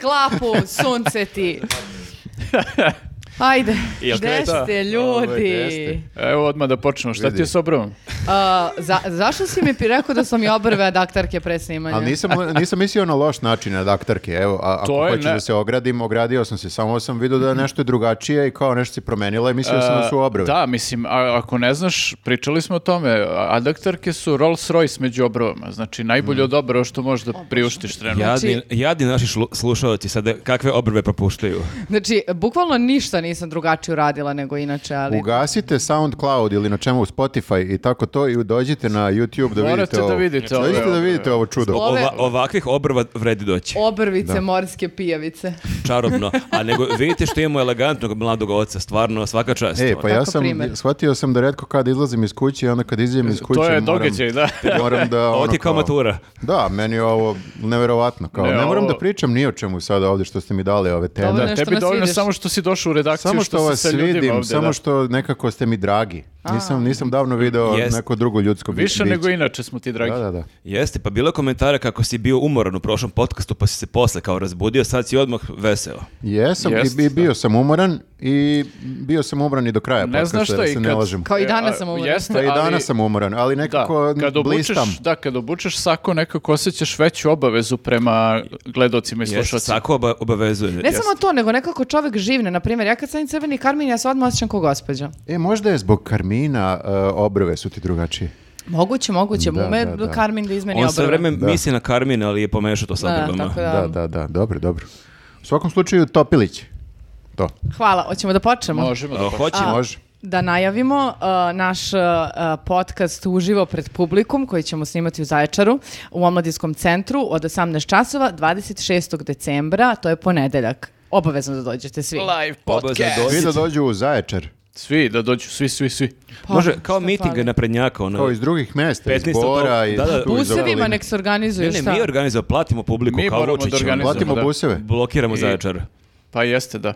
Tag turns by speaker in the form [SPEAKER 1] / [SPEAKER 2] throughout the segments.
[SPEAKER 1] klapu, sunce ti. Ajde,
[SPEAKER 2] Jel
[SPEAKER 1] gde
[SPEAKER 2] kreta?
[SPEAKER 1] ste
[SPEAKER 3] Ovaj,
[SPEAKER 1] ljudi?
[SPEAKER 3] gde ste?
[SPEAKER 2] Evo odmah da počnemo. Šta
[SPEAKER 3] Vidi.
[SPEAKER 2] ti je s obrvom?
[SPEAKER 1] A, za, zašto si mi pi- rekao da sam i obrve adaktarke pre snimanja?
[SPEAKER 3] Ali nisam, nisam mislio na loš način adaktarke. Evo, a, ako
[SPEAKER 2] To je
[SPEAKER 3] hoćeš
[SPEAKER 2] ne- Mhm.
[SPEAKER 3] da se ogradim, ogradio sam se. Samo sam vidio da je nešto drugačije i kao nešto si promenila i mislio sam da su obrve.
[SPEAKER 2] E, Da, mislim, a- ako ne znaš, pričali smo o tome, adaktarke su Rolls Royce među obrovama, znači
[SPEAKER 3] Mm.
[SPEAKER 2] najbolje od obrova što možeš da priuštiš trenutno.
[SPEAKER 4] Jadni, jadni naši šlu- slušalci sada kakve obrve propuštaju.
[SPEAKER 1] Znači, bukvalno ništa nisam drugačije uradila nego inače, ali...
[SPEAKER 3] Ugasite SoundCloud ili na čemu Spotify i tako to i dođite na YouTube da
[SPEAKER 2] Morate
[SPEAKER 3] vidite ovo.
[SPEAKER 2] da vidite ove
[SPEAKER 3] Dođite da
[SPEAKER 2] obrve.
[SPEAKER 3] vidite ovo čudo.
[SPEAKER 1] Ove-
[SPEAKER 4] Ova- ovakvih obrva vredi doći.
[SPEAKER 1] Obrvice, morske pijavice.
[SPEAKER 4] Čarobno. A nego vidite što imamo elegantnog mladog oca, stvarno svaka čast.
[SPEAKER 3] E, pa ja
[SPEAKER 1] Kako
[SPEAKER 3] sam,
[SPEAKER 1] primer?
[SPEAKER 3] shvatio sam da redko kad izlazim iz kuće i onda kad izađem iz kuće
[SPEAKER 2] je
[SPEAKER 3] moram,
[SPEAKER 2] događaj, da.
[SPEAKER 3] moram da...
[SPEAKER 4] Ovo
[SPEAKER 3] ono
[SPEAKER 4] ti je kao matura.
[SPEAKER 3] Da, meni je ovo neverovatno. Kao,
[SPEAKER 2] Ne,
[SPEAKER 3] ne, moram
[SPEAKER 2] ovo-
[SPEAKER 3] da pričam ni o čemu sada ovdje što ste mi dali ove teme.
[SPEAKER 1] Dobro,
[SPEAKER 2] Da,
[SPEAKER 1] Nešto
[SPEAKER 2] tebi
[SPEAKER 1] nas
[SPEAKER 2] dovoljno
[SPEAKER 1] vidiš.
[SPEAKER 2] samo što si došao u redakciju,
[SPEAKER 3] Samo
[SPEAKER 2] što,
[SPEAKER 3] što
[SPEAKER 2] si
[SPEAKER 3] vas
[SPEAKER 2] sa ljudima
[SPEAKER 3] vidim,
[SPEAKER 2] ovde,
[SPEAKER 3] samo
[SPEAKER 2] da.
[SPEAKER 3] što nekako ste mi dragi. Nisam, nisam davno video
[SPEAKER 4] Jest.
[SPEAKER 3] neko drugo ljudsko bi-
[SPEAKER 2] Više
[SPEAKER 3] biće.
[SPEAKER 2] nego inače smo ti dragi.
[SPEAKER 3] Da, da, da.
[SPEAKER 4] Jeste, pa bilo je komentara kako si bio umoran u prošlom podcastu, pa si se posle kao razbudio, sad si odmah veseo.
[SPEAKER 3] Jesam
[SPEAKER 2] Jest,
[SPEAKER 3] i, i bio sam umoran i bio sam umoran i do kraja
[SPEAKER 2] Ne
[SPEAKER 3] podcasta,
[SPEAKER 2] znaš što
[SPEAKER 3] da
[SPEAKER 2] i
[SPEAKER 3] se ne
[SPEAKER 2] kad-
[SPEAKER 3] lažem.
[SPEAKER 1] Kao i
[SPEAKER 2] E,
[SPEAKER 1] danas
[SPEAKER 2] a,
[SPEAKER 1] sam ovo
[SPEAKER 2] jeste,
[SPEAKER 3] Pa i
[SPEAKER 2] ali-
[SPEAKER 3] danas sam umoran, ali
[SPEAKER 2] Da,
[SPEAKER 3] nekako
[SPEAKER 2] kad obučeš,
[SPEAKER 3] blistam.
[SPEAKER 2] da, kad obučeš sako, nekako osjećaš veću obavezu prema gledocima i
[SPEAKER 4] Jeste,
[SPEAKER 2] slušacima.
[SPEAKER 4] tako oba, obavezuje.
[SPEAKER 1] Ne
[SPEAKER 4] jeste.
[SPEAKER 1] samo to, nego nekako čovek živne. Naprimjer, ja kad sam crveni karmin, ja se odmah osjećam kao gospođa.
[SPEAKER 3] E, možda je zbog Karmina e, obrve su ti drugačije.
[SPEAKER 1] Moguće, moguće.
[SPEAKER 3] Da,
[SPEAKER 1] Ume
[SPEAKER 3] da, da.
[SPEAKER 1] karmin da izmeni
[SPEAKER 4] On sve
[SPEAKER 1] obrve.
[SPEAKER 4] vreme misli na Karmin, ali je pomešao to sad
[SPEAKER 1] Da,
[SPEAKER 4] odavno.
[SPEAKER 1] tako da.
[SPEAKER 3] Da, da, da, dobro, dobro. U svakom slučaju Topilić. To,
[SPEAKER 1] Hvala, hoćemo da počnemo.
[SPEAKER 2] Možemo da
[SPEAKER 4] A,
[SPEAKER 2] počnemo.
[SPEAKER 4] hoćemo.
[SPEAKER 3] može.
[SPEAKER 1] Da najavimo uh, naš uh, uh, podcast uživo pred publikum koji ćemo snimati u Zaječaru u Omladinskom centru od 18 časova 26. decembra, to je ponedeljak. Obavezno da dođete svi.
[SPEAKER 2] Live
[SPEAKER 4] Obavezno
[SPEAKER 2] podcast.
[SPEAKER 4] doći.
[SPEAKER 3] Svi da dođu u Zaječar,
[SPEAKER 2] Svi da dođu, svi, svi, svi.
[SPEAKER 1] Pa,
[SPEAKER 4] Može, kao
[SPEAKER 1] šta
[SPEAKER 4] miting
[SPEAKER 1] fali?
[SPEAKER 4] na prednjaka, ono.
[SPEAKER 3] kao iz drugih mesta, iz
[SPEAKER 4] 15.
[SPEAKER 3] Bora, iz
[SPEAKER 4] Da, da.
[SPEAKER 3] tu iz
[SPEAKER 1] Busevima
[SPEAKER 3] okoline.
[SPEAKER 1] nek se organizuju,
[SPEAKER 4] Ne, ne,
[SPEAKER 1] šta?
[SPEAKER 4] mi organizujemo, platimo publiku
[SPEAKER 2] Mi
[SPEAKER 4] kao
[SPEAKER 2] moramo da
[SPEAKER 4] Vučić. ono.
[SPEAKER 2] organizujemo.
[SPEAKER 3] Platimo
[SPEAKER 2] Da.
[SPEAKER 3] buseve.
[SPEAKER 4] Blokiramo
[SPEAKER 2] I-
[SPEAKER 4] Zaječar.
[SPEAKER 2] Pa jeste, da.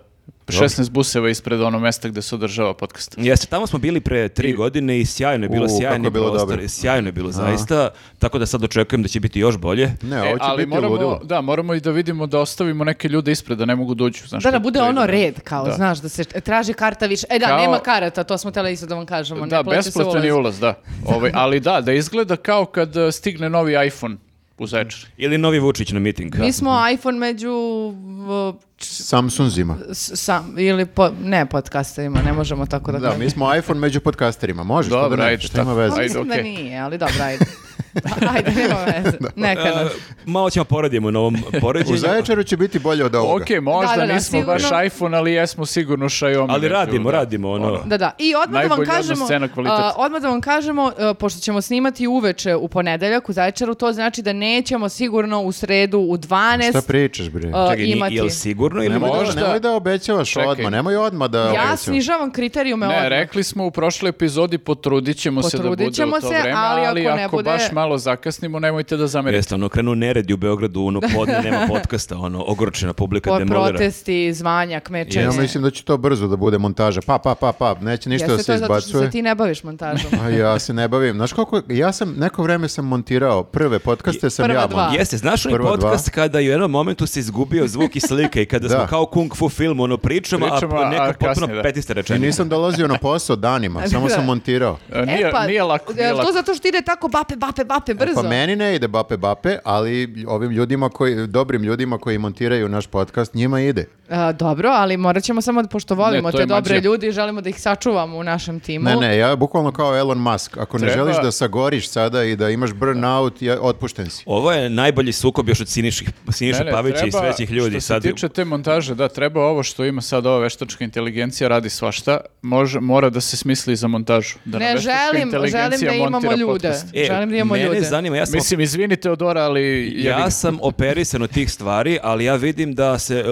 [SPEAKER 2] 16 buseva ispred ono mesta gde se održava podcast.
[SPEAKER 4] Jeste, tamo smo bili pre tri godine i sjajno je bilo,
[SPEAKER 3] U, kako
[SPEAKER 4] sjajno
[SPEAKER 3] je
[SPEAKER 4] je
[SPEAKER 3] bilo
[SPEAKER 4] bilo,
[SPEAKER 3] dobro.
[SPEAKER 4] sjajno je bilo zaista, tako da sad očekujem da će biti još bolje.
[SPEAKER 3] Ne,
[SPEAKER 2] E,
[SPEAKER 3] ovo će biti
[SPEAKER 2] moramo,
[SPEAKER 3] ludilo.
[SPEAKER 2] Da, moramo i da vidimo da ostavimo neke ljude ispred, da ne mogu dođu. Znaš,
[SPEAKER 1] Da, da
[SPEAKER 2] kad
[SPEAKER 1] bude
[SPEAKER 2] to
[SPEAKER 1] ono
[SPEAKER 2] ide.
[SPEAKER 1] red, kao,
[SPEAKER 2] Da.
[SPEAKER 1] znaš, da se traži karta više. E da,
[SPEAKER 2] Kao-
[SPEAKER 1] nema karata, to smo tele isto da vam kažemo.
[SPEAKER 2] Da,
[SPEAKER 1] ne plaća se
[SPEAKER 2] besplatan je
[SPEAKER 1] ulaz.
[SPEAKER 2] ulaz, da. Ovaj, ali da, da izgleda kao kad eh, stigne novi iPhone u Zaječar.
[SPEAKER 4] Ili novi Vučić na miting.
[SPEAKER 1] Mi smo iPhone među v- č-
[SPEAKER 3] Samsunzima.
[SPEAKER 1] s- sam, ili po, ne podcastovima, ne možemo tako da,
[SPEAKER 3] Da, mi smo iPhone među podcasterima. Može, što da
[SPEAKER 2] Dobro,
[SPEAKER 3] ne,
[SPEAKER 2] ajde,
[SPEAKER 3] šta ima
[SPEAKER 2] tako.
[SPEAKER 3] veze.
[SPEAKER 1] Pa
[SPEAKER 2] Ajde,
[SPEAKER 1] mislim da
[SPEAKER 2] okej.
[SPEAKER 1] nije, ali dobro, ajde. ajde, nema veze. Nekada.
[SPEAKER 4] E, malo ćemo poradimo na ovom
[SPEAKER 3] U
[SPEAKER 4] poređenju.
[SPEAKER 3] Zaječaru će biti bolje od ovoga.
[SPEAKER 2] Ok, možda
[SPEAKER 1] Da, da, da,
[SPEAKER 2] nismo
[SPEAKER 1] sigurno.
[SPEAKER 2] baš iPhone, ali jesmo sigurno Xiaomi.
[SPEAKER 4] Ali
[SPEAKER 2] među,
[SPEAKER 4] radimo,
[SPEAKER 2] da.
[SPEAKER 4] radimo, ono.
[SPEAKER 1] Da, da. I odmah da vam
[SPEAKER 2] Najbolji odnos
[SPEAKER 1] kažemo,
[SPEAKER 2] cena, kvalitet.
[SPEAKER 1] a, odmah da vam kažemo, a, pošto ćemo snimati uveče u ponedeljak u Zaječaru, to znači da nećemo sigurno u sredu u 12
[SPEAKER 3] Šta pričaš, bre?
[SPEAKER 1] a,
[SPEAKER 4] Čekaj, ni-
[SPEAKER 1] imati.
[SPEAKER 4] jel sigurno ili
[SPEAKER 3] Nemoj,
[SPEAKER 2] možda-
[SPEAKER 3] da, nemoj da obećavaš
[SPEAKER 2] Čekaj.
[SPEAKER 3] odmah, nemoj odmah da
[SPEAKER 1] Ja
[SPEAKER 3] obećavaš.
[SPEAKER 1] snižavam kriterijume
[SPEAKER 2] Ne,
[SPEAKER 1] odmah.
[SPEAKER 2] rekli smo u prošloj epizodi, potrudit ćemo
[SPEAKER 1] Potrudit
[SPEAKER 2] se da
[SPEAKER 1] ćemo
[SPEAKER 2] bude u to
[SPEAKER 1] se,
[SPEAKER 2] vreme,
[SPEAKER 1] ali
[SPEAKER 2] ali,
[SPEAKER 1] ako
[SPEAKER 2] ako,
[SPEAKER 1] ne bude-
[SPEAKER 2] baš malo zakasnimo, nemojte da zamerite.
[SPEAKER 4] Jeste, ono, krenu neredi u Beogradu, ono, podne nema podcasta, ono, ogorčena publika
[SPEAKER 1] Po
[SPEAKER 4] demolira.
[SPEAKER 1] protesti, zvanja, kmečenje.
[SPEAKER 3] Ja mislim da će to brzo da bude montaža. Pa, pa, pa, pa, neće ništa da
[SPEAKER 1] Jeste
[SPEAKER 3] se
[SPEAKER 1] to zato što
[SPEAKER 3] izbacuje.
[SPEAKER 1] se ti ne baviš montažom.
[SPEAKER 3] A ja se ne bavim. Znaš koliko, ja sam, neko vreme sam montirao prve podcaste, sam
[SPEAKER 1] Prva
[SPEAKER 3] ja
[SPEAKER 1] dva.
[SPEAKER 3] montirao.
[SPEAKER 4] Jeste, znaš onaj
[SPEAKER 3] Prva dva.
[SPEAKER 4] podcast kada je u jednom momentu se izgubio zvuk i slika i kada
[SPEAKER 3] Da.
[SPEAKER 4] smo kao kung fu film, ono, pričamo,
[SPEAKER 2] Pričamo,
[SPEAKER 4] a
[SPEAKER 2] a
[SPEAKER 4] neka potpuno
[SPEAKER 2] kasnije, da.
[SPEAKER 4] petista
[SPEAKER 3] I
[SPEAKER 4] rečenica.
[SPEAKER 3] nisam dolazio na posao danima, samo sam montirao.
[SPEAKER 2] E, Nije,
[SPEAKER 1] E, pa,
[SPEAKER 2] nije lako, nije
[SPEAKER 1] jel to
[SPEAKER 2] lako.
[SPEAKER 1] zato što ide tako bape, bape, bape, brzo.
[SPEAKER 3] Pa meni ne ide bape bape, ali ovim ljudima koji, dobrim ljudima koji montiraju naš podcast, njima ide.
[SPEAKER 1] A, dobro, ali morat ćemo samo, da- pošto volimo
[SPEAKER 2] Ne, to
[SPEAKER 1] te
[SPEAKER 2] je
[SPEAKER 1] dobre
[SPEAKER 2] mađija.
[SPEAKER 1] ljudi i želimo da ih sačuvamo u našem timu.
[SPEAKER 3] Ne, ne, ja bukvalno kao Elon Musk. Ako ne
[SPEAKER 2] Treba-
[SPEAKER 3] želiš da sagoriš sada i da imaš burnout, ja, otpušten si.
[SPEAKER 4] Ovo je najbolji sukob još od Siniših, Siniša
[SPEAKER 2] Ne, ne,
[SPEAKER 4] Pavića i
[SPEAKER 2] treba-
[SPEAKER 4] svećih ljudi.
[SPEAKER 2] Što se
[SPEAKER 4] Sad,
[SPEAKER 2] tiče te montaže, da, treba ovo što ima sad ova veštačka inteligencija, radi svašta, može, mora da se smisli za montažu. Da nam
[SPEAKER 1] Ne,
[SPEAKER 2] veštačka
[SPEAKER 1] želim-
[SPEAKER 2] inteligencija
[SPEAKER 1] želim da imamo
[SPEAKER 2] montira
[SPEAKER 1] ljude.
[SPEAKER 2] podcast.
[SPEAKER 4] E,
[SPEAKER 1] Želim da imamo
[SPEAKER 4] mene
[SPEAKER 1] ljude.
[SPEAKER 4] zanima, ja sam
[SPEAKER 2] Mislim, izvini Teodora, ali... jebi ga.
[SPEAKER 4] Ja sam operisan od tih stvari, ali ja vidim da se e,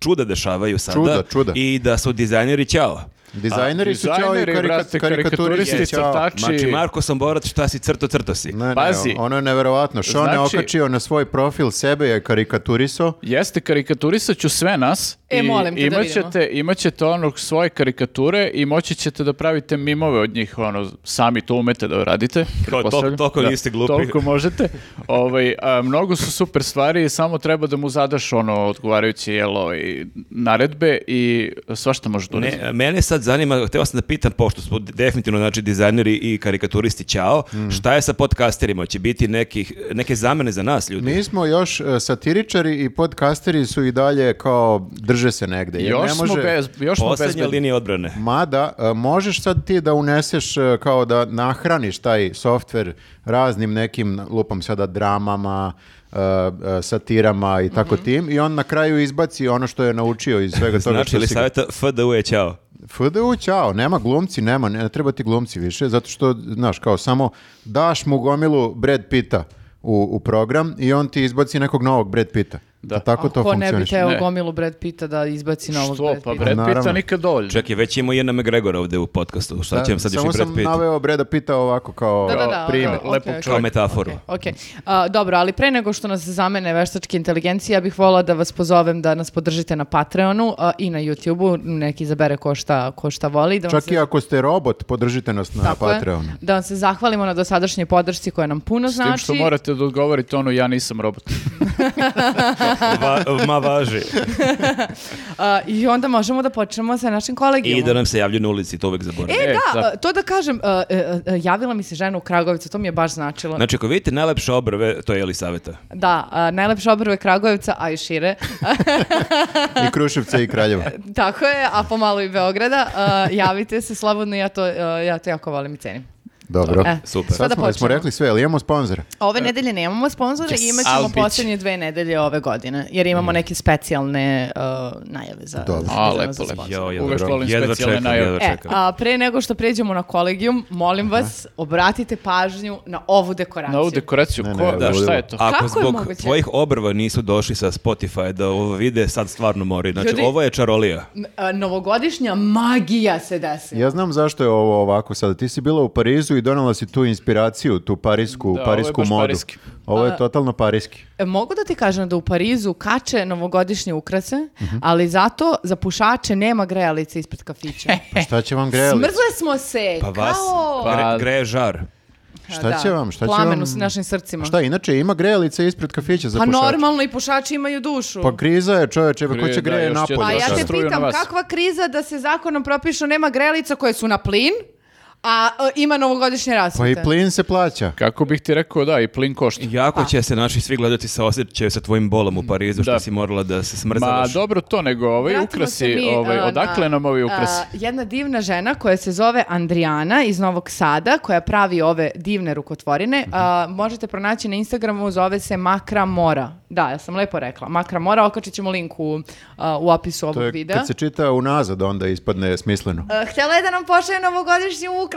[SPEAKER 4] čuda dešavaju sada.
[SPEAKER 3] Čuda, čuda.
[SPEAKER 4] I da su dizajneri ćao.
[SPEAKER 3] Dizajneri su ćao i
[SPEAKER 2] dizajneri,
[SPEAKER 3] karika-
[SPEAKER 2] brate,
[SPEAKER 3] karikaturisti
[SPEAKER 2] karikaturisti,
[SPEAKER 3] ćao.
[SPEAKER 2] crtači. Znači-
[SPEAKER 4] Znači, Marko Samborac, šta si crto, crto si.
[SPEAKER 3] Ne, ne,
[SPEAKER 2] Pazi.
[SPEAKER 3] ono je neverovatno. Što ne
[SPEAKER 2] Znači-
[SPEAKER 3] okačio na svoj profil sebe je karikaturiso.
[SPEAKER 2] Jeste, karikaturisat ću sve nas,
[SPEAKER 1] E,
[SPEAKER 2] I
[SPEAKER 1] molim te da vidimo.
[SPEAKER 2] imaćete, imaćete ono svoje karikature i moći ćete da pravite mimove od njih, ono, sami to umete da radite. pretpostavljam.
[SPEAKER 4] toliko niste glupi.
[SPEAKER 2] Toliko možete. ovaj, a, mnogo su super stvari, samo treba da mu zadaš ono odgovarajući jel, ovaj, naredbe i svašta možeš da uradiš.
[SPEAKER 4] Ne, mene sad zanima, hteo sam da pitam, pošto smo definitivno znači, dizajneri i karikaturisti ćao,
[SPEAKER 3] Mm.
[SPEAKER 4] šta je sa podcasterima? Će biti nekih, neke zamene za nas ljudi?
[SPEAKER 3] Mi smo još e, satiričari i podcasteri su i dalje kao drže se negde. jer
[SPEAKER 2] Još
[SPEAKER 3] ne
[SPEAKER 2] smo,
[SPEAKER 3] može-
[SPEAKER 2] bez, još smo
[SPEAKER 4] Poslednja
[SPEAKER 2] bezbedni.
[SPEAKER 4] linija odbrane.
[SPEAKER 3] Mada, e, možeš sad ti da uneseš e, kao da nahraniš taj softver raznim nekim, lupam sada, dramama, e, e, satirama i tako
[SPEAKER 4] Mhm.
[SPEAKER 3] tim i on na kraju izbaci ono što je naučio iz svega toga
[SPEAKER 4] Znači
[SPEAKER 3] što
[SPEAKER 4] li
[SPEAKER 3] si ga-
[SPEAKER 4] savjeta FDU je ćao?
[SPEAKER 3] FDU, ćao, nema glumci, nema, ne treba ti glumci više, zato što, znaš, kao samo daš mu gomilu Brad Pitta u, u program i on ti izbaci nekog novog Brad Pitta.
[SPEAKER 2] Da.
[SPEAKER 3] Da. Tako to
[SPEAKER 1] Ko ne bi
[SPEAKER 3] funkcioniš.
[SPEAKER 1] teo
[SPEAKER 2] Ne.
[SPEAKER 1] gomilu Brad Pitta da izbaci novog
[SPEAKER 2] Što?
[SPEAKER 1] Brad
[SPEAKER 2] Pa
[SPEAKER 1] Pitta?
[SPEAKER 2] Brad Pitta
[SPEAKER 3] Naravno.
[SPEAKER 2] nikad dovoljno.
[SPEAKER 4] Čekaj, već ima jedna McGregor ovde u podcastu. Šta
[SPEAKER 3] Da,
[SPEAKER 4] će vam sad još i
[SPEAKER 3] Samo
[SPEAKER 4] Brad
[SPEAKER 3] sam
[SPEAKER 4] Pitt?
[SPEAKER 3] naveo Breda Pitta ovako kao
[SPEAKER 1] Da, da, da,
[SPEAKER 3] primjer.
[SPEAKER 1] okej,
[SPEAKER 2] lepog
[SPEAKER 1] okej,
[SPEAKER 4] Kao metaforu.
[SPEAKER 1] Ok, A, dobro, ali pre nego što nas zamene veštačke inteligencije, ja bih volila da vas pozovem da nas podržite na Patreonu a, i na YouTubeu, neki izabere ko šta, ko šta voli. Da vam
[SPEAKER 3] Čak
[SPEAKER 1] se-
[SPEAKER 3] i ako ste robot, podržite nas na
[SPEAKER 1] Tako je.
[SPEAKER 3] Patreonu.
[SPEAKER 1] Da vam se zahvalimo na dosadašnjoj podršci koja nam puno
[SPEAKER 2] S tim
[SPEAKER 1] znači.
[SPEAKER 2] što morate da odgovorite ono, ja nisam robot.
[SPEAKER 4] Va- ma važi.
[SPEAKER 1] A, I onda možemo da počnemo sa našim kolegijom.
[SPEAKER 4] I da nam se javlju na ulici, to uvek zaboravim.
[SPEAKER 1] E,
[SPEAKER 2] E,
[SPEAKER 1] da,
[SPEAKER 2] da.
[SPEAKER 1] a, to da kažem, a, e, e, javila mi se žena u Kragovicu, to mi je baš značilo.
[SPEAKER 4] Znači, ako vidite najlepše obrve, to je Elisaveta.
[SPEAKER 1] Da, a, najlepše obrve Kragujevca, a i šire.
[SPEAKER 3] I Kruševca i Kraljeva.
[SPEAKER 1] E, Tako je, a pomalo i Beograda. A, javite se slobodno, ja to, a, ja to jako volim i cenim.
[SPEAKER 3] Dobro.
[SPEAKER 1] E,
[SPEAKER 4] Super.
[SPEAKER 1] sad
[SPEAKER 3] Sad
[SPEAKER 1] da
[SPEAKER 3] smo, smo
[SPEAKER 1] počnemo.
[SPEAKER 3] rekli sve, ali imamo sponzora.
[SPEAKER 1] Ove nedelje nemamo sponzore i imat
[SPEAKER 2] Ali
[SPEAKER 1] ćemo
[SPEAKER 2] bit će.
[SPEAKER 1] posljednje dve nedelje ove godine, jer imamo neke specijalne uh, najave za,
[SPEAKER 3] Dobro.
[SPEAKER 1] za,
[SPEAKER 2] A,
[SPEAKER 1] za-
[SPEAKER 2] lepo,
[SPEAKER 1] za
[SPEAKER 2] lepo.
[SPEAKER 1] sponzore.
[SPEAKER 4] Jo, jedva
[SPEAKER 2] Uvek
[SPEAKER 4] čekam,
[SPEAKER 2] volim
[SPEAKER 4] jedva
[SPEAKER 2] specijalne
[SPEAKER 4] čekam,
[SPEAKER 2] najave.
[SPEAKER 4] jedva
[SPEAKER 1] E,
[SPEAKER 4] čekam.
[SPEAKER 1] a pre nego što pređemo na kolegijum, molim vas, obratite pažnju na ovu dekoraciju.
[SPEAKER 2] Na ovu dekoraciju,
[SPEAKER 3] Ne,
[SPEAKER 2] ko,
[SPEAKER 3] ne,
[SPEAKER 2] da,
[SPEAKER 3] ludilo.
[SPEAKER 2] šta je to?
[SPEAKER 4] Ako
[SPEAKER 1] Kako je
[SPEAKER 4] zbog
[SPEAKER 1] moguće?
[SPEAKER 4] tvojih obrva nisu došli sa Spotify da ovo vide, sad stvarno moraju. Znači,
[SPEAKER 1] Ljudi-
[SPEAKER 4] ovo je čarolija.
[SPEAKER 1] N- a, e, Novogodišnja magija se desi.
[SPEAKER 3] Ja znam zašto je ovo ovako sada. Ti si bila u Parizu i donala si tu inspiraciju, tu parisku,
[SPEAKER 2] Da, ovo je
[SPEAKER 3] parisku
[SPEAKER 2] baš
[SPEAKER 3] modu.
[SPEAKER 2] parijski.
[SPEAKER 3] Ovo
[SPEAKER 1] Pa-
[SPEAKER 3] je totalno parijski.
[SPEAKER 1] E, Mogu da ti kažem da u Parizu kače novogodišnje ukrase, ali zato za pušače nema grejalice ispred kafića.
[SPEAKER 3] Šta će vam grejali?
[SPEAKER 1] Smrzle smo se,
[SPEAKER 4] Pa vas
[SPEAKER 1] kao...
[SPEAKER 2] E. Pa-
[SPEAKER 4] gre, greje žar.
[SPEAKER 3] Šta
[SPEAKER 1] pa Da,
[SPEAKER 3] će vam? Šta će
[SPEAKER 1] plamen
[SPEAKER 3] vam?
[SPEAKER 1] u s- našim srcima.
[SPEAKER 3] Šta, inače ima grejalice ispred kafića za
[SPEAKER 1] Pa
[SPEAKER 3] pušače?
[SPEAKER 1] normalno i pušači imaju dušu.
[SPEAKER 3] Pa kriza je čoveče, ko
[SPEAKER 2] Krije,
[SPEAKER 3] će
[SPEAKER 2] da,
[SPEAKER 3] greje
[SPEAKER 2] još će
[SPEAKER 3] napolje?
[SPEAKER 2] da
[SPEAKER 1] Pa ja
[SPEAKER 2] Sad
[SPEAKER 1] te
[SPEAKER 2] struju na
[SPEAKER 1] pitam,
[SPEAKER 2] vas.
[SPEAKER 1] kakva kriza da se zakonom propišu nema grelica koje su na plin, a e, ima novogodišnje
[SPEAKER 3] Pa i
[SPEAKER 1] rasvete.
[SPEAKER 3] plin se plaća.
[SPEAKER 2] Kako bih ti rekao, da, i plin košta.
[SPEAKER 4] Jako će se naši svi gledati sa osjećaju sa tvojim bolom u Parizu, što
[SPEAKER 2] Da.
[SPEAKER 4] si morala da se
[SPEAKER 2] Ma
[SPEAKER 4] smrzavaš.
[SPEAKER 2] dobro to, nego ovaj
[SPEAKER 1] Vratimo se
[SPEAKER 2] ukrasi,
[SPEAKER 1] mi,
[SPEAKER 2] ovaj,
[SPEAKER 1] a,
[SPEAKER 2] odakle
[SPEAKER 1] na,
[SPEAKER 2] nam ovi
[SPEAKER 1] a,
[SPEAKER 2] ukrasi?
[SPEAKER 1] jedna divna žena koja se zove Andrijana iz Novog Sada, koja pravi ove divne
[SPEAKER 2] Mhm.
[SPEAKER 1] rukotvorine. A, možete pronaći na Instagramu, zove se Makra Mora. Da, ja sam lepo rekla. Makra Mora, okačit ćemo link u, a, u opisu
[SPEAKER 3] To
[SPEAKER 1] ovog
[SPEAKER 3] je
[SPEAKER 1] videa.
[SPEAKER 3] kad se čita unazad onda ispadne smisleno.
[SPEAKER 1] A, htjela je da nam pošalje novogodišnje ukrase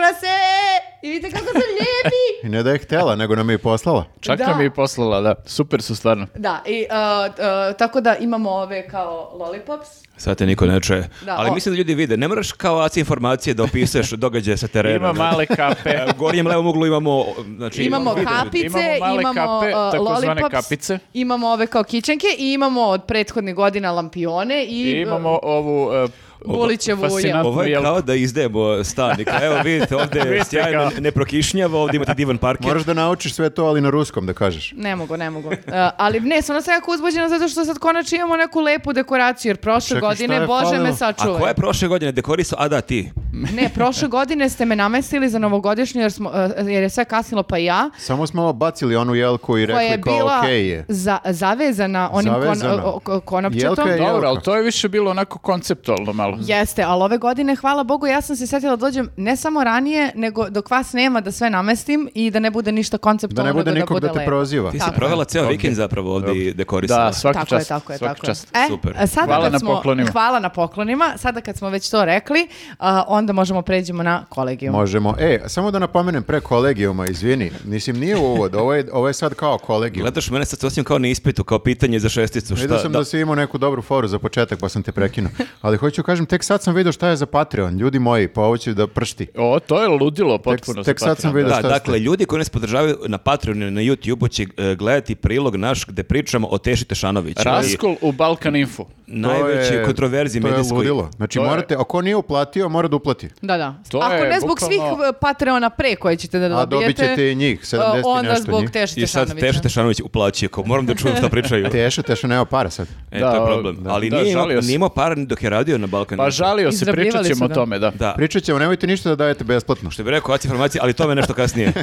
[SPEAKER 1] i vidite kako su lijepi.
[SPEAKER 3] I ne da je htela, nego nam je i poslala.
[SPEAKER 2] Čak
[SPEAKER 1] da.
[SPEAKER 2] nam je i poslala, da. Super su stvarno.
[SPEAKER 1] Da, i a, a, tako da imamo ove kao lollipops.
[SPEAKER 4] Sad te niko ne čuje.
[SPEAKER 1] Da,
[SPEAKER 4] Ali
[SPEAKER 1] o-
[SPEAKER 4] mislim da ljudi vide. Ne moraš kao AC informacije da opisuješ događaje sa terena.
[SPEAKER 2] Ima
[SPEAKER 4] ne?
[SPEAKER 2] male kape.
[SPEAKER 4] E, U gornjem levom uglu imamo... o, Znači,
[SPEAKER 1] Imamo
[SPEAKER 4] vide-
[SPEAKER 1] kapice,
[SPEAKER 2] Imamo
[SPEAKER 1] imamo,
[SPEAKER 2] male kape,
[SPEAKER 1] a,
[SPEAKER 2] takozvane
[SPEAKER 1] lollipops,
[SPEAKER 2] kapice.
[SPEAKER 1] imamo ove kao kićenke i imamo od prethodnih godina lampione i, uh,
[SPEAKER 2] I imamo ovu... e,
[SPEAKER 1] Bulićevu
[SPEAKER 2] fascinantnu
[SPEAKER 4] Ovo je
[SPEAKER 2] jelku.
[SPEAKER 4] kao da izdajemo stan. I kao, Evo vidite, ovde je
[SPEAKER 2] Vidite
[SPEAKER 4] sjajno,
[SPEAKER 2] kao.
[SPEAKER 4] ne prokišnjava, ovde imate divan parkir.
[SPEAKER 3] Moraš da naučiš sve to, ali na ruskom da kažeš.
[SPEAKER 1] Ne mogu, ne mogu. E, ali ne, sam sam jako uzbuđena zato što sad konačno imamo neku lepu dekoraciju, jer prošle
[SPEAKER 3] Čekaj, šta
[SPEAKER 1] godine,
[SPEAKER 3] je
[SPEAKER 1] Bože me
[SPEAKER 3] falilo?
[SPEAKER 4] A ko
[SPEAKER 1] sačuvaj.
[SPEAKER 4] je prošle godine dekorisao? A da, ti.
[SPEAKER 1] Ne, prošle godine ste me namestili za novogodišnju jer, smo, e, jer je sve kasnilo pa i ja.
[SPEAKER 3] Samo smo bacili onu jelku i
[SPEAKER 1] Koja je
[SPEAKER 3] rekli kao
[SPEAKER 1] bila
[SPEAKER 3] okej je.
[SPEAKER 1] za, zavezana onim kon-
[SPEAKER 3] Zavezana.
[SPEAKER 1] o- o- konopčetom.
[SPEAKER 3] Jelka je
[SPEAKER 2] Dobro,
[SPEAKER 3] jelka.
[SPEAKER 2] ali to je više bilo onako konceptualno malo.
[SPEAKER 1] Jeste, ali ove godine, hvala Bogu, ja sam se setila da dođem ne samo ranije, nego dok vas nema da sve namestim i da ne bude ništa
[SPEAKER 3] Da
[SPEAKER 1] konceptualno,
[SPEAKER 3] ne bude
[SPEAKER 1] nego
[SPEAKER 3] nikog da
[SPEAKER 1] bude
[SPEAKER 3] te
[SPEAKER 1] lepo.
[SPEAKER 3] proziva.
[SPEAKER 4] Ti si
[SPEAKER 1] Tako je.
[SPEAKER 4] provela ceo vikend zapravo ovde i dekorisala.
[SPEAKER 2] Da, svaka
[SPEAKER 1] tako
[SPEAKER 2] čast.
[SPEAKER 1] je, tako je,
[SPEAKER 2] svaka
[SPEAKER 1] tako je.
[SPEAKER 2] čast.
[SPEAKER 1] E,
[SPEAKER 4] Super.
[SPEAKER 1] a sada
[SPEAKER 2] Hvala
[SPEAKER 1] kad
[SPEAKER 2] na
[SPEAKER 1] smo-
[SPEAKER 2] poklonima.
[SPEAKER 1] Hvala na poklonima. Sada kad smo već to rekli, a, onda možemo pređemo na kolegijum.
[SPEAKER 3] Možemo. E, samo da napomenem pre kolegijuma, izvini. Mislim, nije uvod, ovo je, ovo je sad kao kolegijum.
[SPEAKER 4] Gledaš mene sad sasvim kao na ispitu, kao pitanje za šesticu. Šta,
[SPEAKER 3] Vidio sam da. si imao neku dobru foru za početak, pa sam te prekinuo. Ali hoću kažem, tek sad sam vidio šta je za Patreon. Ljudi moji, pa ovo će da pršti.
[SPEAKER 2] O, to je ludilo potpuno.
[SPEAKER 3] tek
[SPEAKER 2] sa
[SPEAKER 3] sad sam
[SPEAKER 2] Patreonom,
[SPEAKER 3] vidio
[SPEAKER 2] da.
[SPEAKER 4] Da,
[SPEAKER 3] šta
[SPEAKER 4] dakle,
[SPEAKER 3] ste?
[SPEAKER 4] ljudi koji nas podržavaju na Patreonu i na YouTubeu će e, gledati prilog naš gde pričamo o Teši Tešanoviću.
[SPEAKER 2] Raskol u Balkan Info. Pa
[SPEAKER 4] najveće kontroverzije
[SPEAKER 3] to je
[SPEAKER 4] medijskoj.
[SPEAKER 3] ludilo. Znači
[SPEAKER 2] To je-
[SPEAKER 3] morate, ako nije uplatio, mora da uplati.
[SPEAKER 1] Da, da.
[SPEAKER 2] To
[SPEAKER 1] Ako
[SPEAKER 2] je
[SPEAKER 1] ne zbog
[SPEAKER 2] bukvalno-
[SPEAKER 1] svih e, Patreona pre koje ćete da
[SPEAKER 3] A
[SPEAKER 1] dobijete,
[SPEAKER 3] dobit ćete i njih, 70 i
[SPEAKER 1] e, onda
[SPEAKER 3] nešto
[SPEAKER 1] zbog
[SPEAKER 3] njih.
[SPEAKER 1] Teše
[SPEAKER 4] I sad
[SPEAKER 1] Tešanovića.
[SPEAKER 4] Teša Tešanović uplaćuje, kao moram da čujem šta pričaju.
[SPEAKER 3] Teše, teše, nema para sad.
[SPEAKER 4] E,
[SPEAKER 2] Da,
[SPEAKER 4] to je problem.
[SPEAKER 2] da.
[SPEAKER 4] Ali
[SPEAKER 2] Da,
[SPEAKER 4] nije, imao,
[SPEAKER 2] žalio se.
[SPEAKER 4] nije imao para ni dok je radio na Balkanu.
[SPEAKER 2] Pa žalio se,
[SPEAKER 1] Izrabljivali
[SPEAKER 2] pričat
[SPEAKER 1] su
[SPEAKER 2] ćemo o
[SPEAKER 1] ga.
[SPEAKER 2] tome, da.
[SPEAKER 4] Da.
[SPEAKER 3] Pričat ćemo, nemojte ništa da dajete besplatno.
[SPEAKER 4] Što bi rekao, AC informacije, ali tome nešto kasnije.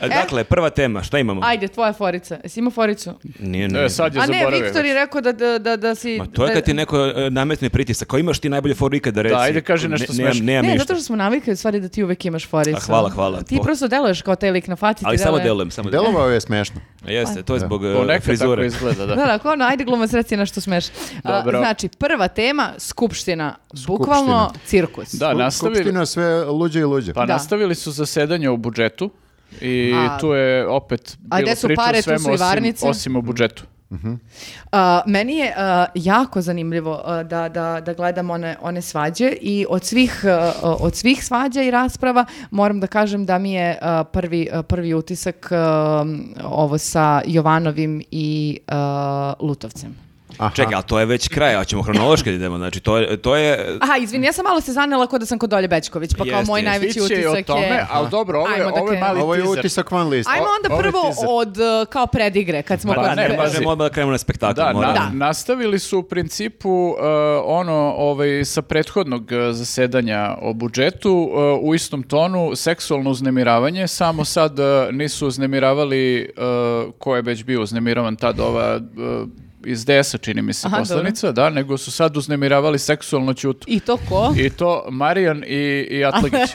[SPEAKER 4] E, Dakle, prva tema, šta imamo?
[SPEAKER 1] Ajde, tvoja forica. Jesi imao foricu?
[SPEAKER 4] Nije, nije.
[SPEAKER 2] E, sad je
[SPEAKER 1] A ne,
[SPEAKER 2] zaboravio.
[SPEAKER 1] Viktor je rekao da, da, da, da si...
[SPEAKER 4] Ma to je
[SPEAKER 1] da-
[SPEAKER 4] kad ti neko e, nametne pritisak. Kao imaš ti najbolje foru ikada, reci.
[SPEAKER 2] ajde, kaži nešto
[SPEAKER 4] ne, nemam-
[SPEAKER 2] smešno.
[SPEAKER 4] nemam
[SPEAKER 1] Ne,
[SPEAKER 4] ništa.
[SPEAKER 1] zato što smo navikli u stvari da ti uvek imaš foricu.
[SPEAKER 4] A, hvala, hvala.
[SPEAKER 1] Ti
[SPEAKER 4] Po-
[SPEAKER 1] prosto deluješ kao taj lik na faci. ti Pa-
[SPEAKER 4] Ali samo
[SPEAKER 1] deluje-
[SPEAKER 4] delujem, samo delujem.
[SPEAKER 3] Delovao je smešno.
[SPEAKER 4] Jeste, to je zbog e,
[SPEAKER 2] Ponekad tako
[SPEAKER 4] frizure.
[SPEAKER 2] izgleda, da.
[SPEAKER 1] Da, da, kao ono, ajde glumac, reci na što smeš. A,
[SPEAKER 2] Dobro.
[SPEAKER 1] Znači, prva tema, skupština. Bukvalno cirkus.
[SPEAKER 2] Da,
[SPEAKER 3] Skup-
[SPEAKER 2] nastavili,
[SPEAKER 3] Skupština sve luđe i luđe.
[SPEAKER 2] pa
[SPEAKER 1] Da.
[SPEAKER 2] nastavili su zasedanje o budžetu i
[SPEAKER 1] A-
[SPEAKER 2] tu je opet
[SPEAKER 1] A
[SPEAKER 2] bilo
[SPEAKER 1] gde su
[SPEAKER 2] priče o
[SPEAKER 1] pare, tu
[SPEAKER 2] svemu
[SPEAKER 1] su i varnice.
[SPEAKER 2] osim, osim o budžetu.
[SPEAKER 1] A, meni je a, jako zanimljivo a, da, da, da gledam one, one svađe i od svih, a, a, od svih svađa i rasprava moram da kažem da mi je a, prvi, a, prvi utisak a, ovo sa Jovanovim i a, Lutovcem.
[SPEAKER 3] Aha.
[SPEAKER 4] Čekaj, a to je već kraj, a ćemo hronološki da idemo. Znači, to je, to je
[SPEAKER 1] Aha, izvini, ja sam malo se zanela kod da sam kod Olje Bećković, pa kao
[SPEAKER 4] Jeste,
[SPEAKER 1] moj
[SPEAKER 4] jeste.
[SPEAKER 1] najveći
[SPEAKER 2] Biće i
[SPEAKER 1] utisak
[SPEAKER 2] o tome,
[SPEAKER 1] je...
[SPEAKER 2] ali dobro, ovo je,
[SPEAKER 1] Ajmo da
[SPEAKER 2] ovo je
[SPEAKER 1] krenemo.
[SPEAKER 2] mali
[SPEAKER 3] Ovo je
[SPEAKER 2] teaser.
[SPEAKER 3] utisak van lista.
[SPEAKER 1] Ajmo onda
[SPEAKER 2] Ovo je
[SPEAKER 1] prvo
[SPEAKER 2] teaser.
[SPEAKER 1] od uh, kao predigre, kad smo
[SPEAKER 2] Pa
[SPEAKER 1] kod
[SPEAKER 2] ne,
[SPEAKER 4] Ne
[SPEAKER 1] pre-
[SPEAKER 2] pazi.
[SPEAKER 4] možemo odmah da krenemo na spektakl.
[SPEAKER 2] Da, na-
[SPEAKER 4] moramo.
[SPEAKER 1] Da.
[SPEAKER 2] nastavili su u principu uh, ono ovaj sa prethodnog uh, zasedanja o budžetu uh, u istom tonu seksualno uznemiravanje, samo sad uh, nisu uznemiravali uh, ko je već bio uznemiravan tad ova uh, iz DS-a čini mi se
[SPEAKER 1] Aha,
[SPEAKER 2] poslanica, da, nego su sad uznemiravali seksualno ćutu.
[SPEAKER 1] I to ko?
[SPEAKER 2] I to Marijan i, i Atlagić.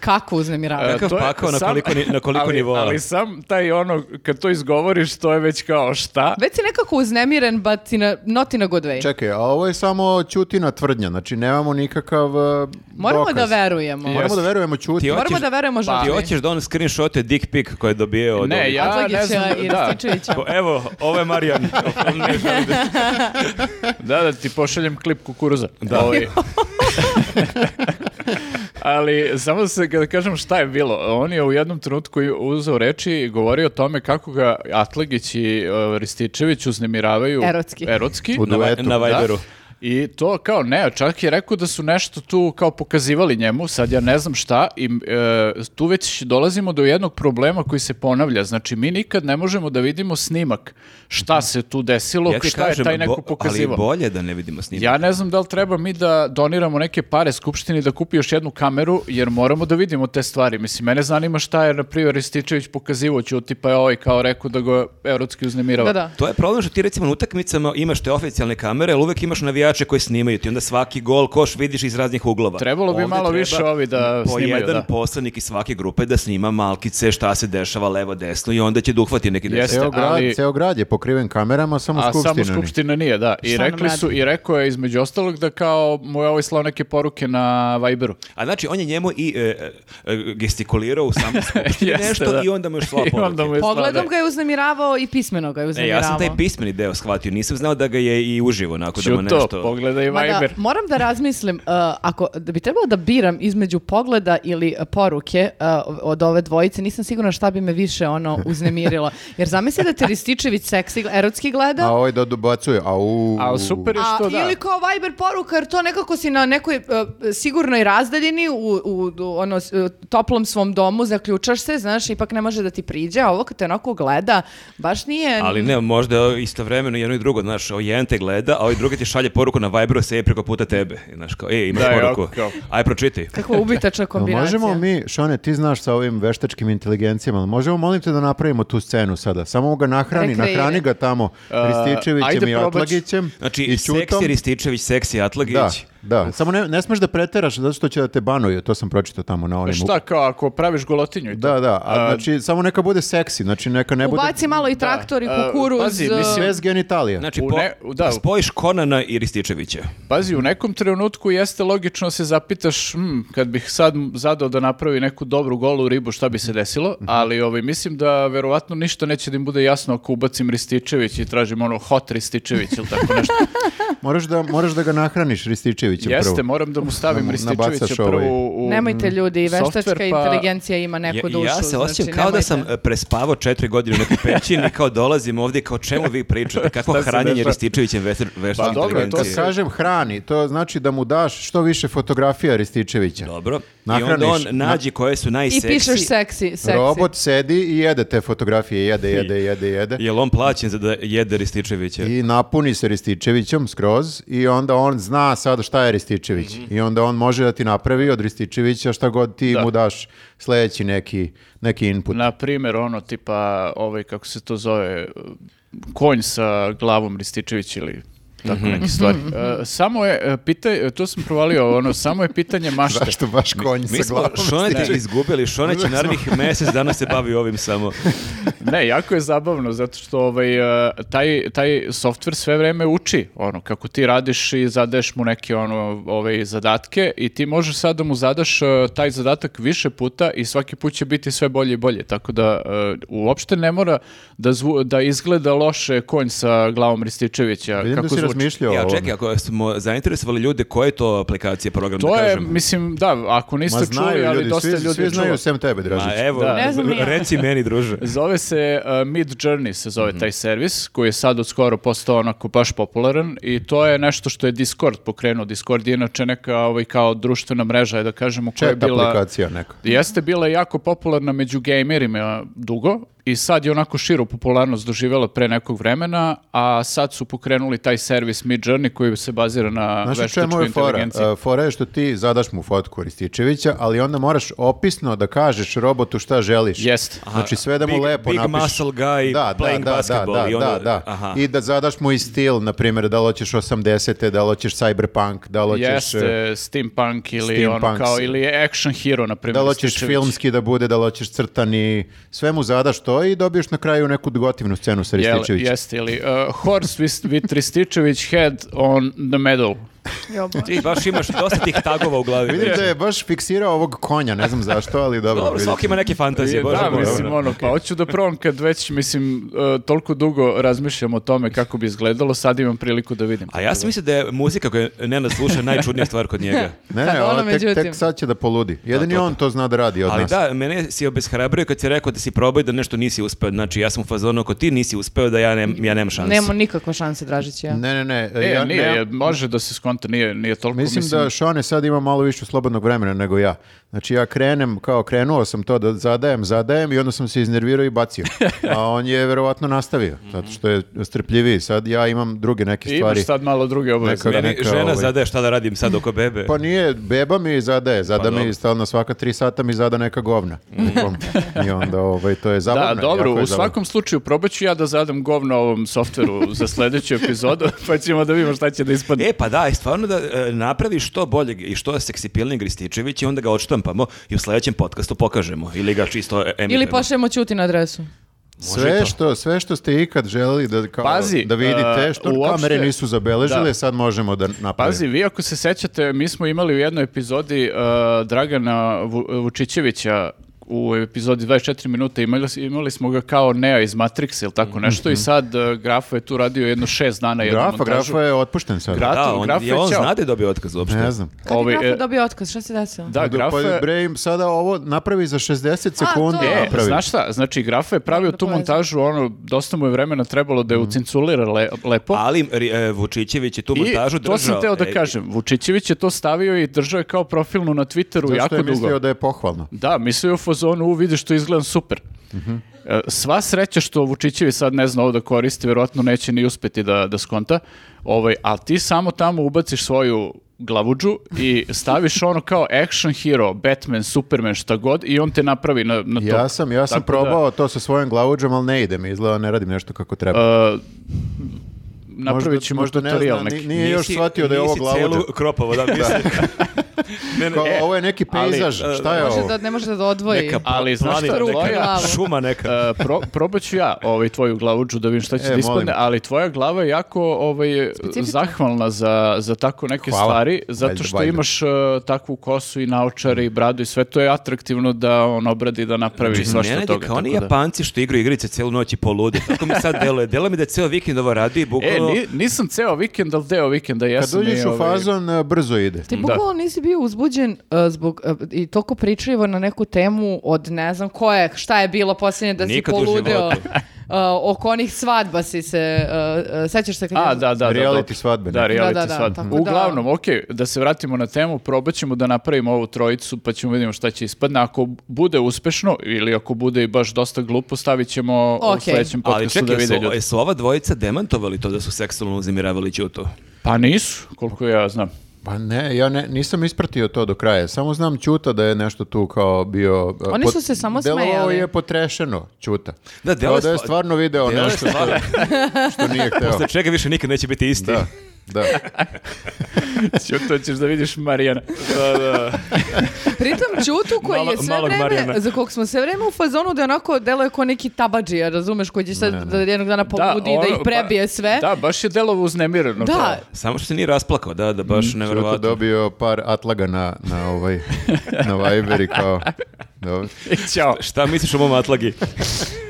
[SPEAKER 1] Kako uznemiravanje?
[SPEAKER 4] Kakav
[SPEAKER 2] to je
[SPEAKER 4] pakao, na koliko ni- na koliko
[SPEAKER 2] ali,
[SPEAKER 4] nivoa?
[SPEAKER 2] Ali sam taj ono, kad to izgovoriš, to je već kao šta?
[SPEAKER 1] Već si nekako uznemiren, but in a, not in a good way.
[SPEAKER 3] Čekaj, a ovo je samo Ćutina tvrdnja, znači nemamo nikakav uh,
[SPEAKER 1] Moramo
[SPEAKER 3] dokaz.
[SPEAKER 1] da verujemo.
[SPEAKER 2] Ja-
[SPEAKER 3] Moramo da verujemo
[SPEAKER 4] Ti
[SPEAKER 3] Ćuti.
[SPEAKER 1] Moramo
[SPEAKER 4] hoćeš-
[SPEAKER 1] da
[SPEAKER 2] Pa,
[SPEAKER 1] verujemo žrtvi.
[SPEAKER 4] Ti hoćeš da on screenshotuje dick pic koje je dobio od
[SPEAKER 2] Ne,
[SPEAKER 4] ovih-
[SPEAKER 2] ja ne znam,
[SPEAKER 1] Atlagića i
[SPEAKER 2] da.
[SPEAKER 1] Rističevića.
[SPEAKER 4] Ko- Evo, ovo je Marijan. Ne želim da-
[SPEAKER 2] Da, da ti pošaljem klip kukuruza. Da. Ali samo da se da kažem šta je bilo. On je u jednom trenutku i uzeo reči i govorio o tome kako ga Atlagić i e, Rističević uznemiravaju
[SPEAKER 1] Erotski.
[SPEAKER 2] erotski.
[SPEAKER 3] U
[SPEAKER 4] Na Vi-
[SPEAKER 3] duetu.
[SPEAKER 4] Na Viberu.
[SPEAKER 2] Da. I to kao ne, čak je rekao da su nešto tu kao pokazivali njemu, sad ja ne znam šta, i e, tu već dolazimo do jednog problema koji se ponavlja. Znači, mi nikad ne možemo da vidimo snimak šta se tu desilo,
[SPEAKER 4] Ja ti
[SPEAKER 2] šta je
[SPEAKER 4] kažem,
[SPEAKER 2] taj
[SPEAKER 4] bo-
[SPEAKER 2] neko pokazivao.
[SPEAKER 4] Ali bolje da ne vidimo snimak.
[SPEAKER 2] Ja ne znam da li treba mi da doniramo neke pare skupštini da kupi još jednu kameru, jer moramo da vidimo te stvari. Mislim, mene zanima šta je, na primjer, Rističević pokazivo Ćuti, pa je ovaj kao rekao da ga erotski uznemirava.
[SPEAKER 1] Da, da.
[SPEAKER 4] To je problem što ti recimo na utakmicama imaš te oficijalne kamere, ali uvek imaš navijače koji snimaju ti, onda svaki gol, koš vidiš iz raznih uglova.
[SPEAKER 2] Trebalo bi malo
[SPEAKER 4] treba
[SPEAKER 2] više ovi da
[SPEAKER 4] po
[SPEAKER 2] snimaju,
[SPEAKER 4] jedan
[SPEAKER 2] da.
[SPEAKER 4] poslanik iz svake grupe da snima malkice, šta se dešava levo, desno i onda će da uhvati neki
[SPEAKER 2] Jeste.
[SPEAKER 4] desno.
[SPEAKER 3] Ceo grad,
[SPEAKER 2] ali-
[SPEAKER 3] ceo grad je pokriven kamerama, samo
[SPEAKER 2] A
[SPEAKER 3] skupština.
[SPEAKER 2] samo
[SPEAKER 3] nije.
[SPEAKER 2] skupština nije, da. I
[SPEAKER 1] Šta nam
[SPEAKER 2] rekli su, i rekao je između ostalog da kao mu je ovaj slao neke poruke na Viberu.
[SPEAKER 4] A znači, on je njemu i e, e, e, gestikulirao u samom skupštini
[SPEAKER 2] Jeste,
[SPEAKER 4] nešto
[SPEAKER 2] da.
[SPEAKER 4] i onda mu je šla
[SPEAKER 2] I onda mu je slao,
[SPEAKER 1] Pogledom
[SPEAKER 2] da.
[SPEAKER 1] ga je uznemiravao i pismeno ga je
[SPEAKER 4] E, ja
[SPEAKER 1] uznemiravao.
[SPEAKER 4] sam taj pismeni deo shvatio, nisam znao da ga je i uživo, onako da mu
[SPEAKER 2] Ćuto,
[SPEAKER 4] nešto...
[SPEAKER 2] pogledaj
[SPEAKER 1] Mada,
[SPEAKER 2] Viber.
[SPEAKER 1] moram da razmislim, uh, ako da bi trebalo da biram između pogleda ili uh, poruke uh, od ove dvojice, nisam sigurna šta bi me više ono uznemirilo. Jer zamisli da te Rističević seksi, erotski gleda,
[SPEAKER 3] A ovaj da dobacuje, au.
[SPEAKER 2] A super je
[SPEAKER 1] A,
[SPEAKER 2] što da.
[SPEAKER 1] ili kao Viber poruka, jer to nekako si na nekoj e, sigurnoj razdaljini u, u, u ono, s- e, toplom svom domu, zaključaš se, znaš, ipak ne može da ti priđe, a ovo kad te onako gleda, baš nije...
[SPEAKER 4] Ali ne, možda istovremeno jedno i drugo, znaš, ovaj jedan te gleda, a ovaj drugi ti šalje poruku na Viberu, se je preko puta tebe. I, Znaš, kao, ej, imaš
[SPEAKER 2] Da, ja,
[SPEAKER 4] poruku,
[SPEAKER 2] kao-
[SPEAKER 4] aj pročitaj.
[SPEAKER 1] Kakva ubitača
[SPEAKER 3] Jel
[SPEAKER 1] kombinacija.
[SPEAKER 3] Možemo mi, Šone, ti znaš sa ovim veštačkim inteligencijama, ali možemo molim te da napravimo tu scenu sada. Samo ga nahrani,
[SPEAKER 1] Rekreiraj.
[SPEAKER 3] nahrani ga tamo Rističevićem
[SPEAKER 2] ajde
[SPEAKER 3] i
[SPEAKER 2] probać.
[SPEAKER 3] Atlagićem
[SPEAKER 4] E, Znači,
[SPEAKER 3] i
[SPEAKER 4] seksi
[SPEAKER 3] Ćutom.
[SPEAKER 4] Rističević, seksi Atlagić.
[SPEAKER 3] Da, da. Samo ne, ne smeš da preteraš zato što će da te banuju, to sam pročitao tamo na
[SPEAKER 4] E,
[SPEAKER 3] onim
[SPEAKER 2] Pa Šta kao ako praviš golotinju? i to?
[SPEAKER 3] Da, da, a, znači samo neka bude seksi, znači neka ne bude
[SPEAKER 1] Ubaci malo i traktor
[SPEAKER 2] Da,
[SPEAKER 1] i
[SPEAKER 2] e,
[SPEAKER 1] kukuruz.
[SPEAKER 2] pazi,
[SPEAKER 1] e,
[SPEAKER 2] mislim-
[SPEAKER 3] bez genitalija.
[SPEAKER 4] Znači,
[SPEAKER 2] U
[SPEAKER 4] po-
[SPEAKER 2] ne- u- da.
[SPEAKER 4] spojiš Konana i Rističevića.
[SPEAKER 2] Pazi, u nekom trenutku jeste logično da se zapitaš, "Hmm, kad bih sad zadao da napravi neku dobru golu ribu, šta bi se desilo,
[SPEAKER 3] Mhm.
[SPEAKER 2] ali ovaj, mislim da verovatno ništa neće da im bude jasno ako ubacim Rističević i tražim ono hot Rističević ili tako nešto.
[SPEAKER 3] Moraš da, moraš da ga nahraniš Rističevićem prvo.
[SPEAKER 2] Jeste, moram da mu stavim
[SPEAKER 3] Nam-
[SPEAKER 2] Rističevića
[SPEAKER 3] nabacaš ovaj-
[SPEAKER 2] prvo u...
[SPEAKER 1] Nemojte ljudi,
[SPEAKER 2] software,
[SPEAKER 1] veštačka
[SPEAKER 2] pa-
[SPEAKER 1] inteligencija ima
[SPEAKER 4] Ja,
[SPEAKER 1] neku dušu.
[SPEAKER 4] ja se osjećam
[SPEAKER 1] znači,
[SPEAKER 4] kao da
[SPEAKER 1] nemojte.
[SPEAKER 4] sam e, prespavao četiri godine u nekoj pećini, kao dolazim ovdje, i kao čemu vi pričate, kako
[SPEAKER 2] Šta se
[SPEAKER 4] hranjenje
[SPEAKER 2] dešava?
[SPEAKER 4] Rističevićem veštačke
[SPEAKER 2] Pa dobro, to
[SPEAKER 3] Kad
[SPEAKER 2] si-
[SPEAKER 4] inteligencije.
[SPEAKER 3] Dakle, kažem hrani, to znači da mu daš što više fotografija Rističevića.
[SPEAKER 4] Dobro. I onda
[SPEAKER 3] Nahraniš.
[SPEAKER 4] on nađe koje su
[SPEAKER 1] I
[SPEAKER 4] najseksi.
[SPEAKER 1] pišeš seksi, seksi.
[SPEAKER 3] Robot sedi i jede te fotografije, jede, jede, jede, jede.
[SPEAKER 4] Jel on plaćen za da jede Rističevića?
[SPEAKER 3] I napuni se Rističevićem skroz i onda on zna sad šta je Rističević.
[SPEAKER 2] Mhm.
[SPEAKER 3] I onda on može da ti napravi od Rističevića šta god ti mu daš sledeći neki, neki input.
[SPEAKER 2] Na primjer, ono, tipa, ovaj, kako se to zove, konj sa glavom Rističević ili tako
[SPEAKER 3] Mhm.
[SPEAKER 2] neke stvari.
[SPEAKER 1] Mhm.
[SPEAKER 2] E, samo je, e, pita- e, to sam provalio, ono, samo je pitanje mašte.
[SPEAKER 3] Zašto baš konj
[SPEAKER 4] Mi
[SPEAKER 3] sa
[SPEAKER 4] smo
[SPEAKER 3] glavom?
[SPEAKER 4] Šoneta
[SPEAKER 2] Znači-
[SPEAKER 3] Rističević?
[SPEAKER 4] izgubili, Šone će narednih mjesec dana se bavi ovim samo.
[SPEAKER 2] Ne, jako je zabavno zato što ovaj e, taj taj softver sve vrijeme uči, ono kako ti radiš i zadaješ mu neke ono ove zadatke i ti možeš sad da mu zadaš e, taj zadatak više puta i svaki put će biti sve bolje i bolje. Tako da e, uopšte ne mora da zvu- da izgleda loše konj sa glavom Rističevića
[SPEAKER 3] Vidim
[SPEAKER 2] kako
[SPEAKER 3] da si
[SPEAKER 2] zvuči.
[SPEAKER 3] razmišljao o
[SPEAKER 4] Ja,
[SPEAKER 3] ovome.
[SPEAKER 4] čekaj, ako smo zainteresovali ljude, koje je to aplikacija, program,
[SPEAKER 2] To
[SPEAKER 4] da
[SPEAKER 2] je,
[SPEAKER 4] kažem?
[SPEAKER 2] mislim, da, ako niste
[SPEAKER 3] Ma znaju
[SPEAKER 2] čuli, ali
[SPEAKER 3] ljudi,
[SPEAKER 2] dosta
[SPEAKER 3] svi,
[SPEAKER 2] ljudi
[SPEAKER 3] svi
[SPEAKER 2] je čulo.
[SPEAKER 3] znaju sem tebe,
[SPEAKER 4] Ma
[SPEAKER 3] Dražić.
[SPEAKER 4] evo,
[SPEAKER 2] znači, Da.
[SPEAKER 1] Ne znam ni ja.
[SPEAKER 4] reci meni, druže.
[SPEAKER 2] Zove se uh, Mid Journey se zove
[SPEAKER 3] Mhm.
[SPEAKER 2] taj servis koji je sad od skoro postao onako baš popularan i to je nešto što je Discord pokrenuo. Discord je inače neka ovaj, kao društvena mreža, je da kažemo, koja je
[SPEAKER 3] Chat
[SPEAKER 2] bila...
[SPEAKER 3] aplikacija neka.
[SPEAKER 2] Jeste bila jako popularna među gamerima dugo i sad je onako širu popularnost doživjela pre nekog vremena, a sad su pokrenuli taj servis Mid Journey koji se bazira na
[SPEAKER 3] Znaš u čemu
[SPEAKER 2] veštačku
[SPEAKER 3] je fora?
[SPEAKER 2] inteligenciju.
[SPEAKER 3] E, Fora je što ti zadaš mu fotku Rističevića, ali onda moraš opisno da kažeš robotu šta želiš.
[SPEAKER 2] Jeste.
[SPEAKER 3] Znači sve da mu
[SPEAKER 4] Big-
[SPEAKER 3] lepo
[SPEAKER 4] big
[SPEAKER 3] napišeš.
[SPEAKER 4] muscle guy playing basketball
[SPEAKER 3] Da,
[SPEAKER 4] i
[SPEAKER 3] da,
[SPEAKER 4] onda-
[SPEAKER 3] da.
[SPEAKER 4] aha.
[SPEAKER 3] I da zadaš mu i stil, na primjer, da li hoćeš 80-te, da li hoćeš cyberpunk, da li hoćeš... e,
[SPEAKER 2] Jeste, steampunk ili ono
[SPEAKER 3] steampunk.
[SPEAKER 2] kao, ili action hero, na primjer.
[SPEAKER 3] Da li hoćeš
[SPEAKER 2] Rističević.
[SPEAKER 3] filmski da bude, da li hoćeš crtani, sve mu zadaš to i dobiješ na kraju neku gotivnu scenu sa
[SPEAKER 2] Jel,
[SPEAKER 3] Rističevićem.
[SPEAKER 2] jeste, ili uh, Horse with, with Rističević head on the medal.
[SPEAKER 4] Ti baš imaš dosta tih tagova u glavi.
[SPEAKER 3] Vidim da je baš fiksirao ovog konja, ne znam zašto, ali dobro.
[SPEAKER 4] Dobro,
[SPEAKER 3] vidjet
[SPEAKER 4] svaki
[SPEAKER 3] ćemo.
[SPEAKER 4] ima neke fantazije. Bože
[SPEAKER 2] da,
[SPEAKER 4] moj.
[SPEAKER 2] mislim, ono, pa hoću da provam kad već, mislim, uh, toliko dugo razmišljam o tome kako bi izgledalo, sad imam priliku da vidim.
[SPEAKER 4] A ja sam mislio da je muzika koju Nenad sluša najčudnija stvar kod njega.
[SPEAKER 3] Ne,
[SPEAKER 1] Sad
[SPEAKER 3] ne,
[SPEAKER 1] ono,
[SPEAKER 3] ono, tek,
[SPEAKER 1] međutim.
[SPEAKER 3] tek sad će da poludi. Jedini on to zna da radi od
[SPEAKER 4] Ali
[SPEAKER 3] nas.
[SPEAKER 4] da, mene si obeshrabrio kad si rekao da si probao i da nešto nisi uspeo. Znači, ja sam u fazonu, ako ti nisi uspeo, da ja, nem, ja nemam šanse.
[SPEAKER 1] Nemamo nikakve šanse, Dražić, ja.
[SPEAKER 3] Ne, ne, ne.
[SPEAKER 2] E,
[SPEAKER 3] ja
[SPEAKER 2] nije,
[SPEAKER 3] nemam-
[SPEAKER 2] je- može da se skonta, nije, nije toliko,
[SPEAKER 3] Mislim da Šone sad ima malo više slobodnog vremena nego ja. Znači ja krenem, kao krenuo sam to da zadajem, zadajem i onda sam se iznervirao i bacio. A on je verovatno nastavio, zato što je strpljiviji. Sad ja imam druge neke stvari.
[SPEAKER 2] imaš sad malo druge obaveze.
[SPEAKER 3] Neka-
[SPEAKER 4] Meni
[SPEAKER 3] neka,
[SPEAKER 4] žena
[SPEAKER 3] ovaj-
[SPEAKER 4] zadaje šta da radim sad oko bebe.
[SPEAKER 3] Pa nije, beba mi zadaje, zada
[SPEAKER 4] Pa dobro.
[SPEAKER 3] mi stalno svaka tri sata mi zada neka govna. I onda ovaj, to je zabavno.
[SPEAKER 2] Da, dobro,
[SPEAKER 3] jako je
[SPEAKER 2] u
[SPEAKER 3] zabavno.
[SPEAKER 2] svakom slučaju probat ću ja da zadam govno ovom softveru za sljedeću epizodu, pa ćemo da vidimo šta će da ispadne.
[SPEAKER 4] E, pa da, i stvarno da e, napraviš što boljeg i što seksipilnijeg Rističević i onda ga odštampamo i u sljedećem podcastu pokažemo. Ili ga čisto e, emitujemo.
[SPEAKER 1] Ili pošaljemo ćuti na adresu.
[SPEAKER 3] Sve što, sve što ste ikad želeli da, kao,
[SPEAKER 2] Pazi,
[SPEAKER 3] da vidite,
[SPEAKER 2] e,
[SPEAKER 3] što
[SPEAKER 2] uopšte-
[SPEAKER 3] kamere nisu zabeležile,
[SPEAKER 2] Da.
[SPEAKER 3] sad možemo da napravimo.
[SPEAKER 2] Pazi, vi ako se sećate, mi smo imali u jednoj epizodi uh, Dragana Vu- Vučićevića u epizodi 24 minuta imali, imali smo ga kao Nea iz Matrixa ili tako nešto
[SPEAKER 3] Mhm.
[SPEAKER 2] i sad uh, Grafa je tu radio jedno šest dana jednu
[SPEAKER 3] Grafa,
[SPEAKER 2] montažu.
[SPEAKER 3] Grafa je otpušten sad.
[SPEAKER 2] Gra-
[SPEAKER 4] Da, on,
[SPEAKER 2] Grafe,
[SPEAKER 4] je on
[SPEAKER 2] ćao.
[SPEAKER 4] zna da je dobio otkaz uopšte.
[SPEAKER 3] Ne znam.
[SPEAKER 1] Kad
[SPEAKER 2] Ovi,
[SPEAKER 1] je Grafa
[SPEAKER 2] e,
[SPEAKER 1] dobio otkaz, šta se desilo?
[SPEAKER 2] Da, Grafa
[SPEAKER 3] Pa
[SPEAKER 2] je...
[SPEAKER 3] bre, im sada ovo napravi za 60 sekundi.
[SPEAKER 1] to je-
[SPEAKER 2] E,
[SPEAKER 3] napravi.
[SPEAKER 2] znaš šta, znači Grafa je pravio
[SPEAKER 1] Da
[SPEAKER 2] tu
[SPEAKER 1] povezam.
[SPEAKER 2] montažu, ono, dosta mu je vremena trebalo
[SPEAKER 3] Mhm.
[SPEAKER 2] da je ucinculira le- lepo.
[SPEAKER 4] Ali e, Vučićević je tu montažu
[SPEAKER 2] I to
[SPEAKER 4] držao.
[SPEAKER 2] sam teo da
[SPEAKER 4] E,
[SPEAKER 2] kažem, Vučićević je to stavio i držao je kao profilnu na Twitteru
[SPEAKER 3] Zato što
[SPEAKER 2] jako
[SPEAKER 3] je
[SPEAKER 2] dugo.
[SPEAKER 3] mislio da je pohvalno.
[SPEAKER 2] Da, mislio je u fazonu, u, vidiš što izgledam super. E, Sva sreća što Vučićevi sad ne zna ovo da koristi, verovatno neće ni uspeti da, da skonta, ovaj, ali ti samo tamo ubaciš svoju glavuđu i staviš ono kao action hero, Batman, Superman, šta god i on te napravi na, na to.
[SPEAKER 3] Ja sam, ja
[SPEAKER 2] Tako
[SPEAKER 3] sam
[SPEAKER 2] da,
[SPEAKER 3] probao to sa svojim glavuđom, ali ne ide mi, izgleda ne radim nešto kako treba.
[SPEAKER 2] e, napravit ćemo
[SPEAKER 3] možda, možda ne
[SPEAKER 2] tutorial
[SPEAKER 3] zna, ni-
[SPEAKER 2] neki.
[SPEAKER 3] nije još
[SPEAKER 4] nisi-
[SPEAKER 3] shvatio da je ovo
[SPEAKER 4] nisi
[SPEAKER 3] glavuđa.
[SPEAKER 4] celu kropovo, da, mislim. Ne, ne,
[SPEAKER 3] Kao,
[SPEAKER 4] e,
[SPEAKER 3] ovo je neki
[SPEAKER 2] ali,
[SPEAKER 3] pejzaž,
[SPEAKER 4] e,
[SPEAKER 3] šta je
[SPEAKER 1] Može
[SPEAKER 3] ovo?
[SPEAKER 1] da, ne može da odvoji.
[SPEAKER 4] Neka
[SPEAKER 3] Pa
[SPEAKER 2] Ali znaš šta,
[SPEAKER 1] Šta u
[SPEAKER 2] tvoja-
[SPEAKER 1] glavu?
[SPEAKER 4] šuma neka.
[SPEAKER 2] E, pro, probat ću ja ovaj, tvoju glavuđu da vidim šta će
[SPEAKER 3] E,
[SPEAKER 2] da ispadne,
[SPEAKER 3] molim.
[SPEAKER 2] ali tvoja glava je jako ovaj, zahvalna za, za tako neke
[SPEAKER 3] Hvala.
[SPEAKER 2] stvari, zato
[SPEAKER 3] Valjda,
[SPEAKER 2] što
[SPEAKER 3] valjda.
[SPEAKER 2] imaš e, takvu kosu i naočare i bradu i sve to je atraktivno da on obradi, da napravi
[SPEAKER 4] Znači,
[SPEAKER 2] svašta
[SPEAKER 4] Nenad
[SPEAKER 2] od
[SPEAKER 4] je
[SPEAKER 2] toga.
[SPEAKER 4] kao oni
[SPEAKER 2] tako da-
[SPEAKER 4] Japanci što igraju igrice celu noć i poludi. Tako mi sad deluje. Deluje mi da je ceo vikend ovo radi i
[SPEAKER 2] E,
[SPEAKER 4] bukvalno...
[SPEAKER 2] ni- nisam ceo vikend, ali deo vikenda
[SPEAKER 3] Kad
[SPEAKER 2] jesam.
[SPEAKER 3] uđeš
[SPEAKER 2] i,
[SPEAKER 3] u
[SPEAKER 2] ovaj,
[SPEAKER 3] fazon, e, brzo ide.
[SPEAKER 1] Ti bukvalno nisi bio uzbuđen e, zbog e, i toliko pričljivo na neku temu od ne znam ko je, šta je bilo posljednje da
[SPEAKER 4] Nikad u
[SPEAKER 1] si poludeo.
[SPEAKER 4] životu.
[SPEAKER 1] E, oko onih svadba si se, e, e, sećaš se kad
[SPEAKER 2] A,
[SPEAKER 1] je-
[SPEAKER 2] da, da, da.
[SPEAKER 3] Reality
[SPEAKER 2] dobro.
[SPEAKER 3] svadbe,
[SPEAKER 2] Da,
[SPEAKER 3] ne?
[SPEAKER 2] reality
[SPEAKER 1] Da, da, da,
[SPEAKER 2] svadbe.
[SPEAKER 1] tako da-
[SPEAKER 2] Uglavnom, okej, da se vratimo na temu, probat ćemo da napravimo ovu trojicu, pa ćemo vidimo šta će ispadne. Ako bude uspešno, ili ako bude i baš dosta glupo, stavit ćemo u
[SPEAKER 1] Okej.
[SPEAKER 2] sledećem
[SPEAKER 4] Ali
[SPEAKER 2] podcastu da
[SPEAKER 4] čekaj,
[SPEAKER 2] vide
[SPEAKER 4] jesu,
[SPEAKER 2] ljudi.
[SPEAKER 4] jesu ova dvojica demantovali to da su seksualno uzimirali Ćutu?
[SPEAKER 2] Pa nisu, koliko ja znam.
[SPEAKER 3] Pa ne, ja ne, nisam ispratio to do kraja. Samo znam Ćuta da je nešto tu kao bio... e,
[SPEAKER 1] Oni
[SPEAKER 3] pot-
[SPEAKER 1] su se samo
[SPEAKER 3] Delovao
[SPEAKER 1] smejali.
[SPEAKER 3] je potrešeno, Ćuta.
[SPEAKER 4] Da,
[SPEAKER 3] Kao
[SPEAKER 4] deluje
[SPEAKER 3] da je
[SPEAKER 4] sva-
[SPEAKER 3] stvarno video
[SPEAKER 4] deluje
[SPEAKER 3] Pa nešto što, što nije hteo.
[SPEAKER 4] Posle čega više nikad neće biti isti.
[SPEAKER 3] Da, da.
[SPEAKER 2] to ćeš da vidiš Marijana.
[SPEAKER 1] Pritom Ćutu koji
[SPEAKER 4] Malo-
[SPEAKER 1] je sve
[SPEAKER 4] malog
[SPEAKER 1] vreme,
[SPEAKER 4] Marijana.
[SPEAKER 1] za kog smo sve vreme u fazonu da je onako deluje kao neki tabadžija, razumeš, koji će sad da jednog dana poludi Pa da,
[SPEAKER 2] ono,
[SPEAKER 1] ih prebije
[SPEAKER 2] ba-
[SPEAKER 1] sve.
[SPEAKER 2] Da, baš je delovo uznemireno.
[SPEAKER 1] Da,
[SPEAKER 4] Samo što se nije rasplakao, da, da baš
[SPEAKER 3] Ćuta
[SPEAKER 4] nevjerovatno.
[SPEAKER 3] Mm, dobio par atlaga na, na, ovaj, na Viber i kao... Dobro.
[SPEAKER 2] kao. Ćao.
[SPEAKER 4] Šta misliš o mom atlagi?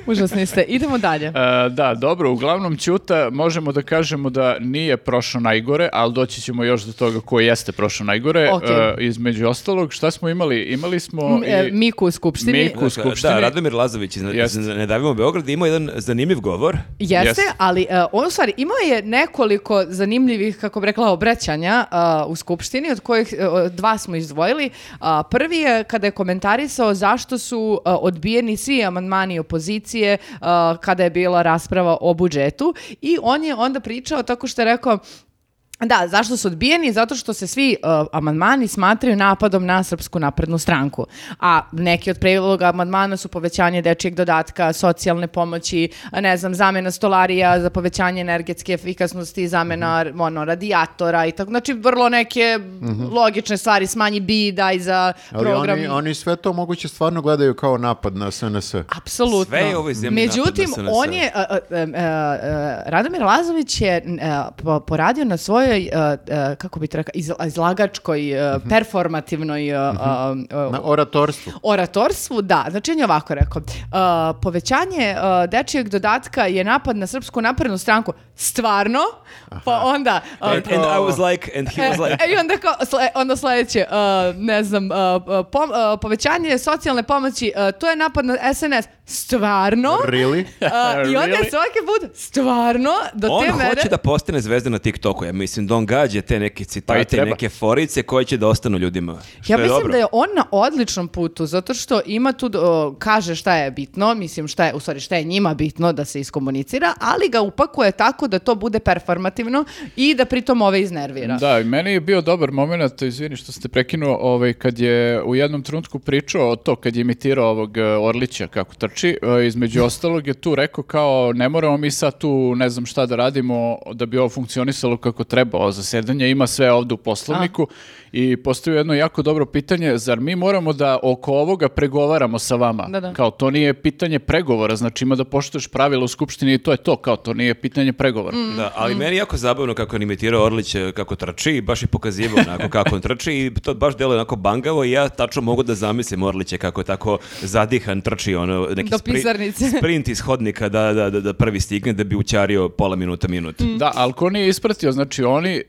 [SPEAKER 1] užasni ste. Idemo dalje.
[SPEAKER 2] E, da, dobro, uglavnom Ćuta možemo da kažemo da nije prošao najgore, ali doći ćemo još do toga ko jeste prošao najgore.
[SPEAKER 1] Ok.
[SPEAKER 2] E, između ostalog, šta smo imali? Imali smo
[SPEAKER 1] M- e,
[SPEAKER 2] i...
[SPEAKER 1] Miku u skupštini.
[SPEAKER 2] Miku. U Skupštini-
[SPEAKER 4] Dakle, Da, Radomir Lazović iz iz
[SPEAKER 2] Jeste.
[SPEAKER 4] Ne davimo Beograd imao jedan zanimljiv govor.
[SPEAKER 1] Jeste,
[SPEAKER 2] Jeste.
[SPEAKER 1] ali e, on u stvari imao je nekoliko zanimljivih, kako bih rekla, obraćanja e, u Skupštini, od kojih e, o, dva smo izdvojili. A, prvi je kada je komentarisao zašto su e, odbijeni svi amandmani opozicije e, kada je bila rasprava o budžetu i on je onda pričao tako što je rekao Da, zašto su odbijeni? Zato što se svi uh, amandmani smatraju napadom na Srpsku naprednu stranku. A neki od predloga amandmana su povećanje dečijeg dodatka, socijalne pomoći, ne znam, zamena stolarija za povećanje energetske efikasnosti, zamena
[SPEAKER 3] Mhm.
[SPEAKER 1] ono, radijatora i tako. Znači, vrlo neke logične stvari, smanji bida i za
[SPEAKER 3] Ali
[SPEAKER 1] program.
[SPEAKER 3] oni, oni sve to moguće stvarno gledaju kao napad na SNS.
[SPEAKER 1] Apsolutno.
[SPEAKER 4] Sve je u ovoj zemlji
[SPEAKER 1] Međutim,
[SPEAKER 4] napad na SNS.
[SPEAKER 1] on je, a, a, em, e, e, Radomir Lazović je n- e, po- poradio na svojoj, e, e, kako bi to rekao, iz- izlagačkoj, e,
[SPEAKER 4] Mhm.
[SPEAKER 1] performativnoj e, a, e,
[SPEAKER 3] Na oratorstvu.
[SPEAKER 1] oratorstvu, da, znači on je ovako rekao, e, povećanje e, dečijeg dodatka je napad na srpsku naprednu stranku, stvarno, pa onda... e,
[SPEAKER 4] And, and I was like, and he was
[SPEAKER 1] E,
[SPEAKER 4] like...
[SPEAKER 1] I onda, kao, sle- onda sledeće, uh, ne znam, uh, pom- uh, povećanje socijalne pomoći, uh, to je napad na SNS. Stvarno?
[SPEAKER 3] Really?
[SPEAKER 1] Uh, I onda
[SPEAKER 2] Really?
[SPEAKER 1] svaki put, stvarno, do
[SPEAKER 4] On
[SPEAKER 1] te mere...
[SPEAKER 4] Ono hoće da postane zvezda na TikToku, ja mislim da on gađa te neke
[SPEAKER 2] Pa i
[SPEAKER 4] citate, i
[SPEAKER 2] treba.
[SPEAKER 4] neke forice koje će da ostanu ljudima. što
[SPEAKER 1] Ja
[SPEAKER 4] je
[SPEAKER 1] mislim
[SPEAKER 4] dobro.
[SPEAKER 1] da je on na odličnom putu, zato što ima tu, o, kaže šta je bitno, mislim šta je, u stvari šta je njima bitno da se iskomunicira, ali ga upakuje tako da to bude performativno i da pritom ove iznervira.
[SPEAKER 2] Da, i meni je bio dobar moment, izvini što ste prekinuo, ovaj, kad je u jednom trenutku pričao o to, kad je imitirao ovog e, Orlića kako trči, e, između ostalog je tu rekao kao ne moramo mi sad tu ne znam šta da radimo da bi ovo funkcionisalo kako treba, ovo zasedanje ima sve ovde u poslovniku i postoji jedno jako dobro pitanje, zar mi moramo da oko ovoga pregovaramo sa vama?
[SPEAKER 1] Da, da.
[SPEAKER 2] Kao to nije pitanje pregovora, znači ima da poštuješ pravila u skupštini i to je to, kao to nije pitanje pregovora.
[SPEAKER 4] Da, ali meni je jako zabavno kako je imitirao Orlić e, kako trči i baš je pokazivao onako kako on trči i to baš deluje onako bangavo i ja tačno mogu da zamislim Orlića kako je tako zadihan trči ono neki
[SPEAKER 1] Do
[SPEAKER 4] spri-
[SPEAKER 1] pizarnice.
[SPEAKER 4] sprint iz hodnika da, da, da, da prvi stigne da bi učario pola minuta minut.
[SPEAKER 1] Mm.
[SPEAKER 2] Da, ali ko nije ispratio, znači oni, e,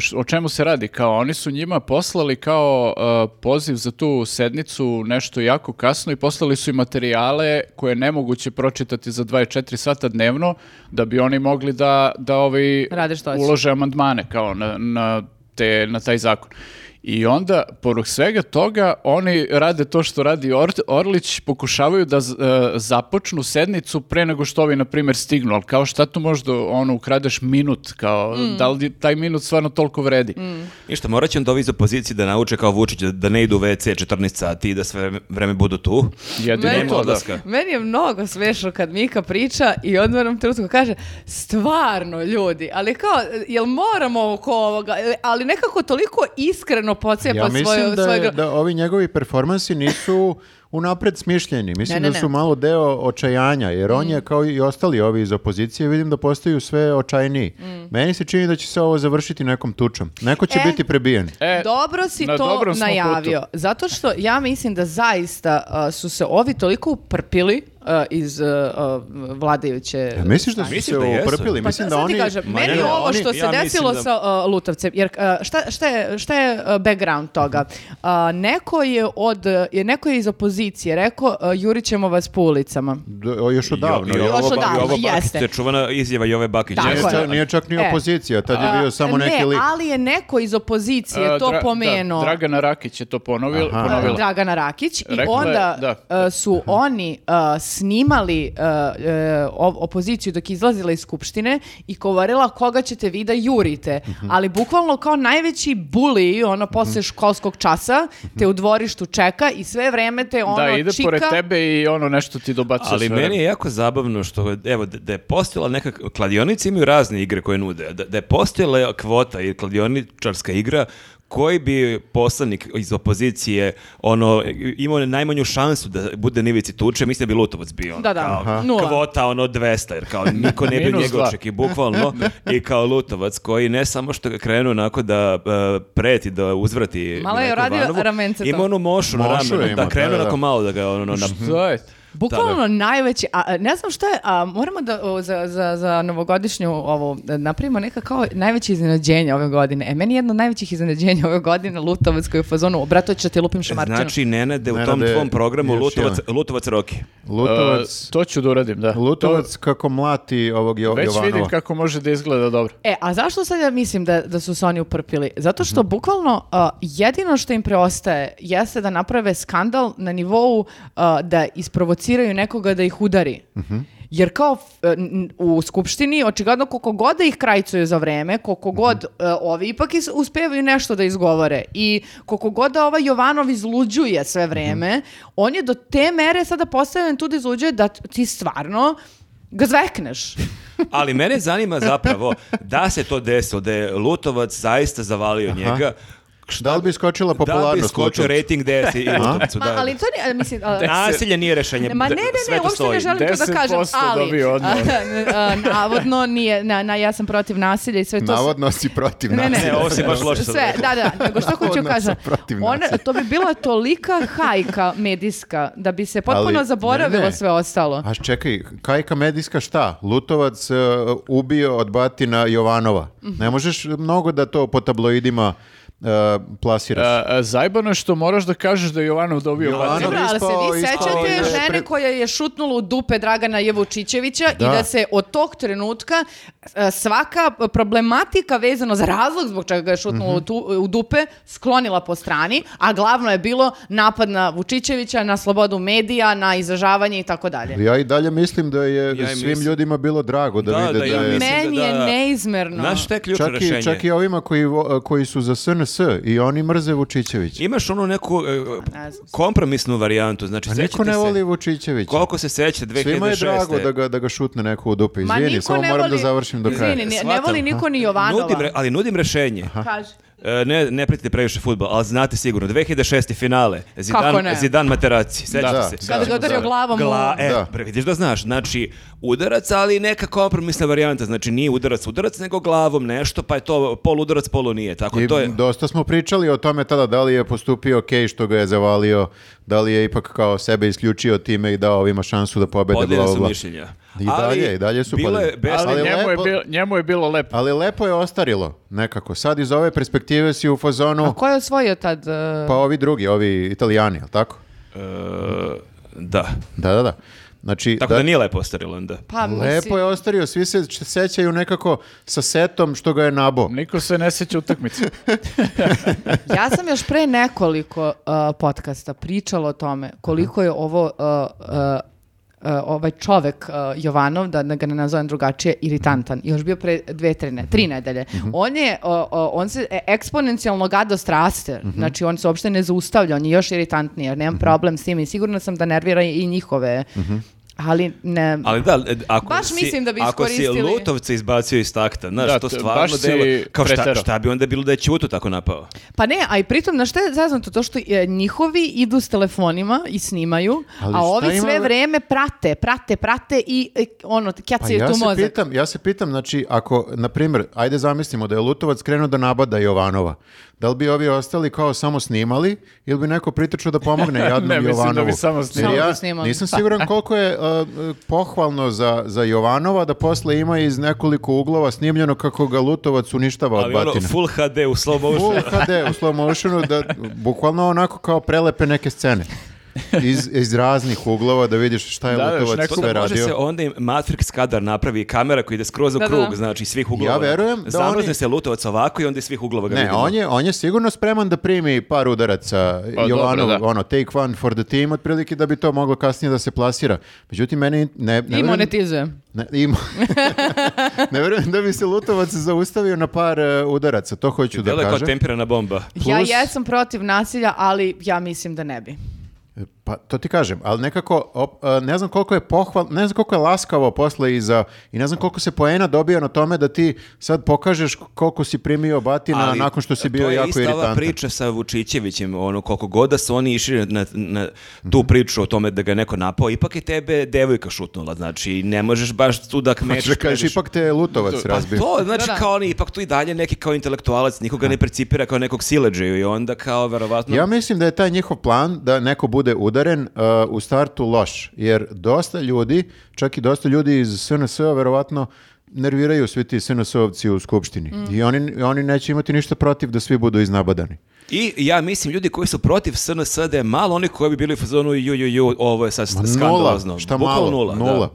[SPEAKER 2] š- o čemu se radi, kao oni su njima poslali kao e, poziv za tu sednicu nešto jako kasno i poslali su i materijale koje je nemoguće pročitati za 24 sata dnevno da bi oni mogli da, da ovaj, ovi
[SPEAKER 1] Rade što hoće.
[SPEAKER 2] ulože amandmane kao na, na, te, na taj zakon. I onda, poruh svega toga, oni rade to što radi Or- Orlić, pokušavaju da z- e, započnu sednicu pre nego što ovi, na primjer, stignu, ali kao šta tu možda ono, ukradeš minut, kao
[SPEAKER 1] Mm.
[SPEAKER 2] da li taj minut stvarno toliko vredi.
[SPEAKER 4] Ništa, morat će onda ovi iz opozicije da nauče kao Vučić da, da ne idu u WC 14 sati i da sve vreme budu tu.
[SPEAKER 2] Jedino
[SPEAKER 1] Meni-
[SPEAKER 4] Nema
[SPEAKER 2] to, da.
[SPEAKER 4] odlaska.
[SPEAKER 1] Meni je mnogo smešno kad Mika priča i onda u jednom trenutku kaže stvarno ljudi, ali kao, jel moramo oko ovoga, ali nekako toliko iskreno pocepa
[SPEAKER 3] Ja
[SPEAKER 1] svoju...
[SPEAKER 3] mislim da,
[SPEAKER 1] svoju
[SPEAKER 3] je-
[SPEAKER 1] gro-
[SPEAKER 3] da ovi njegovi performansi nisu unapred smišljeni. Mislim
[SPEAKER 1] Ne, Mm. ne,
[SPEAKER 3] da su
[SPEAKER 1] ne.
[SPEAKER 3] malo deo očajanja, jer on je kao i ostali ovi iz opozicije, vidim da postaju sve očajniji. Meni se čini da će se ovo završiti nekom tučom. Neko će
[SPEAKER 1] Mm. E.
[SPEAKER 3] biti prebijen.
[SPEAKER 2] E,
[SPEAKER 1] Dobro si
[SPEAKER 2] na
[SPEAKER 1] to
[SPEAKER 2] dobrom smo
[SPEAKER 1] najavio. Zato što ja mislim da zaista uh, su se ovi toliko uprpili uh, iz uh, uh, vladajuće...
[SPEAKER 3] Ja, E, misliš da su
[SPEAKER 4] Misliš
[SPEAKER 3] se
[SPEAKER 4] da jesu?
[SPEAKER 3] uprpili?
[SPEAKER 1] Pa
[SPEAKER 3] mislim
[SPEAKER 1] sad
[SPEAKER 3] da
[SPEAKER 1] ti
[SPEAKER 3] oni...
[SPEAKER 1] kažem,
[SPEAKER 4] Ma
[SPEAKER 1] meni
[SPEAKER 4] ne,
[SPEAKER 1] ovo
[SPEAKER 4] oni-
[SPEAKER 1] što se
[SPEAKER 4] ja mislim
[SPEAKER 1] desilo
[SPEAKER 4] da-
[SPEAKER 1] sa uh, Lutovcem, jer uh, šta, šta je, šta je uh, background toga?
[SPEAKER 3] Mhm.
[SPEAKER 1] Uh, neko je od, uh, je neko je iz opozicije rekao uh, jurit ćemo vas po ulicama.
[SPEAKER 3] D- o, još odavno.
[SPEAKER 4] I
[SPEAKER 3] jel?
[SPEAKER 1] Još
[SPEAKER 4] ovo,
[SPEAKER 1] odavno, jeste.
[SPEAKER 4] Bakić, čuvana izjava Jove Bakić.
[SPEAKER 1] Tako
[SPEAKER 3] Nije
[SPEAKER 1] je.
[SPEAKER 3] čak- Nije čak ni
[SPEAKER 1] E.
[SPEAKER 3] opozicija, tad je bio
[SPEAKER 1] A,
[SPEAKER 3] samo neki
[SPEAKER 1] ne,
[SPEAKER 3] lik. E,
[SPEAKER 1] ali je neko iz opozicije
[SPEAKER 2] a,
[SPEAKER 1] to
[SPEAKER 2] E, Dra- da,
[SPEAKER 1] pomenuo.
[SPEAKER 2] Dragana Rakić je to ponovil,
[SPEAKER 3] Aha.
[SPEAKER 2] ponovila.
[SPEAKER 1] Dragana Rakić i
[SPEAKER 2] Rekla je,
[SPEAKER 1] onda
[SPEAKER 2] da.
[SPEAKER 1] uh, su oni uh, snimali uh, uh, ov- opoziciju dok je izlazila iz skupštine i govorila koga ćete vi da jurite.
[SPEAKER 2] Mhm.
[SPEAKER 1] Ali bukvalno kao najveći buli ono posle školskog časa te u dvorištu čeka i sve vreme te ono
[SPEAKER 2] Mhm. da, ide
[SPEAKER 1] čika.
[SPEAKER 2] pored tebe i ono nešto ti dobacuje
[SPEAKER 4] Ali
[SPEAKER 2] sve
[SPEAKER 4] meni
[SPEAKER 2] vreme.
[SPEAKER 4] je jako zabavno što, evo, da- da je postojala neka, kladionice imaju razne igre koje nude, da, da je postojala kvota i kladioničarska igra koji bi poslanik iz opozicije ono, imao najmanju šansu da bude nivici tuče, mislim da bi Lutovac bio. ono,
[SPEAKER 1] Da, da,
[SPEAKER 4] kao
[SPEAKER 1] Aha. nula.
[SPEAKER 4] Kvota ono 200, jer kao niko ne bi
[SPEAKER 2] Minus
[SPEAKER 4] njega
[SPEAKER 2] dva.
[SPEAKER 4] očekio, bukvalno. I kao Lutovac koji ne samo što je krenuo onako da e, preti, da uzvrati
[SPEAKER 1] Malo je
[SPEAKER 4] Milenku
[SPEAKER 1] radio
[SPEAKER 4] Ivanovu,
[SPEAKER 1] ramence to.
[SPEAKER 4] Ima onu mošu na
[SPEAKER 3] Mošu
[SPEAKER 4] ramenu,
[SPEAKER 3] je
[SPEAKER 4] da
[SPEAKER 3] imao,
[SPEAKER 4] krenuo
[SPEAKER 3] da, da,
[SPEAKER 4] onako
[SPEAKER 3] da.
[SPEAKER 4] malo da ga ono, ono, na-
[SPEAKER 2] Šta je?
[SPEAKER 1] Bukvalno najveći, a a, ne znam šta je, a moramo da o, za, za, za novogodišnju ovo, da napravimo neka kao najveće iznenađenje ove godine. E, meni je jedno od najvećih iznenađenja ove godine Lutovac koji je u fazonu, obrato ću ti lupim šamarčinu.
[SPEAKER 4] Znači, Nenade, u tom
[SPEAKER 3] Nenade,
[SPEAKER 4] tvom programu
[SPEAKER 3] još
[SPEAKER 4] Lutovac,
[SPEAKER 3] jedan.
[SPEAKER 4] Lutovac Roki.
[SPEAKER 3] Lutovac,
[SPEAKER 2] E, to ću da uradim, da.
[SPEAKER 3] Lutovac kako mlati ovog Jo-
[SPEAKER 2] To- već vidim
[SPEAKER 3] Jovanova.
[SPEAKER 2] kako može da izgleda dobro.
[SPEAKER 1] E, a zašto sad ja mislim da, da su se oni uprpili? Zato što
[SPEAKER 4] Mhm.
[SPEAKER 1] bukvalno a, jedino što im preostaje jeste da naprave skandal na nivou a, da isprovociraju nekoga da ih udari.
[SPEAKER 4] Mhm.
[SPEAKER 1] Jer kao f- n- u skupštini, očigledno koliko god da ih krajcuju za vreme,
[SPEAKER 4] Mhm.
[SPEAKER 1] koliko god e, ovi ipak is, uspevaju nešto da izgovore i koliko god da ovaj Jovanov izluđuje sve
[SPEAKER 4] Mhm.
[SPEAKER 1] vreme, on je do te mere sada postavljen tu da izluđuje da t- ti stvarno ga zvekneš.
[SPEAKER 4] Ali mene zanima zapravo da se to desilo, da je Lutovac zaista zavalio njega.
[SPEAKER 3] Da li bi skočila
[SPEAKER 4] Da bi
[SPEAKER 3] popularnost
[SPEAKER 4] skočio
[SPEAKER 3] Lutovcu?
[SPEAKER 4] rating desi i Lutovcu.
[SPEAKER 1] Ma,
[SPEAKER 4] da.
[SPEAKER 1] ali to nije, mislim, a-
[SPEAKER 4] Nasilje nije rešenje.
[SPEAKER 1] Ma ne, ne,
[SPEAKER 4] Sve
[SPEAKER 1] ne,
[SPEAKER 4] to
[SPEAKER 1] uopšte ne
[SPEAKER 4] stoji.
[SPEAKER 1] želim to da kažem,
[SPEAKER 2] 10%
[SPEAKER 1] ali
[SPEAKER 2] dobio odmah.
[SPEAKER 1] a, navodno nije, na, na, ja sam protiv nasilja i sve to. su-
[SPEAKER 3] Navodno si protiv
[SPEAKER 1] Ne, ne,
[SPEAKER 3] nasilja.
[SPEAKER 4] Ne, ovo si baš loše sad
[SPEAKER 1] Sve,
[SPEAKER 4] rekao.
[SPEAKER 1] da, da, nego što hoću
[SPEAKER 3] Navodno
[SPEAKER 1] kažem,
[SPEAKER 3] sam protiv
[SPEAKER 1] ona,
[SPEAKER 3] nasilja.
[SPEAKER 1] to bi bila tolika hajka medijska da bi se potpuno
[SPEAKER 3] Ali,
[SPEAKER 1] zaboravilo
[SPEAKER 3] ne, ne.
[SPEAKER 1] sve ostalo.
[SPEAKER 3] A čekaj, kajka medijska šta? Lutovac e, ubio od batina Jovanova. Ne možeš mnogo da to po tabloidima e, plasiraš.
[SPEAKER 2] E, e, zajebano je što moraš da kažeš da je Jovanov dobio
[SPEAKER 3] Jovanov-
[SPEAKER 2] batina.
[SPEAKER 1] Dobro, ali se
[SPEAKER 3] ispao-
[SPEAKER 1] vi
[SPEAKER 3] ispao je
[SPEAKER 1] sećate
[SPEAKER 3] pre-
[SPEAKER 1] žene koja je šutnula u dupe Dragana Jevučićevića i
[SPEAKER 3] Da.
[SPEAKER 1] da se od tog trenutka e, svaka problematika vezano za razlog zbog čega ga je šutnula
[SPEAKER 3] Mhm.
[SPEAKER 1] u tu- u dupe sklonila po strani, a glavno je bilo napad na Vučićevića, na slobodu medija, na izražavanje i tako dalje.
[SPEAKER 3] Ja i dalje mislim da je
[SPEAKER 4] i
[SPEAKER 3] svim
[SPEAKER 4] mislim.
[SPEAKER 3] ljudima bilo drago da,
[SPEAKER 4] Da,
[SPEAKER 3] vide
[SPEAKER 4] da,
[SPEAKER 3] da,
[SPEAKER 4] ja
[SPEAKER 3] je...
[SPEAKER 4] mislim.
[SPEAKER 1] Meni
[SPEAKER 4] da-
[SPEAKER 1] je neizmerno.
[SPEAKER 4] Znaš šta je ključno
[SPEAKER 3] Čak
[SPEAKER 4] rešenje?
[SPEAKER 3] i, čak i ovima koji, vo- e, koji su za SNS i oni mrze Vučićevića.
[SPEAKER 4] Imaš onu neku e,
[SPEAKER 1] ne znam.
[SPEAKER 4] kompromisnu varijantu. Znači,
[SPEAKER 3] A Pa niko
[SPEAKER 4] sećate
[SPEAKER 3] ne
[SPEAKER 4] se-
[SPEAKER 3] voli Vučićevića.
[SPEAKER 4] Koliko se seća 2006.
[SPEAKER 3] Svima je drago da ga, da ga šutne neko u dupe.
[SPEAKER 1] Ma
[SPEAKER 3] Izvini,
[SPEAKER 1] niko
[SPEAKER 3] samo
[SPEAKER 1] ne
[SPEAKER 3] moram da
[SPEAKER 1] voli-
[SPEAKER 3] završim do kraja.
[SPEAKER 1] Izvini, ne, ne
[SPEAKER 4] Shvatam.
[SPEAKER 1] voli niko ni Jovanova.
[SPEAKER 4] Nudim re- ali nudim rešenje.
[SPEAKER 1] Kaži.
[SPEAKER 4] E, ne, ne pratite previše futbol, ali znate sigurno, 2006. finale, Zidane,
[SPEAKER 1] ne?
[SPEAKER 4] Zidane Materazzi, sećate
[SPEAKER 3] Da,
[SPEAKER 4] se.
[SPEAKER 3] da.
[SPEAKER 1] Kada ga udario glavom u-
[SPEAKER 4] Gla, e,
[SPEAKER 3] Da.
[SPEAKER 4] pre- vidiš da znaš, znači udarac, ali neka kompromisna varijanta, znači nije udarac, udarac, nego glavom nešto, pa je to poludarac, polu nije, tako
[SPEAKER 3] I
[SPEAKER 4] to je...
[SPEAKER 3] dosta smo pričali o tome tada da li je postupio ok što ga je zavalio, da li je ipak kao sebe isključio time i dao ovima šansu da pobede.
[SPEAKER 4] Podeljena
[SPEAKER 3] bla, bla,
[SPEAKER 4] su
[SPEAKER 3] bla.
[SPEAKER 4] mišljenja.
[SPEAKER 3] I dalje, i dalje su
[SPEAKER 4] Bilo je
[SPEAKER 3] podeljena.
[SPEAKER 4] bez...
[SPEAKER 2] Ali,
[SPEAKER 3] Ali
[SPEAKER 2] njemu, je
[SPEAKER 3] lepo-
[SPEAKER 2] bilo, njemu je bilo lepo.
[SPEAKER 3] Ali lepo je ostarilo nekako. Sad iz ove perspektive si u fazonu,
[SPEAKER 1] Pa Ko je osvojio tad? e,
[SPEAKER 3] pa ovi drugi, ovi italijani, jel tako?
[SPEAKER 4] E, da.
[SPEAKER 3] Da, da, da. Znači,
[SPEAKER 4] Tako da, nije lepo ostarilo onda.
[SPEAKER 1] pa, mislim-
[SPEAKER 3] lepo je ostario, svi se č- sećaju nekako sa setom što ga je nabo.
[SPEAKER 2] Niko se ne seća utakmice.
[SPEAKER 1] Ja sam još pre nekoliko uh, podcasta pričala o tome koliko je ovo uh, uh, uh, ovaj čovek uh, Jovanov, da ne- ga ne nazovem drugačije, iritantan. Još bio pre dve, tri, ne- tri nedelje. On je, uh, uh, on se e, eksponencijalno gadost raste. Znači, on se uopšte ne zaustavlja, on je još iritantniji, jer nemam problem s tim i sigurno sam da nervira i njihove ali ne...
[SPEAKER 4] Ali da, e, ako
[SPEAKER 1] Baš
[SPEAKER 4] si,
[SPEAKER 1] mislim da bi
[SPEAKER 4] ako si
[SPEAKER 1] iskoristili-
[SPEAKER 4] Lutovca izbacio iz takta, znaš,
[SPEAKER 2] Da,
[SPEAKER 4] to
[SPEAKER 2] t-
[SPEAKER 4] stvarno
[SPEAKER 2] baš si
[SPEAKER 4] delo, kao šta,
[SPEAKER 2] preterao.
[SPEAKER 4] šta bi onda bilo da je Ćuto tako napao?
[SPEAKER 1] Pa ne, a i pritom, na što je zaznato? To što e, njihovi idu s telefonima i snimaju,
[SPEAKER 3] Ali
[SPEAKER 1] a
[SPEAKER 3] šta
[SPEAKER 1] ovi
[SPEAKER 3] ima
[SPEAKER 1] sve
[SPEAKER 3] ve-
[SPEAKER 1] vreme prate, prate, prate i e, ono,
[SPEAKER 3] Pa
[SPEAKER 1] kjacaju
[SPEAKER 3] ja
[SPEAKER 1] tu
[SPEAKER 3] se,
[SPEAKER 1] mozak.
[SPEAKER 3] pitam, ja se pitam, znači, ako, na primjer, ajde zamislimo da je Lutovac krenuo da nabada Jovanova, da li bi ovi ostali kao samo snimali ili bi neko pritrčao da pomogne jadnom
[SPEAKER 2] Ne, mislim da bi
[SPEAKER 3] Jovanovu?
[SPEAKER 2] samo snimali.
[SPEAKER 3] Jer
[SPEAKER 1] Samo
[SPEAKER 3] ja
[SPEAKER 1] bi snimali.
[SPEAKER 3] nisam siguran koliko je uh, pohvalno za, za Jovanova da posle ima iz nekoliko uglova snimljeno kako ga Lutovac uništava od
[SPEAKER 4] Ali ono,
[SPEAKER 3] batina.
[SPEAKER 4] full HD u slow motion.
[SPEAKER 3] Full HD u slow motionu da bukvalno onako kao prelepe neke scene. Iz, iz raznih uglova da vidiš šta je
[SPEAKER 2] Da, da, još
[SPEAKER 3] Lutovac
[SPEAKER 2] neku-
[SPEAKER 4] To
[SPEAKER 3] sve
[SPEAKER 4] da može
[SPEAKER 3] radio.
[SPEAKER 4] se onda i Matrix kadar napravi kamera koja ide skroz u
[SPEAKER 1] Da, da,
[SPEAKER 4] krug,
[SPEAKER 1] da.
[SPEAKER 4] znači iz svih uglova.
[SPEAKER 3] Ja verujem da
[SPEAKER 4] Zamrzne
[SPEAKER 3] oni-
[SPEAKER 4] se Lutovac ovako i onda iz svih uglova ga
[SPEAKER 3] Ne,
[SPEAKER 4] vidimo.
[SPEAKER 3] on je, on je sigurno spreman da primi par udaraca
[SPEAKER 2] Pa
[SPEAKER 3] Jovanov,
[SPEAKER 2] dobro, da.
[SPEAKER 3] ono, take one for the team, otprilike da bi to moglo kasnije da se plasira. Međutim, meni ne... ne
[SPEAKER 1] I
[SPEAKER 3] verujem-
[SPEAKER 1] monetizuje.
[SPEAKER 3] Ne, i mo- ne verujem da bi se Lutovac zaustavio na par e, udaraca, to hoću da
[SPEAKER 4] Delo je kao
[SPEAKER 3] kažem.
[SPEAKER 4] temperana bomba.
[SPEAKER 1] Ja
[SPEAKER 3] Plus-
[SPEAKER 1] jesam protiv nasilja, ali ja mislim da ne bi.
[SPEAKER 3] Pa to ti kažem, ali nekako op- a, ne znam koliko je pohval, ne znam koliko je laskavo posle iza i ne znam koliko se poena dobio na tome da ti sad pokažeš koliko si primio batina
[SPEAKER 4] Ali
[SPEAKER 3] nakon što si bio jako
[SPEAKER 4] To je ista ova
[SPEAKER 3] iritantan.
[SPEAKER 4] priča sa Vučićevićem, ono, koliko god da su oni išli na, na tu priču o tome da ga je neko napao, ipak je tebe devojka šutnula, znači ne možeš baš tu da kmečiš.
[SPEAKER 3] Hoćeš Znači da kažeš,
[SPEAKER 4] previše.
[SPEAKER 3] ipak te je Lutovac
[SPEAKER 4] Pa
[SPEAKER 3] razbio.
[SPEAKER 4] to, znači
[SPEAKER 1] Da, da.
[SPEAKER 4] kao oni, ipak tu i dalje neki kao intelektualac, nikoga ne percipira kao nekog sileđeju i onda kao verovatno...
[SPEAKER 3] Ja mislim da je taj njihov plan da neko bude udaren uh, u startu loš, jer dosta ljudi, čak i dosta ljudi iz SNS-a verovatno nerviraju svi ti SNS-ovci u skupštini i oni, oni neće imati ništa protiv da svi budu iznabadani.
[SPEAKER 4] I ja mislim, ljudi koji su protiv SNS da je malo oni koji bi bili u fazonu ju, ju, ju, ovo je sad Pa skandalozno.
[SPEAKER 3] Nula, šta malo,
[SPEAKER 4] Bukvalno nula.
[SPEAKER 3] nula.
[SPEAKER 4] da.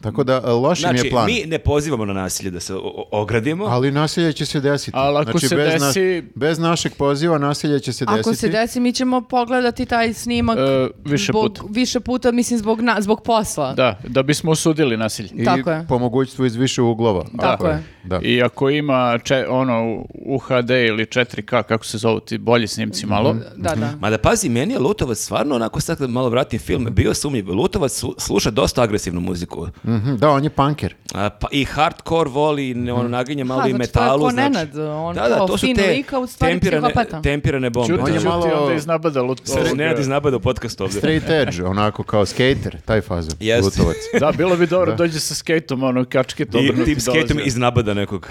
[SPEAKER 3] Tako da uh, loš im
[SPEAKER 4] Znači,
[SPEAKER 3] je plan.
[SPEAKER 4] mi ne pozivamo na nasilje da se o- o- ogradimo.
[SPEAKER 3] Ali nasilje će se desiti. Znači,
[SPEAKER 2] Ali ako se
[SPEAKER 3] bez na-
[SPEAKER 2] desi-
[SPEAKER 3] bez našeg poziva nasilje će se desiti.
[SPEAKER 1] Ako se desi, mi ćemo pogledati taj snimak
[SPEAKER 2] E, više
[SPEAKER 1] zbog,
[SPEAKER 2] puta.
[SPEAKER 1] više puta, mislim, zbog, na, zbog posla.
[SPEAKER 2] Da, da bismo osudili nasilje.
[SPEAKER 3] I
[SPEAKER 1] Tako je.
[SPEAKER 3] po mogućstvu iz više uglova.
[SPEAKER 1] Tako
[SPEAKER 3] Ako
[SPEAKER 1] je.
[SPEAKER 3] Da.
[SPEAKER 2] I ako ima če- ono UHD ili 4K, kako se zovu ti bolji snimci
[SPEAKER 3] Mhm.
[SPEAKER 2] malo,
[SPEAKER 1] da. da.
[SPEAKER 4] Mada pazi, meni je Lutovac stvarno, onako sad kad malo vratim film, bio sumnjiv. Lutovac su- sluša dosta agresivnu muziku.
[SPEAKER 3] Mhm, da, on je punker.
[SPEAKER 4] A, pa I hardcore voli, ne,
[SPEAKER 3] Mm.
[SPEAKER 4] ono, naginje malo
[SPEAKER 1] Ha,
[SPEAKER 4] i
[SPEAKER 1] znači, to je
[SPEAKER 4] metalu.
[SPEAKER 1] ko
[SPEAKER 4] znači,
[SPEAKER 1] Nenad, on
[SPEAKER 4] da, da,
[SPEAKER 1] kao
[SPEAKER 4] to su
[SPEAKER 1] fin
[SPEAKER 4] te
[SPEAKER 1] lika, u stvari
[SPEAKER 4] tempirane,
[SPEAKER 1] psihopata.
[SPEAKER 4] tempirane bombe.
[SPEAKER 2] Ćuti,
[SPEAKER 3] je
[SPEAKER 2] ćuti,
[SPEAKER 3] malo-
[SPEAKER 2] onda iznabada lut-
[SPEAKER 4] Sad se
[SPEAKER 2] ovoga.
[SPEAKER 4] Nenad iznabada u podcast ovdje.
[SPEAKER 3] Straight edge, onako kao skater, taj fazon.
[SPEAKER 4] Jeste.
[SPEAKER 3] Lutovac.
[SPEAKER 2] Da, bilo bi dobro, dođe sa skejtom, ono, kačke,
[SPEAKER 4] I
[SPEAKER 2] dobro.
[SPEAKER 4] tim skateom iznabada nekog.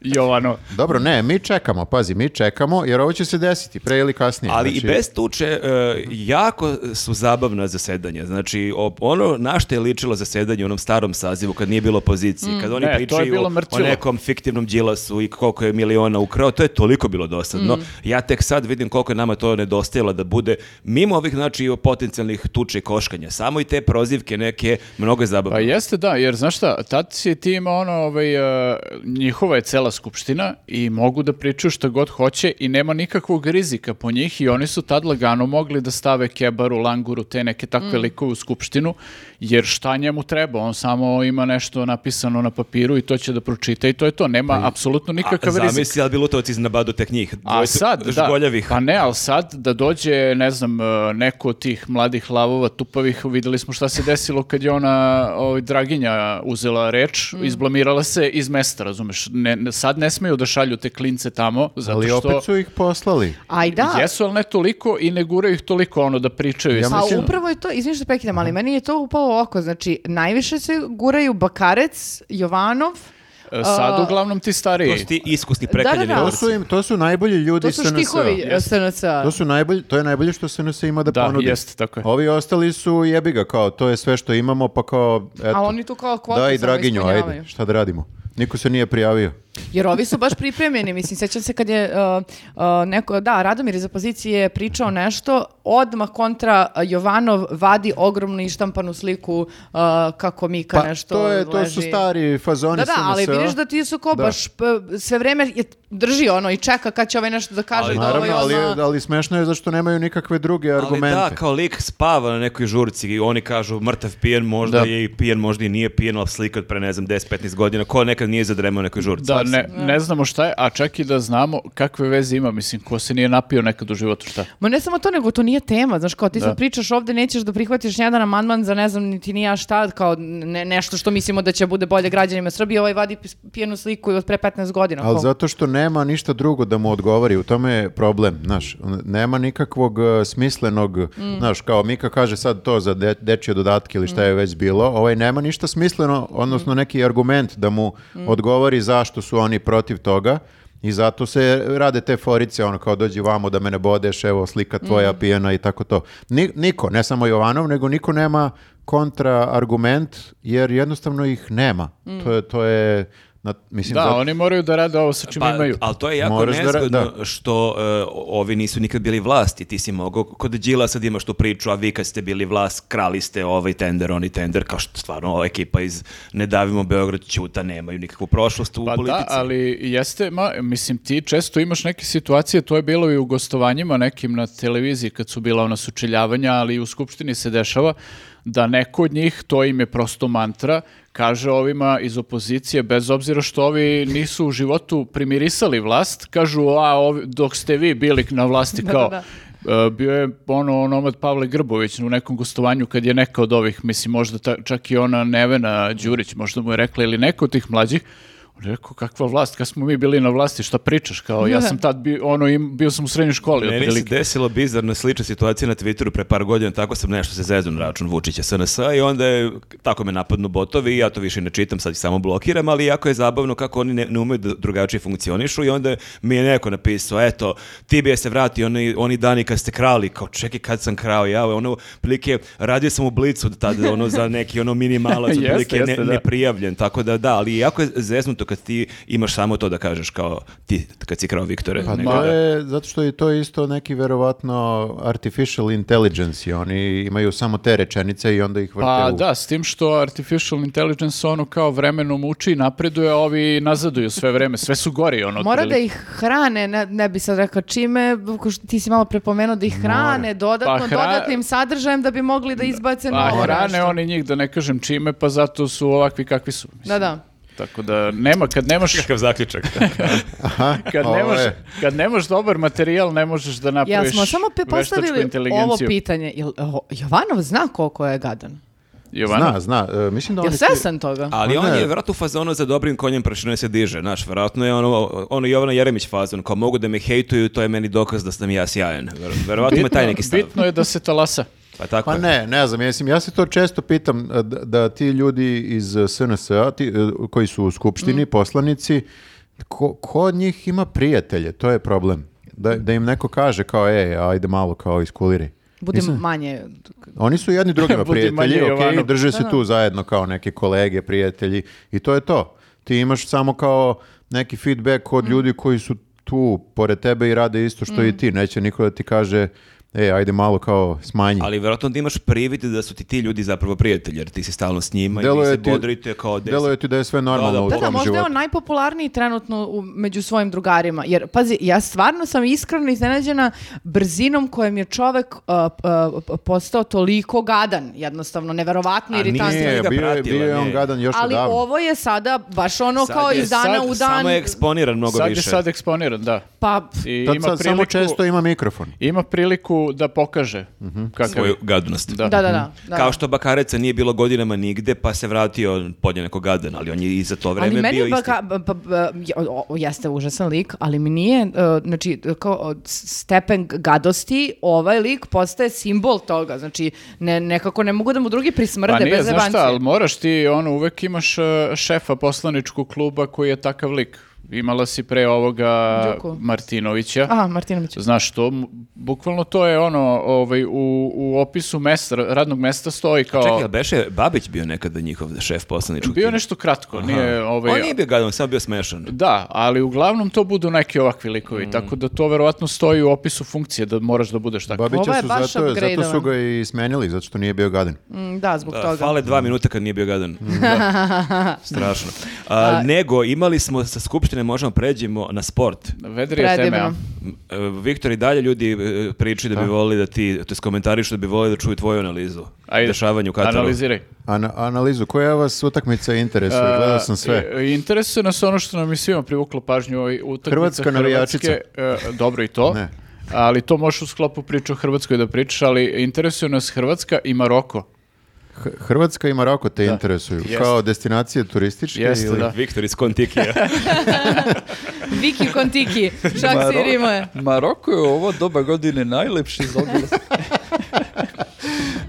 [SPEAKER 2] Jovano.
[SPEAKER 3] Dobro, ne, mi čekamo, pazi, mi čekamo, jer ovo će se desiti, pre ili kasnije.
[SPEAKER 4] Ali
[SPEAKER 3] Znači,
[SPEAKER 4] i bez tuče e, jako su zabavna zasedanja. Znači, o- ono na što je ličilo zasedanje u onom starom sazivu kad nije bilo opozicije, kad oni
[SPEAKER 2] Mm. Ne, to je
[SPEAKER 4] pričaju
[SPEAKER 2] bilo
[SPEAKER 4] o- o
[SPEAKER 2] mrtvilo.
[SPEAKER 4] nekom fiktivnom džilasu i koliko je miliona ukrao, to je toliko bilo dosadno.
[SPEAKER 2] Mm.
[SPEAKER 4] Ja tek sad vidim koliko je nama to nedostajalo da bude mimo ovih znači potencijalnih tuče i koškanja. Samo i te prozivke neke mnogo je zabavno.
[SPEAKER 2] Pa jeste da, jer znaš šta, tad si ti ima ono, ovaj, e, njihova je cela skupština i mogu da pričaju šta god hoće i nema nikakvog rizika po njih i oni su tad lagano mogli da stave kebaru, languru, te neke takve likove u skupštinu, jer šta njemu treba, on samo ima nešto napisano na papiru i to će da pročita i to je to, nema apsolutno
[SPEAKER 4] Pa A
[SPEAKER 2] nikakav rizik.
[SPEAKER 4] zamisli, ali bi Lutovac iznabadu tek njih.
[SPEAKER 2] A
[SPEAKER 4] dvojicu
[SPEAKER 2] sad, da,
[SPEAKER 4] žgoljavih.
[SPEAKER 2] pa ne, ali sad da dođe, ne znam, e, neko od tih mladih lavova tupavih, videli smo šta se desilo kad je ona, ovaj, Draginja uzela reč,
[SPEAKER 1] Mm.
[SPEAKER 2] izblamirala se iz mesta, razumeš, ne, ne- sad ne smeju da šalju te klince tamo, zato
[SPEAKER 3] Ali
[SPEAKER 2] što...
[SPEAKER 3] opet su ih poslali.
[SPEAKER 1] Aj da.
[SPEAKER 2] Jesu, ali ne toliko i ne guraju ih toliko ono da pričaju. i
[SPEAKER 3] Ja
[SPEAKER 2] sve.
[SPEAKER 1] Pa
[SPEAKER 3] Mislim- Mhm.
[SPEAKER 1] upravo je to, izvini što prekidam, ali meni je to upalo u oko. Znači, najviše se guraju Bakarec, Jovanov,
[SPEAKER 2] E, Sad
[SPEAKER 1] a-
[SPEAKER 2] uglavnom ti
[SPEAKER 4] To
[SPEAKER 2] stariji.
[SPEAKER 4] su ti iskusni
[SPEAKER 1] da,
[SPEAKER 4] prekaljeni
[SPEAKER 1] da.
[SPEAKER 3] To
[SPEAKER 4] borci.
[SPEAKER 3] su, im, to su najbolji ljudi
[SPEAKER 1] to su
[SPEAKER 3] SNS-a.
[SPEAKER 1] štikovi SNS-a.
[SPEAKER 3] To su najbolji, to je najbolje što SNS ima da,
[SPEAKER 2] Da,
[SPEAKER 3] ponudi.
[SPEAKER 2] jeste, tako je.
[SPEAKER 3] Ovi ostali su jebi ga kao, to je sve što imamo, pa kao, eto.
[SPEAKER 1] A oni tu kao kvotu
[SPEAKER 3] Da i
[SPEAKER 1] samo
[SPEAKER 3] Draginju,
[SPEAKER 1] ispunjavaju.
[SPEAKER 3] ajde, šta da radimo? Niko se nije prijavio.
[SPEAKER 1] Jer ovi su baš pripremljeni, mislim, sjećam se kad je uh, uh, neko, da, Radomir iz opozicije pričao nešto, odmah kontra uh, Jovanov vadi ogromnu ištampanu sliku uh, kako Mika
[SPEAKER 3] Pa,
[SPEAKER 1] nešto
[SPEAKER 3] to, je, to su
[SPEAKER 1] leži.
[SPEAKER 3] stari fazoni
[SPEAKER 1] Da, da, ali
[SPEAKER 3] SNS-a.
[SPEAKER 1] vidiš da ti su ko
[SPEAKER 3] Da.
[SPEAKER 1] baš p- sve vreme je- drži ono i čeka kad će ovaj nešto da kaže.
[SPEAKER 4] Ali
[SPEAKER 1] da
[SPEAKER 3] Naravno,
[SPEAKER 1] ovaj
[SPEAKER 3] ali,
[SPEAKER 1] ono-
[SPEAKER 3] ali smešno je zašto nemaju nikakve druge argumente.
[SPEAKER 4] Ali da, kao lik spava na nekoj žurci i oni kažu mrtav pijen, možda
[SPEAKER 2] Da.
[SPEAKER 4] je i pijen, možda i nije pijen, ali slika od pre, ne znam, 10-15 godina, ko nekad nije zadremao na nekoj žurci.
[SPEAKER 2] Da, Pa ne, ne znamo šta je, a čak i da znamo kakve veze ima, mislim, ko se nije napio nekad u životu, šta?
[SPEAKER 1] Ma ne samo to, nego to nije tema, znaš, kao ti
[SPEAKER 2] Da.
[SPEAKER 1] sad pričaš ovde, nećeš da prihvatiš jedan amandman za ne znam niti ni ja šta, kao ne, nešto što mislimo da će bude bolje građanima Srbije, ovaj vadi pis- pijenu sliku od pre 15 godina.
[SPEAKER 3] Ali
[SPEAKER 1] kao.
[SPEAKER 3] zato što nema ništa drugo da mu odgovori, u tome je problem, znaš, nema nikakvog e, smislenog, znaš, kao Mika kaže sad to za de, dečje dodatke ili šta je već bilo, ovaj nema ništa smisleno, odnosno neki argument da mu odgovori zašto su oni protiv toga i zato se rade te forice, ono kao dođi vamo da me ne bodeš, evo slika tvoja pijena i tako to. Ni- niko, ne samo Jovanov, nego niko nema kontra argument jer jednostavno ih nema. To je, to je na- mislim, Pa,
[SPEAKER 2] Da,
[SPEAKER 3] zato-
[SPEAKER 2] oni moraju da rade ovo sa čim imaju.
[SPEAKER 4] Pa, ali to je jako
[SPEAKER 3] Moraš da ra-
[SPEAKER 4] nezgodno
[SPEAKER 3] da.
[SPEAKER 4] što e, ovi nisu nikad bili vlasti. Ti si mogao, kod Đila sad imaš tu priču, a vi kad ste bili vlast, krali ste ovaj tender, oni tender, kao što stvarno ova ekipa iz Ne davimo Beograd ćuta, nemaju nikakvu prošlost u
[SPEAKER 2] Pa
[SPEAKER 4] politici.
[SPEAKER 2] da, ali jeste, ma, mislim ti često imaš neke situacije, to je bilo i u gostovanjima nekim na televiziji kad su bila ona sučeljavanja, ali i u skupštini se dešava da neko od njih, to im je prosto mantra, kaže ovima iz opozicije, bez obzira što ovi nisu u životu primirisali vlast, kažu, a ovi- dok ste vi bili na vlasti kao,
[SPEAKER 1] da.
[SPEAKER 2] E, Bio je ono nomad Pavle Grbović u nekom gostovanju kad je neka od ovih, mislim možda ta- čak i ona Nevena Đurić, možda mu je rekla ili neko od tih mlađih, on je rekao kakva vlast, kad smo mi bili na vlasti, šta pričaš, kao ja sam tad bio, ono, im, bio sam u srednjoj školi.
[SPEAKER 4] Meni se
[SPEAKER 2] otprilike.
[SPEAKER 4] desilo bizarno slična situacija na Twitteru pre par godina, tako sam nešto se zeznu na račun Vučića SNS i onda je, tako me napadnu botovi i ja to više ne čitam, sad ih samo blokiram, ali jako je zabavno kako oni ne, ne umeju da drugačije funkcionišu i onda mi je neko napisao, eto, ti bi je se vratio oni, oni dani kad ste krali, kao čekaj kad sam krao ja, ono, prilike, radio sam u Blicu od tada, ono, za neki ono minimalac,
[SPEAKER 2] Jeste,
[SPEAKER 4] otprilike, ne-
[SPEAKER 2] jeste, da.
[SPEAKER 4] neprijavljen, tako da da, ali jako je zeznuto kad ti imaš samo to da kažeš kao ti kad si krao Viktore.
[SPEAKER 3] Pa
[SPEAKER 4] nego
[SPEAKER 3] to
[SPEAKER 4] da-
[SPEAKER 3] je, zato što je to isto neki verovatno artificial intelligence i oni imaju samo te rečenice i onda ih vrte
[SPEAKER 2] Pa
[SPEAKER 3] u...
[SPEAKER 2] da, s tim što artificial intelligence ono kao vremenom uči i napreduje, a ovi nazaduju sve vreme, sve su gori ono.
[SPEAKER 1] Mora da
[SPEAKER 2] otprilike.
[SPEAKER 1] ih hrane, ne, ne bi sad rekao čime, ko što ti si malo prepomenuo da ih hrane dodatno,
[SPEAKER 2] Pa hra-
[SPEAKER 1] dodatnim sadržajem da bi mogli da izbace
[SPEAKER 2] Pa
[SPEAKER 1] novo
[SPEAKER 2] hrane
[SPEAKER 1] nešto.
[SPEAKER 2] oni njih, da ne kažem čime, pa zato su ovakvi kakvi su. mislim.
[SPEAKER 1] Da, da.
[SPEAKER 2] Tako da nema, kad nemaš...
[SPEAKER 4] Kakav zaključak.
[SPEAKER 3] Aha,
[SPEAKER 2] Kad
[SPEAKER 3] ovo
[SPEAKER 2] nemaš,
[SPEAKER 3] je.
[SPEAKER 2] kad nemaš dobar materijal, ne možeš da
[SPEAKER 1] Ja
[SPEAKER 2] napraviš
[SPEAKER 1] smo samo pe-
[SPEAKER 2] veštačku
[SPEAKER 1] postavili
[SPEAKER 2] inteligenciju.
[SPEAKER 1] ovo pitanje. Jel, o, Jovanov zna koliko je gadan.
[SPEAKER 2] Jovana?
[SPEAKER 3] Zna, zna. e, mislim da
[SPEAKER 1] Jel
[SPEAKER 3] oni...
[SPEAKER 1] svesan toga?
[SPEAKER 4] Ali
[SPEAKER 3] Pa
[SPEAKER 4] on
[SPEAKER 3] ne.
[SPEAKER 4] je vjerojatno u fazonu za dobrim konjem prašine se diže, znaš, vjerojatno je ono, ono Jovana Jeremić fazon, kao mogu da me hejtuju, to je meni dokaz da sam ja sjajan. Vjer- Vjerojatno ima taj neki stav.
[SPEAKER 2] Bitno je da se talasa.
[SPEAKER 4] Pa tako
[SPEAKER 3] Pa
[SPEAKER 4] je.
[SPEAKER 3] ne, ne znam, mislim, ja se to često pitam e, da, da ti ljudi iz SNS-a ti, e, koji su u skupštini, poslanici, ko, ko od njih ima prijatelje, to je problem. Da, da im neko kaže kao, ej, ajde malo kao iskuliri.
[SPEAKER 1] Bude
[SPEAKER 3] Nisam-
[SPEAKER 1] manje.
[SPEAKER 3] Oni su jedni drugima
[SPEAKER 2] Budi manje
[SPEAKER 3] prijatelji, okej,
[SPEAKER 2] Jovanov.
[SPEAKER 3] drže se tu zajedno kao neke kolege, prijatelji i to je to. Ti imaš samo kao neki feedback
[SPEAKER 1] Mm.
[SPEAKER 3] od ljudi koji su tu pored tebe i rade isto što i ti. Neće niko da ti kaže, e, ajde malo kao smanji.
[SPEAKER 4] Ali vjerojatno da imaš privid da su ti ti ljudi zapravo prijatelji, jer ti si stalno s njima i vi se bodrite kao deset.
[SPEAKER 3] deluje ti da je sve normalno
[SPEAKER 4] Da, da,
[SPEAKER 3] u
[SPEAKER 1] Da,
[SPEAKER 3] tom
[SPEAKER 1] da, možda je
[SPEAKER 3] životu.
[SPEAKER 1] on najpopularniji trenutno u- među svojim drugarima. Jer, pazi, ja stvarno sam iskreno iznenađena brzinom kojom je čovek uh, uh, postao toliko gadan. Jednostavno, neverovatno
[SPEAKER 4] A
[SPEAKER 1] iritantan.
[SPEAKER 4] nije
[SPEAKER 3] Nije,
[SPEAKER 4] ga
[SPEAKER 3] bio je,
[SPEAKER 4] pratila,
[SPEAKER 3] bio je on
[SPEAKER 4] nije.
[SPEAKER 3] gadan još
[SPEAKER 1] Ali
[SPEAKER 3] odavno.
[SPEAKER 1] ovo je sada baš ono
[SPEAKER 4] Sad
[SPEAKER 1] kao
[SPEAKER 4] je-
[SPEAKER 1] iz dana
[SPEAKER 2] sad
[SPEAKER 1] u dan.
[SPEAKER 4] Samo je eksponiran mnogo
[SPEAKER 2] sad
[SPEAKER 4] više.
[SPEAKER 2] je sad eksponiran, da.
[SPEAKER 1] Pa,
[SPEAKER 2] I
[SPEAKER 3] Sad,
[SPEAKER 2] ima
[SPEAKER 3] sad samo
[SPEAKER 2] priliku,
[SPEAKER 3] često ima mikrofon.
[SPEAKER 2] ima priliku da pokaže kakav je.
[SPEAKER 4] Svoju gadnost.
[SPEAKER 2] Da.
[SPEAKER 1] da, da, da. da.
[SPEAKER 4] Kao što Bakareca nije bilo godinama nigde, pa se vratio podjeneko gadan, ali on je i za to vreme
[SPEAKER 1] ali meni
[SPEAKER 4] bio
[SPEAKER 1] pa,
[SPEAKER 4] isti.
[SPEAKER 1] ka- ba- ba- ba- je- o- o- jeste užasan lik, ali mi nije, e, znači, kao od s- stepen gadosti, ovaj lik postaje simbol toga, znači, ne, nekako ne mogu da mu drugi prismrde
[SPEAKER 2] Pa nije,
[SPEAKER 1] bez
[SPEAKER 2] znaš šta, ali
[SPEAKER 1] jebancije.
[SPEAKER 2] moraš ti, ono, uvek imaš uh, šefa poslaničkog kluba koji je takav lik. Imala si pre ovoga
[SPEAKER 1] Đuku.
[SPEAKER 2] Martinovića.
[SPEAKER 1] Aha, Martinović.
[SPEAKER 2] Znaš to, m- bukvalno to je ono, ovaj, u, u opisu mesta, radnog mesta stoji kao...
[SPEAKER 4] Čekaj, ali beše Babić bio nekada njihov šef poslaničkog
[SPEAKER 2] Bio je
[SPEAKER 4] tima?
[SPEAKER 2] nešto kratko, nije ovaj...
[SPEAKER 4] On nije bio gadan, samo bio smešan.
[SPEAKER 2] Da, ali uglavnom to budu neki ovakvi likovi, tako da to verovatno stoji u opisu funkcije da moraš da budeš tako.
[SPEAKER 1] Ovo
[SPEAKER 3] Babića
[SPEAKER 1] je
[SPEAKER 3] su
[SPEAKER 1] baš
[SPEAKER 3] zato, zato su
[SPEAKER 1] upgradeovan.
[SPEAKER 3] ga i smenili, zato što nije bio gadan.
[SPEAKER 1] Mm, da, zbog
[SPEAKER 4] Da,
[SPEAKER 1] toga.
[SPEAKER 4] Fale dva minuta kad nije bio gadan. Strašno. A, nego, imali smo sa baštine možemo pređemo na sport.
[SPEAKER 2] Vedri je tema.
[SPEAKER 1] Predivno.
[SPEAKER 4] M, e, Viktor i dalje ljudi e, pričaju da bi volili da ti, to jest komentarišu da bi volili da čuju tvoju analizu.
[SPEAKER 2] Ajde,
[SPEAKER 4] Dešavanje u Kataru.
[SPEAKER 2] Analiziraj.
[SPEAKER 3] Ana- analizu, koja vas utakmica interesuje? Gledao sam sve.
[SPEAKER 2] E, Interesuje nas ono što nam je svima privuklo pažnju ovoj utakmici e,
[SPEAKER 3] Hrvatska navijačica.
[SPEAKER 2] dobro i to.
[SPEAKER 3] Ne.
[SPEAKER 2] Ali to možeš u sklopu priče o Hrvatskoj da pričaš, ali interesuje nas Hrvatska i Maroko.
[SPEAKER 3] H- Hrvatska i Maroko te interesuju.
[SPEAKER 2] Jeste.
[SPEAKER 3] Kao destinacije turističke
[SPEAKER 2] Jeste,
[SPEAKER 3] ili...
[SPEAKER 2] da.
[SPEAKER 4] Viktor iz Kontikija.
[SPEAKER 1] Viki kontiki, šak
[SPEAKER 5] Maro-
[SPEAKER 1] si rimoje.
[SPEAKER 5] Maroko je u ovo doba godine najlepši za ogled.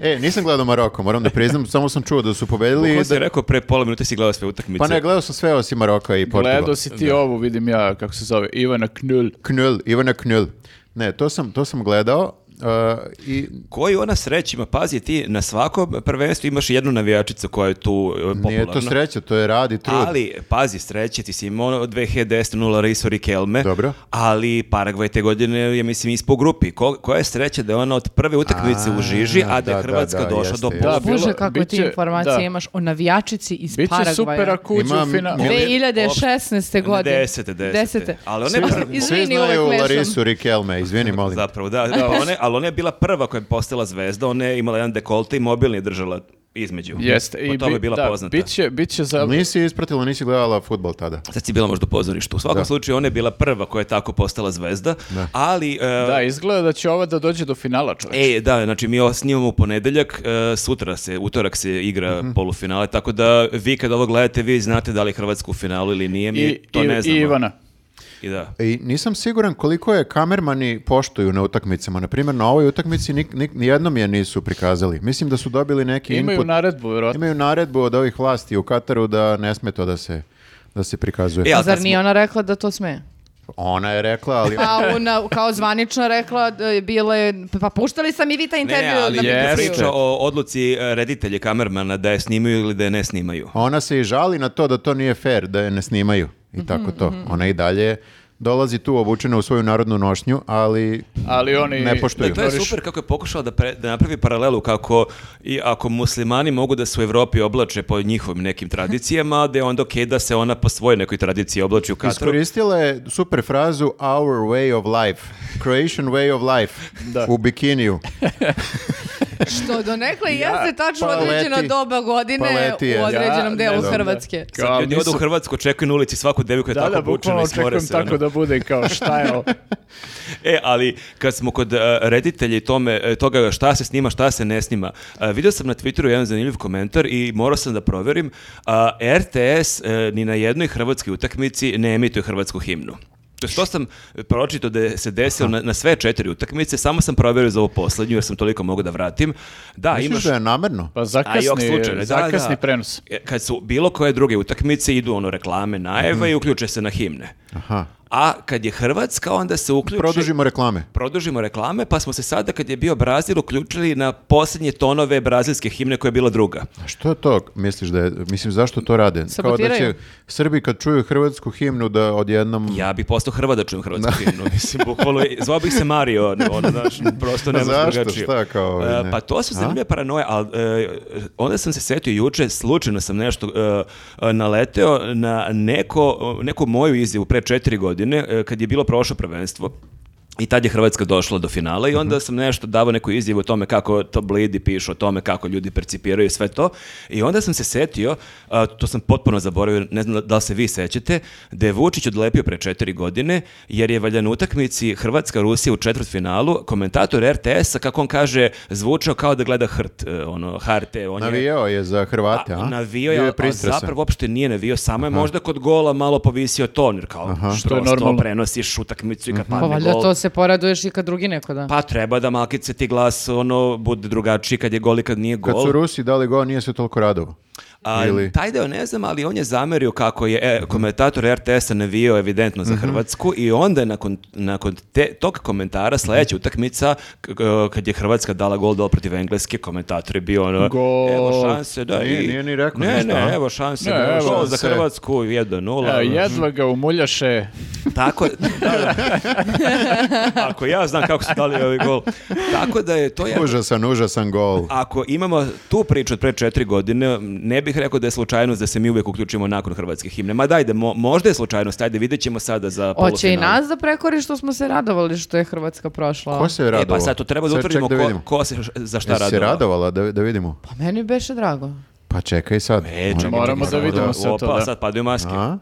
[SPEAKER 3] E, nisam gledao Maroko, moram da priznam, samo sam čuo da su pobedili.
[SPEAKER 4] Kako
[SPEAKER 3] i
[SPEAKER 4] si
[SPEAKER 3] Da...
[SPEAKER 4] rekao, pre pola minuta si gledao sve utakmice.
[SPEAKER 3] Pa ne, gledao sam sve osim Maroka i Portugala.
[SPEAKER 2] Gledao si ti ovu, vidim ja, kako se zove, Ivana Knul.
[SPEAKER 3] Knjul, Ivana Knjul. Ne, to sam, to sam gledao uh, i
[SPEAKER 4] Koji ona sreć ima? Pazi, ti na svakom prvenstvu imaš jednu navijačicu koja je tu e, popularna.
[SPEAKER 3] nije to sreća, to je rad i trud.
[SPEAKER 4] Ali, pazi, sreće, ti si imao ono 2010. nula Riso Rikelme,
[SPEAKER 3] Dobro.
[SPEAKER 4] ali Paragvaj te godine je, mislim, ispod grupi. Ko, koja je sreća da je ona od prve utakmice u Žiži, a da
[SPEAKER 3] da,
[SPEAKER 4] je Hrvatska
[SPEAKER 3] da,
[SPEAKER 4] došla
[SPEAKER 3] jeste,
[SPEAKER 4] do
[SPEAKER 2] jeste. Da,
[SPEAKER 4] polu.
[SPEAKER 2] bilo-
[SPEAKER 1] Bože, kako ti
[SPEAKER 2] biće-
[SPEAKER 1] informacije
[SPEAKER 2] da.
[SPEAKER 1] imaš o navijačici iz
[SPEAKER 2] Biće
[SPEAKER 1] Paragvaja.
[SPEAKER 2] super ako uđe
[SPEAKER 3] Ima
[SPEAKER 2] u final.
[SPEAKER 3] mil-
[SPEAKER 1] 2016. godine.
[SPEAKER 4] Desete, desete. Ali ona je pa-
[SPEAKER 1] Svi-
[SPEAKER 4] prva.
[SPEAKER 3] Svi
[SPEAKER 1] Izvini,
[SPEAKER 3] znaju
[SPEAKER 1] uvek mešam.
[SPEAKER 3] Larisu Rikelme, izvini, molim.
[SPEAKER 4] Zapravo, da. Pa ona je- ali ona je bila prva koja je postala zvezda, ona je imala jedan dekolte i mobilni je držala između.
[SPEAKER 2] Jeste.
[SPEAKER 4] Po tome je Pa bila
[SPEAKER 2] da,
[SPEAKER 4] poznata.
[SPEAKER 2] Biće, biće za...
[SPEAKER 3] Nisi ispratila, nisi gledala futbol tada.
[SPEAKER 4] Sad si bila možda u pozorištu. U svakom slučaju ona je bila prva koja je tako postala zvezda, ali... e,
[SPEAKER 2] Da, izgleda da će ova da dođe do finala, čovječe.
[SPEAKER 4] E, da, znači mi ovo snimamo u ponedeljak, e, sutra se, utorak se igra
[SPEAKER 2] Mhm.
[SPEAKER 4] polufinale, tako da vi kad ovo gledate, vi znate da li je Hrvatska u finalu ili nije, mi
[SPEAKER 2] I,
[SPEAKER 4] to
[SPEAKER 2] i-
[SPEAKER 4] ne znamo.
[SPEAKER 2] I Ivana.
[SPEAKER 4] I da.
[SPEAKER 3] I nisam siguran koliko je kamermani poštuju na utakmicama. Na primjer, na ovoj utakmici nik, nik, nijednom je nisu prikazali. Mislim da su dobili neki
[SPEAKER 2] Imaju
[SPEAKER 3] input.
[SPEAKER 2] naredbu, vjerojatno.
[SPEAKER 3] Imaju naredbu od ovih vlasti u Kataru da ne sme to da se, da se prikazuje.
[SPEAKER 4] E, ali
[SPEAKER 1] Zar
[SPEAKER 4] kad
[SPEAKER 1] nije
[SPEAKER 4] smo-
[SPEAKER 1] ona rekla da to sme?
[SPEAKER 3] Ona je rekla, ali...
[SPEAKER 1] Pa ona kao zvanično rekla da je bila je, pa puštali sam i vi taj
[SPEAKER 4] Ne,
[SPEAKER 1] intervju
[SPEAKER 4] ne, ali
[SPEAKER 1] na
[SPEAKER 2] je
[SPEAKER 4] je
[SPEAKER 1] BBC-u.
[SPEAKER 2] jeste.
[SPEAKER 4] priča o odluci e, reditelja kamermana da je snimaju ili da je ne snimaju.
[SPEAKER 3] Ona se i žali na to da to nije fair, da je ne snimaju i tako to.
[SPEAKER 4] Mhm,
[SPEAKER 3] Ona i dalje dolazi tu obučena u svoju narodnu nošnju, ali
[SPEAKER 2] Ali oni...
[SPEAKER 3] Ne poštuju.
[SPEAKER 4] Da, to je super kako je pokušala da, pre- da napravi paralelu kako i ako muslimani mogu da se u Evropi oblače po njihovim nekim tradicijama, da je onda okej da se ona po svojoj nekoj tradiciji oblači u Kataru.
[SPEAKER 3] iskoristila je super frazu Our way of life, Croatian way of life, u bikiniju.
[SPEAKER 1] Što donekle jeste tačno
[SPEAKER 3] pa
[SPEAKER 1] određena
[SPEAKER 3] leti.
[SPEAKER 1] doba godine
[SPEAKER 3] Pa leti je.
[SPEAKER 1] u određenom
[SPEAKER 2] Ja,
[SPEAKER 1] delu
[SPEAKER 2] ne znam,
[SPEAKER 1] Hrvatske.
[SPEAKER 2] da.
[SPEAKER 4] Sad
[SPEAKER 2] Kao,
[SPEAKER 4] ljudi odu u
[SPEAKER 2] nisam-
[SPEAKER 4] Hrvatsku, čekaju na ulici svaku devu koja je
[SPEAKER 2] Da, da,
[SPEAKER 4] tako obučena
[SPEAKER 2] bukvalno
[SPEAKER 4] i smore
[SPEAKER 2] očekujem
[SPEAKER 4] se. ono.
[SPEAKER 2] tako da bude kao šta je ovo.
[SPEAKER 4] E, ali kad smo kod e, reditelja i tome, e, toga šta se snima, šta se ne snima, e, vidio sam na Twitteru jedan zanimljiv komentar i morao sam da proverim, a, RTS e, ni na jednoj hrvatskoj utakmici ne emituje hrvatsku himnu. To jest, To sam pročito da se desilo na, na sve četiri utakmice, samo sam proverio za ovu poslednju jer sam toliko mogu da vratim. Da,
[SPEAKER 3] Misliš
[SPEAKER 4] imaš...
[SPEAKER 3] da je namerno?
[SPEAKER 2] Pa
[SPEAKER 4] A i
[SPEAKER 2] zakasni,
[SPEAKER 4] ovog slučaja, da,
[SPEAKER 2] zakasni
[SPEAKER 4] da.
[SPEAKER 2] prenos.
[SPEAKER 4] E, Kad su bilo koje druge utakmice, idu ono reklame, najeva i uključe se na himne.
[SPEAKER 3] Aha.
[SPEAKER 4] A kad je Hrvatska, onda se uključi...
[SPEAKER 3] Produžimo reklame.
[SPEAKER 4] Produžimo reklame, pa smo se sada kad je bio Brazil uključili na posljednje tonove brazilske himne koja je bila druga.
[SPEAKER 3] A Pa što je to, misliš da je, mislim, zašto to rade? Kao da
[SPEAKER 1] Sabotiraju.
[SPEAKER 3] će Srbi kad čuju hrvatsku himnu da odjednom...
[SPEAKER 4] Ja bih postao Hrvat da čujem hrvatsku himnu, mislim, bukvalno, zvao bih se Mario, ono, ono, znaš, prosto nema
[SPEAKER 3] Zašto?
[SPEAKER 4] drugačije.
[SPEAKER 3] Šta kao,
[SPEAKER 4] E,
[SPEAKER 3] ne?
[SPEAKER 4] pa to su zanimljive paranoje, ali e, onda sam se setio juče, slučajno sam nešto e, e, naleteo na neko, neku moju izjavu pre četiri godine, e, kad je bilo prošlo prvenstvo, I tad je Hrvatska došla do finala
[SPEAKER 3] Mhm.
[SPEAKER 4] i onda sam nešto davao neku izjavu o tome kako to blidi pišu, o tome kako ljudi percipiraju i sve to. I onda sam se setio, a, to sam potpuno zaboravio, ne znam da li se vi sećate, da je Vučić odlepio pre četiri godine, jer je valjda na utakmici Hrvatska-Rusija u četvrtfinalu komentator RTS-a, kako on kaže, zvučao kao da gleda hrt, e, ono, HRT. On je-
[SPEAKER 3] Navijao je za Hrvate, a?
[SPEAKER 4] Navio
[SPEAKER 3] Bio
[SPEAKER 4] je, a
[SPEAKER 3] pristrasan.
[SPEAKER 4] zapravo uopšte nije navio, samo je možda kod gola malo povisio ton, jer kao što
[SPEAKER 2] To je
[SPEAKER 4] je
[SPEAKER 2] normalno.
[SPEAKER 4] prenosiš utakmicu i kad
[SPEAKER 1] Pa
[SPEAKER 4] padne
[SPEAKER 1] valjda
[SPEAKER 4] gol.
[SPEAKER 1] to se poraduješ i kad drugi neko da.
[SPEAKER 4] Pa treba da malkice ti glas ono bude drugačiji kad je gol i kad nije
[SPEAKER 3] Kad
[SPEAKER 4] gol.
[SPEAKER 3] su Rusi dali go, nije se toliko radovao.
[SPEAKER 4] A,
[SPEAKER 3] Ili-
[SPEAKER 4] Taj deo ne znam, ali on je zamerio kako je e, komentator RTS-a navio evidentno
[SPEAKER 3] Mhm.
[SPEAKER 4] za Hrvatsku i onda je nakon, nakon te, tog komentara sledeća utakmica k- k- kad je Hrvatska dala gol dol protiv Engleske, komentator je bio ono
[SPEAKER 2] Gol.
[SPEAKER 4] evo šanse, da
[SPEAKER 3] Nije-
[SPEAKER 4] i-
[SPEAKER 3] nije ni rekao
[SPEAKER 4] ne,
[SPEAKER 3] ništa,
[SPEAKER 4] ne,
[SPEAKER 3] a?
[SPEAKER 4] evo šanse,
[SPEAKER 2] Ne,
[SPEAKER 4] gol
[SPEAKER 2] evo
[SPEAKER 4] za
[SPEAKER 3] šanse.
[SPEAKER 4] Hrvatsku 1:0.
[SPEAKER 2] E, jedva ga umuljaše. e,
[SPEAKER 4] Tako, da, da. Ako ja znam kako su dali ovaj gol. Tako da je to je
[SPEAKER 3] Užasan, užasan gol.
[SPEAKER 4] Ako imamo tu priču od pre četiri godine, ne bi bih rekao da je slučajnost da se mi uvijek uključimo nakon hrvatske himne. Ma dajde, mo- možda je slučajnost, ajde, vidjet ćemo sada za polufinale.
[SPEAKER 1] Hoće i nas da prekori što smo se radovali što je Hrvatska prošla.
[SPEAKER 3] Ko se je
[SPEAKER 4] E,
[SPEAKER 3] radovao?
[SPEAKER 4] pa sad to treba da
[SPEAKER 3] Sad
[SPEAKER 4] utvrdimo
[SPEAKER 3] ček da
[SPEAKER 4] ko,
[SPEAKER 3] vidimo.
[SPEAKER 4] ko se š- za šta
[SPEAKER 3] Jesi se
[SPEAKER 4] radovao.
[SPEAKER 3] radovala da, da vidimo?
[SPEAKER 1] Pa meni beše drago.
[SPEAKER 3] Pa čekaj sad.
[SPEAKER 4] E,
[SPEAKER 3] Moramo-
[SPEAKER 4] čekaj,
[SPEAKER 2] Moramo
[SPEAKER 4] čekaj,
[SPEAKER 2] da vidimo
[SPEAKER 4] opa,
[SPEAKER 2] sad to, da.
[SPEAKER 4] sad padaju maske.
[SPEAKER 3] A?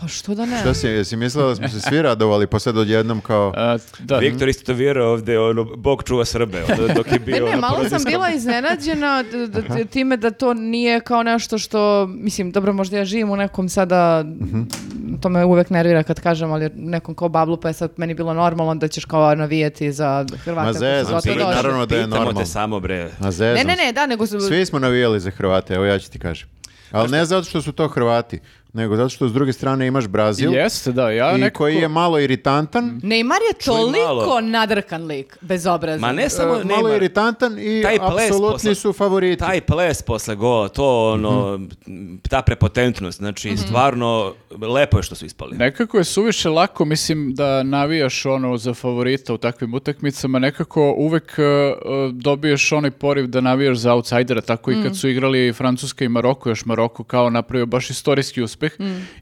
[SPEAKER 1] Pa što da ne?
[SPEAKER 3] Šta si, jesi mislila da smo se svi radovali, pa sad odjednom kao...
[SPEAKER 2] A, da,
[SPEAKER 4] Viktor isto to vjeruje ovdje, ono, Bog čuva Srbe, ono, dok je bio...
[SPEAKER 1] Ne, ne,
[SPEAKER 4] ono,
[SPEAKER 1] malo sam
[SPEAKER 4] porodiljsko-
[SPEAKER 1] bila iznenađena d- d- time da to nije kao nešto što, mislim, dobro, možda ja živim u nekom sada,
[SPEAKER 3] Mhm.
[SPEAKER 1] to me uvek nervira kad kažem, ali nekom kao bablu, pa je sad meni bilo normalno da ćeš kao navijeti za Hrvata.
[SPEAKER 3] Ma
[SPEAKER 1] koji su
[SPEAKER 3] zezam
[SPEAKER 1] zato
[SPEAKER 3] se,
[SPEAKER 1] došli.
[SPEAKER 3] naravno da je
[SPEAKER 4] Pitamo
[SPEAKER 3] normalno.
[SPEAKER 4] te samo, bre.
[SPEAKER 3] A zezam
[SPEAKER 1] Ne, ne,
[SPEAKER 3] se.
[SPEAKER 1] ne, da, nego su...
[SPEAKER 3] Svi smo navijali za Hrvate, evo ja ću ti kažem. Ali ne zato što su to Hrvati, nego zato što s druge strane imaš Brazil
[SPEAKER 2] Jeste, da, ja
[SPEAKER 3] i
[SPEAKER 2] nekako...
[SPEAKER 3] koji je malo
[SPEAKER 4] Mm.
[SPEAKER 3] iritantan,
[SPEAKER 1] Neymar je
[SPEAKER 4] Čuj malo.
[SPEAKER 1] toliko nadrkan lik, bez obraza.
[SPEAKER 4] Ma ne samo
[SPEAKER 3] e, malo
[SPEAKER 4] Neymar.
[SPEAKER 3] iritantan i
[SPEAKER 4] Taj ples posle-
[SPEAKER 3] apsolutni su favoriti.
[SPEAKER 4] Taj ples posle gola, to ono,
[SPEAKER 3] Mhm.
[SPEAKER 4] ta prepotentnost, znači
[SPEAKER 1] Mhm.
[SPEAKER 4] stvarno lepo je što su ispali.
[SPEAKER 2] Nekako je suviše lako, mislim, da navijaš ono za favorita u takvim utakmicama, nekako uvek e, e, dobiješ onaj poriv da navijaš za outsidera, tako i
[SPEAKER 4] Mm.
[SPEAKER 2] kad su igrali Francuska i Maroko, još Maroko kao napravio baš istorijski uspeh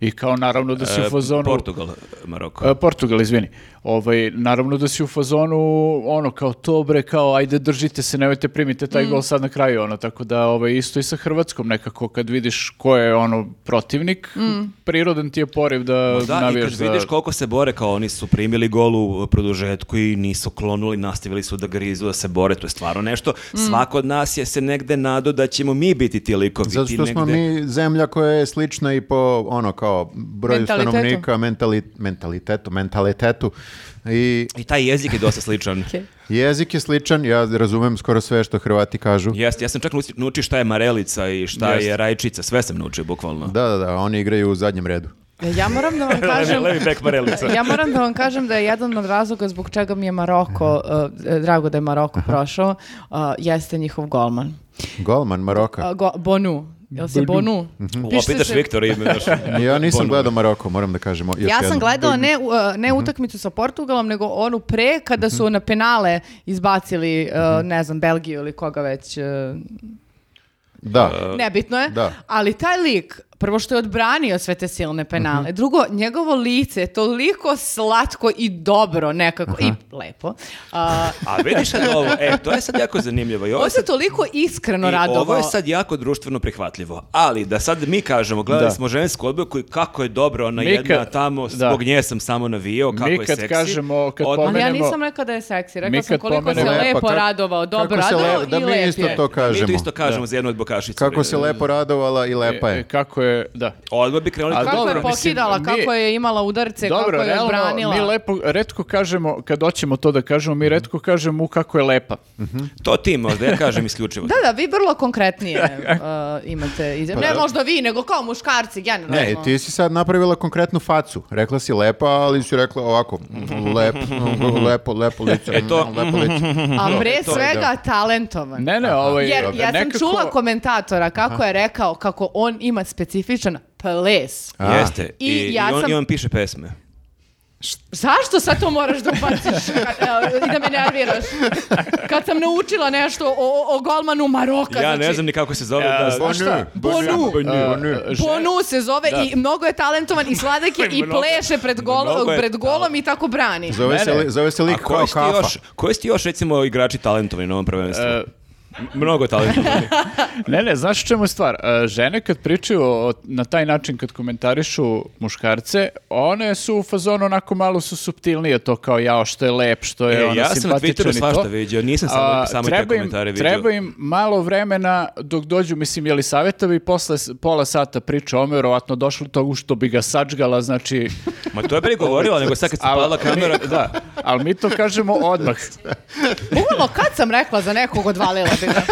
[SPEAKER 2] i kao naravno da si u
[SPEAKER 4] Mm. E,
[SPEAKER 2] fazonu...
[SPEAKER 4] Portugal, Maroko.
[SPEAKER 2] E, Portugal, izvini. Ovaj, naravno da si u fazonu, ono, kao to bre, kao ajde držite se, nemojte primite
[SPEAKER 1] Mm.
[SPEAKER 2] taj gol sad na kraju, ono, tako da ovaj, isto i sa Hrvatskom nekako kad vidiš ko je ono protivnik,
[SPEAKER 1] Mm.
[SPEAKER 2] prirodan ti je poriv da
[SPEAKER 4] Da, i
[SPEAKER 2] navijaš
[SPEAKER 4] kad
[SPEAKER 2] za...
[SPEAKER 4] vidiš koliko se bore, kao oni su primili gol u produžetku i nisu klonuli, nastavili su da grizu, da se bore, to je stvarno nešto. Svako od nas je se negde nado da ćemo mi biti ti likovi.
[SPEAKER 3] Zato
[SPEAKER 4] ti
[SPEAKER 3] što smo
[SPEAKER 4] negde-
[SPEAKER 3] mi zemlja koja je slična i po ono kao broju
[SPEAKER 1] Mentalitetu.
[SPEAKER 3] stanovnika, mentali, mentalitetu, mentalitetu i
[SPEAKER 4] I taj jezik je dosta sličan.
[SPEAKER 1] E,
[SPEAKER 3] jezik je sličan, ja razumem skoro sve što Hrvati kažu.
[SPEAKER 4] Jeste, ja sam čak nauči- naučio šta je marelica i šta je rajčica, sve sam naučio bukvalno.
[SPEAKER 3] Da, da, da, oni igraju u zadnjem redu.
[SPEAKER 1] Ja moram da vam kažem...
[SPEAKER 4] E, Levi bek marelica.
[SPEAKER 1] Ja moram da vam kažem da je jedan od razloga zbog čega mi je Maroko,
[SPEAKER 3] Mhm.
[SPEAKER 1] eh, drago da je Maroko prošao, eh, jeste njihov golman.
[SPEAKER 3] Golman Maroka.
[SPEAKER 1] Eh, go- Bonu. Jel si Bonu?
[SPEAKER 3] Mhm.
[SPEAKER 1] Piše
[SPEAKER 4] Opitaš
[SPEAKER 1] se-
[SPEAKER 4] Viktora ime, znaš.
[SPEAKER 3] Ja nisam
[SPEAKER 4] Bono.
[SPEAKER 3] gledao Maroko, moram da kažem. još Mhm.
[SPEAKER 1] Ja sam
[SPEAKER 3] jednom.
[SPEAKER 1] gledala ne, u- eh, ne utakmicu sa Portugalom, nego onu pre kada
[SPEAKER 3] Mhm.
[SPEAKER 1] su na penale izbacili, eh, ne znam, Belgiju ili koga već. eh,
[SPEAKER 3] Da.
[SPEAKER 4] E,
[SPEAKER 1] Nebitno je.
[SPEAKER 3] Da.
[SPEAKER 1] Ali taj lik, prvo što je odbranio sve te silne penale,
[SPEAKER 3] Mhm.
[SPEAKER 1] drugo, njegovo lice je toliko slatko i dobro nekako,
[SPEAKER 3] Mhm.
[SPEAKER 1] i lepo. A,
[SPEAKER 4] A vidiš sad ovo, e, to je sad jako zanimljivo. I ovo
[SPEAKER 1] on
[SPEAKER 4] je sad
[SPEAKER 1] se toliko iskreno
[SPEAKER 4] I
[SPEAKER 1] radovao.
[SPEAKER 4] ovo je sad jako društveno prihvatljivo. Ali da sad mi kažemo, gledali smo žensku odbojku i kako je dobro ona
[SPEAKER 2] Mi
[SPEAKER 4] jedna
[SPEAKER 2] kad-
[SPEAKER 4] tamo,
[SPEAKER 2] da.
[SPEAKER 4] zbog nje sam samo navijao, kako
[SPEAKER 2] Mi
[SPEAKER 4] je
[SPEAKER 2] kad
[SPEAKER 4] seksi.
[SPEAKER 2] kažemo, kad
[SPEAKER 4] Od-
[SPEAKER 1] Ali ja
[SPEAKER 2] pomenemo-
[SPEAKER 1] nisam rekla da je seksi, rekla
[SPEAKER 2] Mi
[SPEAKER 1] sam
[SPEAKER 2] kad
[SPEAKER 1] koliko se
[SPEAKER 2] pomenemo-
[SPEAKER 3] Lepa,
[SPEAKER 1] lepo
[SPEAKER 3] kak-
[SPEAKER 1] radovao, dobro
[SPEAKER 3] Pa kako se
[SPEAKER 1] radovao
[SPEAKER 3] le- da
[SPEAKER 1] i
[SPEAKER 3] mi
[SPEAKER 1] lep
[SPEAKER 3] isto
[SPEAKER 1] je.
[SPEAKER 3] to
[SPEAKER 4] pa Mi to
[SPEAKER 3] kažemo.
[SPEAKER 4] isto kažemo za jednu odbojkašicu.
[SPEAKER 3] Kako se lepo radovala i
[SPEAKER 4] pa
[SPEAKER 3] lepa
[SPEAKER 2] E,
[SPEAKER 3] je.
[SPEAKER 2] Kako je, da.
[SPEAKER 4] Odmah bi krenuli.
[SPEAKER 2] A
[SPEAKER 1] Kako
[SPEAKER 2] dobro,
[SPEAKER 1] je
[SPEAKER 2] mislim,
[SPEAKER 1] pokidala,
[SPEAKER 2] mi-
[SPEAKER 1] kako je imala udarce,
[SPEAKER 2] Dobro,
[SPEAKER 1] kako je
[SPEAKER 2] realno,
[SPEAKER 1] odbranila.
[SPEAKER 2] mi lepo, redko kažemo, kad hoćemo to da kažemo,
[SPEAKER 4] Mhm.
[SPEAKER 2] mi redko kažemo u kako je lepa.
[SPEAKER 4] To ti možda, ja kažem isključivo.
[SPEAKER 1] Da, da, vi vrlo konkretnije uh, imate. iz-
[SPEAKER 2] Pa
[SPEAKER 1] ne, možda vi, nego kao muškarci, generalno.
[SPEAKER 3] Ne, ti si sad napravila konkretnu facu. Rekla si lepa, ali si rekla ovako, lepo, lepo, lepo lice,
[SPEAKER 4] E
[SPEAKER 3] lepo
[SPEAKER 4] to-
[SPEAKER 3] lice.
[SPEAKER 1] A pre
[SPEAKER 3] to je,
[SPEAKER 1] svega talentovan.
[SPEAKER 2] Ne, ne, ovaj,
[SPEAKER 1] Jer ja sam
[SPEAKER 2] nekako-
[SPEAKER 1] čula komentatora kako je rekao kako on ima specifičan ples.
[SPEAKER 3] A.
[SPEAKER 4] Jeste. I,
[SPEAKER 1] I ja
[SPEAKER 4] i on,
[SPEAKER 1] sam-
[SPEAKER 4] i on piše pesme.
[SPEAKER 1] Zašto sad to moraš da ubaciš kad- evo, i da me nerviraš? Kad sam naučila nešto o, o- o golmanu Maroka.
[SPEAKER 4] ja ne
[SPEAKER 1] znači,
[SPEAKER 4] znam ni kako se zove. da,
[SPEAKER 3] Bonu,
[SPEAKER 2] šta?
[SPEAKER 1] Bonu.
[SPEAKER 3] Bonu.
[SPEAKER 1] Bonu se zove i mnogo je talentovan i sladak je i
[SPEAKER 4] Mnogo-
[SPEAKER 1] pleše pred, gol-
[SPEAKER 4] mnogo je
[SPEAKER 1] pred golom i tako brani.
[SPEAKER 3] Zove se,
[SPEAKER 2] Ne, ne.
[SPEAKER 3] li- zove se
[SPEAKER 4] A
[SPEAKER 3] lik kao
[SPEAKER 4] koji ste
[SPEAKER 3] kafa.
[SPEAKER 4] još, koji ste još recimo igrači talentovani na ovom prvenstvu?
[SPEAKER 2] E,
[SPEAKER 4] Mnogo talentovani.
[SPEAKER 2] Ne, ne, znaš u čemu je stvar? E, Žene kad pričaju o- na taj način kad komentarišu muškarce, one su u fazonu onako malo su suptilnije to kao jao što je lep, što je
[SPEAKER 4] E,
[SPEAKER 2] ono
[SPEAKER 4] ja sam na
[SPEAKER 2] simpatičan
[SPEAKER 4] Twitteru
[SPEAKER 2] i to.
[SPEAKER 4] svašta viđao, nisam samo-
[SPEAKER 2] A,
[SPEAKER 4] samo te
[SPEAKER 2] treba im-
[SPEAKER 4] komentare viđao.
[SPEAKER 2] Treba im malo vremena dok dođu, mislim, jeli savjetovi posle s- pola sata priča o ome, vjerovatno došli do toga što bi ga sačgala, znači...
[SPEAKER 4] Ma to je bre govorila, nego sad kad se
[SPEAKER 2] al-
[SPEAKER 4] palila kamera,
[SPEAKER 2] mi- da, ali mi to kažemo odmah.
[SPEAKER 1] Bukvalno kad sam rekla za nekog odvalila bi ga.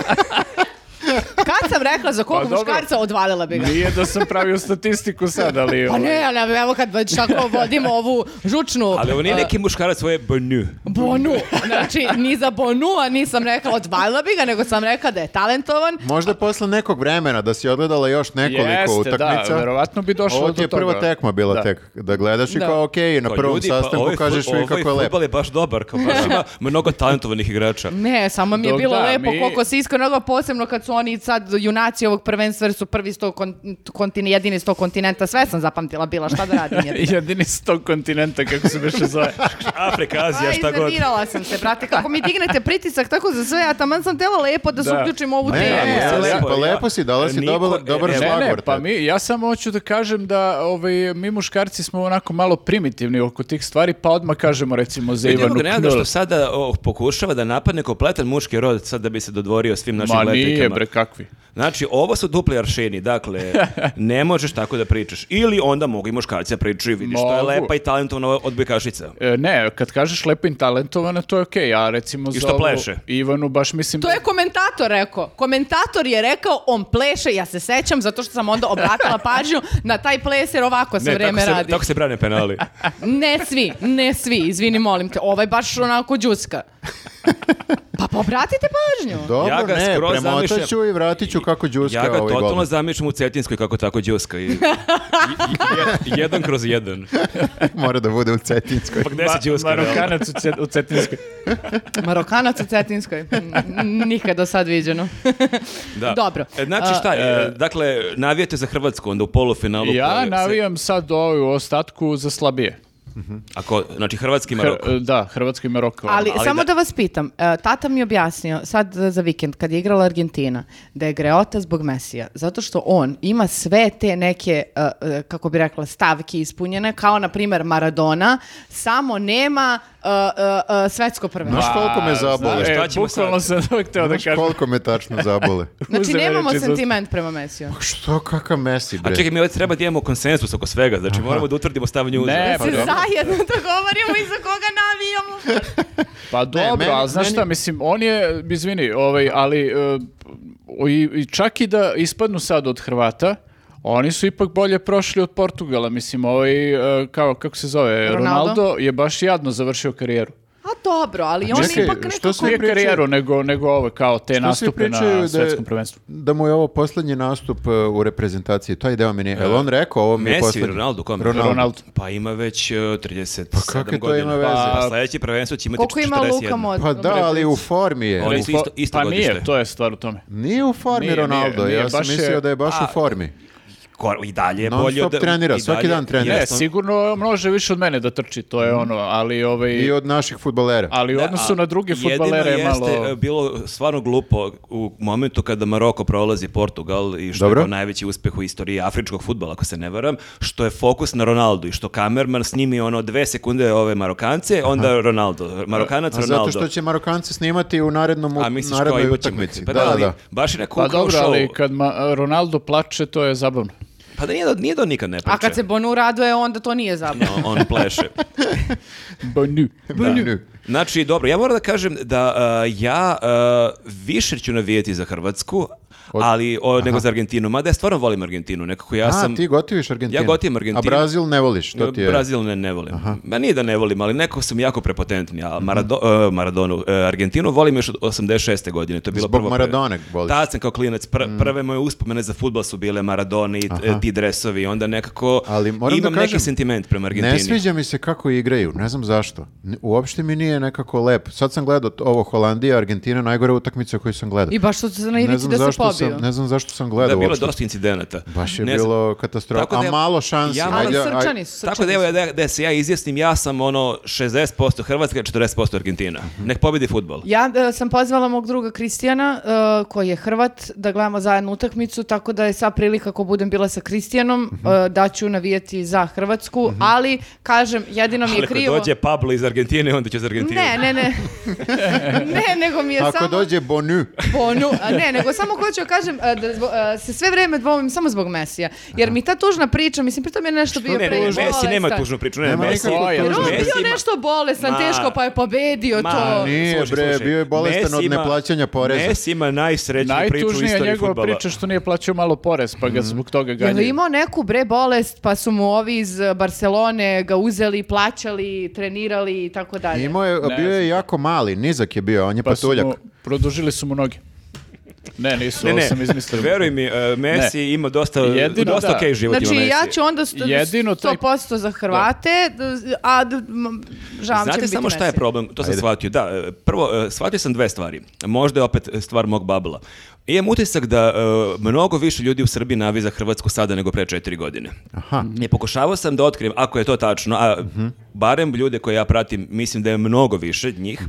[SPEAKER 1] Kad sam rekla za
[SPEAKER 2] Pa
[SPEAKER 1] kog
[SPEAKER 2] dobro.
[SPEAKER 1] muškarca odvalila bi ga.
[SPEAKER 2] Nije da sam pravio statistiku sad, ali...
[SPEAKER 1] Pa
[SPEAKER 2] ovaj,
[SPEAKER 1] ne, ali evo kad već tako vodimo ovu žučnu...
[SPEAKER 4] ali ovo nije
[SPEAKER 1] uh,
[SPEAKER 4] neki muškarac, ovo je bnu.
[SPEAKER 1] Bonu. Znači, ni za Bonua nisam rekla odvalila bi ga, nego sam rekla da je talentovan.
[SPEAKER 3] Možda posle nekog vremena da si odgledala još nekoliko
[SPEAKER 2] ovaj, Jeste, da,
[SPEAKER 3] utakmica.
[SPEAKER 2] verovatno bi došlo
[SPEAKER 3] Ovo
[SPEAKER 2] do
[SPEAKER 3] ti je
[SPEAKER 2] toga.
[SPEAKER 3] prva tekma bila
[SPEAKER 2] Da.
[SPEAKER 3] tek. Da gledaš i
[SPEAKER 1] Da.
[SPEAKER 3] kao okej, na
[SPEAKER 4] Kao,
[SPEAKER 3] prvom
[SPEAKER 4] ljudi, pa
[SPEAKER 3] sastanku
[SPEAKER 4] ovaj fu-
[SPEAKER 3] kažeš vi kako je
[SPEAKER 4] Ovaj
[SPEAKER 3] lepo.
[SPEAKER 4] fudbal je baš dobar, kao baš ima mnogo talentovanih igrača.
[SPEAKER 1] Ne, samo mi je
[SPEAKER 2] Dok
[SPEAKER 1] bilo
[SPEAKER 2] da,
[SPEAKER 1] lepo
[SPEAKER 2] mi-
[SPEAKER 1] koliko se iskreno, posebno kad su oni sad junaci ovog prvenstva jer su prvi sto kon, kontin- jedini sto kontinenta, sve sam zapamtila bila, šta da radim jedino.
[SPEAKER 2] Jedini s tog kontinenta, kako se beše zove.
[SPEAKER 4] Afrika, Azija,
[SPEAKER 1] A,
[SPEAKER 4] šta god.
[SPEAKER 1] iznervirala sam se, brate, kako mi dignete pritisak, tako za sve, a taman sam tela lepo da, se
[SPEAKER 2] Da.
[SPEAKER 1] uključim u ovu
[SPEAKER 3] Ne,
[SPEAKER 1] temu.
[SPEAKER 3] ne,
[SPEAKER 4] Ja-
[SPEAKER 3] ali-
[SPEAKER 4] lepo,
[SPEAKER 3] pa
[SPEAKER 4] ja-
[SPEAKER 3] lepo si, dala si
[SPEAKER 4] Niko- e,
[SPEAKER 3] dobar- dobar
[SPEAKER 4] ne, ne,
[SPEAKER 2] Ne, ne,
[SPEAKER 3] šlagvort.
[SPEAKER 2] pa mi, ja samo hoću da kažem da ovaj, mi muškarci smo onako malo primitivni oko tih stvari, pa odmah kažemo recimo za
[SPEAKER 4] Vidimo
[SPEAKER 2] Ivanu
[SPEAKER 4] ga Nenada
[SPEAKER 2] Knul.
[SPEAKER 4] što sada o, pokušava da napadne kompletan muški rod sad da bi se dodvorio svim našim
[SPEAKER 2] Ma
[SPEAKER 4] letikama.
[SPEAKER 2] nije bre, kakvi.
[SPEAKER 4] Znači, ovo su dupli aršini, dakle, ne možeš tako da pričaš. Ili onda mogu i muškarci da pričaju, vidiš, to je
[SPEAKER 2] Mogu.
[SPEAKER 4] lepa i talentovna odbojkašica.
[SPEAKER 2] E, Ne, kad kažeš lepo i talentovana, to je okej. Ja recimo
[SPEAKER 4] I
[SPEAKER 2] za
[SPEAKER 4] što
[SPEAKER 2] ovu
[SPEAKER 4] pleše.
[SPEAKER 2] Ivanu baš mislim...
[SPEAKER 1] To
[SPEAKER 2] da-
[SPEAKER 1] je komentator rekao. Komentator je rekao, on pleše, ja se sećam, zato što sam onda obratila pažnju na taj ples, jer ovako se
[SPEAKER 4] tako
[SPEAKER 1] vreme
[SPEAKER 4] se,
[SPEAKER 1] radi.
[SPEAKER 4] tako se brane penali.
[SPEAKER 1] Ne svi, ne svi, izvini, molim te. Ovaj baš onako džuska. Pa pobratite pažnju.
[SPEAKER 3] Dobro,
[SPEAKER 4] Ja ga
[SPEAKER 3] ne,
[SPEAKER 4] skroz
[SPEAKER 3] premotat ću
[SPEAKER 4] zamišljam.
[SPEAKER 3] i vratit ću kako džuska
[SPEAKER 4] ja ga
[SPEAKER 3] ovaj
[SPEAKER 4] totalno
[SPEAKER 3] gol.
[SPEAKER 4] zamišljam u Cetinskoj kako tako džuska. I, i- i- jed- jedan kroz jedan.
[SPEAKER 3] Mora da bude u Cetinskoj.
[SPEAKER 4] Pa gde si džuska? realno?
[SPEAKER 2] Marokanac u, Cet- u Cetinskoj.
[SPEAKER 1] Marokanac u Cetinskoj. N- Nikada sad viđeno.
[SPEAKER 4] Da.
[SPEAKER 1] Dobro.
[SPEAKER 4] E, Znači šta, e, dakle, navijate za Hrvatsku onda u polufinalu. koje
[SPEAKER 2] Ja
[SPEAKER 4] se-
[SPEAKER 2] navijam sad ovaj u ostatku za slabije.
[SPEAKER 4] Ako, znači, Hrvatski
[SPEAKER 2] Hr-
[SPEAKER 4] Maroko.
[SPEAKER 2] da, Hrvatska i Maroko.
[SPEAKER 1] Ali,
[SPEAKER 4] ali
[SPEAKER 1] samo
[SPEAKER 4] da-
[SPEAKER 1] da... vas pitam, e, tata mi je objasnio sad e, za vikend kad je igrala Argentina da je greota zbog Mesija, zato što on ima sve te neke, e, e, kako bi rekla, stavke ispunjene, kao na primjer Maradona, samo nema e, e, e, svetsko prvenstvo.
[SPEAKER 3] Znaš koliko me zabole?
[SPEAKER 4] znaš,
[SPEAKER 2] E,
[SPEAKER 4] šta ćemo
[SPEAKER 2] bukvalno sam uvek teo da
[SPEAKER 3] Znaš
[SPEAKER 2] kažem.
[SPEAKER 3] koliko me tačno zabole?
[SPEAKER 1] Znači
[SPEAKER 2] Uze me
[SPEAKER 1] nemamo
[SPEAKER 2] reči za-
[SPEAKER 1] sentiment prema Mesiju.
[SPEAKER 3] Što, kakav Messi,
[SPEAKER 4] A
[SPEAKER 3] bre?
[SPEAKER 4] čekaj, mi ovdje treba da imamo konsensus oko svega, znači moramo da utvrdimo stav njuza.
[SPEAKER 2] Ne,
[SPEAKER 1] Se
[SPEAKER 2] pa dobro.
[SPEAKER 1] zajedno dogovorimo i za koga navijamo.
[SPEAKER 2] Pa dobro,
[SPEAKER 3] meni-
[SPEAKER 2] a znaš
[SPEAKER 3] meni-
[SPEAKER 2] šta, mislim, on je, izvini, ovaj, ali e, o- i, i čak i da ispadnu sad od Hrvata, oni su ipak bolje prošli od Portugala, mislim, ovaj, e, kao, kako se zove,
[SPEAKER 1] Ronaldo.
[SPEAKER 2] Ronaldo, je baš jadno završio karijeru.
[SPEAKER 1] A dobro, ali on
[SPEAKER 3] čekaj,
[SPEAKER 1] ipak
[SPEAKER 3] što
[SPEAKER 1] nekako...
[SPEAKER 3] se-
[SPEAKER 2] Nije
[SPEAKER 3] pričaju-
[SPEAKER 2] karijeru, nego, nego ovo, kao te
[SPEAKER 3] Što svi
[SPEAKER 2] nastupe
[SPEAKER 3] pričaju da
[SPEAKER 2] na
[SPEAKER 3] je-
[SPEAKER 2] svetskom prvenstvu.
[SPEAKER 3] Da mu je ovo posljednji nastup e, u reprezentaciji, taj deo meni je, jel on rekao ovo mi je
[SPEAKER 4] E, Messi,
[SPEAKER 3] poslednji?
[SPEAKER 4] Ronaldo, kome?
[SPEAKER 3] Ronaldo.
[SPEAKER 2] pa- Ronaldo.
[SPEAKER 4] Pa ima već e, 37
[SPEAKER 3] kakve to
[SPEAKER 4] godina.
[SPEAKER 3] ima veze?
[SPEAKER 4] Pa sledeći prvenstvo će imati
[SPEAKER 1] Koliko
[SPEAKER 4] 41.
[SPEAKER 1] ima Luka Mod?
[SPEAKER 3] Pa da, ali u formi je.
[SPEAKER 4] Oni su isto, isto
[SPEAKER 2] pa
[SPEAKER 4] godište.
[SPEAKER 2] nije, to je stvar u tome.
[SPEAKER 3] Nije u formi
[SPEAKER 2] Nije, nije,
[SPEAKER 3] Ronaldo,
[SPEAKER 2] nije,
[SPEAKER 3] ja sam
[SPEAKER 2] baš je-
[SPEAKER 3] mislio da je baš u formi.
[SPEAKER 4] Ko- I dalje je
[SPEAKER 3] Non
[SPEAKER 4] bolje
[SPEAKER 3] stop trenira,
[SPEAKER 4] i
[SPEAKER 3] svaki dan trenira.
[SPEAKER 2] Ne,
[SPEAKER 4] Jasno.
[SPEAKER 2] sigurno množe više od mene da trči, to je ono, ali ovaj...
[SPEAKER 3] I od naših futbolera.
[SPEAKER 2] Ali u odnosu
[SPEAKER 4] A
[SPEAKER 2] na druge
[SPEAKER 4] jedino
[SPEAKER 2] futbalere je malo...
[SPEAKER 4] jeste e, bilo stvarno glupo u momentu kada Maroko prolazi Portugal i što
[SPEAKER 3] Dobro.
[SPEAKER 4] je bio najveći uspeh u istoriji afričkog futbala, ako se ne varam, što je fokus na Ronaldo i što kamerman snimi ono dve sekunde ove Marokance, onda Ronaldo. Marokanac,
[SPEAKER 3] A
[SPEAKER 4] Ronaldo.
[SPEAKER 3] zato što će Marokance snimati u narednom,
[SPEAKER 4] A misliš kao
[SPEAKER 3] narednoj
[SPEAKER 4] imaćemo
[SPEAKER 3] utakmici.
[SPEAKER 4] ih? Pa
[SPEAKER 3] da, da,
[SPEAKER 4] ali
[SPEAKER 3] da.
[SPEAKER 4] Baš je neko
[SPEAKER 2] Pa
[SPEAKER 4] kao
[SPEAKER 2] dobro,
[SPEAKER 4] show.
[SPEAKER 2] ali kad ma- Ronaldo plače, to je zabavno.
[SPEAKER 4] Pa da nije, da nije da on nikad ne priča.
[SPEAKER 1] A kad se Bonu raduje, onda to nije zabavno.
[SPEAKER 4] On- on pleše.
[SPEAKER 2] Bonu.
[SPEAKER 3] Da.
[SPEAKER 4] Znači, dobro, ja moram da kažem da a, ja a, više ću navijeti za Hrvatsku, ali o, nego za Argentinu. Mada ja stvarno volim Argentinu, nekako ja
[SPEAKER 3] A,
[SPEAKER 4] sam...
[SPEAKER 3] ti gotiviš Argentinu?
[SPEAKER 4] Ja gotivim Argentinu.
[SPEAKER 3] A Brazil ne voliš, što ti je?
[SPEAKER 4] Brazil ne, ne volim. Ma nije da ne volim, ali nekako sam jako prepotentni.
[SPEAKER 3] Mhm.
[SPEAKER 4] A Marado, e, Maradonu, e, Argentinu volim još od 86. godine. To je bilo
[SPEAKER 3] Zbog
[SPEAKER 4] prvo-
[SPEAKER 3] Maradone voliš. Mm.
[SPEAKER 4] Tad sam kao klinac. Pr- Prve moje uspomene za futbol su bile Maradona i e, ti dresovi. Onda nekako
[SPEAKER 3] Ali moram
[SPEAKER 4] imam
[SPEAKER 3] da kažem,
[SPEAKER 4] neki sentiment prema Argentini.
[SPEAKER 3] Ne sviđa mi se kako igraju, ne znam zašto. N- Uopšte mi nije nekako lep. Sad sam gledao t- ovo Holandija, Argentina, najgore utakmice koju sam gledao.
[SPEAKER 1] I baš što se na
[SPEAKER 3] ne
[SPEAKER 1] ivici
[SPEAKER 3] znam
[SPEAKER 1] da se
[SPEAKER 3] zašto
[SPEAKER 1] pobio.
[SPEAKER 3] sam, ne znam zašto sam
[SPEAKER 4] Da,
[SPEAKER 3] gledao
[SPEAKER 4] bilo je
[SPEAKER 3] uopšte.
[SPEAKER 4] dosta incidenata.
[SPEAKER 3] Baš je
[SPEAKER 4] Ne znam.
[SPEAKER 3] bilo katastrofa.
[SPEAKER 4] Tako da
[SPEAKER 3] A
[SPEAKER 4] ja-
[SPEAKER 3] malo šansi.
[SPEAKER 4] ja-
[SPEAKER 1] Ali
[SPEAKER 3] Ajde, aj-
[SPEAKER 1] srčani su, srčani
[SPEAKER 4] Tako da
[SPEAKER 1] su.
[SPEAKER 4] evo da, da se ja izjasnim, ja sam ono 60% Hrvatska, 40% Argentina. Nek pobedi futbol.
[SPEAKER 1] Ja e, sam pozvala mog druga Kristijana, e, koji je Hrvat, da gledamo zajedno utakmicu, tako da je sva prilika ako budem bila sa Kristijanom,
[SPEAKER 3] Mhm.
[SPEAKER 1] e, da ću navijeti za Hrvatsku, ali, kažem, jedino mi je
[SPEAKER 4] Ali ako
[SPEAKER 1] krivo...
[SPEAKER 4] dođe pa Pablo iz Argentine, onda će za Argentinu.
[SPEAKER 1] Ne, ne, ne. ne, nego mi je
[SPEAKER 3] Ako
[SPEAKER 1] samo...
[SPEAKER 3] dođe Bonu,
[SPEAKER 1] Bonu, a ne, nego samo hoću da kažem e, da zbo- e, se sve vreme dvomim samo zbog Mesija, jer mi ta tužna priča, mislim, pritom je nešto bio
[SPEAKER 4] Ne, ne,
[SPEAKER 1] pre-
[SPEAKER 4] ne, Messi nema
[SPEAKER 1] bolestan.
[SPEAKER 4] tužnu priču, ne,
[SPEAKER 3] Nema
[SPEAKER 4] Messi.
[SPEAKER 3] nikakvu
[SPEAKER 2] tužnu
[SPEAKER 1] Jer on
[SPEAKER 2] Messi
[SPEAKER 1] bio
[SPEAKER 4] ima-
[SPEAKER 1] nešto bolestan,
[SPEAKER 4] Ma-
[SPEAKER 1] teško, pa je pobedio to.
[SPEAKER 3] Nije, bre, bio je bolestan
[SPEAKER 4] Messi
[SPEAKER 3] od
[SPEAKER 4] ima-
[SPEAKER 3] neplaćanja poreza.
[SPEAKER 4] Messi ima najsrećniju priču u
[SPEAKER 2] Najtužnija je
[SPEAKER 4] istoriji
[SPEAKER 2] njegova
[SPEAKER 4] futbola.
[SPEAKER 2] priča što nije plaćao malo porez, pa
[SPEAKER 4] Mhm.
[SPEAKER 2] ga zbog toga
[SPEAKER 1] Je li
[SPEAKER 2] ganjaju.
[SPEAKER 1] imao neku bre bolest, pa su mu ovi iz eh, Barcelone ga uzeli, plaćali, trenirali i tako dalje.
[SPEAKER 3] imao je, bio je jako mali, nizak je bio, on je
[SPEAKER 2] Pa su
[SPEAKER 3] patuljak.
[SPEAKER 2] mu- produžili su mu noge. Ne, nisu,
[SPEAKER 4] Ne,
[SPEAKER 2] ovo
[SPEAKER 4] ne,
[SPEAKER 2] sam izmislio.
[SPEAKER 4] veruj mi, e, Messi ima dosta,
[SPEAKER 2] Jedino
[SPEAKER 4] dosta
[SPEAKER 2] da.
[SPEAKER 4] okej život ima
[SPEAKER 1] Znači,
[SPEAKER 4] Messi.
[SPEAKER 1] ja ću onda sto,
[SPEAKER 2] Jedino taj-
[SPEAKER 1] 100% za Hrvate, d- a d- m- žao mi će
[SPEAKER 4] Znate
[SPEAKER 1] biti
[SPEAKER 4] samo šta je
[SPEAKER 1] Messi.
[SPEAKER 4] problem, to sam shvatio. Da, e, prvo, e, shvatio sam dve stvari. Možda je opet stvar mog babla. Imam utisak da e, mnogo više ljudi u Srbiji navi za Hrvatsku sada nego pre četiri godine.
[SPEAKER 3] Aha.
[SPEAKER 4] Ne pokušavao sam da otkrijem, ako je to tačno, a barem ljude koje ja pratim, mislim da je mnogo više njih,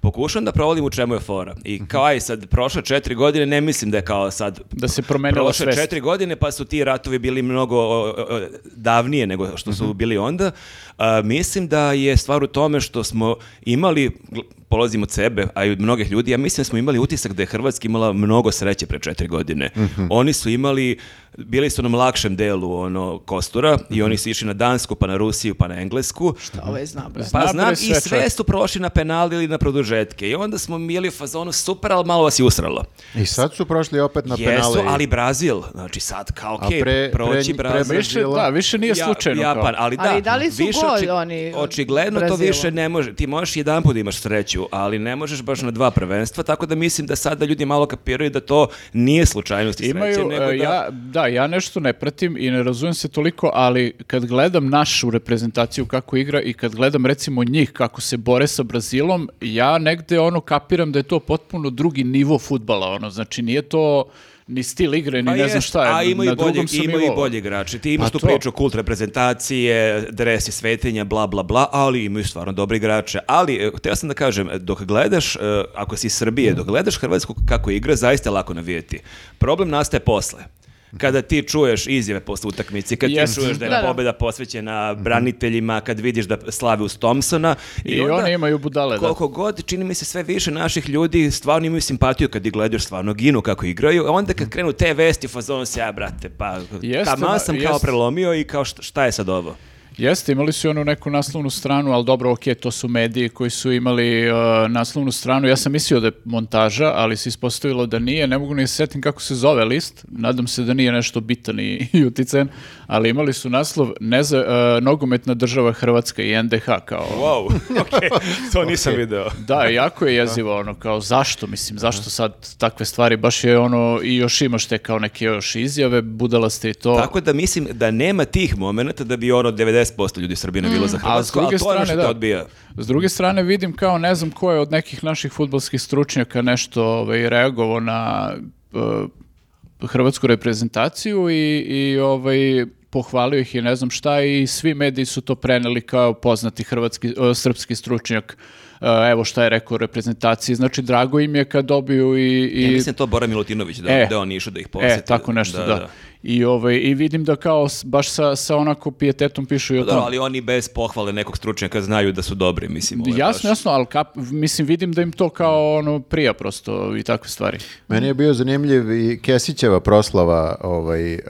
[SPEAKER 4] pokušam da provalim u čemu je fora. I kao aj sad, prošle četiri godine, ne mislim da je kao sad
[SPEAKER 2] Da se promenila
[SPEAKER 4] prošle
[SPEAKER 2] svest.
[SPEAKER 4] četiri godine pa su ti ratovi bili mnogo o, o, o, davnije nego što
[SPEAKER 2] Mhm.
[SPEAKER 4] su bili onda. A, mislim da je stvar u tome što smo imali, gl- polazim od sebe, a i od mnogih ljudi, ja mislim da smo imali utisak da je Hrvatska imala mnogo sreće pre četiri godine.
[SPEAKER 2] Mhm.
[SPEAKER 4] Oni su imali, bili su na lakšem delu ono, kostura
[SPEAKER 2] Mhm.
[SPEAKER 4] i oni su išli na Dansku, pa na Rusiju, pa na Englesku.
[SPEAKER 1] Ovo je znao, ovaj bre.
[SPEAKER 4] Pa
[SPEAKER 2] Napred
[SPEAKER 4] znam, i
[SPEAKER 2] sve,
[SPEAKER 4] sve
[SPEAKER 2] čovječe.
[SPEAKER 4] su prošli na penal ili na produžetke. I onda smo bili u fazonu super, ali malo vas je usralo.
[SPEAKER 3] I sad su prošli opet na penale.
[SPEAKER 4] Jesu,
[SPEAKER 3] i-
[SPEAKER 4] ali Brazil, znači sad kao
[SPEAKER 3] A
[SPEAKER 4] okej,
[SPEAKER 3] pre-
[SPEAKER 4] proći
[SPEAKER 3] pre-
[SPEAKER 4] Brazil. znači,
[SPEAKER 3] pre-
[SPEAKER 2] Više, da, više nije
[SPEAKER 4] Ja-
[SPEAKER 2] slučajno. kao.
[SPEAKER 4] Japan, ali da,
[SPEAKER 1] Ali da li su
[SPEAKER 4] više
[SPEAKER 1] gol
[SPEAKER 4] oči-
[SPEAKER 1] oni od
[SPEAKER 4] Očigledno to
[SPEAKER 1] Brazila?
[SPEAKER 4] više ne može, ti možeš jedan put da imaš sreću, ali ne možeš baš na dva prvenstva, tako da mislim da sada ljudi malo kapiraju da to nije slučajnost i sreće,
[SPEAKER 2] Imaju,
[SPEAKER 4] nego da...
[SPEAKER 2] e, ja, da, ja nešto ne pratim i ne razumijem se toliko, ali kad gledam našu reprezentaciju kako igra i kad gledam recimo njih kako se bore sa Brazilom, ja negde ono kapiram da je to potpuno drugi nivo futbala, ono, znači nije to ni stil igre, ni
[SPEAKER 4] Pa
[SPEAKER 2] ne znam
[SPEAKER 4] jest,
[SPEAKER 2] šta je,
[SPEAKER 4] a ima i
[SPEAKER 2] na
[SPEAKER 4] bolje,
[SPEAKER 2] drugom sam
[SPEAKER 4] ima i
[SPEAKER 2] nivou.
[SPEAKER 4] bolje igrače. Ti imaš
[SPEAKER 2] Pa
[SPEAKER 4] tu
[SPEAKER 2] to.
[SPEAKER 4] priču kult reprezentacije, dresi, svetinja, bla, bla, bla, ali imaju stvarno dobri igrače. Ali, e, htio sam da kažem, e, dok gledaš, e, ako si iz Srbije, dok gledaš Hrvatsku kako igra, zaista je lako navijeti. Problem nastaje posle. Kada ti čuješ izjave posle utakmice, kad ti
[SPEAKER 2] Jest.
[SPEAKER 4] čuješ da je
[SPEAKER 1] Da, da.
[SPEAKER 4] pobjeda posvećena braniteljima, kad vidiš da slavi uz Thompsona.
[SPEAKER 2] I oni imaju budale, da.
[SPEAKER 4] Koliko god, čini mi se sve više naših ljudi stvarno imaju simpatiju kad ih gledaju stvarno ginu kako igraju, a onda kad krenu te vesti u fazonu se, ja brate, pa
[SPEAKER 2] Mhm. Jeste,
[SPEAKER 4] taman sam
[SPEAKER 2] da,
[SPEAKER 4] kao
[SPEAKER 2] jeste.
[SPEAKER 4] prelomio i kao šta, šta je sad ovo?
[SPEAKER 2] Jeste, imali su i onu neku naslovnu stranu, ali dobro, ok, to su mediji koji su imali uh, naslovnu stranu. Ja sam mislio da je montaža, ali se ispostavilo da nije. Ne mogu ni se setim kako se zove list. Nadam se da nije nešto bitan i, i uticen, ali imali su naslov neza, uh, Nogometna država Hrvatska i NDH kao...
[SPEAKER 4] Wow, okej, to nisam video.
[SPEAKER 2] Da, jako je jezivo ono, kao zašto, mislim, zašto sad takve stvari, baš je ono, i još imaš te kao neke još izjave, budala ste i to.
[SPEAKER 4] Tako da mislim da nema tih momenata da bi ono 90% ljudi Srbina bilo za Hrvatsku,
[SPEAKER 2] Mhm. A s druge
[SPEAKER 4] ali to je ono što
[SPEAKER 2] strane,
[SPEAKER 4] te
[SPEAKER 2] da.
[SPEAKER 4] odbija.
[SPEAKER 2] S druge strane vidim kao ne znam ko je od nekih naših futbolskih stručnjaka nešto ovaj, reagovao na e, hrvatsku reprezentaciju i, i ovaj, pohvalio ih i ne znam šta i svi mediji su to preneli kao poznati hrvatski, e, srpski stručnjak e, evo šta je rekao o reprezentaciji. Znači, drago im je kad dobiju i... i
[SPEAKER 4] Ja mislim da je to Bora Milutinović, da,
[SPEAKER 2] E.
[SPEAKER 4] da on išao da ih posjeti.
[SPEAKER 2] E, tako nešto, da. I, ovaj, I vidim da kao s- baš sa, sa onako pijetetom pišu i o
[SPEAKER 4] Pa dobro,
[SPEAKER 2] tom.
[SPEAKER 4] ali oni bez pohvale nekog stručnjaka znaju da su dobri, mislim. ovo je Ovaj, baš-
[SPEAKER 2] Jasno, jasno, ali kap, mislim, vidim da im to kao ono prija prosto i takve stvari.
[SPEAKER 3] Meni je bio zanimljiv i Kesićeva proslava ovaj, eh,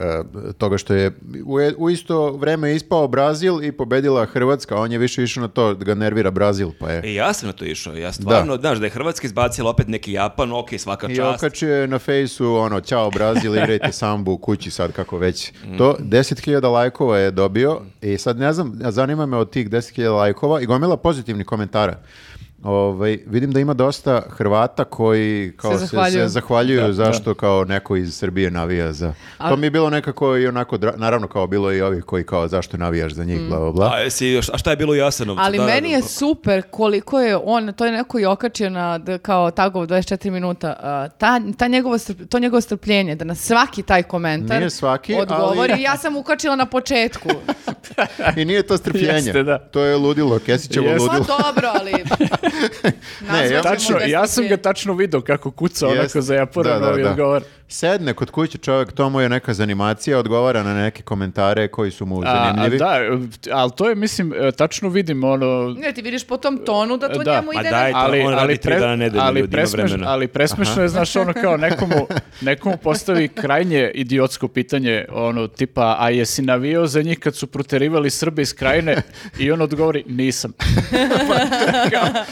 [SPEAKER 3] toga što je u, e, u isto vreme ispao Brazil i pobedila Hrvatska, a on je više išao na to da ga nervira Brazil, pa je.
[SPEAKER 4] E, ja sam na to išao, ja stvarno, znaš, da je Hrvatska izbacila opet neki Japan, ok, svaka
[SPEAKER 3] I
[SPEAKER 4] čast.
[SPEAKER 3] okačio je na fejsu ono, ćao Brazil, igrajte sambu u kući sad kako već.
[SPEAKER 2] Mm.
[SPEAKER 3] To 10.000 lajkova je dobio i sad ne znam, zanima me od tih 10.000 lajkova i gomila pozitivnih komentara. Ovaj, vidim da ima dosta Hrvata koji kao se, se zahvaljuju,
[SPEAKER 1] zahvaljuju.
[SPEAKER 3] zašto kao neko iz Srbije navija za... To mi je bilo nekako i onako, dra- naravno kao bilo i ovih koji kao zašto navijaš za
[SPEAKER 2] Mm.
[SPEAKER 3] njih, bla, bla, bla.
[SPEAKER 4] A, jesi, a šta je bilo u Jasenovcu?
[SPEAKER 1] Ali
[SPEAKER 4] Da, da,
[SPEAKER 1] meni je
[SPEAKER 4] da.
[SPEAKER 1] super koliko je on, to je neko i okačio na d- kao tagov 24 minuta, a, ta, ta njegovo, strp- to njegovo strpljenje, da na svaki taj komentar
[SPEAKER 3] Nije svaki, ali-
[SPEAKER 1] odgovori. Ja sam ukačila na početku.
[SPEAKER 3] I nije to strpljenje.
[SPEAKER 2] Jeste, da.
[SPEAKER 3] To je ludilo, Kesićevo
[SPEAKER 2] Jeste.
[SPEAKER 1] Pa
[SPEAKER 3] ludilo.
[SPEAKER 1] dobro, ali... Nazvat
[SPEAKER 3] ja-
[SPEAKER 1] ćemo
[SPEAKER 2] Tačno,
[SPEAKER 1] ga
[SPEAKER 2] ja sam ga
[SPEAKER 1] strpljenje.
[SPEAKER 2] tačno vidio kako kuca
[SPEAKER 3] Jeste.
[SPEAKER 2] onako za Japoran
[SPEAKER 3] Da, da,
[SPEAKER 2] ovaj
[SPEAKER 3] da.
[SPEAKER 2] odgovor.
[SPEAKER 3] Sedne kod kuće čovjek, to mu je neka zanimacija, odgovara na neke komentare koji su mu
[SPEAKER 2] A, a
[SPEAKER 3] zanimljivi.
[SPEAKER 2] da, e, ali to je, mislim, e, tačno vidim ono...
[SPEAKER 1] Ne, ti vidiš po tom tonu da to
[SPEAKER 2] Da.
[SPEAKER 1] njemu
[SPEAKER 4] Ma
[SPEAKER 1] ide
[SPEAKER 4] daj,
[SPEAKER 1] na...
[SPEAKER 2] Ali,
[SPEAKER 4] on
[SPEAKER 2] ali,
[SPEAKER 4] radi tri
[SPEAKER 2] pre-
[SPEAKER 4] dana nedeljno,
[SPEAKER 2] ali,
[SPEAKER 4] ljudi, ima
[SPEAKER 2] presmeš-
[SPEAKER 4] vremena.
[SPEAKER 2] ali presmešno je, znaš, ono kao nekomu, nekomu postavi krajnje idiotsko pitanje, ono, tipa, a jesi navio za njih kad su proterivali Srbe iz krajine? I on odgovori, nisam. Pa, kao-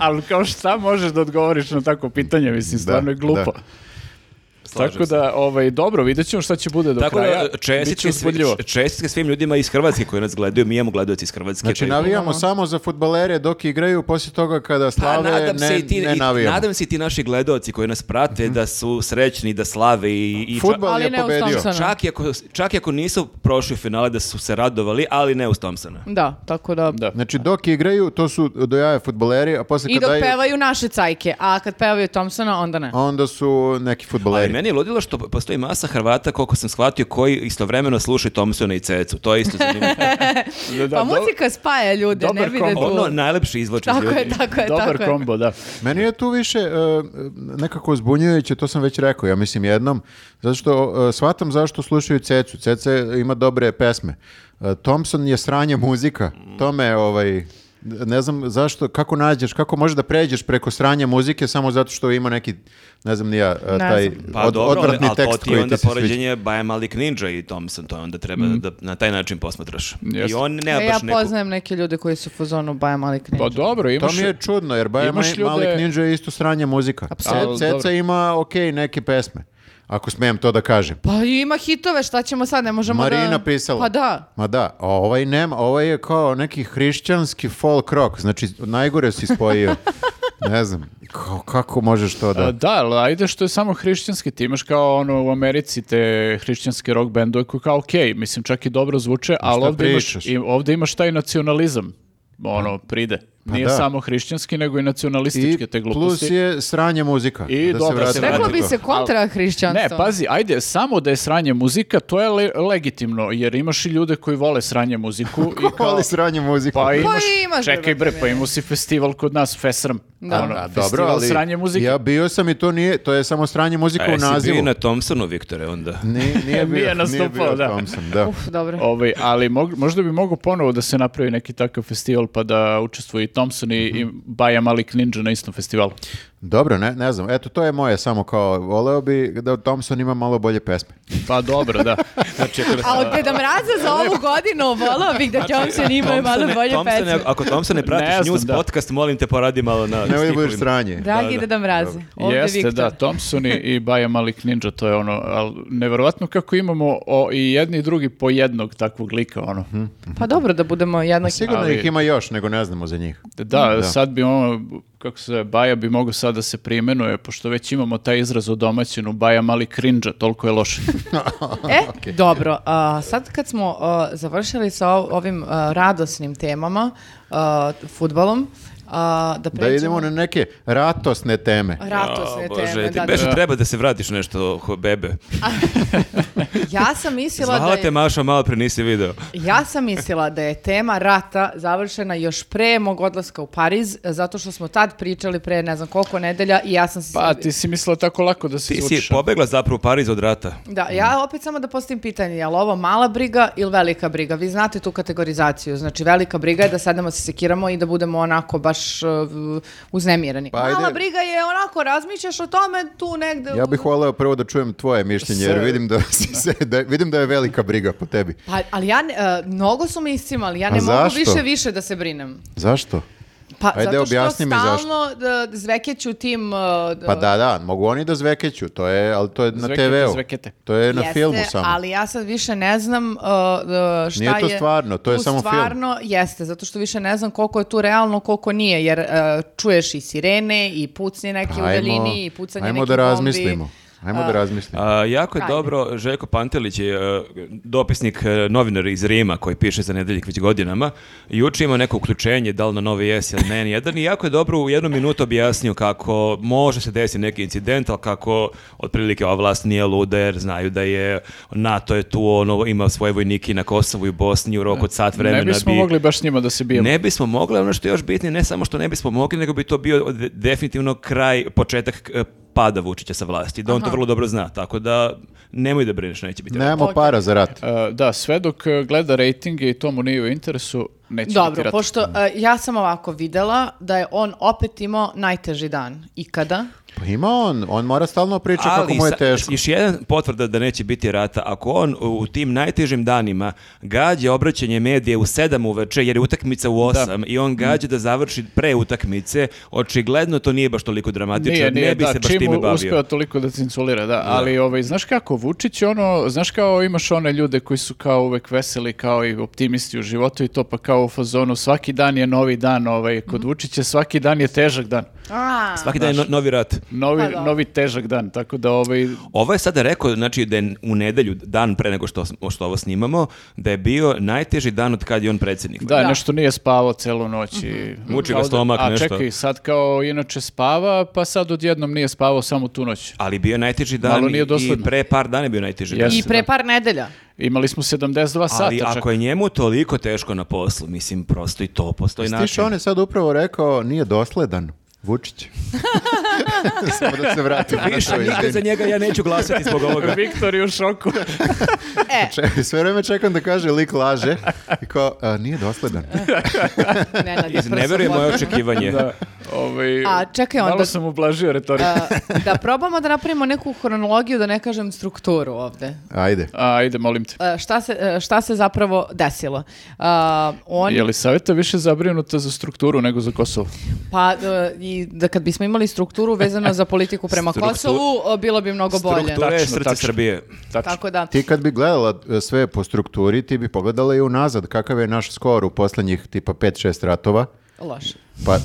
[SPEAKER 2] ali kao šta možeš da odgovoriš na tako pitanje, mislim, stvarno je glupo.
[SPEAKER 3] da.
[SPEAKER 4] slažem
[SPEAKER 2] Tako
[SPEAKER 4] se.
[SPEAKER 2] da, ovaj, dobro, vidjet ćemo šta će bude do
[SPEAKER 4] Tako
[SPEAKER 2] kraja.
[SPEAKER 4] da
[SPEAKER 2] Bit
[SPEAKER 4] čestitke,
[SPEAKER 2] će
[SPEAKER 4] svi-
[SPEAKER 2] uzbudljivo.
[SPEAKER 4] čestitke svim ljudima iz Hrvatske koji nas gledaju, mi imamo gledaoci iz Hrvatske. to
[SPEAKER 3] Znači,
[SPEAKER 4] je-
[SPEAKER 3] navijamo samo za futbalere dok igraju, poslije toga kada slave, ne, ne
[SPEAKER 4] Pa, i-
[SPEAKER 3] navijamo.
[SPEAKER 4] nadam se i ti naši gledaoci koji nas prate da su srećni, da slave i, i ča-
[SPEAKER 3] Futbal
[SPEAKER 1] Ali
[SPEAKER 3] je
[SPEAKER 1] ne uz
[SPEAKER 3] pobedio.
[SPEAKER 1] Thompsona.
[SPEAKER 4] čak, i ako, čak i ako nisu prošli u finale da su se radovali, ali ne uz Thompsona.
[SPEAKER 1] Da, tako da...
[SPEAKER 2] Da.
[SPEAKER 3] Znači, dok igraju, to su dojaje futboleri, a poslije
[SPEAKER 1] I
[SPEAKER 3] kada
[SPEAKER 1] dok
[SPEAKER 3] daju,
[SPEAKER 1] pevaju naše cajke, a kad pevaju Thompsona, onda ne.
[SPEAKER 3] onda su neki
[SPEAKER 4] Ali
[SPEAKER 3] futboleri.
[SPEAKER 4] meni je ludilo što postoji masa Hrvata, koliko sam shvatio, koji istovremeno slušaju Thompsona i Cecu. To je isto zanimljivo.
[SPEAKER 2] Da, da,
[SPEAKER 1] pa
[SPEAKER 2] do-
[SPEAKER 1] muzika spaja ljude, ne
[SPEAKER 2] dobar
[SPEAKER 1] vide tu.
[SPEAKER 2] kombo.
[SPEAKER 4] ono najlepši izvoč iz
[SPEAKER 1] Tako
[SPEAKER 4] ljudi.
[SPEAKER 1] je, tako je,
[SPEAKER 2] Dobar
[SPEAKER 1] tako je.
[SPEAKER 2] kombo, da.
[SPEAKER 3] Meni je tu više e, nekako zbunjujuće, to sam već rekao, ja mislim jednom, zato što e, shvatam zašto slušaju Cecu. Ceca ima dobre pesme. E, Thompson je sranje muzika. To me, ovaj, ne znam zašto, kako nađeš, kako možeš da pređeš preko sranja muzike samo zato što ima neki, ne znam ni ja, e,
[SPEAKER 1] Ne
[SPEAKER 3] taj
[SPEAKER 1] znam.
[SPEAKER 4] Pa
[SPEAKER 3] od-
[SPEAKER 4] dobro, ali,
[SPEAKER 3] odvratni
[SPEAKER 4] ali to
[SPEAKER 3] tekst
[SPEAKER 4] ti je
[SPEAKER 3] koji
[SPEAKER 4] onda
[SPEAKER 3] ti se sviđa. Mhm.
[SPEAKER 4] poređenje Baja Malik Ninja i Thompson, to je onda treba da, da na taj način posmatraš. I
[SPEAKER 2] Jeste.
[SPEAKER 4] on nema
[SPEAKER 1] E, ja
[SPEAKER 4] baš neku...
[SPEAKER 1] poznajem neke ljude koji su u fazonu Baja Malik Ninja.
[SPEAKER 2] Pa dobro,
[SPEAKER 3] To
[SPEAKER 2] imaš...
[SPEAKER 3] mi je čudno, jer Baja
[SPEAKER 2] imaš
[SPEAKER 3] Ma-
[SPEAKER 2] ljude-
[SPEAKER 3] Malik Ninja je isto sranje muzika.
[SPEAKER 1] Apsolutno.
[SPEAKER 3] Ce- Ceca
[SPEAKER 2] Dobro.
[SPEAKER 3] ima ok neke pesme, ako smijem to da kažem.
[SPEAKER 1] Pa ima hitove, šta ćemo sad, ne možemo da...
[SPEAKER 3] Marina pisala.
[SPEAKER 1] Pa da.
[SPEAKER 3] Ma da, a ovaj nema, ovaj je kao neki hrišćanski folk rock, znači najgore si spojio. ne znam, kao- kako možeš to
[SPEAKER 2] A,
[SPEAKER 3] da...
[SPEAKER 2] Pa Da, ali ajde što je samo hrišćanski, ti imaš kao ono u Americi te hrišćanske rock bendove koji kao okej, mislim čak i dobro zvuče, ali
[SPEAKER 3] šta
[SPEAKER 2] ovdje imaš,
[SPEAKER 3] pričaš? Pa
[SPEAKER 2] i, ovdje imaš taj nacionalizam, ono, pride. Nije
[SPEAKER 3] da.
[SPEAKER 2] samo hrišćanski, nego i
[SPEAKER 3] I
[SPEAKER 2] nacionalističke te gluposti.
[SPEAKER 3] plus je sranje muzika.
[SPEAKER 2] I
[SPEAKER 3] da
[SPEAKER 2] dobro,
[SPEAKER 3] vratimo
[SPEAKER 2] se
[SPEAKER 3] na
[SPEAKER 1] Reklo bi
[SPEAKER 3] to.
[SPEAKER 1] se kontra hrišćanstvo.
[SPEAKER 2] Ne, pazi, ajde, samo da je sranje muzika, to je le- legitimno, jer imaš i ljude koji vole sranje muziku. i kao,
[SPEAKER 3] Voli sranje muzika.
[SPEAKER 2] Pa imaš,
[SPEAKER 1] imaš,
[SPEAKER 2] čekaj
[SPEAKER 1] brate,
[SPEAKER 2] bre, pa imao si festival kod nas, Fesram.
[SPEAKER 1] Da.
[SPEAKER 2] Ono,
[SPEAKER 3] A, dobro,
[SPEAKER 2] festival
[SPEAKER 3] ali
[SPEAKER 2] sranje muzike. E,
[SPEAKER 3] ja bio sam i to nije, to je samo sranje muzika
[SPEAKER 4] A
[SPEAKER 3] u
[SPEAKER 4] jesi E, bio i
[SPEAKER 3] nazivu.
[SPEAKER 4] na Thompsonu, Viktore, onda?
[SPEAKER 3] Nije, nije bio,
[SPEAKER 2] Nije nastupao,
[SPEAKER 3] bio
[SPEAKER 2] da.
[SPEAKER 3] Thompson, da.
[SPEAKER 1] Uf, dobro.
[SPEAKER 2] Ovaj, ali mog- možda bi mogo ponovo da se napravi neki takav festival pa da učestvuju i Thompson i, i Baja Malik Ninja na istom festivalu.
[SPEAKER 3] Dobro, ne, ne znam. Eto, to je moje samo kao, voleo bi da Thompson ima malo bolje pesme.
[SPEAKER 2] Pa dobro, da.
[SPEAKER 4] Znači, ako-
[SPEAKER 1] A od Deda Mraza za ovu godinu volao bih da Thompson ima i malo
[SPEAKER 4] Thompsone-
[SPEAKER 1] bolje
[SPEAKER 4] Thompsone,
[SPEAKER 1] pesme.
[SPEAKER 4] Ako Thompson ne pratiš
[SPEAKER 2] Ne znam,
[SPEAKER 4] news
[SPEAKER 2] da.
[SPEAKER 4] podcast, molim te poradi malo na
[SPEAKER 3] Nemoj da budeš
[SPEAKER 4] stihovima.
[SPEAKER 3] sranje.
[SPEAKER 1] Dragi Deda Mraze, ovdje
[SPEAKER 2] Jeste,
[SPEAKER 1] Viktor.
[SPEAKER 2] da, Thompson i, i Baja Malik Ninja, to je ono, ali neverovatno kako imamo o, i jedni i drugi po jednog takvog lika, ono.
[SPEAKER 1] Pa dobro da budemo jednaki.
[SPEAKER 3] Sigurno
[SPEAKER 2] Ali-
[SPEAKER 3] ih ima još, nego ne znamo za njih.
[SPEAKER 2] Da, sad bi ono, kako se zove, Baja bi mogao sad da se primenuje, pošto već imamo taj izraz u domaćinu, Baja Malik Ninja, toliko je loše.
[SPEAKER 1] E, dobro, a, sad kad smo a, završili sa o- ovim a, radosnim temama, a, futbalom, a, da
[SPEAKER 3] Da
[SPEAKER 1] pređemo...
[SPEAKER 3] idemo na neke ratosne teme.
[SPEAKER 1] Ratosne
[SPEAKER 4] A, Bože,
[SPEAKER 1] teme,
[SPEAKER 4] ti
[SPEAKER 1] da,
[SPEAKER 4] beše
[SPEAKER 1] da.
[SPEAKER 4] treba da se vratiš nešto, ho, bebe.
[SPEAKER 1] Ja sam mislila da
[SPEAKER 4] Zvala te
[SPEAKER 1] je,
[SPEAKER 4] Maša, malo pre nisi video.
[SPEAKER 1] ja sam mislila da je tema rata završena još pre mog odlaska u Pariz, zato što smo tad pričali pre ne znam koliko nedelja i ja sam se...
[SPEAKER 2] Pa, ti si mislila tako lako da se
[SPEAKER 4] Ti
[SPEAKER 2] izvučeš.
[SPEAKER 4] si pobegla zapravo u Pariz od rata.
[SPEAKER 1] Da,
[SPEAKER 3] Mhm.
[SPEAKER 1] ja opet samo da postavim pitanje, je li ovo mala briga ili velika briga? Vi znate tu kategorizaciju, znači velika briga je da sedemo se sekiramo i da budemo onako baš uh, uznemirani.
[SPEAKER 3] Pa
[SPEAKER 1] mala
[SPEAKER 3] ajde.
[SPEAKER 1] briga je onako, razmišljaš o tome tu negde...
[SPEAKER 3] Ja bih voleo prvo da čujem tvoje mišljenje, jer vidim da, si se, da, vidim da je velika briga po tebi.
[SPEAKER 1] Pa, ali ja, ne- e, mnogo su me iscimali, ja ne
[SPEAKER 3] A
[SPEAKER 1] mogu
[SPEAKER 3] zašto?
[SPEAKER 1] više više da se brinem.
[SPEAKER 3] Zašto?
[SPEAKER 1] Pa,
[SPEAKER 3] Ajde,
[SPEAKER 1] zato što
[SPEAKER 3] objasni mi
[SPEAKER 1] stalno
[SPEAKER 3] zašto.
[SPEAKER 1] da, zvekeću tim... e,
[SPEAKER 3] Pa da, da, mogu oni da zvekeću, to je, ali to je na
[SPEAKER 2] Zvekete,
[SPEAKER 3] TV-u.
[SPEAKER 2] zvekete.
[SPEAKER 3] To je na
[SPEAKER 1] Jeste,
[SPEAKER 3] filmu samo.
[SPEAKER 1] ali ja sad više ne znam uh, uh, šta
[SPEAKER 3] Nije to
[SPEAKER 1] je-
[SPEAKER 3] stvarno, to je
[SPEAKER 1] tu
[SPEAKER 3] samo film.
[SPEAKER 1] Stvarno jeste, zato što više ne znam koliko je tu realno, koliko nije, jer uh, čuješ i sirene i pucnje neke u daljini i pucanje
[SPEAKER 3] Pa ajmo
[SPEAKER 1] nekih
[SPEAKER 3] da
[SPEAKER 1] bombi.
[SPEAKER 3] razmislimo. Ajmo da razmislimo.
[SPEAKER 4] A, jako je
[SPEAKER 1] Ajde.
[SPEAKER 4] dobro, Željko Pantelić je e, dopisnik, e, novinar iz Rima koji piše za nedeljik već godinama. Juče imao neko uključenje, da li na Novi S ili na N1 i jako je dobro u jednu minutu objasnio kako može se desiti neki incident, ali kako otprilike ova vlast nije luda jer znaju da je NATO je tu, ono, ima svoje vojnike i na Kosovu i u Bosni u roku od sat vremena.
[SPEAKER 2] Ne bismo
[SPEAKER 4] bi-
[SPEAKER 2] mogli baš s njima da se bijemo.
[SPEAKER 4] Ne bismo mogli, ono što je još bitnije, ne samo što ne bismo mogli, nego bi to bio de- definitivno kraj, početak e, pada Vučića sa vlasti, da on to vrlo dobro zna, tako da nemoj da brineš, neće biti. rata.
[SPEAKER 3] Nemamo
[SPEAKER 1] ok.
[SPEAKER 3] para za rat.
[SPEAKER 2] E, da, sve dok e, gleda rejtinge i to mu nije u interesu, neće biti
[SPEAKER 1] Dobro,
[SPEAKER 2] rata.
[SPEAKER 1] pošto uh, ja sam ovako videla da je on opet imao najteži dan ikada.
[SPEAKER 3] Pa ima on, on mora stalno pričati kako mu je
[SPEAKER 4] sa-
[SPEAKER 3] teško.
[SPEAKER 4] još jedan potvrda da neće biti rata. Ako on u, u tim najtežim danima gađa obraćanje medije u 7 uveče, jer je utakmica u 8 i
[SPEAKER 2] Mm.
[SPEAKER 4] on gađa da završi pre utakmice, očigledno to nije baš toliko dramatično.
[SPEAKER 2] Nije, nije,
[SPEAKER 4] ne bi
[SPEAKER 2] da,
[SPEAKER 4] se baš
[SPEAKER 2] čim
[SPEAKER 4] time bavio.
[SPEAKER 2] uspeva toliko da cinculira, da, ali ovaj, znaš kako, Vučić je ono, znaš kao imaš one ljude koji su kao uvek veseli, kao i optimisti u životu i to pa kao u fazonu, svaki dan je novi dan, ovaj,
[SPEAKER 1] Mhm.
[SPEAKER 2] kod Vučića svaki dan je težak dan,
[SPEAKER 1] A,
[SPEAKER 4] Svaki dan je no- novi rat.
[SPEAKER 2] novi,
[SPEAKER 1] Pa da.
[SPEAKER 2] novi težak dan, tako da ovaj,
[SPEAKER 4] Ovo je sada rekao, znači da je u nedelju, dan pre nego što, smo- što ovo snimamo, da je bio najteži dan od kad je on predsjednik.
[SPEAKER 2] da, nešto nije spavao celu noć i...
[SPEAKER 1] Mhm.
[SPEAKER 4] Muči ga
[SPEAKER 2] kao da-
[SPEAKER 4] stomak,
[SPEAKER 2] A
[SPEAKER 4] nešto.
[SPEAKER 2] čekaj, sad kao inače spava, pa sad odjednom nije spavao samo tu noć.
[SPEAKER 4] Ali bio je najteži
[SPEAKER 2] Malo
[SPEAKER 4] dan
[SPEAKER 2] nije
[SPEAKER 4] i- i
[SPEAKER 2] dosledno.
[SPEAKER 4] pre par dana je bio najteži dan.
[SPEAKER 2] Jeste.
[SPEAKER 1] I pre par nedelja.
[SPEAKER 2] Imali smo 72 sata
[SPEAKER 4] Ali
[SPEAKER 2] čak.
[SPEAKER 4] ako je njemu toliko teško na poslu, mislim, prosto i to postoji
[SPEAKER 3] Stiš,
[SPEAKER 4] način.
[SPEAKER 3] on je sad upravo rekao, nije dosledan. Vučić. Samo da se vratim na
[SPEAKER 4] Više
[SPEAKER 3] to,
[SPEAKER 4] nikad za
[SPEAKER 3] izvini.
[SPEAKER 4] njega ja neću glasati zbog ovoga.
[SPEAKER 2] Viktor je u šoku.
[SPEAKER 1] E,
[SPEAKER 3] Če- Sve vreme čekam da kaže lik laže i kao, "A, nije dosledan.
[SPEAKER 1] Nenad je
[SPEAKER 4] Iz- Ne
[SPEAKER 1] prsom
[SPEAKER 4] verujem moje
[SPEAKER 1] odmah.
[SPEAKER 4] očekivanje.
[SPEAKER 2] da, ovaj,
[SPEAKER 1] A, čekaj, onda-
[SPEAKER 2] Malo sam ublažio retoriku.
[SPEAKER 1] A, Uh, da probamo da napravimo neku hronologiju, da ne kažem strukturu ovde.
[SPEAKER 3] Ajde.
[SPEAKER 2] A, ajde, molim te.
[SPEAKER 1] A, šta, se, e, šta se zapravo desilo? A, on,
[SPEAKER 2] Je li savjeta više zabrinuta za strukturu nego za Kosovo?
[SPEAKER 1] pa, e, i da kad bismo imali strukturu vezano za politiku prema
[SPEAKER 4] Struktu-
[SPEAKER 1] Kosovu, e, bilo bi mnogo bolje.
[SPEAKER 4] Struktura je
[SPEAKER 2] Tačno,
[SPEAKER 4] srce
[SPEAKER 2] tačno.
[SPEAKER 4] Srbije.
[SPEAKER 2] Tačno.
[SPEAKER 1] Tako da,
[SPEAKER 3] Ti kad bi gledala e, sve po strukturi, ti bi pogledala i unazad kakav je naš skor u poslednjih tipa 5-6 ratova.
[SPEAKER 1] loše.
[SPEAKER 3] Pa,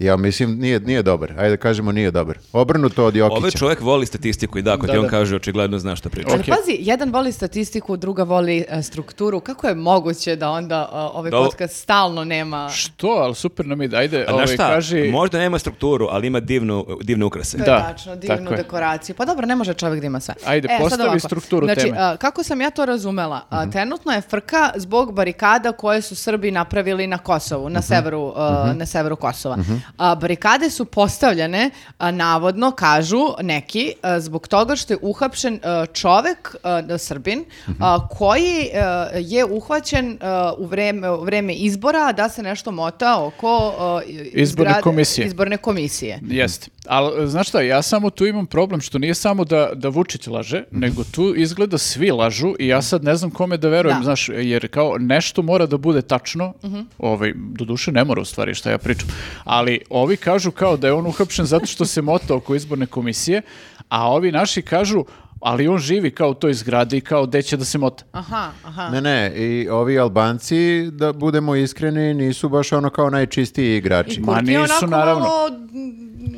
[SPEAKER 3] ja mislim, nije, nije dobar. Ajde da kažemo nije dobar. Obrnuto od
[SPEAKER 4] Ovaj
[SPEAKER 3] Jokića.
[SPEAKER 4] čovjek voli statistiku i da, ako
[SPEAKER 2] Da, Ovaj,
[SPEAKER 4] ti on
[SPEAKER 2] da.
[SPEAKER 4] kaže, očigledno zna šta priča.
[SPEAKER 1] Ali
[SPEAKER 2] Okej.
[SPEAKER 1] pazi, jedan voli statistiku, druga voli e, strukturu. Kako je moguće da onda e, ovaj
[SPEAKER 4] Da, ovo-
[SPEAKER 1] podcast stalno nema...
[SPEAKER 2] Što, ali super nam ide. Ajde,
[SPEAKER 4] A znaš
[SPEAKER 2] ovaj,
[SPEAKER 4] šta,
[SPEAKER 2] kaži...
[SPEAKER 4] možda nema strukturu, ali ima divnu, divne ukrase.
[SPEAKER 1] To je
[SPEAKER 2] Da,
[SPEAKER 1] tačno, divnu
[SPEAKER 2] tako je.
[SPEAKER 1] dekoraciju. Pa dobro, ne može čovjek da ima sve. E,
[SPEAKER 2] Ajde,
[SPEAKER 1] sad
[SPEAKER 2] postavi
[SPEAKER 1] ovako.
[SPEAKER 2] strukturu
[SPEAKER 1] znači,
[SPEAKER 2] teme. Mhm.
[SPEAKER 1] a, kako sam ja to razumela, a, trenutno je frka zbog barikada koje su Srbi napravili na Kosovu,
[SPEAKER 2] Mhm.
[SPEAKER 1] na severu, a, na severu Kosova. A, barikade su postavljene, a, navodno, kažu neki, a, zbog toga što je uhapšen a, čovek, a, da, Srbin,
[SPEAKER 2] Mhm.
[SPEAKER 1] a, koji a, je uhvaćen a, u vreme, u vreme izbora da se nešto mota oko a,
[SPEAKER 2] Izborne
[SPEAKER 1] zgrade-
[SPEAKER 2] komisije.
[SPEAKER 1] Izborne komisije.
[SPEAKER 2] Jeste. Ali, e, Mhm. znaš šta, ja samo tu imam problem što nije samo da, da Vučić laže,
[SPEAKER 4] Mhm.
[SPEAKER 2] nego tu izgleda svi lažu i ja sad ne znam kome da verujem,
[SPEAKER 1] Da.
[SPEAKER 2] znaš, jer kao nešto mora da bude tačno,
[SPEAKER 4] Mhm.
[SPEAKER 2] ovaj, doduše ne mora u stvari šta ja pričam, ali ovi kažu kao da je on uhapšen zato što se mota oko izborne komisije, a ovi naši kažu, ali on živi kao u toj zgradi i kao gde će da se mota.
[SPEAKER 1] Aha, aha.
[SPEAKER 3] Ne, ne, i ovi Albanci, da budemo iskreni, nisu baš ono kao najčistiji igrači.
[SPEAKER 2] Ma
[SPEAKER 1] Kurti je
[SPEAKER 2] nisu,
[SPEAKER 1] onako
[SPEAKER 2] naravno.
[SPEAKER 1] malo-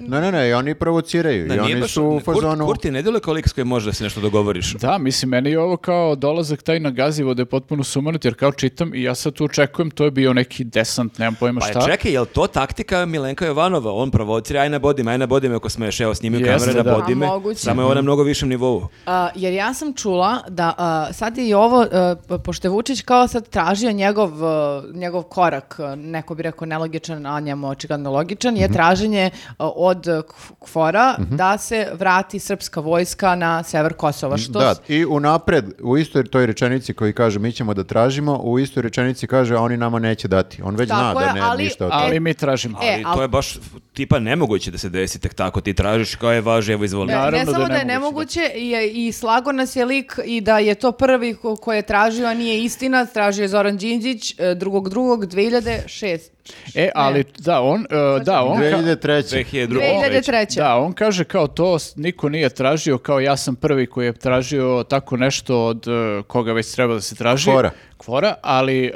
[SPEAKER 3] Ne, ne, ne, i oni provociraju.
[SPEAKER 4] Da,
[SPEAKER 3] I
[SPEAKER 4] nije
[SPEAKER 3] oni
[SPEAKER 4] baš-
[SPEAKER 3] su u
[SPEAKER 4] Kurt-
[SPEAKER 3] fazonu...
[SPEAKER 4] Kurti ne djeluje kao lik s kojim može da se nešto dogovoriš.
[SPEAKER 2] Da, mislim, meni je ovo kao dolazak taj na gazivo da je potpuno sumanut, jer kao čitam i ja sad tu očekujem, to je bio neki desant, nemam pojma
[SPEAKER 4] Pa
[SPEAKER 2] šta.
[SPEAKER 4] čekaj, je li to taktika Milenka Jovanova? On provocira, aj na bodime, aj na bodime ako smeš, evo snimio
[SPEAKER 2] Jeste, da.
[SPEAKER 4] kamere na
[SPEAKER 2] A
[SPEAKER 4] bodime,
[SPEAKER 1] moguće.
[SPEAKER 4] samo je
[SPEAKER 3] Mhm.
[SPEAKER 4] ona na mnogo višem nivou.
[SPEAKER 1] A, jer ja sam čula da a, sad je i ovo, a, po- pošto je Vučić kao sad tražio njegov, a, njegov korak, a, neko bi rekao nelogičan, a njemu očigledno logičan, je traženje a, od a, Kf- Kfora da se vrati srpska vojska na sever Kosova. Što
[SPEAKER 3] Da,
[SPEAKER 1] s-
[SPEAKER 3] i unapred, u istoj toj rečenici koji kaže mi ćemo da tražimo, u istoj rečenici kaže a oni nama neće dati. On već
[SPEAKER 1] Tako
[SPEAKER 3] zna
[SPEAKER 1] je,
[SPEAKER 3] da ne,
[SPEAKER 1] ali-
[SPEAKER 3] ništa od toga.
[SPEAKER 2] Ali mi tražimo.
[SPEAKER 1] E,
[SPEAKER 4] Ali
[SPEAKER 1] al-
[SPEAKER 4] to je baš tipa nemoguće da se desi tek tako, ti tražiš kao je važe, evo izvoli.
[SPEAKER 1] Ne, ne
[SPEAKER 2] naravno
[SPEAKER 1] samo da
[SPEAKER 2] da
[SPEAKER 1] je
[SPEAKER 2] je
[SPEAKER 1] nemoguće, je- i, slago nas je lik i da je to prvi ko, ko je tražio, a nije istina, tražio je Zoran Đinđić, e, drugog drugog, 2006.
[SPEAKER 2] E, ali da, on, e, da, on, ka-
[SPEAKER 3] 2003.
[SPEAKER 4] 2002.
[SPEAKER 1] 2003.
[SPEAKER 2] da, on kaže kao to s- niko nije tražio, kao ja sam prvi koji je tražio tako nešto od e, koga već treba da se traži.
[SPEAKER 3] Kvora.
[SPEAKER 2] Kvora, ali e,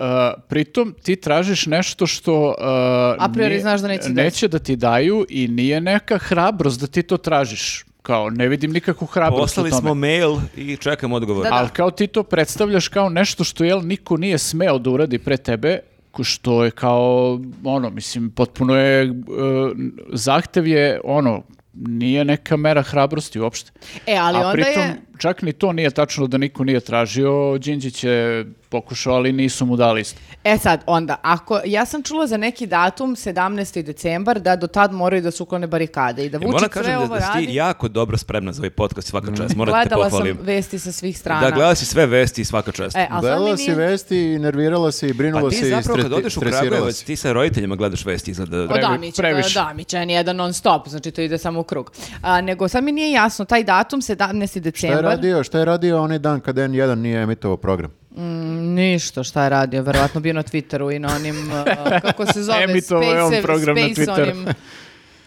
[SPEAKER 2] pritom ti tražiš nešto što... e,
[SPEAKER 1] A priori
[SPEAKER 2] nije-
[SPEAKER 1] znaš da neće dati.
[SPEAKER 2] neće da ti daju i nije neka hrabrost da ti to tražiš. Kao, ne vidim nikakvu hrabrost
[SPEAKER 4] Poslali
[SPEAKER 2] u tome.
[SPEAKER 4] smo mail i čekam odgovor.
[SPEAKER 1] Da, da.
[SPEAKER 2] Ali kao ti to predstavljaš kao nešto što jel niko nije smeo da uradi pre tebe, ko- što je kao ono mislim potpuno je e, zahtev je ono nije neka mera hrabrosti uopšte.
[SPEAKER 1] E, ali
[SPEAKER 2] A
[SPEAKER 1] onda
[SPEAKER 2] pritom
[SPEAKER 1] je-
[SPEAKER 2] čak ni to nije tačno da niko nije tražio. Đinđić je pokušao, ali nisu mu dali isto.
[SPEAKER 1] E sad, onda, ako, ja sam čula za neki datum, 17. decembar, da do tad moraju da su uklone barikade i da
[SPEAKER 4] E, moram
[SPEAKER 1] Vučić sve
[SPEAKER 4] da,
[SPEAKER 1] ovo
[SPEAKER 4] da si ti
[SPEAKER 1] radi.
[SPEAKER 4] jako dobro spremna za ovaj podcast
[SPEAKER 3] Mhm.
[SPEAKER 4] svaka čast, moram da te
[SPEAKER 1] Gledala sam
[SPEAKER 4] pohvalim.
[SPEAKER 1] vesti sa svih strana.
[SPEAKER 4] Da, gledala si sve vesti i svaka čast.
[SPEAKER 1] E, ali sad mi
[SPEAKER 3] Gledala si
[SPEAKER 1] nije...
[SPEAKER 3] vesti i nervirala se i
[SPEAKER 4] pa
[SPEAKER 3] brinula
[SPEAKER 4] ti
[SPEAKER 3] se i
[SPEAKER 4] zapravo kad
[SPEAKER 3] streti-
[SPEAKER 4] odeš u
[SPEAKER 3] stresirala
[SPEAKER 4] Kragujevac,
[SPEAKER 3] si.
[SPEAKER 4] ti sa roditeljima gledaš vesti izgleda.
[SPEAKER 1] Od
[SPEAKER 2] Previ-
[SPEAKER 1] Amića,
[SPEAKER 2] previše.
[SPEAKER 1] da, Amića je nijedan non stop, znači to ide samo u krug. A, nego sad mi nije jasno, taj datum, 17.
[SPEAKER 3] Šta je
[SPEAKER 1] decembar,
[SPEAKER 3] radio? Šta je radio onaj dan kada N1 nije emitovao program?
[SPEAKER 1] Mm, ništa šta je radio, verovatno bio na Twitteru i na onim, uh, kako se zove,
[SPEAKER 2] Emitovao je on
[SPEAKER 1] Space-
[SPEAKER 2] program na
[SPEAKER 1] Space
[SPEAKER 2] Twitteru.
[SPEAKER 1] onim.
[SPEAKER 3] A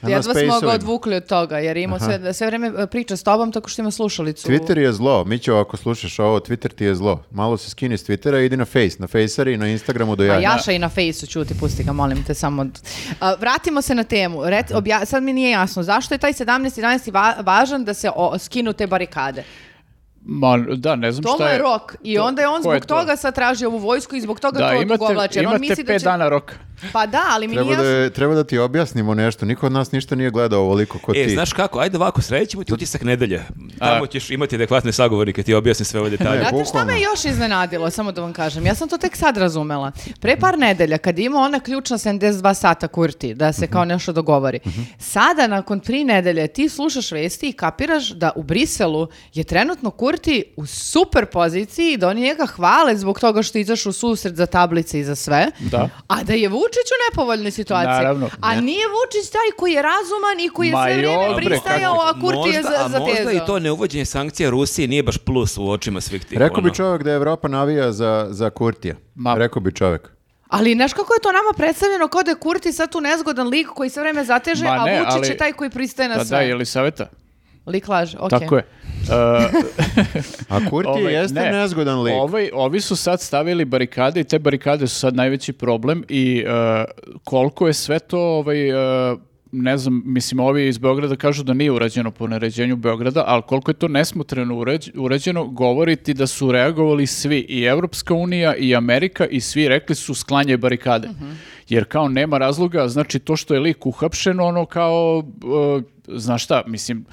[SPEAKER 3] na
[SPEAKER 1] Jedva smo ga
[SPEAKER 3] Space-ovima.
[SPEAKER 1] odvukli od toga, jer ima sve, sve vreme uh, priča s tobom tako što ima slušalicu.
[SPEAKER 3] Twitter je zlo. Mićo, ako slušaš ovo, Twitter ti je zlo. Malo se skini s Twittera i idi na Face, na Facer i na Instagramu do
[SPEAKER 1] A
[SPEAKER 3] jaja.
[SPEAKER 1] Jaša i na fejsu čuti, pusti ga, molim te samo. A, vratimo se na temu. Rec- obja- sad mi nije jasno, zašto je taj 17.11. Va- važan da se o, skinu te barikade?
[SPEAKER 2] Ma, da, ne znam
[SPEAKER 1] Toma
[SPEAKER 2] šta
[SPEAKER 1] je
[SPEAKER 2] je.
[SPEAKER 1] rok i onda je on
[SPEAKER 2] ko
[SPEAKER 1] zbog
[SPEAKER 2] je to?
[SPEAKER 1] toga sad traži ovu vojsku i zbog toga
[SPEAKER 2] Da,
[SPEAKER 1] to odugovlači.
[SPEAKER 2] imate,
[SPEAKER 1] jer on
[SPEAKER 2] imate
[SPEAKER 1] misli da
[SPEAKER 2] pet
[SPEAKER 1] će-
[SPEAKER 2] dana roka.
[SPEAKER 1] Pa da, ali mi nije
[SPEAKER 3] Treba da,
[SPEAKER 1] jasno.
[SPEAKER 3] je- treba da ti objasnimo nešto. Niko od nas ništa nije gledao ovoliko ko
[SPEAKER 4] E,
[SPEAKER 3] ti.
[SPEAKER 4] znaš kako, ajde ovako, sredit ćemo ti utisak nedelje. Tamo ćeš imati adekvatne sagovornike, ti objasni sve ove detalje.
[SPEAKER 3] Ne,
[SPEAKER 1] Znate šta
[SPEAKER 3] bukvalno.
[SPEAKER 1] me još iznenadilo, samo da vam kažem. Ja sam to tek sad razumela. Pre par nedelja, kad je imao ona ključna 72 sata kurti, da se kao nešto dogovori. Sada, nakon tri nedelje, ti slušaš vesti i kapiraš da u Briselu je trenutno kurti u super poziciji i da oni njega hvale zbog toga što je izašao u susret za tablice i za sve.
[SPEAKER 2] Da.
[SPEAKER 1] A da je Vučić u nepovoljnoj situaciji.
[SPEAKER 2] Naravno.
[SPEAKER 1] A nije Vučić taj koji je razuman i koji je
[SPEAKER 2] Ma
[SPEAKER 1] sve
[SPEAKER 2] joj,
[SPEAKER 1] vrijeme
[SPEAKER 2] bre,
[SPEAKER 1] pristajao, a kurti je za,
[SPEAKER 4] možda, a možda i
[SPEAKER 1] zatezao.
[SPEAKER 4] to neuvođenje sankcija Rusiji nije baš plus u očima svih tih.
[SPEAKER 3] Rekao
[SPEAKER 4] ono.
[SPEAKER 3] bi čovjek da Evropa navija za, za Kurtija.
[SPEAKER 2] Ma-
[SPEAKER 3] Rekao bi čovjek.
[SPEAKER 1] Ali znaš kako je to nama predstavljeno kao da je Kurti sad tu nezgodan lik koji sve vreme zateže,
[SPEAKER 2] Ma ne,
[SPEAKER 1] a Vučić
[SPEAKER 2] ali-
[SPEAKER 1] je taj koji pristaje na
[SPEAKER 2] Da, da,
[SPEAKER 1] sve.
[SPEAKER 2] je li saveta?
[SPEAKER 1] Lik laže, okej.
[SPEAKER 2] Tako je. E,
[SPEAKER 3] A Kurti
[SPEAKER 2] Ovaj,
[SPEAKER 3] jeste
[SPEAKER 2] ne.
[SPEAKER 3] nezgodan lik.
[SPEAKER 2] Ovaj, ovi su sad stavili barikade i te barikade su sad najveći problem i e, koliko je sve to ovaj, e, ne znam, mislim, ovi iz Beograda kažu da nije urađeno po naređenju Beograda, ali koliko je to nesmotreno uređ- urađeno, govoriti da su reagovali svi, i Evropska unija, i Amerika, i svi rekli su sklanje barikade.
[SPEAKER 4] Mhm.
[SPEAKER 2] Jer kao nema razloga, znači to što je lik uhapšen, ono kao, e, znaš šta, mislim,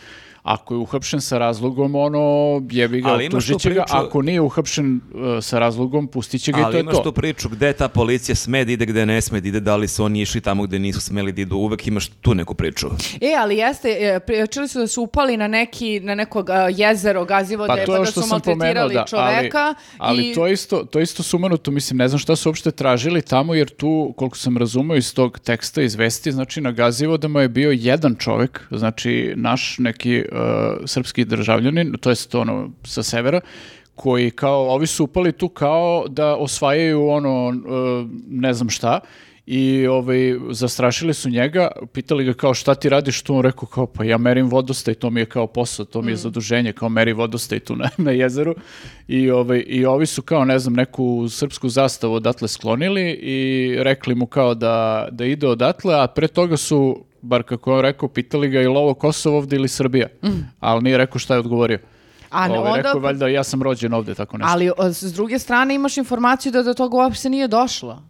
[SPEAKER 2] ako je uhapšen sa razlogom, ono, jebi ga,
[SPEAKER 4] Ali imaš tu
[SPEAKER 2] optužit će ga,
[SPEAKER 4] priču-
[SPEAKER 2] ako nije uhapšen e, sa razlogom, pustit će ga i to
[SPEAKER 4] Ali
[SPEAKER 2] je
[SPEAKER 4] imaš
[SPEAKER 2] to.
[SPEAKER 4] tu priču gde ta policija sme da ide, gde ne sme da ide, da li su oni išli tamo gde nisu smeli da idu, uvek imaš tu neku priču.
[SPEAKER 1] E, ali jeste, e, pri- čuli su da su upali na, neki, na nekog a, jezero gazivode, pa,
[SPEAKER 2] to je ono
[SPEAKER 1] da su maltretirali čoveka.
[SPEAKER 2] ali
[SPEAKER 1] i...
[SPEAKER 2] to je isto, to je isto sumanuto, mislim, ne znam šta su uopšte tražili tamo, jer tu, koliko sam razumeo iz tog teksta, iz vesti, znači na gazivodama je bio jedan čovek, znači naš neki e, srpski državljanin, to jest ono sa severa, koji kao, ovi su upali tu kao da osvajaju ono, e, ne znam šta, i ovaj, zastrašili su njega, pitali ga kao šta ti radiš tu, on rekao kao pa ja merim vodostaj, to mi je kao posao, to mi
[SPEAKER 1] Mm.
[SPEAKER 2] je zaduženje, kao meri vodostaj tu na, na jezeru I, ovaj, i ovi su kao ne znam neku srpsku zastavu odatle sklonili i rekli mu kao da, da ide odatle, a pre toga su, bar kako je on rekao, pitali ga je li ovo Kosovo ovde ili Srbija, ali nije rekao šta je odgovorio.
[SPEAKER 1] Mm. A
[SPEAKER 2] Ovaj,
[SPEAKER 1] onda-
[SPEAKER 2] Rekao je valjda ja sam rođen ovde, tako nešto.
[SPEAKER 1] ali o, s druge strane imaš informaciju da do toga uopšte nije došlo.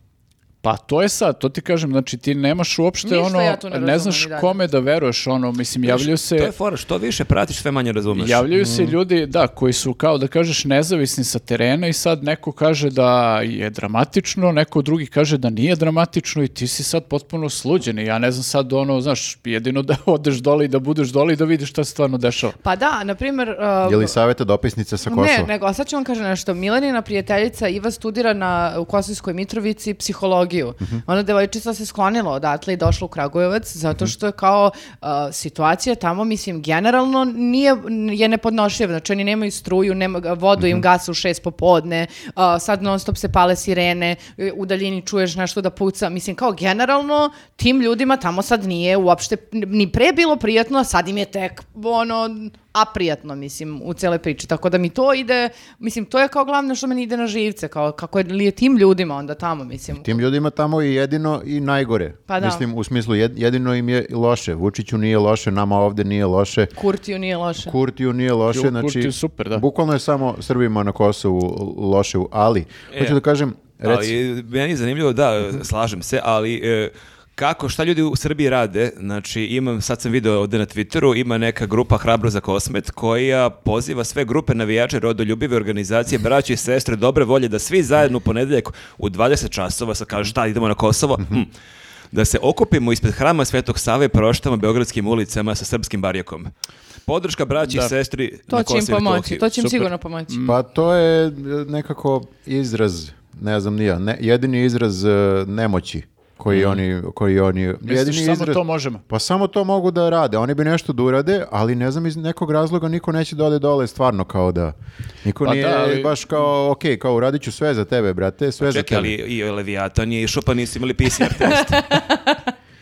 [SPEAKER 2] Pa to je sad, to ti kažem, znači ti nemaš uopšte
[SPEAKER 1] Ništa
[SPEAKER 2] ono,
[SPEAKER 1] ja tu ne razumem
[SPEAKER 2] znaš
[SPEAKER 1] i dalje.
[SPEAKER 2] kome da veruješ, ono, mislim, javljaju
[SPEAKER 4] To
[SPEAKER 2] se,
[SPEAKER 4] je mm. fora, što više pratiš, sve manje razumeš.
[SPEAKER 2] javljaju se ljudi, da, koji su kao da kažeš nezavisni sa terena i sad neko kaže da je dramatično, neko drugi kaže da nije dramatično i ti si sad potpuno sluđen i ja ne znam sad ono, znaš, jedino da odeš dole i da budeš dole i da vidiš šta se stvarno dešava.
[SPEAKER 1] Pa da, na primjer...
[SPEAKER 3] Je li saveta dopisnica sa Kosova?
[SPEAKER 1] Ne, nego, a sad ću vam kažem nešto. Milenina prijateljica Iva studira na, u Kosovskoj Mitrovici psihologiju.
[SPEAKER 3] Mhm.
[SPEAKER 1] Ona devojčica se sklonila odatle i došla u Kragujevac
[SPEAKER 3] Mhm.
[SPEAKER 1] zato što je kao a, situacija tamo, mislim, generalno nije, je nepodnošljiva. Znači, oni nemaju struju, nema, vodu
[SPEAKER 3] Mhm.
[SPEAKER 1] im gase u šest popodne, a, sad non stop se pale sirene, e, u daljini čuješ nešto da puca. Mislim, kao generalno tim ljudima tamo sad nije uopšte ni pre bilo prijatno, a sad im je tek ono a prijatno, mislim, u cele priči. Tako da mi to ide, mislim, to je kao glavno što meni ide na živce, kao kako je, li je tim ljudima onda tamo, mislim.
[SPEAKER 3] Tim ljudima tamo je jedino i najgore.
[SPEAKER 1] Pa da.
[SPEAKER 3] Mislim, u smislu, jed- jedino im je loše. Vučiću nije loše, nama ovdje nije loše.
[SPEAKER 1] Kurtiju nije loše.
[SPEAKER 3] Kurtiju nije loše,
[SPEAKER 2] Ju,
[SPEAKER 3] znači...
[SPEAKER 2] Kurtiju super, da.
[SPEAKER 3] Bukvalno je samo Srbima na Kosovu loše, ali... Hoću da kažem, reci,
[SPEAKER 4] Ali meni je zanimljivo, da, slažem se, ali e, kako, šta ljudi u Srbiji rade, znači imam, sad sam video ovdje na Twitteru, ima neka grupa Hrabro za kosmet koja poziva sve grupe navijače rodoljubive organizacije, braće i sestre, dobre volje da svi zajedno u ponedeljak u 20 časova, sad kaže šta idemo na Kosovo, hm, da se okupimo ispred hrama Svetog Save i proštamo beogradskim ulicama sa srpskim barjakom. Podrška braći i
[SPEAKER 2] Da.
[SPEAKER 4] sestri
[SPEAKER 1] To
[SPEAKER 4] na
[SPEAKER 1] će im
[SPEAKER 4] Kosovo i
[SPEAKER 1] pomoći,
[SPEAKER 4] Metohiji.
[SPEAKER 1] to će im
[SPEAKER 2] super.
[SPEAKER 1] sigurno pomoći.
[SPEAKER 3] Pa to je e, nekako izraz, ne znam ni ja, ne, jedini izraz e, nemoći koji oni koji oni jedini
[SPEAKER 2] Mm. samo
[SPEAKER 3] izraz-
[SPEAKER 2] to možemo?
[SPEAKER 3] Pa samo to mogu da rade. Oni bi nešto da urade, ali ne znam iz nekog razloga niko neće da ode dole stvarno kao da niko
[SPEAKER 2] Pa
[SPEAKER 3] nije
[SPEAKER 2] da, ali- Pa
[SPEAKER 3] baš kao ok, kao uradit ću sve za tebe, brate, sve za
[SPEAKER 4] Čekaj,
[SPEAKER 3] tebe.
[SPEAKER 4] ali i Leviatan je išao pa nisu imali PCR test.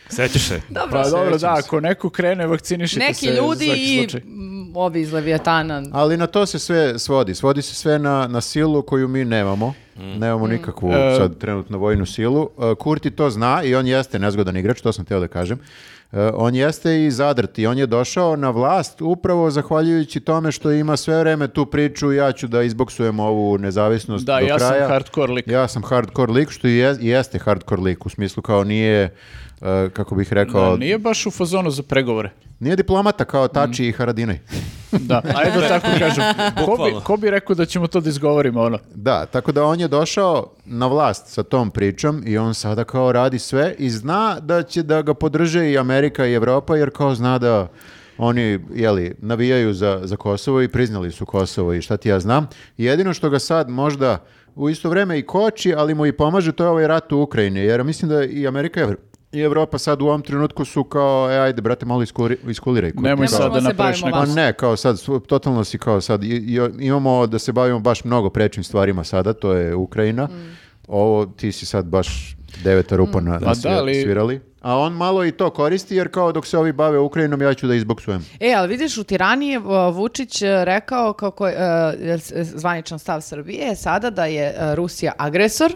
[SPEAKER 4] Sećaš se?
[SPEAKER 2] Pa dobro,
[SPEAKER 3] Sjećam
[SPEAKER 2] da,
[SPEAKER 3] se.
[SPEAKER 2] ako neko krene, vakcinišite
[SPEAKER 1] Neki
[SPEAKER 2] se. za
[SPEAKER 1] ljudi
[SPEAKER 2] svaki
[SPEAKER 1] i
[SPEAKER 2] slučaj.
[SPEAKER 1] m, ovi iz Leviatana.
[SPEAKER 3] Ali na to se sve svodi. Svodi se sve na, na silu koju mi nemamo. Nemamo
[SPEAKER 2] Mm.
[SPEAKER 3] nikakvu
[SPEAKER 2] E,
[SPEAKER 3] sad trenutno vojnu silu. E, Kurti to zna i on jeste nezgodan igrač, to sam teo da kažem. E, on jeste i zadrt i on je došao na vlast upravo zahvaljujući tome što ima sve vreme tu priču ja ću da izboksujem ovu nezavisnost
[SPEAKER 2] Da,
[SPEAKER 3] do
[SPEAKER 2] ja sam
[SPEAKER 3] kraja.
[SPEAKER 2] hardcore lik.
[SPEAKER 3] Ja sam hardcore lik, što i je- i jeste hardcore lik, u smislu kao nije, e, kako bih rekao,
[SPEAKER 4] Pa-
[SPEAKER 2] Da,
[SPEAKER 3] nije...
[SPEAKER 2] Nije baš u fazonu za pregovore.
[SPEAKER 3] diplomata kao
[SPEAKER 2] Mm.
[SPEAKER 3] Tači i Haradinaj.
[SPEAKER 2] Da, ajde da tako kažem. Ko
[SPEAKER 4] Bukvalno.
[SPEAKER 2] bi, ko bi rekao da ćemo to da izgovorimo, ono?
[SPEAKER 3] Da, tako da on je došao na vlast sa tom pričom i on sada kao radi sve i zna da će da ga podrže i Amerika i Evropa jer kao zna da oni jeli, navijaju za, za Kosovo i priznali su Kosovo i šta ti ja znam. Jedino što ga sad možda u isto vreme i koči, ali mu i pomaže to je ovaj rat u Ukrajini jer mislim da i Amerika i Evro- i Evropa sad u ovom trenutku su kao, e, ajde, brate, malo iskuri, iskuliraj. kurti,
[SPEAKER 2] Nemoj
[SPEAKER 1] Ne
[SPEAKER 3] kao-
[SPEAKER 2] sad da
[SPEAKER 1] možemo se
[SPEAKER 2] napraviš
[SPEAKER 1] bavimo
[SPEAKER 2] neku...
[SPEAKER 3] pa ne, kao sad, svu- totalno si kao sad, i- i- imamo da se bavimo baš mnogo prečim stvarima sada, to je Ukrajina.
[SPEAKER 1] Mm.
[SPEAKER 3] Ovo, ti si sad baš deveta rupa na, na
[SPEAKER 2] Pa
[SPEAKER 3] svir-
[SPEAKER 2] da, ali-
[SPEAKER 3] svirali. A on malo i to koristi, jer kao dok se ovi bave Ukrajinom, ja ću da izboksujem.
[SPEAKER 1] E, ali vidiš, u Tirani je uh, Vučić uh, rekao kako je uh, s- zvaničan stav Srbije je sada da je uh, Rusija agresor,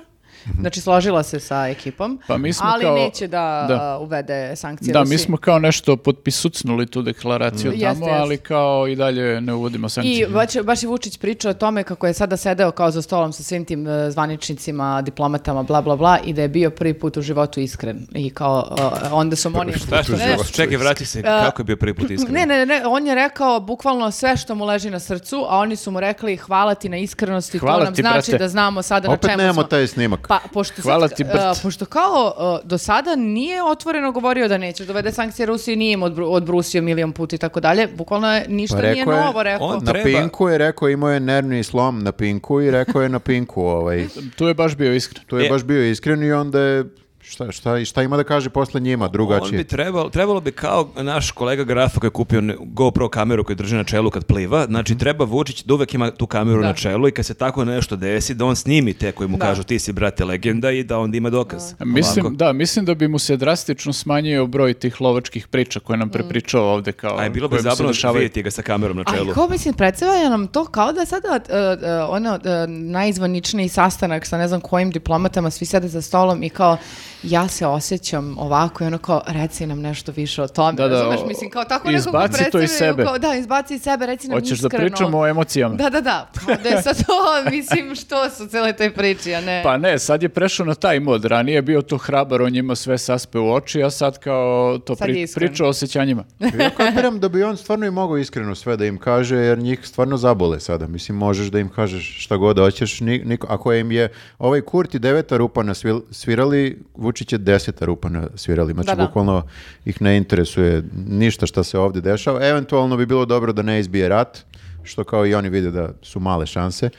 [SPEAKER 1] znači složila se sa ekipom,
[SPEAKER 2] Mhm. Pa mi smo
[SPEAKER 1] ali
[SPEAKER 2] kao-
[SPEAKER 1] neće da,
[SPEAKER 2] da.
[SPEAKER 1] uh, uvede sankcije
[SPEAKER 2] Da,
[SPEAKER 1] Rusiji.
[SPEAKER 2] mi smo kao nešto potpisucnuli tu deklaraciju
[SPEAKER 1] Mm.
[SPEAKER 2] tamo,
[SPEAKER 1] Jeste, jeste.
[SPEAKER 2] ali kao i dalje ne uvodimo
[SPEAKER 1] I
[SPEAKER 2] sankcije.
[SPEAKER 1] baš, baš je Vučić pričao o tome kako je sada sedeo kao za stolom sa svim tim e, zvaničnicima, diplomatama, bla, bla, bla i da je bio prvi put u životu iskren. I kao, e, onda su mu oni...
[SPEAKER 4] Šta što
[SPEAKER 1] Ne, ne,
[SPEAKER 4] Čekaj, vrati se. Kako je bio prvi put iskren?
[SPEAKER 1] Ne, ne, ne, on je rekao bukvalno sve što mu leži na srcu, a oni su mu rekli hvala ti na iskrenosti,
[SPEAKER 2] Hvala
[SPEAKER 1] to nam
[SPEAKER 2] ti,
[SPEAKER 1] znači
[SPEAKER 2] brate.
[SPEAKER 1] da znamo sada
[SPEAKER 3] Opet
[SPEAKER 1] na čemu
[SPEAKER 3] nemamo
[SPEAKER 1] smo.
[SPEAKER 3] taj snimak.
[SPEAKER 1] Pa, pošto,
[SPEAKER 2] Hvala
[SPEAKER 1] sad,
[SPEAKER 2] ti, brt.
[SPEAKER 1] e, pošto kao e, do sada nije otvoreno govorio da neće dovede sankcije Rusiji, nije im odbru- odbrusio milion puta i tako dalje, bukvalno je ništa nije
[SPEAKER 3] Pa rekao je-
[SPEAKER 1] novo rekao.
[SPEAKER 4] on-
[SPEAKER 3] na
[SPEAKER 4] treba.
[SPEAKER 3] Pinku je rekao, imao je nervni slom na Pinku i rekao je na Pinku, ovaj,
[SPEAKER 2] Tu je baš bio iskren.
[SPEAKER 3] tu je
[SPEAKER 4] E.
[SPEAKER 3] baš bio iskren i onda je, šta, šta, šta ima da kaže posle njima,
[SPEAKER 4] On
[SPEAKER 3] drugačije.
[SPEAKER 4] bi trebalo, trebalo bi kao naš kolega Grafa koji je kupio ne- GoPro kameru koju drži na čelu kad pliva, znači treba Vučić da uvek ima tu kameru na čelu i kad se tako nešto desi da on snimi te koji mu kažu ti si brate legenda i da onda ima dokaz.
[SPEAKER 2] Mislim,
[SPEAKER 4] Ovako.
[SPEAKER 2] da, mislim da bi mu se drastično smanjio broj tih lovačkih priča koje
[SPEAKER 1] Mm.
[SPEAKER 2] nam prepričao ovde kao...
[SPEAKER 4] A je bilo bi
[SPEAKER 2] koje mu se
[SPEAKER 4] zabavno
[SPEAKER 2] dešavaju.
[SPEAKER 4] vidjeti ga sa kamerom na čelu.
[SPEAKER 1] Ali kao mislim, predstavlja nam to kao da je sada e, e, ono e, najizvaničniji sastanak sa ne znam kojim diplomatama, svi sede za stolom i kao ja se osjećam ovako i ono kao reci nam nešto više o tome.
[SPEAKER 2] Da, da,
[SPEAKER 1] razumeš?
[SPEAKER 2] o-
[SPEAKER 1] mislim, kao tako nekako
[SPEAKER 2] izbaci to iz
[SPEAKER 1] predstavljaju
[SPEAKER 2] sebe.
[SPEAKER 1] Kao, da, izbaci iz sebe, reci nam
[SPEAKER 2] Hoćeš da
[SPEAKER 1] iskreno.
[SPEAKER 2] pričamo o emocijama?
[SPEAKER 1] Da, da, da. Pa da je sad to, mislim, što su cele te priče, a ne...
[SPEAKER 2] Pa ne, sad je prešao na taj mod. Ranije je bio to hrabar, on njima sve saspe u oči, a sad kao to
[SPEAKER 1] Sad je
[SPEAKER 2] pri,
[SPEAKER 1] iskren.
[SPEAKER 2] priča o osjećanjima.
[SPEAKER 3] Ja kapiram da bi on stvarno i mogao iskreno sve da im kaže, jer njih stvarno zabole sada. Mislim, možeš da im kažeš šta god hoćeš. Ni, niko- ako im je ovaj Kurti deveta rupa na svil- svirali, Vučić je deseta rupa na svirali. Znači,
[SPEAKER 1] Da, da.
[SPEAKER 3] bukvalno ih ne interesuje ništa šta se ovdje dešava. Eventualno bi bilo dobro da ne izbije rat, što kao i oni vide da su male šanse.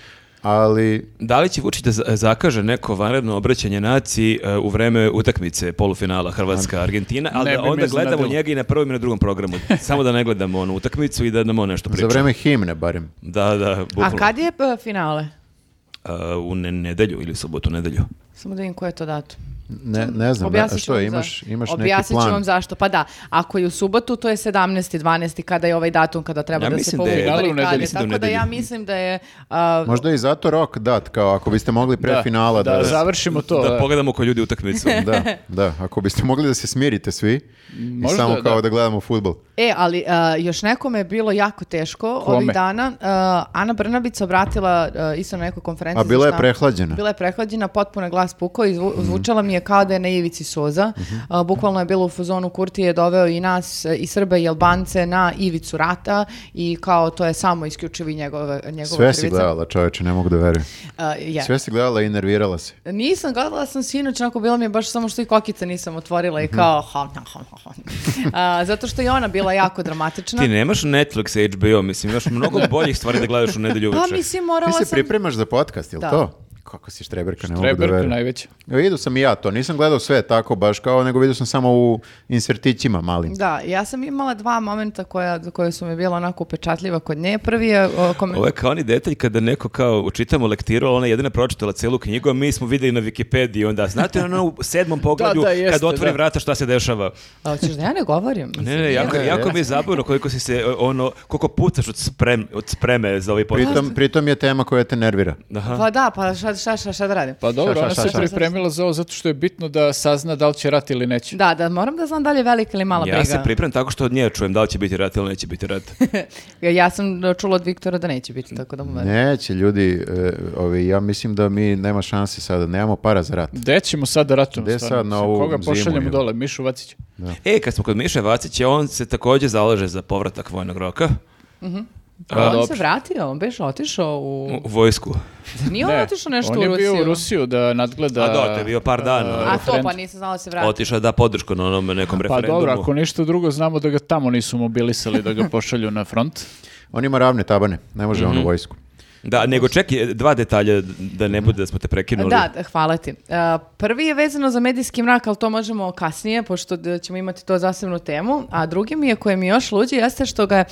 [SPEAKER 3] Ali
[SPEAKER 4] Da li će Vučić da za- zakaže neko vanredno obraćanje naciji e, u vreme utakmice polufinala Hrvatska-Argentina, ali
[SPEAKER 2] Ne
[SPEAKER 4] da
[SPEAKER 2] bi me
[SPEAKER 4] onda gledamo
[SPEAKER 2] iznenadilo.
[SPEAKER 4] njega i na prvom i na drugom programu. Samo da ne gledamo onu utakmicu i da nam on nešto priča.
[SPEAKER 3] za vreme himne barem.
[SPEAKER 4] Da, da,
[SPEAKER 1] a
[SPEAKER 4] bukvalno.
[SPEAKER 1] kad je e, finale?
[SPEAKER 4] E, u ne- nedelju ili u subotu nedelju.
[SPEAKER 1] Samo da vidim koje je to datum.
[SPEAKER 3] Ne, ne znam, a
[SPEAKER 1] Objasnit ću
[SPEAKER 3] što
[SPEAKER 1] vam
[SPEAKER 3] imaš,
[SPEAKER 1] za-
[SPEAKER 3] imaš neki
[SPEAKER 1] Objasnit ću
[SPEAKER 3] plan.
[SPEAKER 1] vam zašto. Pa da, ako je u subotu, to je 17. 12. kada je ovaj datum kada treba
[SPEAKER 4] Ja
[SPEAKER 1] da se
[SPEAKER 4] mislim da je-
[SPEAKER 1] povuku
[SPEAKER 2] Finale u
[SPEAKER 1] barikade.
[SPEAKER 2] nedelju,
[SPEAKER 4] mislim da u
[SPEAKER 1] Tako da ja
[SPEAKER 4] nedelju.
[SPEAKER 1] mislim da je... a,
[SPEAKER 3] Možda je i zato rok dat, kao ako biste mogli pre
[SPEAKER 2] Da,
[SPEAKER 3] finala da,
[SPEAKER 2] da, završimo to.
[SPEAKER 4] da
[SPEAKER 2] da.
[SPEAKER 4] pogledamo ko ljudi utakmicu.
[SPEAKER 3] da, da, ako biste mogli da se smirite svi i
[SPEAKER 2] Možda,
[SPEAKER 3] samo kao da,
[SPEAKER 2] da.
[SPEAKER 3] gledamo futbol.
[SPEAKER 1] E, ali e, još nekome je bilo jako teško
[SPEAKER 2] Kome?
[SPEAKER 1] ovih dana. E, Ana Brnabić se obratila e, isto na nekoj konferenciji.
[SPEAKER 3] A
[SPEAKER 1] za
[SPEAKER 3] bila je
[SPEAKER 1] štampu.
[SPEAKER 3] prehlađena. Mhm.
[SPEAKER 1] Bila je prehlađena, potpuno je glas pukao i zvu- zvučala mi je kao da je na ivici soza. A, bukvalno je bilo u fazonu Kurti je doveo i nas, e, i Srbe i Albance na ivicu rata i kao to je samo isključivi njegove, njegova
[SPEAKER 3] Sve si
[SPEAKER 1] krivica.
[SPEAKER 3] gledala, čoveče, ne mogu da verujem.
[SPEAKER 1] A, je.
[SPEAKER 3] Sve si gledala i nervirala se.
[SPEAKER 1] Nisam, gledala sam sinoć, onako bila mi je baš samo što i kokice nisam otvorila i kao ha, ha, ha, ha, ha. A, zato što je ona bila jako dramatična.
[SPEAKER 4] Ti nemaš Netflix, HBO, mislim, imaš mnogo boljih stvari da gledaš u nedelju
[SPEAKER 1] Pa
[SPEAKER 4] uveče.
[SPEAKER 1] mislim,
[SPEAKER 3] Ti
[SPEAKER 1] morala
[SPEAKER 3] se
[SPEAKER 1] sam...
[SPEAKER 3] pripremaš za podcast, jel
[SPEAKER 1] Da.
[SPEAKER 3] to? Kako si štreberka, ne mogu da
[SPEAKER 2] Treberka
[SPEAKER 3] verujem.
[SPEAKER 2] najveća.
[SPEAKER 3] Evo, Vidio sam i ja to, nisam gledao sve tako baš kao, nego vidio sam samo u insertićima malim.
[SPEAKER 1] Da, ja sam imala dva momenta koja, koje su mi bila onako upečatljiva kod nje. Prvi je... o, kome-
[SPEAKER 4] Ovo je kao oni detalj kada neko kao čitamo lektiru, ali ona je jedina pročitala celu knjigu, a mi smo videli na Wikipediji onda. Znate ono u sedmom pogledu
[SPEAKER 2] da, jeste,
[SPEAKER 4] kad otvori
[SPEAKER 2] da.
[SPEAKER 4] vrata šta se dešava.
[SPEAKER 1] A, hoćeš da ja ne govorim?
[SPEAKER 4] Ne, ne, jako,
[SPEAKER 3] Ne,
[SPEAKER 4] jako
[SPEAKER 3] ne.
[SPEAKER 4] mi je zabavno koliko si se o, ono, koliko pucaš od, sprem, od spreme za ovaj podcast.
[SPEAKER 3] Pritom, pritom je tema koja te nervira.
[SPEAKER 4] Aha.
[SPEAKER 1] Pa da, pa šta, šta, šta, šta da radim?
[SPEAKER 2] Pa dobro,
[SPEAKER 3] Šta, šta,
[SPEAKER 2] ona
[SPEAKER 3] šta,
[SPEAKER 2] se
[SPEAKER 3] šta?
[SPEAKER 2] pripremila za ovo zato što je bitno da sazna da li će rat ili neće.
[SPEAKER 1] Da, da, moram da znam da li je velika ili mala
[SPEAKER 4] Ja
[SPEAKER 1] briga.
[SPEAKER 4] se pripremam tako što od nje čujem da li će biti rat ili neće biti rat.
[SPEAKER 1] ja sam čula od Viktora da neće biti, tako da mu verujem.
[SPEAKER 3] Neće, ljudi, e, ovi, ja mislim da mi nema šanse sada, nemamo para za rat.
[SPEAKER 2] Gde ćemo sad da ratujemo?
[SPEAKER 3] Gde
[SPEAKER 2] stvarno?
[SPEAKER 3] sad na ovu
[SPEAKER 2] Koga
[SPEAKER 3] zimu,
[SPEAKER 2] pošaljemo
[SPEAKER 3] jel?
[SPEAKER 2] dole? Mišu Vacića.
[SPEAKER 4] E, kad smo kod Miše Vacića, on se također zalaže za povratak vojnog roka
[SPEAKER 1] Pa on se
[SPEAKER 2] dobro.
[SPEAKER 1] vratio, on beš otišao u...
[SPEAKER 4] u, u vojsku.
[SPEAKER 1] Nije on otišao nešto
[SPEAKER 2] on je
[SPEAKER 1] u Rusiju?
[SPEAKER 2] bio u Rusiju da nadgleda...
[SPEAKER 4] A da, to je bio par dana. ono,
[SPEAKER 1] A to, pa
[SPEAKER 2] referendum.
[SPEAKER 1] nisam znala da se vratio.
[SPEAKER 4] Otišao da podršku na onom nekom
[SPEAKER 2] Pa
[SPEAKER 4] referendumu.
[SPEAKER 2] dobro, ako ništa drugo, znamo da ga tamo nisu mobilisali da ga pošalju na front.
[SPEAKER 3] On ima ravne tabane, ne može
[SPEAKER 1] Mhm.
[SPEAKER 3] on u vojsku.
[SPEAKER 4] Da, nego čekaj, dva detalja da ne bude da smo te prekinuli.
[SPEAKER 1] Da, da, hvala ti. E, prvi je vezano za medijski mrak, ali to možemo kasnije, pošto d- ćemo imati to zasebnu temu. A drugi mi je koji mi je još luđi jeste što, ga, je,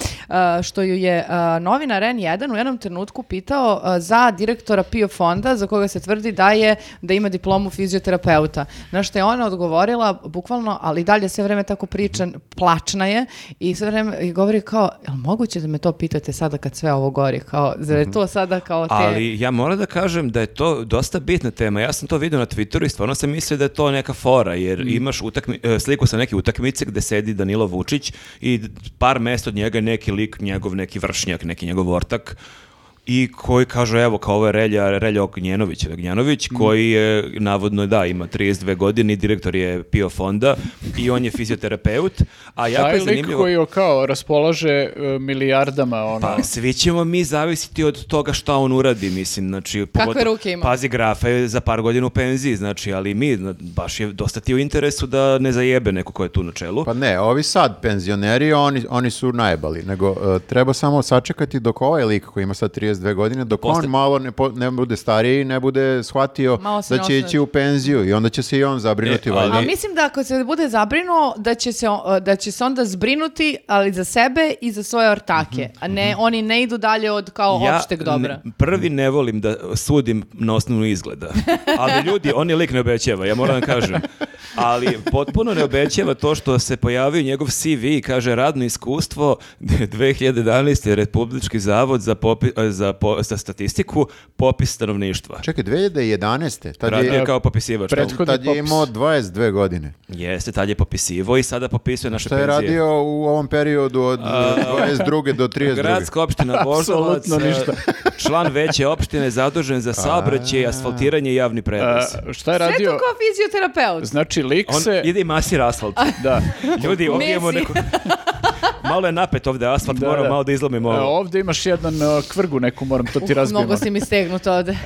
[SPEAKER 1] e, što ju je e, novinar N1 u jednom trenutku pitao e, za direktora PIO fonda za koga se tvrdi da je da ima diplomu fizioterapeuta. Na što je ona odgovorila, bukvalno, ali dalje sve vreme tako pričan, plačna je i sve vreme i govori kao, jel moguće da me to pitate sada kad sve ovo gori? Kao, zar je to sada kao te...
[SPEAKER 4] Mhm. Ali ja moram da kažem da je to dosta bitna tema. Ja sam to vidio na Twitteru i stvarno sam mislio da je to neka fora, jer imaš utakmi, e, sliku sa neke utakmice gde sedi Danilo Vučić i par mesta od njega je neki lik, njegov neki vršnjak, neki njegov ortak i koji kaže, evo, kao ovo je Relja, Relja Ognjenović, ili Ognjenović, koji je, navodno, da, ima 32 godine, i direktor je PIO fonda i on je fizioterapeut, a jako
[SPEAKER 2] Taj
[SPEAKER 4] je
[SPEAKER 2] lik
[SPEAKER 4] zanimljivo...
[SPEAKER 2] koji kao raspolaže e, milijardama, ono...
[SPEAKER 4] Pa svi ćemo mi zavisiti od toga šta on uradi, mislim, znači... pogotovo-
[SPEAKER 1] ruke ima?
[SPEAKER 4] Pazi, grafa je za par godina u penziji, znači, ali mi, zna- baš je dosta ti u interesu da ne zajebe neko ko je tu na čelu.
[SPEAKER 3] Pa ne, ovi sad penzioneri, oni, oni su najebali, nego e, treba samo sačekati dok ovaj lik koji ima sad 32 godine, dok
[SPEAKER 4] Posta-
[SPEAKER 3] on malo ne, po- ne bude stariji, ne bude shvatio
[SPEAKER 1] Malo se
[SPEAKER 3] da
[SPEAKER 1] ne
[SPEAKER 3] će
[SPEAKER 1] osnaži.
[SPEAKER 3] ići u penziju i onda će se i on zabrinuti.
[SPEAKER 4] E, ali-
[SPEAKER 3] valjda.
[SPEAKER 1] A mislim da ako se bude zabrinuo, da će se, o- da će se onda zbrinuti, ali za sebe i za svoje ortake. A ne, oni ne idu dalje od kao opšteg dobra.
[SPEAKER 4] Mhm, ne- prvi ne volim da sudim na osnovu izgleda. Ali ljudi, on je lik ne obećava, ja moram da kažem. Ali potpuno ne obećava to što se pojavio njegov CV i kaže radno iskustvo 2011. Republički zavod za, popi- za, po- za statistiku popis stanovništva.
[SPEAKER 3] Čekaj, 2011. Tad
[SPEAKER 4] Radio
[SPEAKER 3] je,
[SPEAKER 4] je kao popisivač.
[SPEAKER 2] pred-
[SPEAKER 4] Kao-
[SPEAKER 3] tad je imao 22 godine.
[SPEAKER 4] Jeste, tad je popisivo i sada popisuje naše
[SPEAKER 3] Šta je
[SPEAKER 4] penzije.
[SPEAKER 3] radio u ovom periodu od e, 22. do 32.
[SPEAKER 4] Gradska opština Voždovac, eh,
[SPEAKER 2] Apsolutno ništa.
[SPEAKER 4] član veće opštine zadužen za saobraćaj, asfaltiranje i javni prevoz.
[SPEAKER 2] A, e, šta je
[SPEAKER 1] Sve
[SPEAKER 2] radio?
[SPEAKER 1] to kao fizioterapeut.
[SPEAKER 2] Znači, lik
[SPEAKER 4] On
[SPEAKER 2] Eh, se...
[SPEAKER 4] ide i masira asfalt.
[SPEAKER 2] Da.
[SPEAKER 4] Ljudi, ovdje imamo
[SPEAKER 1] Messi.
[SPEAKER 4] neku... Malo je napet ovdje asfalt,
[SPEAKER 2] Da,
[SPEAKER 4] moram
[SPEAKER 2] da.
[SPEAKER 4] malo da izlomimo
[SPEAKER 2] E,
[SPEAKER 4] ovo.
[SPEAKER 2] ovdje imaš jedan e, kvrgu neku, moram to ti
[SPEAKER 1] Uh,
[SPEAKER 2] razbijem.
[SPEAKER 1] Mnogo si mi stegnut ovde.
[SPEAKER 2] E,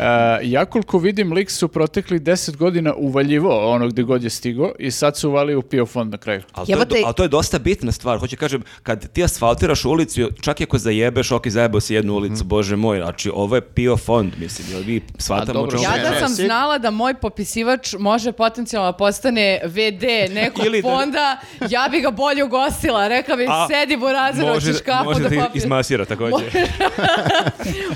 [SPEAKER 2] ja koliko vidim, lik su proteklih deset godina uvaljivo ono gde god je stigo i sad su uvali u PIO fond na kraju.
[SPEAKER 4] Ali to, je, do-
[SPEAKER 1] Jebote-
[SPEAKER 4] ali to je dosta bitna stvar. Hoću kažem, kad ti asfaltiraš ulicu, čak i ako zajebeš, ok, zajebao si jednu ulicu,
[SPEAKER 2] Mhm.
[SPEAKER 4] bože moj, znači ovo je PIO fond, mislim, jel mi shvatamo o
[SPEAKER 2] dobro,
[SPEAKER 4] čemu
[SPEAKER 1] Ja
[SPEAKER 4] se
[SPEAKER 1] da
[SPEAKER 3] ne,
[SPEAKER 1] sam
[SPEAKER 3] si-
[SPEAKER 1] znala da moj popisivač može potencijalno da postane VD nekog
[SPEAKER 4] Ili da-
[SPEAKER 1] fonda, ja bi ga bolje ugostila. Rekla bi,
[SPEAKER 4] A,
[SPEAKER 1] sedi burazeru,
[SPEAKER 4] može,
[SPEAKER 1] hoćeš kapu
[SPEAKER 4] može
[SPEAKER 1] da
[SPEAKER 4] da i-
[SPEAKER 1] popiješ.
[SPEAKER 4] izmasira također.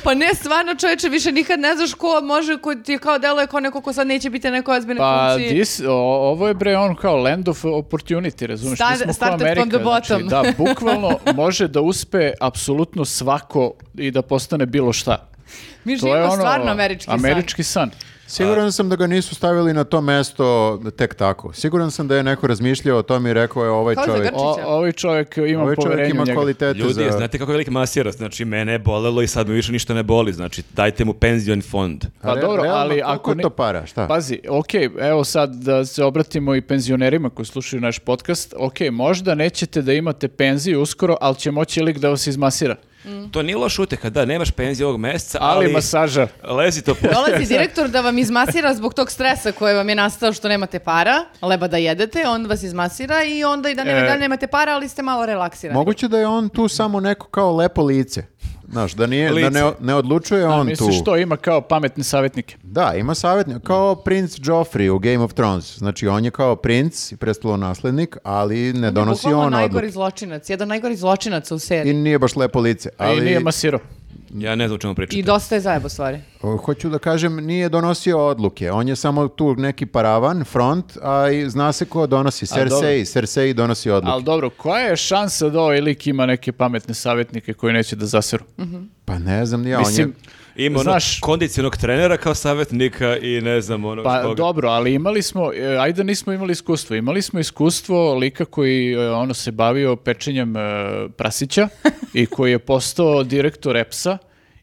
[SPEAKER 1] Pa ne, stvarno čoveče, više nikad ne znaš ko može, ko ti je kao deluje kao neko ko sad neće biti na nekoj ozbiljnoj
[SPEAKER 2] Pa
[SPEAKER 1] funkciji.
[SPEAKER 2] dis, o- ovo je bre on kao land of opportunity, razumiješ?
[SPEAKER 1] Star- started from the bottom.
[SPEAKER 2] znači, da, bukvalno može da uspe apsolutno svako i da postane bilo šta.
[SPEAKER 3] ono,
[SPEAKER 2] ono,
[SPEAKER 1] Mi živimo stvarno američki san. Znači,
[SPEAKER 2] Američki san.
[SPEAKER 3] Siguran sam da ga nisu stavili na to mesto tek tako. Siguran sam da je neko razmišljao o tom i rekao je ovaj
[SPEAKER 1] Kao za
[SPEAKER 3] čovjek.
[SPEAKER 1] Grčića.
[SPEAKER 2] O, ovaj čovjek ima
[SPEAKER 3] Ovaj
[SPEAKER 2] poverenje
[SPEAKER 3] čovjek
[SPEAKER 2] u
[SPEAKER 3] ima
[SPEAKER 2] njega.
[SPEAKER 3] kvalitete
[SPEAKER 4] Ljudi,
[SPEAKER 3] za...
[SPEAKER 4] znate kako je veliki masirac, znači mene je bolelo i sad me više ništa ne boli, znači dajte mu penzion fond.
[SPEAKER 2] Pa
[SPEAKER 3] Re-
[SPEAKER 2] dobro,
[SPEAKER 3] realno,
[SPEAKER 2] ali
[SPEAKER 3] koliko
[SPEAKER 2] ako ne... Pa-
[SPEAKER 3] to para, šta?
[SPEAKER 2] Pazi, ok, evo sad da se obratimo i penzionerima koji slušaju naš podcast. Ok, možda nećete da imate penziju uskoro, ali će moći lik da vas izmasira.
[SPEAKER 1] Mm.
[SPEAKER 4] To nije loš uteha, da, nemaš penziju ovog mjeseca,
[SPEAKER 2] Ali,
[SPEAKER 4] ali...
[SPEAKER 2] masaža.
[SPEAKER 4] Lezi to posle.
[SPEAKER 1] Dolazi direktor da vam izmasira zbog tog stresa koje vam je nastao što nemate para, leba da jedete, on vas izmasira i onda i da, ne,
[SPEAKER 2] E.
[SPEAKER 1] da nemate para, ali ste malo relaksirani.
[SPEAKER 3] Moguće da je on tu samo neko kao lepo lice. Znaš, da, nije, da ne,
[SPEAKER 4] Lice.
[SPEAKER 3] ne odlučuje on tu.
[SPEAKER 2] Misliš što ima kao pametne savjetnike? E,
[SPEAKER 3] Da, ima savjetnik, kao princ Joffrey u Game of Thrones. Znači, on je kao princ i naslednik, ali ne donosi
[SPEAKER 1] Bukvalno
[SPEAKER 3] on
[SPEAKER 1] najgori
[SPEAKER 3] odluke.
[SPEAKER 1] zločinac, jedan najgori zločinac u seriji.
[SPEAKER 3] I nije baš lepo lice. Ali,
[SPEAKER 2] I nije masiro.
[SPEAKER 4] Ja ne znam o čemu
[SPEAKER 1] I,
[SPEAKER 4] pričate.
[SPEAKER 1] dosta je zajebo stvari.
[SPEAKER 3] o, hoću da kažem, nije donosio odluke. On je samo tu neki paravan, front, a i zna se ko donosi. Cersei, Cersei donosi odluke.
[SPEAKER 2] Ali dobro, koja je šansa da ovaj lik ima neke pametne savjetnike koji neće da zasiru?
[SPEAKER 3] Pa ne znam, ja, on je...
[SPEAKER 2] Mislim,
[SPEAKER 4] Ima ono
[SPEAKER 2] Znaš-
[SPEAKER 4] kondicionog trenera kao savjetnika i ne znam ono
[SPEAKER 2] Pa
[SPEAKER 4] koga.
[SPEAKER 2] dobro, ali imali smo, e, ajde nismo imali iskustvo, imali smo iskustvo lika koji e, ono se bavio pečenjem e, prasića i koji je postao direktor EPS-a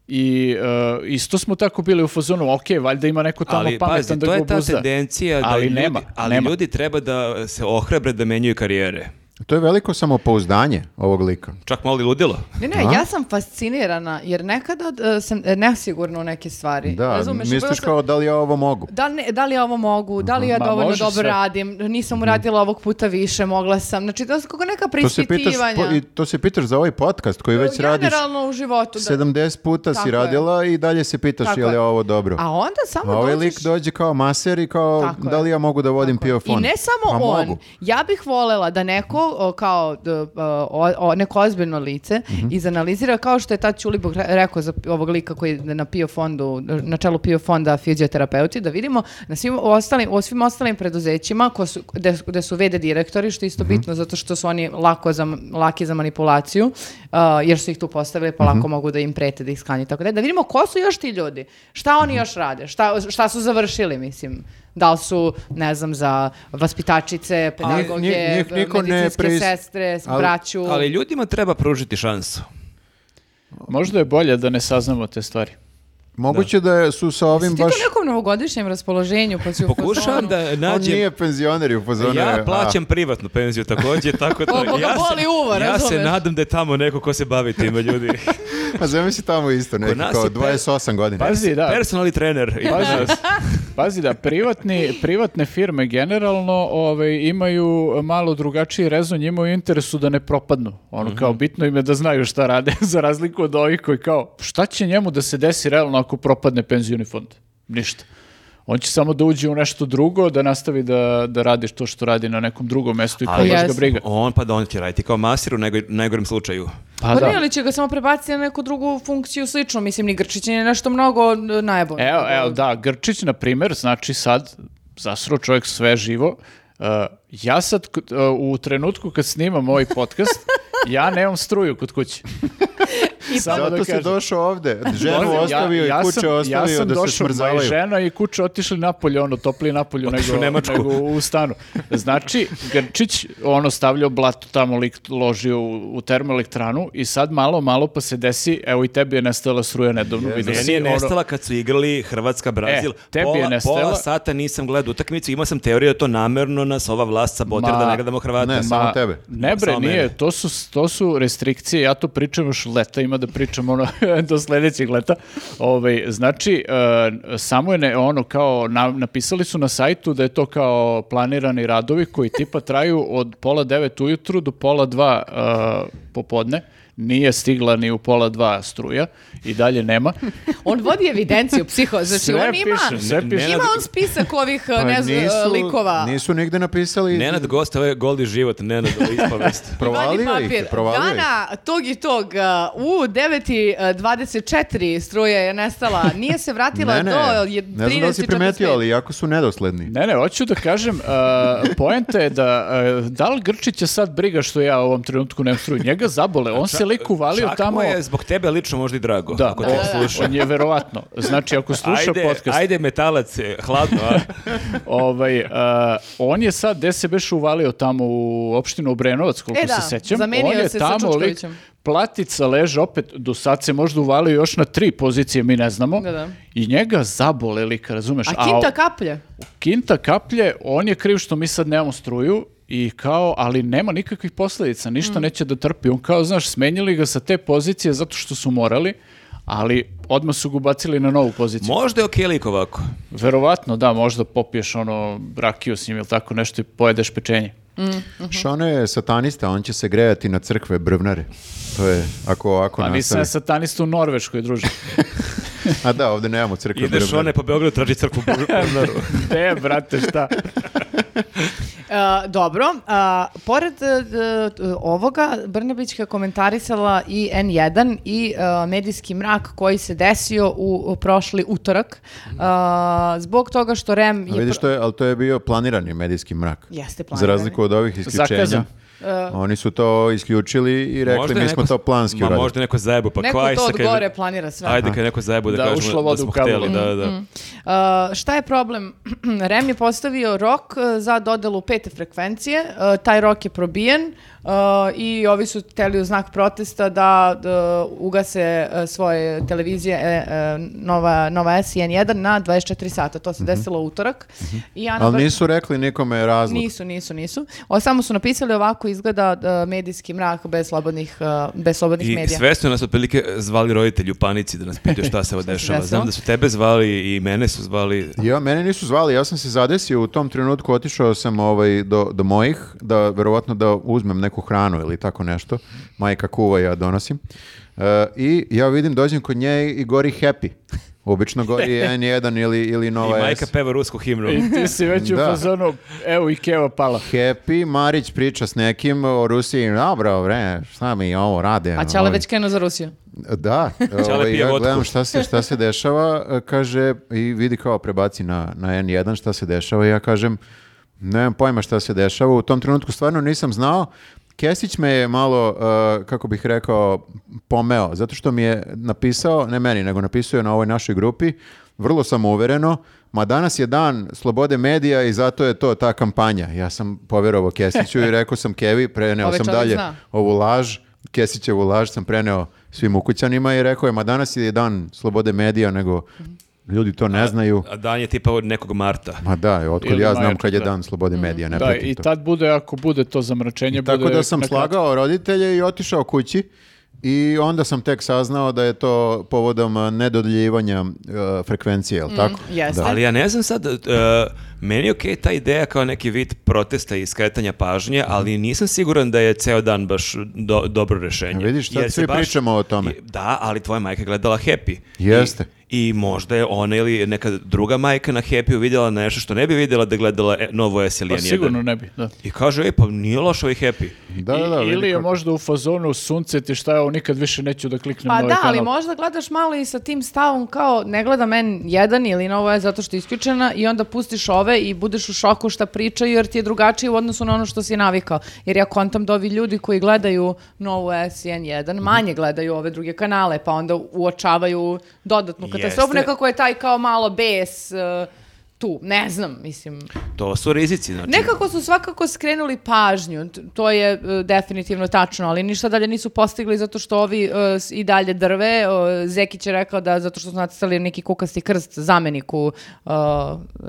[SPEAKER 2] i e, isto smo tako bili u fazonu, ok, valjda ima neko tamo
[SPEAKER 4] ali pazi,
[SPEAKER 2] pametan da
[SPEAKER 4] to
[SPEAKER 2] ga
[SPEAKER 4] je ta
[SPEAKER 2] obuzda.
[SPEAKER 4] tendencija da
[SPEAKER 2] Ali
[SPEAKER 4] ljudi,
[SPEAKER 2] nema,
[SPEAKER 4] ali
[SPEAKER 2] nema.
[SPEAKER 4] ljudi treba da se ohrabre da menjaju karijere.
[SPEAKER 3] To je veliko samopouzdanje ovog lika.
[SPEAKER 4] Čak malo i ludilo.
[SPEAKER 1] Ne, ne, ja sam fascinirana jer nekada e, sam e, nesigurna u neke stvari.
[SPEAKER 3] Da,
[SPEAKER 1] Razumeš? Bila
[SPEAKER 3] misliš
[SPEAKER 1] sam-
[SPEAKER 3] kao da li ja ovo mogu?
[SPEAKER 1] Da li, ne- da li ja ovo mogu, da li ja
[SPEAKER 2] Ma,
[SPEAKER 1] dovoljno
[SPEAKER 2] može
[SPEAKER 1] dobro
[SPEAKER 2] sve.
[SPEAKER 1] radim, nisam uradila ovog puta više, mogla sam. Znači, to su kako neka
[SPEAKER 3] Mhm. To se, pitaš,
[SPEAKER 1] preispitivanja.
[SPEAKER 3] po- i to se pitaš za ovaj podcast koji već radiš
[SPEAKER 1] Generalno u životu. Da,
[SPEAKER 3] 70 puta
[SPEAKER 1] Tako
[SPEAKER 3] si
[SPEAKER 1] je.
[SPEAKER 3] radila i dalje se pitaš
[SPEAKER 1] Tako
[SPEAKER 3] je li
[SPEAKER 1] je.
[SPEAKER 3] ovo dobro.
[SPEAKER 1] A onda samo
[SPEAKER 3] A ovaj
[SPEAKER 1] dođeš-
[SPEAKER 3] lik dođe kao maser i kao
[SPEAKER 1] Tako je.
[SPEAKER 3] da li ja mogu da vodim pio
[SPEAKER 1] I
[SPEAKER 3] fond?
[SPEAKER 1] ne samo
[SPEAKER 3] Pa
[SPEAKER 1] on.
[SPEAKER 3] mogu.
[SPEAKER 1] Ja bih volela da neko o, kao d- o, o, neko ozbiljno lice
[SPEAKER 3] Mhm.
[SPEAKER 1] izanalizira kao što je tad Ćulibog re- rekao za ovog lika koji je na PIO fondu, na čelu PIO fonda fizioterapeuti, da vidimo na svim ostalim, o svim ostalim preduzećima ko su, gde, su- gde su VD direktori, što je
[SPEAKER 3] Mhm.
[SPEAKER 1] isto bitno zato što su oni lako za, laki za manipulaciju, a, jer su ih tu postavili pa
[SPEAKER 3] Mhm.
[SPEAKER 1] lako mogu da im prete da ih skanju i tako da. Da vidimo ko su još ti ljudi, šta
[SPEAKER 3] Mhm.
[SPEAKER 1] oni još rade, šta, šta su završili, mislim. Da li su, ne znam, za vaspitačice, pedagoge,
[SPEAKER 3] njih- njih niko ne
[SPEAKER 1] medicinske
[SPEAKER 3] preis-
[SPEAKER 1] sestre,
[SPEAKER 3] ali-
[SPEAKER 1] braću.
[SPEAKER 4] Ali ljudima treba pružiti šansu.
[SPEAKER 2] Možda je bolje da ne saznamo te stvari.
[SPEAKER 3] Moguće da, je- su sa ovim
[SPEAKER 1] Ti to
[SPEAKER 3] baš...
[SPEAKER 1] u nekom novogodišnjem raspoloženju, pa si u fazonu.
[SPEAKER 4] Pokušavam da
[SPEAKER 2] E,
[SPEAKER 3] On
[SPEAKER 4] nađem...
[SPEAKER 3] nije penzioner i u fazonu je,
[SPEAKER 4] Ja
[SPEAKER 3] a,
[SPEAKER 4] plaćam privatnu penziju također, tako da...
[SPEAKER 1] Koliko ga boli uvo,
[SPEAKER 4] ja se
[SPEAKER 1] razumeš?
[SPEAKER 4] nadam da je tamo neko ko se bavi time, ljudi.
[SPEAKER 3] Pa zamisli tamo isto neki
[SPEAKER 4] nas
[SPEAKER 3] kao
[SPEAKER 4] je pe-
[SPEAKER 3] 28 godina.
[SPEAKER 2] Pazi, da,
[SPEAKER 4] Personalni trener. i
[SPEAKER 2] Pazi.
[SPEAKER 4] nas.
[SPEAKER 2] Pazi da, privatni, privatne firme generalno ovaj, imaju malo drugačiji rezon, njima u interesu da ne propadnu. Ono kao bitno im je da znaju šta rade, za razliku od ovih koji kao, šta će njemu da se desi realno ako propadne penzioni fond? Ništa. On će samo da uđe u nešto drugo, da nastavi da, da radi to što radi na nekom drugom mestu i kao
[SPEAKER 4] Ali-
[SPEAKER 2] baš ga
[SPEAKER 1] Jes.
[SPEAKER 2] briga.
[SPEAKER 4] On pa da on će raditi kao masir u najgo- najgorem slučaju.
[SPEAKER 2] Pa
[SPEAKER 1] Pa
[SPEAKER 2] da.
[SPEAKER 1] ne, ali će ga samo prebaciti na neku drugu funkciju sličnu. Mislim, ni Grčić je nešto mnogo najbolje.
[SPEAKER 2] Evo, evo, da, Grčić, na primjer, znači sad, zasro čovjek sve živo, Uh, ja sad k- uh, u trenutku kad snimam ovaj podcast, ja nemam struju kod kuće. Samo
[SPEAKER 3] Zato si
[SPEAKER 2] kažem.
[SPEAKER 3] došao ovde. Ženu
[SPEAKER 2] Bože, ja-
[SPEAKER 3] ostavio
[SPEAKER 2] ja
[SPEAKER 3] i kuće
[SPEAKER 2] sam-
[SPEAKER 3] ostavio
[SPEAKER 2] ja sam
[SPEAKER 3] da se
[SPEAKER 2] došao, moja
[SPEAKER 3] smrzavaju.
[SPEAKER 2] žena i kuće otišli napolje, ono, toplije napolju
[SPEAKER 4] Otišli
[SPEAKER 2] nego,
[SPEAKER 4] u Nemačku.
[SPEAKER 2] nego u stanu. Znači, Grčić, ono, stavljao blato tamo, lik, ložio u, u termoelektranu i sad malo, malo pa se desi, evo i tebi je nestala struja nedavno. vidio
[SPEAKER 4] Meni
[SPEAKER 2] si,
[SPEAKER 4] je
[SPEAKER 2] ono-
[SPEAKER 4] nestala kad su igrali Hrvatska Brazil.
[SPEAKER 2] E, tebi je
[SPEAKER 4] pola,
[SPEAKER 2] nestala.
[SPEAKER 4] pola sata nisam gledao utakmicu, imao sam teoriju da to namerno nas ova vlast sabotira
[SPEAKER 2] Ma,
[SPEAKER 4] da ne gledamo Hrvata.
[SPEAKER 3] ne, Samo tebe.
[SPEAKER 2] Ne bre,
[SPEAKER 4] Samo
[SPEAKER 2] nije,
[SPEAKER 4] mene.
[SPEAKER 2] to su, to su restrikcije, ja to pričam još leta, ima da pričam ono do sledećeg leta. Ovaj, znači, e, samo je ne, ono kao, na- napisali su na sajtu da je to kao planirani radovi koji tipa traju od pola devet ujutru do pola dva e, popodne. Nije stigla ni u pola dva struja i dalje nema.
[SPEAKER 1] On vodi evidenciju, psiho. Znači,
[SPEAKER 2] Sve
[SPEAKER 1] on ima...
[SPEAKER 2] piše, sve piše.
[SPEAKER 1] Ima on spisak ovih
[SPEAKER 3] Pa
[SPEAKER 1] ne znam, e,
[SPEAKER 3] nisu-
[SPEAKER 1] likova.
[SPEAKER 3] Nisu nigde napisali.
[SPEAKER 4] Nenad Gost, ovo je goldi život, Nenad, ovo je ispovest.
[SPEAKER 1] I vadi
[SPEAKER 3] Provalio ih je,
[SPEAKER 1] papir.
[SPEAKER 3] provalio ih.
[SPEAKER 1] Dana tog i tog uh, u uh, 9.24 struje je nestala. Nije se vratila
[SPEAKER 3] Ne, ne,
[SPEAKER 1] do je
[SPEAKER 3] ne znam da li si
[SPEAKER 1] 13:45.
[SPEAKER 3] primetio, ali jako su nedosledni.
[SPEAKER 2] Ne, ne, hoću da kažem, uh, poenta je da, uh, da li Grčića sad briga što ja u ovom trenutku nemam struju? Njega zabole, on se lik uvalio
[SPEAKER 4] Čakmo
[SPEAKER 2] tamo...
[SPEAKER 4] je zbog tebe lično možda i drago.
[SPEAKER 2] Da, E,
[SPEAKER 4] ako
[SPEAKER 2] on,
[SPEAKER 4] te sluša.
[SPEAKER 2] on je verovatno. Znači, ako sluša
[SPEAKER 4] Ajde,
[SPEAKER 2] podcast,
[SPEAKER 4] ajde metalac, e, hladno. a?
[SPEAKER 2] ovaj, uh, on je sad, gde se beš uvalio tamo u opštinu Obrenovac, koliko
[SPEAKER 1] E da,
[SPEAKER 2] se sećam,
[SPEAKER 1] zamenio
[SPEAKER 2] on je
[SPEAKER 1] se sa
[SPEAKER 2] tamo lik,
[SPEAKER 1] Čučkovićem.
[SPEAKER 2] platica leže opet, do sad se možda uvalio još na tri pozicije, mi ne znamo,
[SPEAKER 1] Da, da.
[SPEAKER 2] i njega zabole lik, razumeš?
[SPEAKER 1] A Kinta kaplje.
[SPEAKER 2] Kinta kaplje, on je kriv što mi sad nemamo struju i kao, ali nema nikakvih posledica, ništa neće da trpi. On kao, znaš, smenjili ga sa te pozicije zato što su morali, ali odmah su ga ubacili na novu poziciju.
[SPEAKER 4] Možda je okej lik ovako.
[SPEAKER 2] Verovatno, da, možda popiješ ono rakiju s njim ili tako nešto i pojedeš pečenje.
[SPEAKER 1] Mhm.
[SPEAKER 3] Šone je satanista, on će se grejati na crkve brvnare. To je, ako ovako
[SPEAKER 2] Pa nisam ja
[SPEAKER 3] nastavi.
[SPEAKER 2] satanista u Norveškoj, druže.
[SPEAKER 3] A da, ovdje nemamo crkve
[SPEAKER 4] Ideš
[SPEAKER 3] brvnare.
[SPEAKER 4] one po Beogradu traži crkvu u Brnaru.
[SPEAKER 2] Te, brate, šta?
[SPEAKER 1] E, dobro, a, pored e, d- t- ovoga, Brnabićka je komentarisala i N1 i e, medijski mrak koji se desio u, u prošli utorak a, zbog toga što REM
[SPEAKER 3] Mhm. A
[SPEAKER 1] je...
[SPEAKER 3] vidiš,
[SPEAKER 1] pro-
[SPEAKER 3] to je, ali to je bio planirani medijski mrak.
[SPEAKER 1] Jeste
[SPEAKER 3] Za
[SPEAKER 1] planirani. E.
[SPEAKER 3] razliku od ovih isključenja.
[SPEAKER 2] Zakazan.
[SPEAKER 3] Oni su to isključili i rekli,
[SPEAKER 4] Možda je
[SPEAKER 3] mi smo
[SPEAKER 4] neko-
[SPEAKER 3] to planski
[SPEAKER 4] Ma
[SPEAKER 3] uradili.
[SPEAKER 4] možda je neko zajebu, pa
[SPEAKER 1] Neko
[SPEAKER 4] kvaj
[SPEAKER 1] to
[SPEAKER 4] se
[SPEAKER 1] od
[SPEAKER 4] kad-
[SPEAKER 1] gore planira sve.
[SPEAKER 4] Ajde kad je neko zajebu da,
[SPEAKER 2] Da,
[SPEAKER 4] kažemo
[SPEAKER 2] ušla voda
[SPEAKER 4] da
[SPEAKER 2] u
[SPEAKER 4] smo
[SPEAKER 2] kabel.
[SPEAKER 4] hteli. Da,
[SPEAKER 1] Mm,
[SPEAKER 4] da.
[SPEAKER 1] Uh, šta je problem? REM je postavio rok uh, za dodelu pete frekvencije, uh, taj rok je probijen uh, i ovi su hteli u znak protesta da uh, ugase uh, svoje televizije e, e, Nova, Nova S i N1 na 24 sata. To se desilo u utorak. I Ana Br-
[SPEAKER 3] Mhm. Ali nisu rekli nikome razlog.
[SPEAKER 1] Nisu, nisu, nisu. O, samo su napisali ovako izgleda uh, medijski mrak bez slobodnih, uh, bez slobodnih
[SPEAKER 4] I
[SPEAKER 1] medija.
[SPEAKER 4] sve su nas otprilike zvali roditelji u panici da nas pitaju šta se ovo dešava.
[SPEAKER 1] desilo?
[SPEAKER 4] Znam da su tebe zvali i mene su zvali.
[SPEAKER 3] Ja, mene nisu zvali, ja sam se zadesio u tom trenutku, otišao sam ovaj, do, do mojih, da verovatno da uzmem neku hranu ili tako nešto, majka kuva, ja donosim. E, I ja vidim, dođem kod nje i gori happy. Obično gori N1 ili, ili Nova
[SPEAKER 4] I majka
[SPEAKER 3] S.
[SPEAKER 4] peva rusku himnu.
[SPEAKER 2] I ti si već u
[SPEAKER 3] Da.
[SPEAKER 2] fazonu, evo i keva pala.
[SPEAKER 3] Happy, Marić priča s nekim o Rusiji, dobro, bre, šta mi ovo rade?
[SPEAKER 1] A Ćale
[SPEAKER 3] ovi?"
[SPEAKER 1] već krenuo za Rusiju.
[SPEAKER 3] Da, ovaj,
[SPEAKER 4] pije
[SPEAKER 3] ja
[SPEAKER 4] vodku.
[SPEAKER 3] gledam šta se, šta se dešava, e, kaže, i vidi kao prebaci na, na N1 šta se dešava i ja kažem, nemam pojma šta se dešava, u tom trenutku stvarno nisam znao, Kesić me je malo, e, kako bih rekao, pomeo, zato što mi je napisao, ne meni, nego napisao je na ovoj našoj grupi, vrlo sam uvereno, ma danas je dan slobode medija i zato je to ta kampanja. Ja sam povjerovao Kesiću i rekao sam Kevi, preneo
[SPEAKER 1] Ovaj
[SPEAKER 3] sam
[SPEAKER 1] čovjek
[SPEAKER 3] dalje
[SPEAKER 1] zna.
[SPEAKER 3] ovu laž, Kesićevu laž sam preneo svim ukućanima i rekao je, ma danas je dan slobode medija, nego ljudi to ne znaju.
[SPEAKER 4] A dan je tipa od nekog marta.
[SPEAKER 3] Ma da, otkud
[SPEAKER 2] Ili
[SPEAKER 3] ja
[SPEAKER 2] maja,
[SPEAKER 3] znam kad je
[SPEAKER 2] da.
[SPEAKER 3] dan slobode medija, ne
[SPEAKER 2] Da,
[SPEAKER 3] pratim
[SPEAKER 2] i
[SPEAKER 3] to.
[SPEAKER 2] tad bude, ako bude to zamračenje,
[SPEAKER 3] Mm. Tako
[SPEAKER 2] bude
[SPEAKER 3] da sam
[SPEAKER 2] na kratko.
[SPEAKER 3] slagao roditelje i otišao kući i onda sam tek saznao da je to povodom eh, nedodeljivanja eh, frekvencije,
[SPEAKER 2] Mm,
[SPEAKER 3] jel tako?
[SPEAKER 1] jeste.
[SPEAKER 3] Da.
[SPEAKER 4] Ali ja ne znam sad, e, meni je okej ta ideja kao neki vid protesta i skretanja pažnje, ali nisam siguran da je ceo dan baš do- dobro rešenje.
[SPEAKER 3] E, vidiš, sad
[SPEAKER 4] Jer se
[SPEAKER 3] svi pričamo o tome.
[SPEAKER 4] I- Da, ali tvoja majka je gledala Happy.
[SPEAKER 3] Jeste.
[SPEAKER 4] I, I možda je ona ili neka druga majka na Happy vidjela nešto što ne bi vidjela da je gledala e, Novo S ili
[SPEAKER 2] Pa
[SPEAKER 4] N1.
[SPEAKER 2] sigurno ne bi, da.
[SPEAKER 4] I kaže, ej, pa nije loš ovaj Happy.
[SPEAKER 3] Da,
[SPEAKER 2] I-
[SPEAKER 3] da, da, vidi
[SPEAKER 2] ili je
[SPEAKER 3] kako-
[SPEAKER 2] možda u fazonu sunce ti šta je ovo, nikad više neću da kliknem
[SPEAKER 1] Pa
[SPEAKER 2] na ovaj
[SPEAKER 1] da, ali
[SPEAKER 2] kanal.
[SPEAKER 1] možda gledaš malo i sa tim stavom kao ne gledam N1 ili novo je zato što je isključena i onda pustiš ove i budeš u šoku šta pričaju jer ti je drugačije u odnosu na ono što si navikao. Jer ja kontam da ovi ljudi koji gledaju novu S i
[SPEAKER 2] Mhm.
[SPEAKER 1] N1 manje gledaju ove druge kanale pa onda uočavaju dodatnu
[SPEAKER 4] Jeste.
[SPEAKER 1] katastrofu. Nekako je taj kao malo bes e, tu. Ne znam, mislim.
[SPEAKER 4] To su rizici,
[SPEAKER 2] Pa
[SPEAKER 4] znači.
[SPEAKER 1] Nekako su svakako skrenuli pažnju, t- to je e, definitivno tačno, ali ništa dalje nisu postigli zato što ovi e, s- i dalje drve. E, Zekić je rekao da zato što su nacrtali neki kukasti krst zameniku e,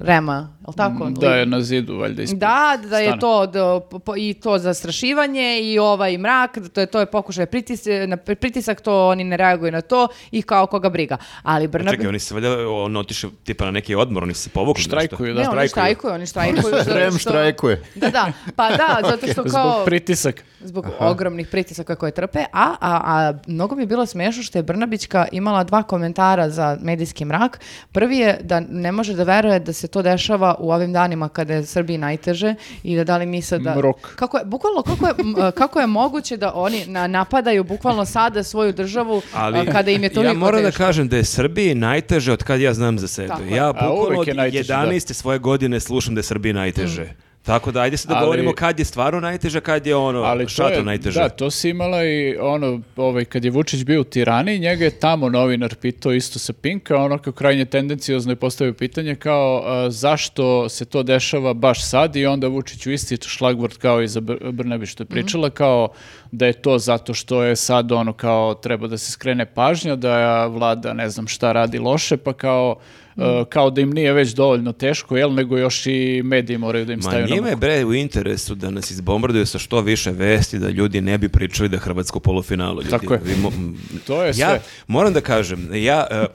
[SPEAKER 1] Rema, je li tako?
[SPEAKER 2] Mm, Da je na zidu, valjda, ispred
[SPEAKER 1] Da, da je
[SPEAKER 2] stana.
[SPEAKER 1] to da, po- po- i to zastrašivanje i ovaj mrak, da to je to je pokušaj pritis, na pritisak, to oni ne reaguju na to i kao koga briga. Ali Brnabić
[SPEAKER 4] Čekaj, Znači, oni se valjda, on otišao tipa na neki odmor, oni su se povukli. nešto.
[SPEAKER 2] Štrajkuju, da.
[SPEAKER 1] ne, oni štrajkuju, oni štrajkuju. zato
[SPEAKER 3] Rem
[SPEAKER 1] što-
[SPEAKER 3] štrajkuje.
[SPEAKER 1] Da, da, pa da, zato što kao...
[SPEAKER 2] Zbog pritisak.
[SPEAKER 1] zbog ogromnih pritisaka koje trpe, a, a, a mnogo mi je bilo smešno što je Brnabićka imala dva komentara za medijski mrak. Prvi je da ne može da veruje da se to dešava u ovim danima kada je Srbiji najteže i da da li misle da...
[SPEAKER 2] Mrok.
[SPEAKER 1] Kako je, bukvalno, kako je, m, e, kako je moguće da oni na, napadaju bukvalno sada svoju državu
[SPEAKER 4] Ali
[SPEAKER 1] e, kada im je to
[SPEAKER 4] ja moram da kažem da je Srbiji najteže od kad ja znam za sebe.
[SPEAKER 1] Tako je.
[SPEAKER 4] Ja
[SPEAKER 2] A,
[SPEAKER 4] bukvalno
[SPEAKER 2] uvek
[SPEAKER 4] od
[SPEAKER 2] je najteže, da.
[SPEAKER 1] Mm.
[SPEAKER 4] 11. svoje godine slušam da je Srbiji najteže. Tako da ajde se da
[SPEAKER 2] Ali-
[SPEAKER 4] govorimo kad je stvarno najteža, kad je ono
[SPEAKER 2] Ali to
[SPEAKER 4] šator
[SPEAKER 2] je,
[SPEAKER 4] najteža.
[SPEAKER 2] Da, to si imala i ono, ovaj, kad je Vučić bio u Tirani, njega je tamo novinar pitao isto sa Pinka, ono kao krajnje tendencijozno je postavio pitanje kao a, zašto se to dešava baš sad i onda Vučić u isti šlagvort kao i za Br- Brnabić što je pričala, kao da je to zato što je sad ono kao treba da se skrene pažnja, da vlada ne znam šta radi loše, pa kao a, kao da im nije već dovoljno teško, jel, nego još i mediji moraju da im
[SPEAKER 4] Ma
[SPEAKER 2] staju na
[SPEAKER 4] njima je bre u interesu da nas izbombarduju sa što više vesti da ljudi ne bi pričali da je Hrvatska u polufinalu. Ljudi,
[SPEAKER 2] Tako je.
[SPEAKER 4] vi mo- m-
[SPEAKER 2] To je
[SPEAKER 4] ja
[SPEAKER 2] sve.
[SPEAKER 4] moram da kažem, ja e,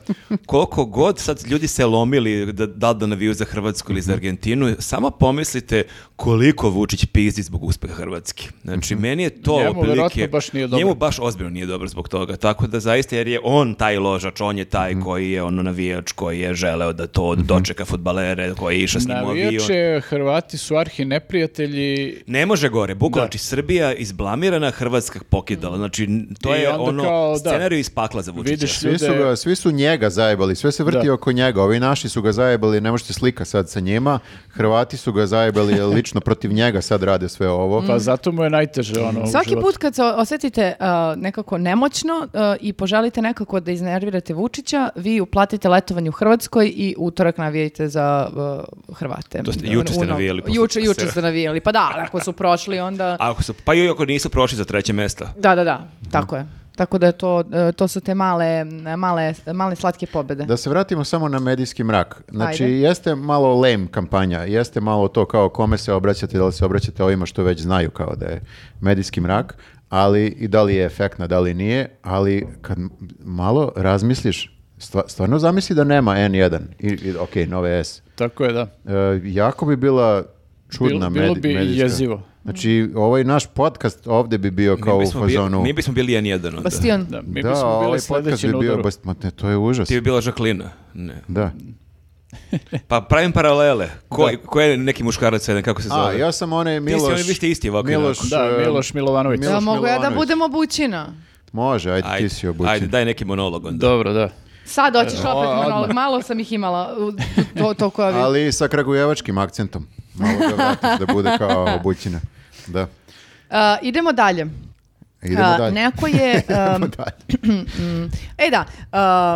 [SPEAKER 4] koliko god sad ljudi se lomili da da li da naviju za Hrvatsku ili za
[SPEAKER 2] Mhm.
[SPEAKER 4] Argentinu, samo pomislite koliko Vučić pizdi zbog uspeha Hrvatske. Znači meni je to
[SPEAKER 2] Mhm. Njemu
[SPEAKER 4] otprilike-
[SPEAKER 2] verovatno baš nije dobro.
[SPEAKER 4] Njemu baš ozbiljno nije dobro zbog toga. Tako da zaista jer je on taj ložač, on je
[SPEAKER 2] Mhm.
[SPEAKER 4] taj koji je ono navijač koji je želeo da to dočeka fudbalere, koji je išao s njim u avion.
[SPEAKER 2] Navijače, Hrvati su arhi neprijatelji
[SPEAKER 4] Ne može gore, bukvalno,
[SPEAKER 2] Da.
[SPEAKER 4] znači Srbija izblamirana, Hrvatska pokidala, znači n- to
[SPEAKER 2] I
[SPEAKER 4] je
[SPEAKER 2] onda
[SPEAKER 4] ono,
[SPEAKER 2] kao, da.
[SPEAKER 4] scenarij iz pakla za Vučića.
[SPEAKER 2] Vidiš-
[SPEAKER 3] Svi su,
[SPEAKER 2] Ljude-
[SPEAKER 3] ga, svi su njega zajebali, sve se vrti
[SPEAKER 2] Da.
[SPEAKER 3] oko njega. Ovi naši su ga zajebali, ne možete slika sad sa njima. Hrvati su ga zajebali, jer lično protiv njega sad rade sve ovo.
[SPEAKER 2] Pa zato mu je najteže ono
[SPEAKER 3] Mhm.
[SPEAKER 2] u
[SPEAKER 1] Svaki
[SPEAKER 2] životu.
[SPEAKER 1] put kad se o- osjetite uh, nekako nemoćno uh, i poželite nekako da iznervirate Vučića, vi uplatite letovanje u Hrvatskoj i utorak navijajte za uh, Hrvate.
[SPEAKER 4] To ste- juče ste
[SPEAKER 1] Uno-
[SPEAKER 4] navijali posle
[SPEAKER 1] Juče, juče
[SPEAKER 4] svega.
[SPEAKER 1] ste navijali. Pa da, ali ako su prošli onda...
[SPEAKER 4] A Ako su, pa i ako nisu prošli za treće mjesto.
[SPEAKER 1] Da, da, da. Tako je. Tako da je to, uh, to su te male, male, male slatke pobede.
[SPEAKER 3] Da se vratimo samo na medijski mrak. Znači,
[SPEAKER 1] Ajde.
[SPEAKER 3] jeste malo lame kampanja, jeste malo to kao kome se obraćate, da li se obraćate ovima što već znaju kao da je medijski mrak, ali i da li je efektna, da li nije, ali kad m- malo razmisliš, stva- stvarno zamisli da nema N1 i, i ok, nove S.
[SPEAKER 2] Tako je, da.
[SPEAKER 3] E, jako bi bila čudna
[SPEAKER 2] Bilo- bilo
[SPEAKER 3] medi-
[SPEAKER 2] bi
[SPEAKER 3] medijska.
[SPEAKER 2] jezivo.
[SPEAKER 3] Znači, ovaj naš podcast ovdje bi bio kao u
[SPEAKER 4] mi, bismo bili,
[SPEAKER 3] fazonu.
[SPEAKER 4] mi bismo bili N1
[SPEAKER 2] Pa
[SPEAKER 4] onda.
[SPEAKER 1] Bastion.
[SPEAKER 2] da mi
[SPEAKER 3] da,
[SPEAKER 2] bismo bili
[SPEAKER 3] ovaj podcast
[SPEAKER 2] sljedeći
[SPEAKER 3] bi
[SPEAKER 2] na
[SPEAKER 3] bio,
[SPEAKER 2] udaru.
[SPEAKER 3] bas- ma ne, to je užas.
[SPEAKER 4] Ti bi bila Žaklina. Ne.
[SPEAKER 3] Da.
[SPEAKER 2] E.
[SPEAKER 4] Pa pravim paralele. Ko, ko je neki muškarac jedan, kako se zove?
[SPEAKER 3] A, ja sam onaj Miloš...
[SPEAKER 4] oni, vi ste isti ovako i
[SPEAKER 3] Miloš,
[SPEAKER 2] onako. Da,
[SPEAKER 3] e,
[SPEAKER 2] Miloš Milovanović.
[SPEAKER 1] Jel
[SPEAKER 3] Miloš
[SPEAKER 1] mogu ja da
[SPEAKER 3] Milovanović.
[SPEAKER 1] budem obućina?
[SPEAKER 3] Može, ajde,
[SPEAKER 4] Ajde,
[SPEAKER 3] ti si obučen.
[SPEAKER 4] ajde, daj neki monolog onda.
[SPEAKER 2] Dobro, da.
[SPEAKER 1] Sad hoćeš
[SPEAKER 2] o,
[SPEAKER 1] opet
[SPEAKER 2] odmah.
[SPEAKER 1] monolog. Malo sam ih imala. u- To, to koja
[SPEAKER 3] Ali sa kragujevačkim akcentom. Malo da vratiš da bude kao obućina. Da.
[SPEAKER 1] Uh, idemo dalje.
[SPEAKER 3] Idemo
[SPEAKER 1] A, um,
[SPEAKER 3] dalje.
[SPEAKER 1] Neko je...
[SPEAKER 3] Idemo
[SPEAKER 1] em,
[SPEAKER 3] dalje.
[SPEAKER 1] E da,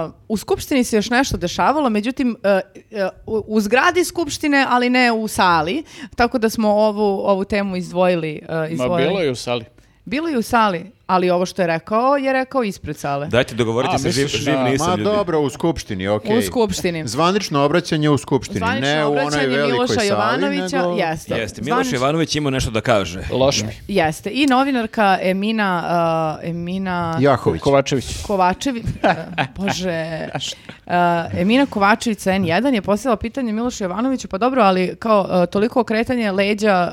[SPEAKER 1] uh, u Skupštini se još nešto dešavalo, međutim uh, uh, u zgradi Skupštine, ali ne u sali, tako da smo ovu, ovu temu izdvojili. Uh,
[SPEAKER 2] Ma
[SPEAKER 1] izdvojili.
[SPEAKER 2] bilo je u sali.
[SPEAKER 1] Bilo je u sali, ali ovo što je rekao je rekao ispred sale.
[SPEAKER 4] Dajte
[SPEAKER 2] A,
[SPEAKER 4] dogovorite se, živ,
[SPEAKER 2] misliš
[SPEAKER 4] živ
[SPEAKER 2] na-
[SPEAKER 4] nisam
[SPEAKER 3] Ma
[SPEAKER 4] ljudi.
[SPEAKER 3] dobro, u skupštini, okej.
[SPEAKER 1] U Skupštini.
[SPEAKER 3] Zvanično obraćanje u skupštini,
[SPEAKER 1] Zvanično
[SPEAKER 3] ne u onoj
[SPEAKER 1] obraćanje
[SPEAKER 3] velikoj
[SPEAKER 1] Miloša
[SPEAKER 3] sali,
[SPEAKER 1] Jovanovića,
[SPEAKER 3] nego...
[SPEAKER 1] jeste.
[SPEAKER 4] Jeste, Miloš
[SPEAKER 1] Zvanično-
[SPEAKER 4] Jovanović ima nešto da kaže.
[SPEAKER 2] Loš mi.
[SPEAKER 1] Jeste. I novinarka Emina, uh, Emina
[SPEAKER 3] Jahović.
[SPEAKER 2] Kovačević.
[SPEAKER 1] Kovačević, eh, bože, eh, Emina Kovačević sa N1 je postavila pitanje Milošu Jovanoviću, pa dobro, ali kao eh, toliko okretanje leđa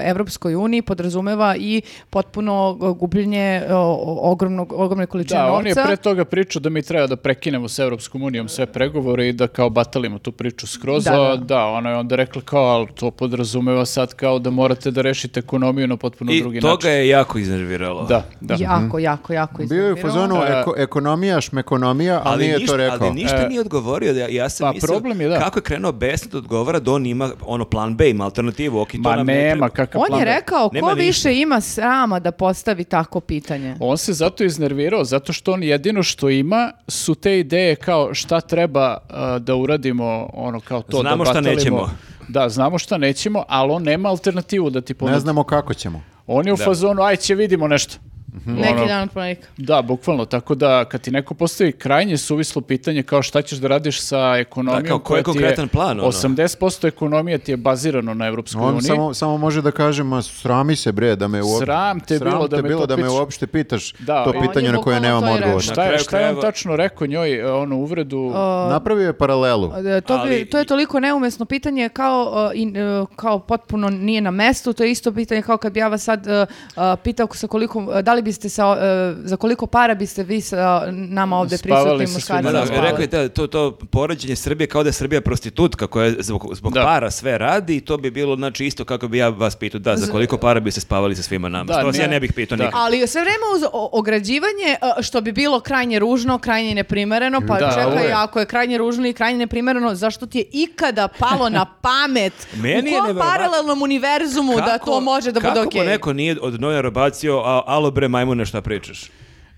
[SPEAKER 1] eh, Evropskoj uniji podrazumeva i potpuno eh, gubljenje eh, o- ogromnog, ogromne količine
[SPEAKER 2] Da, on je
[SPEAKER 1] novca.
[SPEAKER 2] pre toga pričao da mi treba da prekinemo s Evropskom unijom sve pregovore i da kao batalimo tu priču skroz.
[SPEAKER 1] Da, da.
[SPEAKER 2] a Da, ona je onda rekla kao, ali to podrazumeva sad kao da morate da rešite ekonomiju na potpuno drugi
[SPEAKER 4] I
[SPEAKER 2] način.
[SPEAKER 4] toga je jako iznerviralo.
[SPEAKER 2] Da, da.
[SPEAKER 1] Jako, jako, jako
[SPEAKER 3] Bio je u
[SPEAKER 1] iznervirao.
[SPEAKER 3] fazonu
[SPEAKER 2] E,
[SPEAKER 3] eko, ekonomija, šmekonomija, ali, nije
[SPEAKER 4] ništa,
[SPEAKER 3] to rekao.
[SPEAKER 4] Ali ništa
[SPEAKER 2] E,
[SPEAKER 4] nije odgovorio. Ja, ja sam
[SPEAKER 2] pa
[SPEAKER 4] mislio
[SPEAKER 2] problem je, da.
[SPEAKER 4] kako je krenuo besnet odgovara da on ima ono plan B, ima alternativu. Ok, to
[SPEAKER 2] Ma
[SPEAKER 4] nam ne treba.
[SPEAKER 2] nema, kakav
[SPEAKER 1] On
[SPEAKER 2] plan
[SPEAKER 1] je
[SPEAKER 2] B.
[SPEAKER 1] rekao, ko
[SPEAKER 4] Nema ništa.
[SPEAKER 1] više ima srama da postavi tako pitanje?
[SPEAKER 2] On se zato iznervirao, zato što on jedino što ima su te ideje kao šta treba a, da uradimo, ono kao to
[SPEAKER 4] Znamo
[SPEAKER 2] da
[SPEAKER 4] šta
[SPEAKER 2] batalimo.
[SPEAKER 4] nećemo.
[SPEAKER 2] Da, znamo šta nećemo, ali on nema alternativu da ti ponudi.
[SPEAKER 3] Ne znamo kako ćemo.
[SPEAKER 2] On je u fazonu, aj će vidimo nešto.
[SPEAKER 1] Mhm. Neki
[SPEAKER 2] Ono,
[SPEAKER 1] dan od ponedjeljka.
[SPEAKER 2] Da, bukvalno, tako da kad ti neko postavi krajnje suvislo pitanje kao šta ćeš da radiš sa ekonomijom
[SPEAKER 4] Da, kao, koji
[SPEAKER 2] koja
[SPEAKER 4] je
[SPEAKER 2] ti
[SPEAKER 4] konkretan plan, ono?
[SPEAKER 2] 80% ekonomije ti je bazirano na Evropskoj
[SPEAKER 3] On
[SPEAKER 2] uniji.
[SPEAKER 3] samo, samo može da kaže, ma srami se bre, da me uopšte,
[SPEAKER 2] Sram te bilo da me to pitaš.
[SPEAKER 3] uopšte pitaš
[SPEAKER 2] Da,
[SPEAKER 3] to
[SPEAKER 2] on je
[SPEAKER 3] pitanje na koje
[SPEAKER 1] bukvalno
[SPEAKER 3] nemam
[SPEAKER 1] to i
[SPEAKER 3] odgovor.
[SPEAKER 1] rekao.
[SPEAKER 4] Na
[SPEAKER 2] Šta je,
[SPEAKER 4] kraju
[SPEAKER 2] šta je on
[SPEAKER 4] krajeva-
[SPEAKER 2] tačno rekao njoj, e, ono, uvredu?
[SPEAKER 3] Napravio je paralelu.
[SPEAKER 1] E, To, bi-
[SPEAKER 4] Ali-
[SPEAKER 1] to je toliko neumesno pitanje kao, e, i, e, kao potpuno nije na mestu, to je isto pitanje kao kad bi ja vas sad e, e, pitao sa koliko, e, da li li biste sa, e, za koliko para biste vi sa nama ovde
[SPEAKER 2] Spavali
[SPEAKER 1] prisutnim
[SPEAKER 2] sa
[SPEAKER 1] muškarcima
[SPEAKER 2] svima,
[SPEAKER 4] Da,
[SPEAKER 2] da,
[SPEAKER 1] spavali?
[SPEAKER 4] rekao je da, to, to poređenje Srbije kao da je Srbija prostitutka koja je zbog, zbog
[SPEAKER 2] Da.
[SPEAKER 4] para sve radi i to bi bilo znači, isto kako bi ja vas pitao da za koliko para bi se spavali sa svima nama.
[SPEAKER 2] Da,
[SPEAKER 4] to se ja
[SPEAKER 2] ne.
[SPEAKER 4] ne bih pitao
[SPEAKER 2] Da.
[SPEAKER 4] nikad.
[SPEAKER 1] Ali sve vreme uz o- ograđivanje, e, što bi bilo krajnje ružno, krajnje neprimereno, pa
[SPEAKER 2] Da, ovo
[SPEAKER 1] čekaj,
[SPEAKER 2] je.
[SPEAKER 1] ako je krajnje ružno i krajnje neprimereno, zašto ti je ikada palo na pamet u
[SPEAKER 4] Meni je
[SPEAKER 1] kom
[SPEAKER 4] neverovatno.
[SPEAKER 1] paralelnom univerzumu da to može da bude
[SPEAKER 4] kako
[SPEAKER 1] okej?
[SPEAKER 4] mu neko nije od novinara bacio, a, alo bre majmune šta pričaš?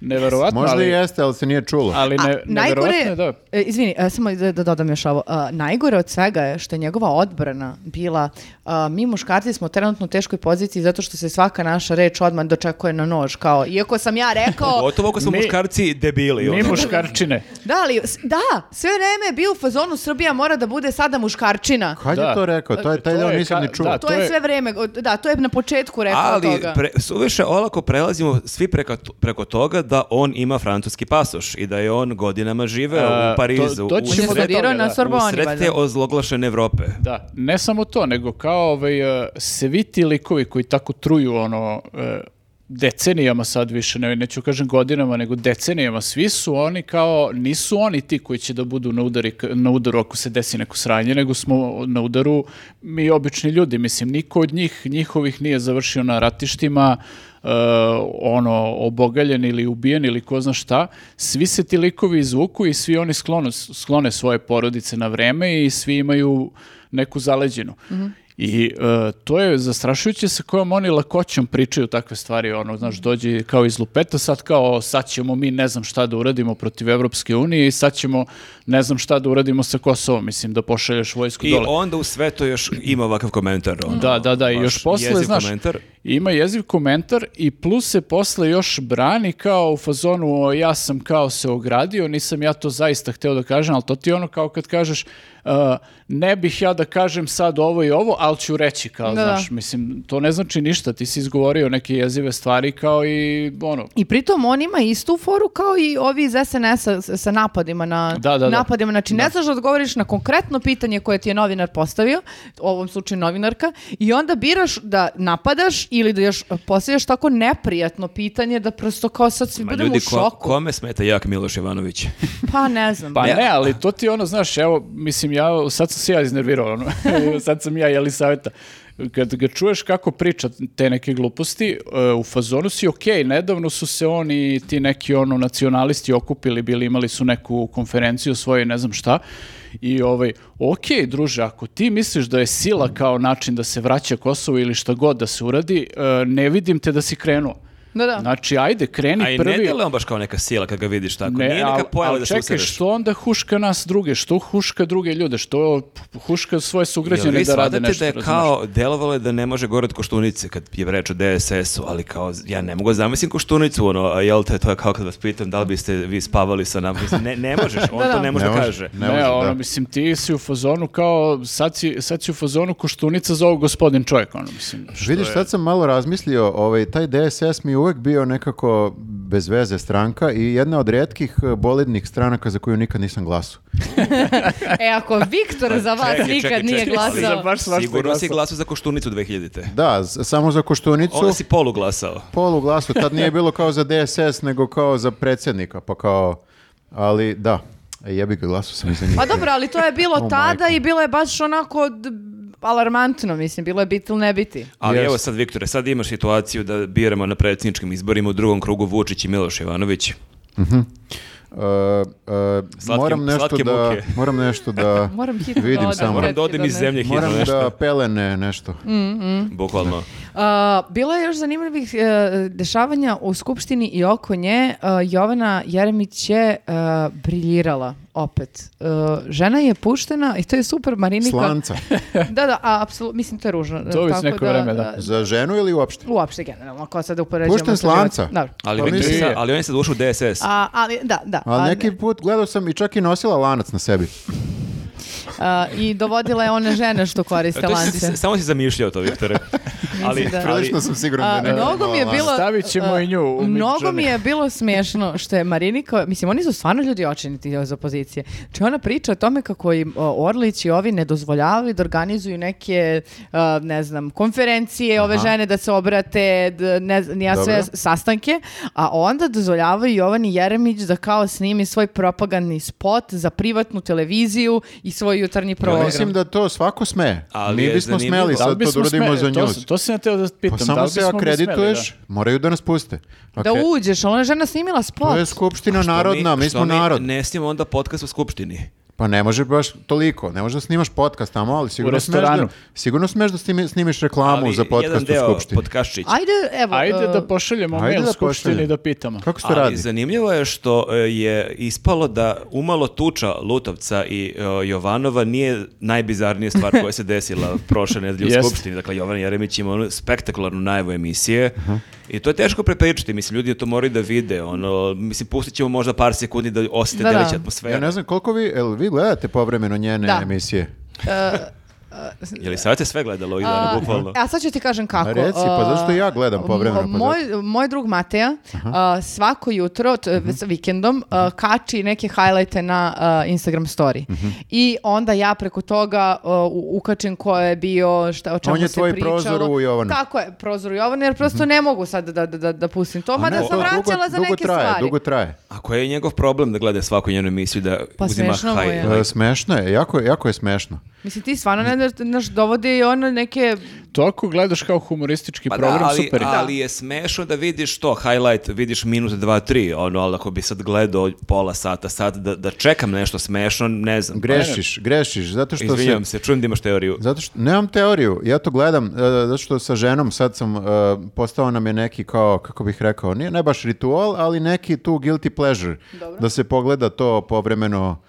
[SPEAKER 2] Neverovatno,
[SPEAKER 3] Možda
[SPEAKER 2] ali,
[SPEAKER 3] i jeste, ali se nije čulo.
[SPEAKER 2] ali
[SPEAKER 1] A,
[SPEAKER 2] Pa ne, neverovatno je, da.
[SPEAKER 1] e, izvini, e, samo da, da dodam još ovo. E, najgore od svega je što je njegova odbrana bila a, mi muškarci smo trenutno u teškoj poziciji zato što se svaka naša reč odmah dočekuje na nož. Kao, iako sam ja rekao,
[SPEAKER 4] Gotovo ako su
[SPEAKER 2] mi-
[SPEAKER 4] muškarci debili.
[SPEAKER 2] Mi
[SPEAKER 4] ono.
[SPEAKER 2] muškarčine.
[SPEAKER 1] da, ali, s- da, sve vreme je bio u fazonu Srbija mora da bude sada muškarčina.
[SPEAKER 3] Kad je
[SPEAKER 2] Da.
[SPEAKER 3] to rekao? To je taj
[SPEAKER 2] To
[SPEAKER 3] deo
[SPEAKER 2] je
[SPEAKER 3] nisam
[SPEAKER 2] ka-
[SPEAKER 3] ni čuo.
[SPEAKER 2] da,
[SPEAKER 1] To,
[SPEAKER 2] to
[SPEAKER 1] je,
[SPEAKER 2] je-
[SPEAKER 1] sve vreme, o, da, to je na početku rekao
[SPEAKER 4] Ali
[SPEAKER 1] toga.
[SPEAKER 4] pre, suviše olako prelazimo svi preko, preko toga da on ima francuski pasoš i da je on godinama živeo
[SPEAKER 2] A,
[SPEAKER 4] u Parizu.
[SPEAKER 2] E, to ćemo
[SPEAKER 4] u sred-
[SPEAKER 2] do toga,
[SPEAKER 1] studirao na
[SPEAKER 2] da.
[SPEAKER 1] Sorboni,
[SPEAKER 4] usred
[SPEAKER 1] valjda.
[SPEAKER 4] te ozloglašene Evrope.
[SPEAKER 2] Da, ne samo to, nego kao ovaj, e, svi ti likovi koji tako truju ono, e, decenijama sad više, ne, neću kažem godinama, nego decenijama, svi su oni kao, nisu oni ti koji će da budu na, udari, na udaru ako se desi neko sranje, nego smo na udaru mi obični ljudi, mislim, niko od njih, njihovih nije završio na ratištima, e, ono, obogaljen ili ubijen ili ko zna šta, svi se ti likovi izvuku i svi oni sklono, sklone svoje porodice na vreme i svi imaju neku zaleđinu. I e, to je zastrašujuće sa kojom oni lakoćom pričaju takve stvari, ono, znaš, dođe kao iz lupeta, sad kao, sad ćemo mi ne znam šta da uradimo protiv Evropske unije i sad ćemo ne znam šta da uradimo sa Kosovom, mislim, da pošalješ vojsku
[SPEAKER 4] I
[SPEAKER 2] dole.
[SPEAKER 4] onda u sve to još ima ovakav komentar. ono,
[SPEAKER 2] Da, da, da, i
[SPEAKER 4] baš
[SPEAKER 2] još posle,
[SPEAKER 4] jeziv
[SPEAKER 2] znaš,
[SPEAKER 4] komentar.
[SPEAKER 2] ima jeziv komentar i plus se posle još brani kao u fazonu o, ja sam kao se ogradio, nisam ja to zaista hteo da kažem, ali to ti je ono kao kad kažeš uh, ne bih ja da kažem sad ovo i ovo, ali ću reći kao,
[SPEAKER 1] Da,
[SPEAKER 2] znaš,
[SPEAKER 1] da.
[SPEAKER 2] mislim, to ne znači ništa, ti si izgovorio neke jezive stvari kao i ono,
[SPEAKER 1] I pritom on ima istu foru kao i ovi iz SNS-a s- sa napadima na
[SPEAKER 2] Da, da, da.
[SPEAKER 1] napadima. Znači, ne znaš da odgovoriš na konkretno pitanje koje ti je novinar postavio, u ovom slučaju novinarka, i onda biraš da napadaš ili da još postavljaš tako neprijatno pitanje da prosto kao sad svi
[SPEAKER 4] Ma
[SPEAKER 1] budemo
[SPEAKER 4] ljudi,
[SPEAKER 1] u
[SPEAKER 4] ko,
[SPEAKER 1] šoku.
[SPEAKER 4] kome smeta jak Miloš Jovanović?
[SPEAKER 1] Pa ne znam.
[SPEAKER 2] Pa ne, ali to ti je ono, znaš, evo, mislim, ja, sad sam se ja iznervirao, ono, sad sam ja Jelisaveta. Kad ga čuješ kako priča te neke gluposti, e, u fazonu si okej, nedavno su se oni, ti neki ono nacionalisti okupili, bili, imali su neku konferenciju svoju, ne znam šta, i ovaj, okej, druže, ako ti misliš da je sila kao način da se vraća Kosovo ili šta god da se uradi, e, ne vidim te da si krenuo.
[SPEAKER 1] Da, da.
[SPEAKER 2] Znači, ajde, kreni
[SPEAKER 4] A i
[SPEAKER 2] prvi.
[SPEAKER 4] ne djeluje on baš kao neka sila kad ga vidiš tako.
[SPEAKER 2] Ne,
[SPEAKER 4] Nije
[SPEAKER 2] al-
[SPEAKER 4] neka pojava
[SPEAKER 2] al
[SPEAKER 4] da se
[SPEAKER 2] čekaj,
[SPEAKER 4] usereš.
[SPEAKER 2] što onda huška nas druge? Što huška druge ljude? Što huška svoje
[SPEAKER 4] Jel
[SPEAKER 2] sugrađane
[SPEAKER 4] vi
[SPEAKER 2] da rade
[SPEAKER 4] shvatate
[SPEAKER 2] nešto?
[SPEAKER 4] da je
[SPEAKER 2] razumeš?
[SPEAKER 4] kao, delovalo je da ne može gore od Koštunice kad je reč o DSS-u, ali kao, ja ne mogu zamislim Koštunicu, ono, a jel te, to je kao kad vas pitam da li biste vi spavali sa nama, mislim, ne, ne možeš, on
[SPEAKER 1] Da, da.
[SPEAKER 4] to ne može
[SPEAKER 3] Ne
[SPEAKER 4] da
[SPEAKER 3] može.
[SPEAKER 4] kaže.
[SPEAKER 2] Ne,
[SPEAKER 3] Ne može,
[SPEAKER 2] ono,
[SPEAKER 3] da.
[SPEAKER 2] mislim, ti si u fazonu kao, sad si, sad si u fazonu koštunica za ovog gospodin čovjek, ono, mislim. što
[SPEAKER 3] Vidiš,
[SPEAKER 2] je-
[SPEAKER 3] sad sam malo razmislio, ovaj, taj DSS mi je uvek bio nekako bez veze stranka i jedna od redkih eh, bolidnih stranaka za koju nikad nisam glasao.
[SPEAKER 1] E, ako Viktor za vas
[SPEAKER 4] Pa Čekaj,
[SPEAKER 1] nikad
[SPEAKER 4] čekaj,
[SPEAKER 1] nije
[SPEAKER 4] čekaj, ali
[SPEAKER 1] glasao...
[SPEAKER 2] Za baš svašta
[SPEAKER 4] Sigurno si
[SPEAKER 2] glasao.
[SPEAKER 4] glasao za Koštunicu 2000-te.
[SPEAKER 3] Da, z- samo za Koštunicu,
[SPEAKER 4] Onda si polu glasao.
[SPEAKER 3] polu glasu, tad nije bilo kao za DSS, nego kao za predsjednika, pa kao, ali da, e, jebi ga glasao sam i za njih.
[SPEAKER 1] Pa dobro, ali to je bilo
[SPEAKER 4] Oh,
[SPEAKER 3] O,
[SPEAKER 1] tada
[SPEAKER 3] majko.
[SPEAKER 1] i bilo je baš onako d- alarmantno, mislim, bilo je biti ili ne biti.
[SPEAKER 4] Ali
[SPEAKER 3] Jeste.
[SPEAKER 4] evo sad, Viktore, sad imaš situaciju da biramo na predsjedničkim izborima u drugom krugu Vučić i Miloš Jovanović.
[SPEAKER 3] E, e,
[SPEAKER 4] Slatke-
[SPEAKER 3] moram, nešto
[SPEAKER 4] slatke
[SPEAKER 3] da,
[SPEAKER 4] muke.
[SPEAKER 3] moram nešto da
[SPEAKER 1] Moram hitno da
[SPEAKER 3] vidim
[SPEAKER 1] odem,
[SPEAKER 3] samo.
[SPEAKER 4] Moram da odem iz
[SPEAKER 1] Prekidno, ne.
[SPEAKER 4] zemlje hitno
[SPEAKER 3] Moram
[SPEAKER 4] nešto,
[SPEAKER 3] da pelene nešto.
[SPEAKER 1] Mm,
[SPEAKER 4] bukvalno.
[SPEAKER 1] A, bilo je još zanimljivih e, dešavanja u Skupštini i oko nje. E, Jovana Jeremić je e, briljirala opet. E, žena je puštena i to je super Marinika.
[SPEAKER 3] Slanca.
[SPEAKER 1] da, da, a, apsolutno, mislim to je ružno.
[SPEAKER 2] To je već
[SPEAKER 1] Tako
[SPEAKER 2] neko vreme, da.
[SPEAKER 3] Za ženu ili uopšte?
[SPEAKER 1] Uopšte generalno, ako sad upoređujemo.
[SPEAKER 3] Pušten
[SPEAKER 1] sa život-
[SPEAKER 3] slanca.
[SPEAKER 1] Dobro.
[SPEAKER 4] Ali,
[SPEAKER 3] Pa
[SPEAKER 4] Viktor,
[SPEAKER 2] nije.
[SPEAKER 4] sad- ali on je sad ušao u DSS.
[SPEAKER 1] A, ali, da, da.
[SPEAKER 3] Ali
[SPEAKER 1] A,
[SPEAKER 3] neki put gledao sam i čak i nosila lanac na sebi.
[SPEAKER 1] a, I dovodila je one žene što koriste
[SPEAKER 4] To si-
[SPEAKER 1] lance.
[SPEAKER 4] si- samo si zamišljao to, Viktore. ali,
[SPEAKER 1] da.
[SPEAKER 4] ali
[SPEAKER 3] Prilično sam siguran
[SPEAKER 1] A,
[SPEAKER 3] da ne.
[SPEAKER 1] mnogo mi je
[SPEAKER 3] Hvala.
[SPEAKER 1] bilo
[SPEAKER 2] Stavit ćemo
[SPEAKER 1] a,
[SPEAKER 2] i nju u
[SPEAKER 1] Mnogo
[SPEAKER 2] Midjourney.
[SPEAKER 1] mi je bilo smiješno što je Marinika, mislim oni su stvarno ljudi očiniti iz opozicije. Či ona priča o tome kako im o, Orlić i ovi ne dozvoljavaju da organizuju neke a, ne znam, konferencije, ove žene da se obrate, d- ne znam, ni ja sve
[SPEAKER 3] Dobro.
[SPEAKER 1] sastanke, a onda dozvoljavaju Jovani Jeremić da kao snimi svoj propagandni spot za privatnu televiziju i svoj jutarnji program.
[SPEAKER 3] Mislim da to svako sme.
[SPEAKER 4] Ali
[SPEAKER 3] Mi
[SPEAKER 4] je
[SPEAKER 3] bismo
[SPEAKER 4] zanimljivo.
[SPEAKER 2] Da
[SPEAKER 3] smeli
[SPEAKER 2] li
[SPEAKER 3] sad to da
[SPEAKER 2] bismo
[SPEAKER 3] uradimo
[SPEAKER 2] sme-
[SPEAKER 3] za
[SPEAKER 2] to, s-
[SPEAKER 3] njuz.
[SPEAKER 2] to sam ja teo da pitam.
[SPEAKER 3] Pa
[SPEAKER 2] da
[SPEAKER 3] samo
[SPEAKER 2] li
[SPEAKER 3] se
[SPEAKER 2] bismo mi smeli,
[SPEAKER 3] akredituješ, moraju da nas puste.
[SPEAKER 1] Da
[SPEAKER 3] Akre-
[SPEAKER 1] uđeš, ali ona je žena snimila spot.
[SPEAKER 3] To je skupština
[SPEAKER 4] što
[SPEAKER 3] narodna, mi
[SPEAKER 4] što
[SPEAKER 3] smo narod.
[SPEAKER 4] Ne snimamo onda podcast u skupštini.
[SPEAKER 3] Pa ne može baš toliko, ne može da snimaš podcast tamo, ali sigurno smeš da,
[SPEAKER 2] restoranu.
[SPEAKER 3] sigurno smeš da stimi- snimiš reklamu
[SPEAKER 4] ali
[SPEAKER 3] za podcast u
[SPEAKER 4] jedan deo
[SPEAKER 3] Skupštini.
[SPEAKER 4] podkaščića.
[SPEAKER 1] Ajde, evo.
[SPEAKER 2] da? Ajde
[SPEAKER 1] e,
[SPEAKER 2] da pošaljemo
[SPEAKER 3] Pa, Ajde
[SPEAKER 2] mail
[SPEAKER 3] da
[SPEAKER 2] skupštini
[SPEAKER 3] pošaljemo.
[SPEAKER 2] da pitamo.
[SPEAKER 3] Kako se to
[SPEAKER 4] Ali
[SPEAKER 3] radi?
[SPEAKER 4] zanimljivo je što e, je ispalo da umalo tuča Lutovca i e, Jovanova nije najbizarnija stvar koja se desila prošle nedelje u
[SPEAKER 2] Jest.
[SPEAKER 4] Skupštini. Dakle, Jovan Jeremić ima onu spektakularnu najavu emisije i to je teško prepričati. Mislim, ljudi to moraju da vide. Ono, mislim, pustit ćemo možda par sekundi da osjete
[SPEAKER 1] Da,
[SPEAKER 4] da,
[SPEAKER 1] da.
[SPEAKER 4] atmosfera.
[SPEAKER 3] Ja ne znam koliko vi, jel vi gledate povremeno njene
[SPEAKER 1] Da.
[SPEAKER 3] emisije?
[SPEAKER 4] Je li sad se sve gledalo ovih dana,
[SPEAKER 1] A,
[SPEAKER 4] bukvalno?
[SPEAKER 1] E, A sad ću ti kažem kako.
[SPEAKER 3] Ma reci, pa zašto ja gledam
[SPEAKER 1] A,
[SPEAKER 3] povremeno,
[SPEAKER 1] mo-
[SPEAKER 3] pa
[SPEAKER 1] Moj, moj drug Mateja a, svako jutro, t-
[SPEAKER 3] Mhm.
[SPEAKER 1] s vikendom, a, kači neke highlighte na a, Instagram story.
[SPEAKER 3] Mhm.
[SPEAKER 1] I onda ja preko toga a, u- ukačim ko je bio, šta, o čemu
[SPEAKER 3] On je
[SPEAKER 1] se
[SPEAKER 3] tvoj
[SPEAKER 1] pričalo.
[SPEAKER 3] prozor u Jovanu. Mhm.
[SPEAKER 1] Tako je, prozor u Jovanu, jer prosto ne mogu sad da, da, da, Pa da pustim to, mada
[SPEAKER 3] Ne,
[SPEAKER 1] sam
[SPEAKER 3] to dugo-
[SPEAKER 1] vraćala za
[SPEAKER 3] dugo
[SPEAKER 1] neke
[SPEAKER 3] traje,
[SPEAKER 1] stvari.
[SPEAKER 3] Dugo traje.
[SPEAKER 4] A koji je njegov problem da gleda svaku njenu emisiju i da
[SPEAKER 1] Pa
[SPEAKER 4] uzima
[SPEAKER 1] smešno mu je.
[SPEAKER 4] hajde?
[SPEAKER 1] Ajde.
[SPEAKER 3] E, smešno je, jako, jako je smešno.
[SPEAKER 1] Mislim, ti stvarno ne znaš- znaš, dovodi ono neke...
[SPEAKER 2] To ako gledaš kao humoristički
[SPEAKER 4] Pa da,
[SPEAKER 2] program,
[SPEAKER 4] ali,
[SPEAKER 2] super. je.
[SPEAKER 4] ali je smešno da vidiš to, highlight, vidiš minut, dva, tri, ono, ali ako bi sad gledao pola sata, sat, da, da čekam nešto smešno, ne znam.
[SPEAKER 3] Grešiš, grešiš, zato što se...
[SPEAKER 4] Izvinjam se, čujem da imaš teoriju.
[SPEAKER 3] Zato što, nemam teoriju, ja to gledam, e, zato što sa ženom sad sam, e, postao nam je neki kao, kako bih rekao, nije ne baš ritual, ali neki tu guilty pleasure, da se pogleda to povremeno,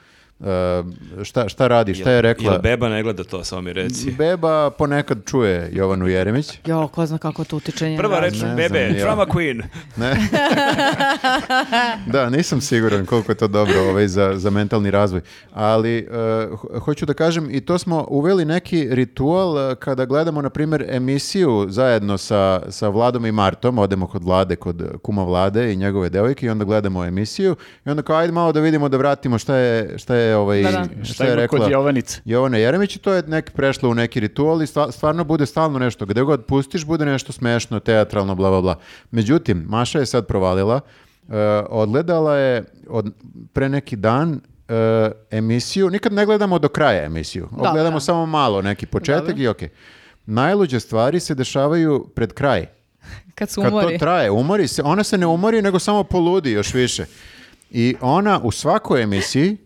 [SPEAKER 3] e, šta, šta radi, šta je
[SPEAKER 4] Jel
[SPEAKER 3] rekla.
[SPEAKER 4] beba ne gleda to, samo mi reci.
[SPEAKER 1] Mm,
[SPEAKER 3] Beba ponekad čuje Jovanu Jeremić.
[SPEAKER 1] Jo, ko zna kako to utiče njen
[SPEAKER 4] Prva
[SPEAKER 1] razum.
[SPEAKER 4] reč,
[SPEAKER 3] Ne znam,
[SPEAKER 4] bebe,
[SPEAKER 3] ja.
[SPEAKER 4] drama queen.
[SPEAKER 3] Ne. da, nisam siguran koliko je to dobro ovaj, za, za mentalni razvoj. Ali e, ho- hoću da kažem, i to smo uveli neki ritual e, kada gledamo, na primjer, emisiju zajedno sa, sa Vladom i Martom. Odemo kod Vlade, kod kuma Vlade i njegove devojke i onda gledamo emisiju. I onda kao, ajde malo da vidimo, da vratimo šta je, šta je, ovaj,
[SPEAKER 1] Da, da.
[SPEAKER 3] Šta,
[SPEAKER 2] Šta
[SPEAKER 3] je
[SPEAKER 2] ima
[SPEAKER 3] rekla.
[SPEAKER 2] kod Jovanice?
[SPEAKER 3] Jovana Jeremić i to je nek prešlo u neki ritual i stva- stvarno bude stalno nešto. Gde god pustiš bude nešto smešno, teatralno, bla, bla, bla. Međutim, Maša je sad provalila, e, odgledala je od, pre neki dan e, emisiju, nikad ne gledamo do kraja emisiju,
[SPEAKER 1] Dobro.
[SPEAKER 3] gledamo samo malo neki početak i okej. Najluđe stvari se dešavaju pred kraj.
[SPEAKER 1] Kad se
[SPEAKER 3] Kad
[SPEAKER 1] umori.
[SPEAKER 3] to traje, umori se, ona se ne umori, nego samo poludi još više. I ona u svakoj emisiji,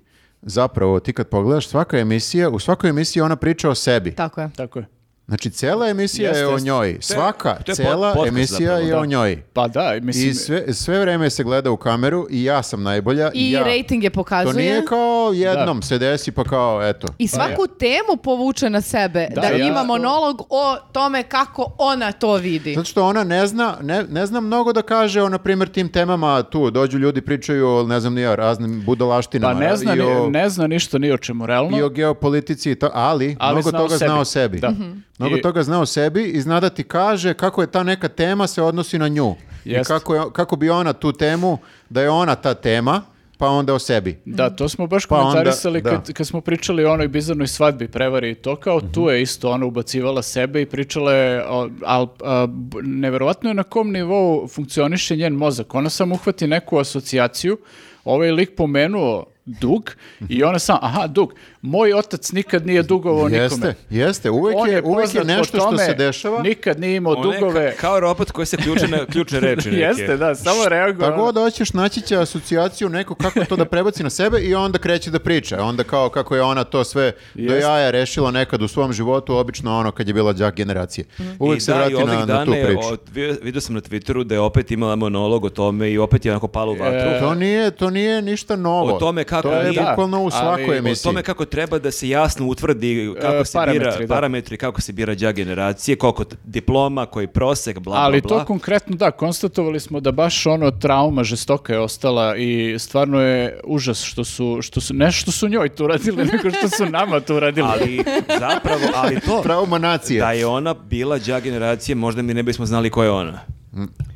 [SPEAKER 3] zapravo ti kad pogledaš svaka emisija, u svakoj emisiji ona priča o sebi.
[SPEAKER 1] Tako je.
[SPEAKER 2] Tako je.
[SPEAKER 3] Znači, cela emisija
[SPEAKER 2] Jeste,
[SPEAKER 3] je o
[SPEAKER 2] jeste.
[SPEAKER 3] njoj. Svaka,
[SPEAKER 4] to je pod-
[SPEAKER 3] cela
[SPEAKER 4] podcast
[SPEAKER 3] emisija
[SPEAKER 4] zapravo,
[SPEAKER 3] je
[SPEAKER 4] da.
[SPEAKER 3] o njoj.
[SPEAKER 2] Pa da, mislim...
[SPEAKER 3] I sve, sve vreme se gleda u kameru i ja sam najbolja.
[SPEAKER 1] I
[SPEAKER 3] ja.
[SPEAKER 1] rating je
[SPEAKER 3] To
[SPEAKER 1] pokazuje.
[SPEAKER 3] nije kao jednom se desi pa kao eto.
[SPEAKER 1] I svaku temu povuče na sebe. Da,
[SPEAKER 2] Da, ja-
[SPEAKER 1] ima monolog o tome kako ona to vidi.
[SPEAKER 3] Zato što ona ne zna, ne, ne zna mnogo da kaže o, na primjer, tim temama tu. Dođu ljudi, pričaju o, ne znam, ni ja, raznim budalaštinama.
[SPEAKER 2] Pa ne zna,
[SPEAKER 3] i
[SPEAKER 2] ni-
[SPEAKER 3] o,
[SPEAKER 2] ne zna ništa ni o čemu, realno.
[SPEAKER 3] i o geopolitici, i to, ali,
[SPEAKER 2] Ali
[SPEAKER 3] mnogo
[SPEAKER 2] zna o
[SPEAKER 3] toga zna
[SPEAKER 2] sebi.
[SPEAKER 3] o sebi.
[SPEAKER 2] Da.
[SPEAKER 3] Mnogo
[SPEAKER 2] I-
[SPEAKER 3] toga zna o sebi i zna da ti kaže kako je ta neka tema se odnosi na nju. I
[SPEAKER 2] Jest.
[SPEAKER 3] kako, je, kako bi ona tu temu, da je ona ta tema, pa onda o sebi.
[SPEAKER 2] Da, to smo baš
[SPEAKER 3] Pa onda,
[SPEAKER 2] komentarisali
[SPEAKER 3] da.
[SPEAKER 2] kad, kad smo pričali o onoj bizarnoj svadbi prevari i to kao
[SPEAKER 3] Mhm.
[SPEAKER 2] tu je isto ona ubacivala sebe i pričala je, o- al, a, b- neverovatno je na kom nivou funkcioniše njen mozak. Ona sam uhvati neku asocijaciju, ovaj lik pomenuo dug i ona sam, aha, dug, moj otac nikad nije dugovao
[SPEAKER 3] Jeste,
[SPEAKER 2] nikome.
[SPEAKER 3] jeste, uvek
[SPEAKER 2] On
[SPEAKER 3] je, uvek je
[SPEAKER 2] poznat po
[SPEAKER 3] nešto što
[SPEAKER 2] tome,
[SPEAKER 3] se dešava.
[SPEAKER 2] Nikad nije
[SPEAKER 3] Pa
[SPEAKER 2] imao
[SPEAKER 4] Ona je
[SPEAKER 2] dugove.
[SPEAKER 4] ka- kao robot koji se ključe na ključne reči neke.
[SPEAKER 2] Jeste, da, samo reagovao.
[SPEAKER 3] Šta god hoćeš, naći će asocijaciju neku kako to da prebaci na sebe i onda kreće da priča. Onda kao kako je ona to sve do
[SPEAKER 2] Jeste.
[SPEAKER 3] jaja rešila nekad u svom životu, obično ono kad je bila đak generacije.
[SPEAKER 2] Mhm.
[SPEAKER 3] Uvek
[SPEAKER 4] I
[SPEAKER 3] se
[SPEAKER 4] da,
[SPEAKER 3] vrati
[SPEAKER 4] i ovih
[SPEAKER 3] na, na
[SPEAKER 4] dana
[SPEAKER 3] tu
[SPEAKER 4] je
[SPEAKER 3] priču.
[SPEAKER 4] od- vi- vidio sam na Twitteru da je opet imala monolog o tome i opet je onako pala u vatru.
[SPEAKER 3] To nije, to nije ništa novo.
[SPEAKER 4] E, O tome kako
[SPEAKER 3] to je
[SPEAKER 4] nije-
[SPEAKER 3] bukvalno u
[SPEAKER 2] ali
[SPEAKER 3] svakoj
[SPEAKER 2] o
[SPEAKER 4] o
[SPEAKER 3] emisiji.
[SPEAKER 4] tome kako treba da se jasno utvrdi kako
[SPEAKER 2] E,
[SPEAKER 4] se
[SPEAKER 2] parametri,
[SPEAKER 4] bira
[SPEAKER 2] da.
[SPEAKER 4] parametri, kako se bira đak generacije, koliko t- diploma, koji prosek, bla bla
[SPEAKER 2] Ali
[SPEAKER 4] bla.
[SPEAKER 2] to konkretno, da, konstatovali smo da baš ono trauma žestoka je ostala i stvarno je užas što su, što su ne što su njoj to uradili, nego što su nama to uradili.
[SPEAKER 4] ali zapravo, ali to
[SPEAKER 3] Trauma nacije.
[SPEAKER 4] da je ona bila đak generacije, možda mi ne bismo znali ko je ona.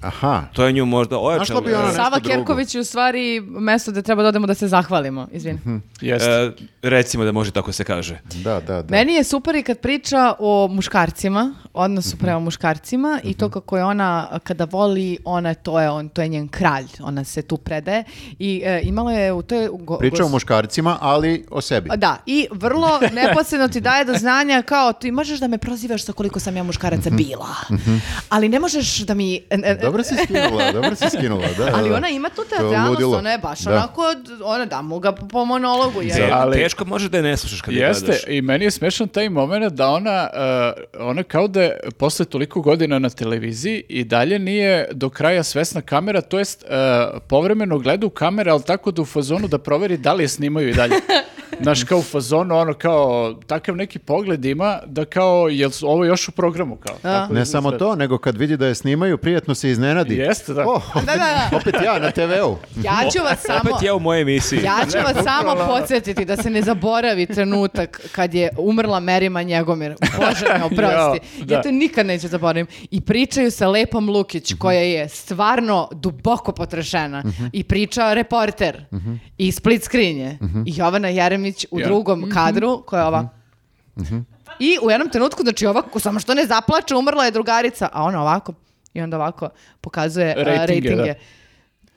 [SPEAKER 3] Aha.
[SPEAKER 4] To je e, nju možda ojačalo.
[SPEAKER 3] što bi ona nešto
[SPEAKER 1] Sava
[SPEAKER 3] drugo.
[SPEAKER 1] Kerković je u stvari mesto gde treba da odemo da se zahvalimo, izvini.
[SPEAKER 3] Mhm,
[SPEAKER 2] Jeste.
[SPEAKER 4] E, recimo da može tako se kaže.
[SPEAKER 3] Da, da, da.
[SPEAKER 1] Meni je super i kad priča o muškarcima, odnosu
[SPEAKER 3] Mhm.
[SPEAKER 1] prema muškarcima i to kako je ona, kada voli, ona to je on, to je njen kralj, ona se tu predaje i e, imala je u toj... go-
[SPEAKER 3] Priča o
[SPEAKER 1] gos-
[SPEAKER 3] muškarcima, ali o sebi.
[SPEAKER 1] Da, i vrlo neposredno ti daje do znanja kao ti možeš da me prozivaš sa koliko sam ja muškaraca bila, ali ne možeš da mi... e, e, e,
[SPEAKER 3] Mhm. Dobro si skinula, dobro si skinula. Da, da,
[SPEAKER 1] ali
[SPEAKER 3] da.
[SPEAKER 1] ona ima tu
[SPEAKER 3] E, To je
[SPEAKER 1] teatralnost,
[SPEAKER 3] ludilo.
[SPEAKER 1] ona je baš
[SPEAKER 3] Da.
[SPEAKER 1] onako, ona da mu ga po monologu. Je.
[SPEAKER 4] Te-
[SPEAKER 2] ali-
[SPEAKER 4] teško može da je ne slušaš kad je
[SPEAKER 2] Jeste,
[SPEAKER 4] gledaš.
[SPEAKER 2] i meni je smešan taj moment da ona, uh, ona kao da je posle toliko godina na televiziji i dalje nije do kraja svesna kamera, to jest uh, povremeno gleda u kamere, ali tako da u fazonu da proveri da li je snimaju i dalje. Znaš, kao u fazonu, ono kao, takav neki pogled ima da kao, jel su ovo još u programu? Kao, tako
[SPEAKER 3] Ne
[SPEAKER 2] izgleda.
[SPEAKER 3] samo to, nego kad vidi da je snimaju, prijetno se iznenadi.
[SPEAKER 2] Jeste, da.
[SPEAKER 3] O,
[SPEAKER 1] Da, da, da.
[SPEAKER 3] opet ja na TV-u.
[SPEAKER 1] Ja ću vas samo...
[SPEAKER 4] Opet ja u mojoj emisiji.
[SPEAKER 1] Ja ću vas samo
[SPEAKER 2] ono.
[SPEAKER 1] podsjetiti da se ne zaboravi trenutak kad je umrla Merima Njegomir. Bože me oprosti.
[SPEAKER 2] Jao, da. Mhm.
[SPEAKER 1] ja to nikad neću zaboraviti. I pričaju sa Lepom Lukić koja je stvarno duboko potrešena. I priča reporter. I split screen je. I Jovana Jeremić u
[SPEAKER 2] Mhm. Ja. Mhm.
[SPEAKER 1] drugom kadru koja je ova... I u jednom trenutku, znači ovako, samo što ne zaplače, umrla je drugarica, a ona ovako, i onda ovako pokazuje a,
[SPEAKER 2] Rejtinge,
[SPEAKER 1] rejtinge.
[SPEAKER 2] da.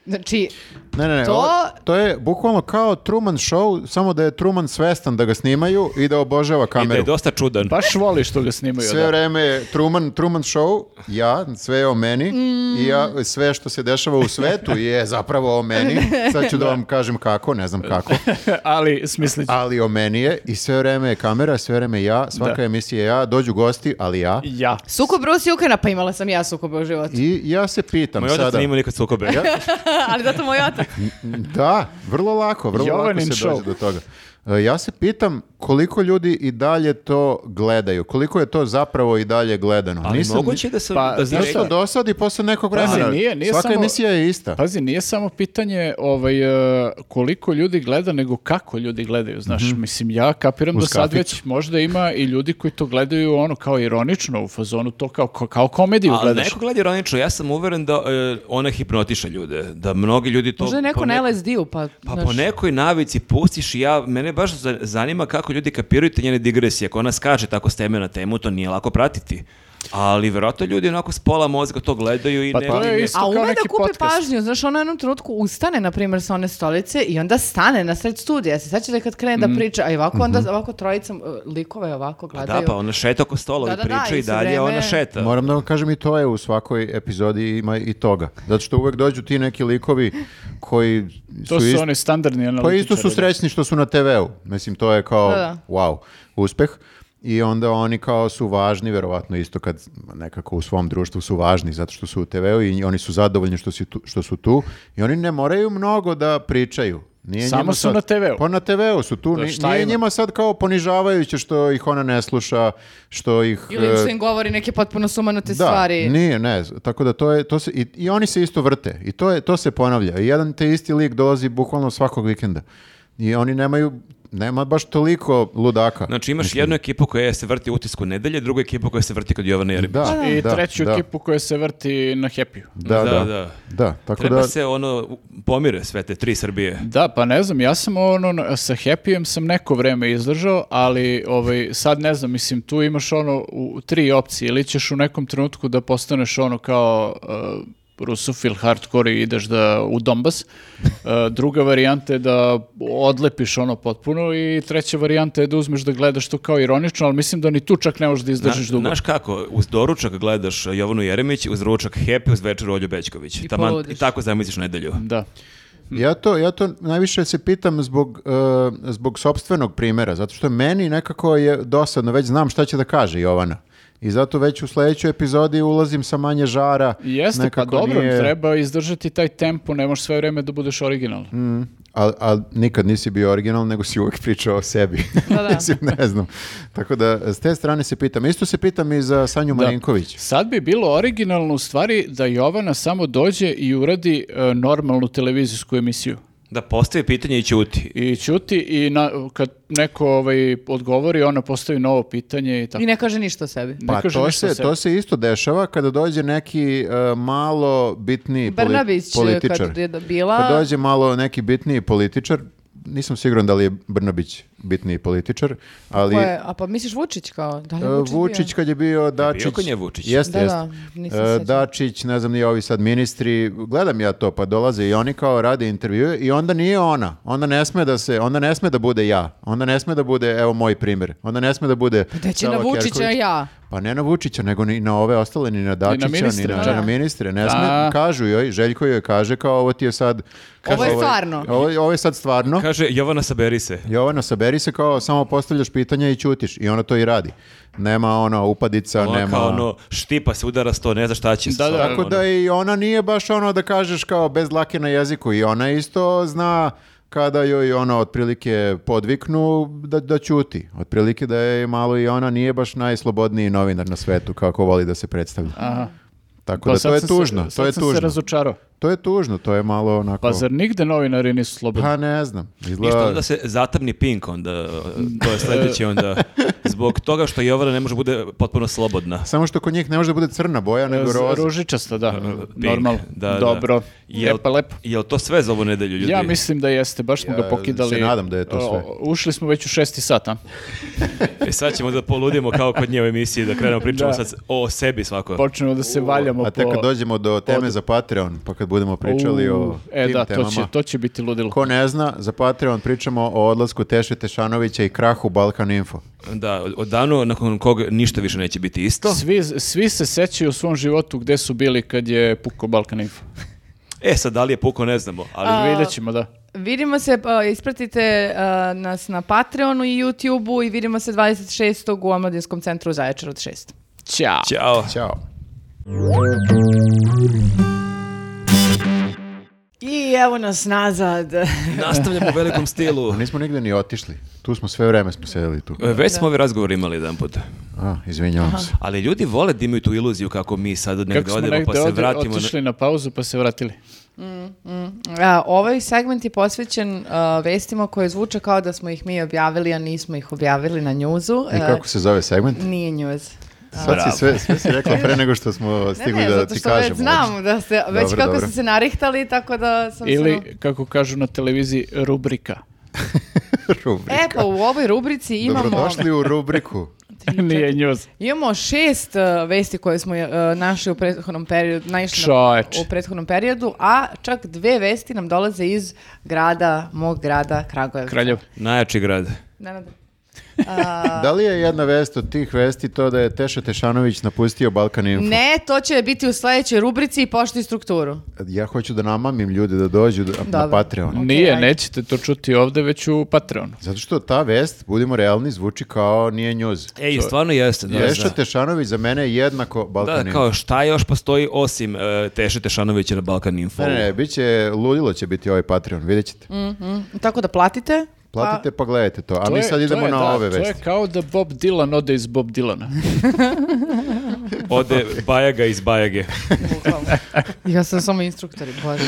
[SPEAKER 1] Znači,
[SPEAKER 3] Ne, ne, ne.
[SPEAKER 1] To-
[SPEAKER 3] ovo- to je bukvalno kao Truman Show, samo da je Truman svestan da ga snimaju i da obožava
[SPEAKER 4] I da je
[SPEAKER 3] kameru.
[SPEAKER 4] dosta čudan.
[SPEAKER 2] Baš voli što ga snimaju.
[SPEAKER 3] Sve
[SPEAKER 2] da.
[SPEAKER 3] vreme je Truman, Truman Show, ja, sve je o meni
[SPEAKER 2] Mm.
[SPEAKER 3] i ja, sve što se dešava u svetu je zapravo o meni. Sad ću da vam kažem kako, ne znam kako.
[SPEAKER 2] ali smislit ću.
[SPEAKER 3] ali o meni je i sve vreme je kamera, sve vreme ja, svaka
[SPEAKER 2] Da.
[SPEAKER 3] emisija je ja, dođu gosti, ali ja.
[SPEAKER 2] Ja.
[SPEAKER 1] Sukob Rusi i Ukrajina, pa imala sam ja sukobe u životu.
[SPEAKER 3] I ja se pitam
[SPEAKER 4] Moj otac
[SPEAKER 3] sada.
[SPEAKER 4] nije imao nikad sukobe.
[SPEAKER 1] Ali zato moj otac.
[SPEAKER 3] Da, vrlo lako, vrlo
[SPEAKER 2] Jovanin
[SPEAKER 3] lako se dođe
[SPEAKER 2] show.
[SPEAKER 3] do toga. E, Ja se pitam koliko ljudi i dalje to gledaju, koliko je to zapravo i dalje gledano.
[SPEAKER 4] Ali
[SPEAKER 3] Nisam
[SPEAKER 4] moguće da se...
[SPEAKER 2] Pa,
[SPEAKER 4] da
[SPEAKER 2] znaš
[SPEAKER 4] se-
[SPEAKER 2] šta,
[SPEAKER 3] Nešto dosadi posle nekog
[SPEAKER 2] Pazi,
[SPEAKER 3] vremena.
[SPEAKER 2] nije- nije
[SPEAKER 3] Svaka
[SPEAKER 2] samo-
[SPEAKER 3] emisija je ista.
[SPEAKER 2] Pazi, nije samo pitanje ovaj, e, koliko ljudi gleda, nego kako ljudi gledaju, znaš. Mislim, ja kapiram
[SPEAKER 3] Mhm. Uz
[SPEAKER 2] da sad
[SPEAKER 3] kafić.
[SPEAKER 2] već možda ima i ljudi koji to gledaju ono kao ironično u fazonu, to kao, kao, kao komediju
[SPEAKER 4] Ali
[SPEAKER 2] gledaš.
[SPEAKER 4] neko gleda ironično, ja sam uveren da e, ona hipnotiše ljude, da mnogi ljudi to...
[SPEAKER 1] Možda je neko
[SPEAKER 4] po
[SPEAKER 1] na
[SPEAKER 4] neko-
[SPEAKER 1] LSD-u, pa...
[SPEAKER 4] Pa
[SPEAKER 1] znaš.
[SPEAKER 4] po nekoj navici pustiš i ja, mene baš za- zanima kako ljudi kapiraju te njene digresije. Ako ona skače tako s teme na temu, to nije lako pratiti. Ali verovatno ljudi onako s pola mozga to gledaju i
[SPEAKER 2] Pa
[SPEAKER 4] ne...
[SPEAKER 2] to je
[SPEAKER 4] ne-
[SPEAKER 2] isto
[SPEAKER 1] A
[SPEAKER 2] kao
[SPEAKER 1] ume da
[SPEAKER 2] neki
[SPEAKER 1] kupi
[SPEAKER 2] podcast.
[SPEAKER 1] pažnju, znaš, ona u jednom trenutku ustane, na primjer, sa one stolice i onda stane na sred studija. Ja se sećam da kad krene
[SPEAKER 3] Mm.
[SPEAKER 1] da priča, a i ovako,
[SPEAKER 3] Mhm.
[SPEAKER 1] onda ovako trojica e, likova je ovako
[SPEAKER 4] Pa
[SPEAKER 1] gledaju.
[SPEAKER 4] da, pa ona šeta oko stola
[SPEAKER 1] Da,
[SPEAKER 4] i
[SPEAKER 1] da, da,
[SPEAKER 4] priča i
[SPEAKER 1] isto
[SPEAKER 4] dalje
[SPEAKER 1] vreme-
[SPEAKER 4] ona šeta.
[SPEAKER 3] Moram da vam kažem i to je u svakoj epizodi ima i toga. Zato što uvek dođu ti neki likovi koji
[SPEAKER 2] To
[SPEAKER 3] su
[SPEAKER 2] su
[SPEAKER 3] isto-
[SPEAKER 2] oni standardni
[SPEAKER 3] Pa
[SPEAKER 2] analitičari.
[SPEAKER 3] isto su srećni što su na TV-u. Mislim, to je kao,
[SPEAKER 1] Da, da.
[SPEAKER 3] wow, uspeh. I onda oni kao su važni, verovatno isto kad nekako u svom društvu su važni zato što su u TV-u i oni su zadovoljni što, si tu, što su tu. I oni ne moraju mnogo da pričaju. Nije
[SPEAKER 2] Samo
[SPEAKER 3] njima
[SPEAKER 2] su
[SPEAKER 3] sad-
[SPEAKER 2] na TV-u.
[SPEAKER 3] Pa na TV-u su tu. Ni-
[SPEAKER 2] šta
[SPEAKER 3] nije
[SPEAKER 2] ima?
[SPEAKER 3] njima sad kao ponižavajuće što ih ona ne sluša, što ih...
[SPEAKER 1] Ili
[SPEAKER 3] e,
[SPEAKER 1] što im govori neke potpuno sumanute
[SPEAKER 3] da,
[SPEAKER 1] stvari.
[SPEAKER 3] nije, ne, z- tako da to je, to se, i, i oni se isto vrte i to, je, to se ponavlja. I jedan te isti lik dolazi bukvalno svakog vikenda i oni nemaju, nema baš toliko ludaka.
[SPEAKER 4] Znači imaš jednu ekipu koja se vrti u utisku nedelje, drugu ekipu koja se vrti kod Jovana Jeremića.
[SPEAKER 3] da,
[SPEAKER 2] I
[SPEAKER 3] da,
[SPEAKER 2] treću
[SPEAKER 3] da,
[SPEAKER 2] ekipu koja se vrti na happy
[SPEAKER 3] Da, da,
[SPEAKER 4] Da,
[SPEAKER 3] da,
[SPEAKER 4] da.
[SPEAKER 3] tako
[SPEAKER 4] Treba
[SPEAKER 3] da,
[SPEAKER 4] se ono u- pomire sve te tri Srbije.
[SPEAKER 2] Da, pa ne znam, ja sam ono, na- sa Happy-em sam neko vreme izdržao, ali ovaj, sad ne znam, mislim, tu imaš ono u tri opcije, ili ćeš u nekom trenutku da postaneš ono kao uh, rusofil hardcore i ideš da u Donbas, Uh, druga varijanta je da odlepiš ono potpuno i treća varijanta je da uzmeš da gledaš to kao ironično, ali mislim da ni tu čak ne možeš da izdržiš dugo.
[SPEAKER 4] Znaš kako, uz doručak gledaš Jovanu Jeremić, uz ručak Happy, uz večer Olju Bećković.
[SPEAKER 1] I
[SPEAKER 4] Taman-
[SPEAKER 1] poludiš.
[SPEAKER 4] I tako zamisliš nedelju.
[SPEAKER 2] Da.
[SPEAKER 3] ja to, ja to najviše se pitam zbog, e, zbog sobstvenog primjera, zato što meni nekako je dosadno, već znam šta će da kaže Jovana. I zato već u sljedećoj epizodi ulazim sa manje žara.
[SPEAKER 2] Jeste,
[SPEAKER 3] Nekako
[SPEAKER 2] pa dobro,
[SPEAKER 3] nije-
[SPEAKER 2] treba izdržati taj tempo, ne možeš sve vrijeme da budeš originalan.
[SPEAKER 3] A, a nikad nisi bio original, nego si uvijek pričao o sebi.
[SPEAKER 1] Da, da.
[SPEAKER 3] Mislim, ne znam. Tako da, s te strane se pitam. Isto se pitam i za Sanju Marinković.
[SPEAKER 2] Sad bi bilo originalno u stvari da Jovana samo dođe i uradi e, normalnu televizijsku emisiju.
[SPEAKER 4] Da postavi pitanje i ćuti.
[SPEAKER 2] I ćuti i na, kad neko ovaj, odgovori, ona postavi novo pitanje i tako.
[SPEAKER 1] I ne kaže ništa o sebi.
[SPEAKER 2] Ne
[SPEAKER 3] Pa
[SPEAKER 2] kaže
[SPEAKER 3] to
[SPEAKER 2] ništa
[SPEAKER 3] se,
[SPEAKER 2] o sebi.
[SPEAKER 3] to se isto dešava kada dođe neki e, malo bitniji poli-
[SPEAKER 1] Brnabić e,
[SPEAKER 3] političar.
[SPEAKER 1] kad je da- bila-
[SPEAKER 3] Kad dođe malo neki bitniji političar, nisam siguran da li je Brnabić bitniji političar, ali
[SPEAKER 1] Ko je- a pa misliš Vučić kao? Da li je
[SPEAKER 3] e,
[SPEAKER 1] Vučić bio?
[SPEAKER 3] Vučić kad je bio Dačić.
[SPEAKER 4] bio kod nje Vučić.
[SPEAKER 3] Jeste,
[SPEAKER 1] Da,
[SPEAKER 3] jeste.
[SPEAKER 1] da, nisam
[SPEAKER 3] E,
[SPEAKER 1] sećala.
[SPEAKER 3] Dačić, ne znam ni ovi sad ministri, gledam ja to, pa dolaze i oni kao rade intervjue i onda nije ona. Onda ne sme da se, onda ne sme da bude ja. Onda ne sme da bude, evo moj primjer. Onda ne sme da bude
[SPEAKER 1] gde će
[SPEAKER 3] Sava
[SPEAKER 1] Pa na Vučića
[SPEAKER 3] Kerković.
[SPEAKER 1] ja?
[SPEAKER 3] Pa ne na Vučića, nego ni na ove ostale, ni na Dačića, ni na,
[SPEAKER 2] ministre,
[SPEAKER 3] ni
[SPEAKER 2] da.
[SPEAKER 3] na ministre. Ne
[SPEAKER 2] Da.
[SPEAKER 3] sme, kažu joj, Željko joj kaže kao ovo ti je sad...
[SPEAKER 1] Ovo je stvarno.
[SPEAKER 3] Ovo, ovo je sad stvarno.
[SPEAKER 4] Kaže, Jovana, saberi se.
[SPEAKER 3] Jovana, saberi se kao samo postavljaš pitanja i ćutiš. I ona to i radi. Nema ono upadica,
[SPEAKER 4] Ona
[SPEAKER 3] nema...
[SPEAKER 4] kao ono, štipa se, udara sto, ne zna šta će.
[SPEAKER 2] Da, da.
[SPEAKER 4] Ono,
[SPEAKER 3] Tako da i ona nije baš ono da kažeš kao bez dlake na jeziku i ona isto zna kada joj ono otprilike podviknu da, da ćuti. Otprilike da je malo i ona nije baš najslobodniji novinar na svetu kako voli da se predstavlja.
[SPEAKER 2] Aha.
[SPEAKER 3] Tako
[SPEAKER 2] Pa
[SPEAKER 3] da
[SPEAKER 2] sad
[SPEAKER 3] to je
[SPEAKER 2] sam
[SPEAKER 3] tužno,
[SPEAKER 2] se,
[SPEAKER 3] to je
[SPEAKER 2] sad sam se
[SPEAKER 3] tužno.
[SPEAKER 2] razočarao.
[SPEAKER 3] To je tužno, to je malo onako...
[SPEAKER 2] Pa zar nigde novinari nisu slobodni?
[SPEAKER 3] Pa ne znam.
[SPEAKER 4] Ništa,
[SPEAKER 3] Izgleda...
[SPEAKER 4] onda se zatamni pink onda, to je sljedeće onda. Zbog toga što Jovana ne može bude potpuno slobodna.
[SPEAKER 3] Samo što kod njih ne može da bude crna boja, nego
[SPEAKER 2] Z-
[SPEAKER 3] roza.
[SPEAKER 2] Ružičasta, da,
[SPEAKER 4] Pink,
[SPEAKER 2] normalno.
[SPEAKER 4] da,
[SPEAKER 2] Dobro,
[SPEAKER 4] da.
[SPEAKER 2] je pa lepo.
[SPEAKER 4] Jel to sve za ovu nedelju, ljudi?
[SPEAKER 2] Ja mislim da jeste, baš smo
[SPEAKER 3] Ja
[SPEAKER 2] ga pokidali.
[SPEAKER 3] se nadam da je to sve.
[SPEAKER 2] O, Ušli smo već u šesti sat, a?
[SPEAKER 4] E sad ćemo da poludimo kao kod nje u emisiji, da krenemo pričamo
[SPEAKER 2] Da.
[SPEAKER 4] sad o sebi svako.
[SPEAKER 2] Počnemo da se valjamo
[SPEAKER 3] Pa. A tek
[SPEAKER 2] po...
[SPEAKER 3] kad dođemo do teme za Patreon, pa kad budemo pričali o
[SPEAKER 2] U, E
[SPEAKER 3] tim
[SPEAKER 2] da,
[SPEAKER 3] temama.
[SPEAKER 2] to će, to će biti ludilo.
[SPEAKER 3] Ko ne zna, za Patreon pričamo o odlasku Teše Tešanovića i krahu Balkan Info.
[SPEAKER 4] Da, od- od danu nakon kog ništa više neće biti isto.
[SPEAKER 2] Svi, svi se sećaju u svom životu gde su bili kad je puko Balkan Info.
[SPEAKER 4] E sad, da li je puko, ne znamo, ali
[SPEAKER 1] A,
[SPEAKER 2] Vidjet ćemo, da.
[SPEAKER 1] Vidimo se, pa, ispratite a, nas na Patreonu i YouTubeu i vidimo se 26. u Omladinskom centru u Zaječaru od 6.
[SPEAKER 2] Ćao!
[SPEAKER 4] Ćao.
[SPEAKER 3] Ćao.
[SPEAKER 1] I evo nas nazad.
[SPEAKER 4] Nastavljamo u velikom stilu.
[SPEAKER 3] Pa nismo nigde ni otišli. Tu smo sve vreme smo sedeli tu.
[SPEAKER 4] E, Već smo ove razgovore imali jedan put.
[SPEAKER 3] A, izvinjavam se.
[SPEAKER 4] Ali ljudi vole da imaju tu iluziju kako mi sad od
[SPEAKER 2] Kako
[SPEAKER 4] negdje
[SPEAKER 2] smo
[SPEAKER 4] odemo pa
[SPEAKER 2] negde
[SPEAKER 4] se
[SPEAKER 2] ode-
[SPEAKER 4] vratimo. na-
[SPEAKER 2] otišli na pauzu pa se vratili.
[SPEAKER 1] A, ovaj segment je posvećen a, vestima koje zvuče kao da smo ih mi objavili, a nismo ih objavili na njuzu. E,
[SPEAKER 3] I E, kako se zove segment?
[SPEAKER 1] Nije njuz.
[SPEAKER 3] Sad si sve, sve si rekla pre nego što smo
[SPEAKER 1] Ne,
[SPEAKER 3] stigli
[SPEAKER 1] ne,
[SPEAKER 3] da
[SPEAKER 1] zato
[SPEAKER 3] ti
[SPEAKER 1] što već
[SPEAKER 3] kažemo. znači.
[SPEAKER 1] znam da se, već
[SPEAKER 3] Dobro,
[SPEAKER 1] kako
[SPEAKER 3] dobro.
[SPEAKER 1] ste se narihtali, tako da sam Pa se... ono-
[SPEAKER 2] Ili, kako kažu na televiziji, rubrika.
[SPEAKER 3] Rubrika.
[SPEAKER 1] E, pa u ovoj rubrici imamo... ono.
[SPEAKER 3] Dobrodošli u rubriku.
[SPEAKER 2] Nije njuz.
[SPEAKER 1] Imamo šest uh, vesti koje smo uh, našli u prethodnom periodu, naišli na-
[SPEAKER 2] Čoveče.
[SPEAKER 1] u prethodnom periodu, a čak dve vesti nam dolaze iz grada, mog grada Kragujevca.
[SPEAKER 2] Kraljev.
[SPEAKER 4] Najjači grad.
[SPEAKER 1] Nenade. E,
[SPEAKER 3] Da li je jedna vest od tih vesti to da je Teša Tešanović napustio Balkan Info?
[SPEAKER 1] Ne, to će biti u sledećoj rubrici i pošti strukturu.
[SPEAKER 3] Ja hoću da namamim ljude da dođu da- na
[SPEAKER 1] Dobro.
[SPEAKER 3] Patreon.
[SPEAKER 2] Nije,
[SPEAKER 1] ajde.
[SPEAKER 2] nećete to čuti ovde, već u Patreonu.
[SPEAKER 3] Zato što ta vest, budimo realni, zvuči kao nije njuz.
[SPEAKER 4] Ej, E, stvarno jeste. Da,
[SPEAKER 3] Teša
[SPEAKER 4] da.
[SPEAKER 3] Tešanović za mene je jednako Balkan
[SPEAKER 4] Da,
[SPEAKER 3] Info.
[SPEAKER 4] kao šta još postoji osim e, Teše Tešanovića na Balkan Info?
[SPEAKER 3] Ne, ne, bit će, ludilo će biti ovaj Patreon, vidjet ćete.
[SPEAKER 1] Tako da platite. Mm, pa-
[SPEAKER 3] Platite pa gledajte to, a
[SPEAKER 2] To
[SPEAKER 3] mi
[SPEAKER 2] je-
[SPEAKER 3] sad
[SPEAKER 2] to
[SPEAKER 3] idemo
[SPEAKER 2] je,
[SPEAKER 3] na
[SPEAKER 2] da,
[SPEAKER 3] ove
[SPEAKER 2] To
[SPEAKER 3] vesti.
[SPEAKER 2] je kao da Bob Dylan ode iz Bob Dylana.
[SPEAKER 4] Ode Bajaga iz Bajage.
[SPEAKER 1] Pa, Bukvalno. ja sam samo instruktor, bože.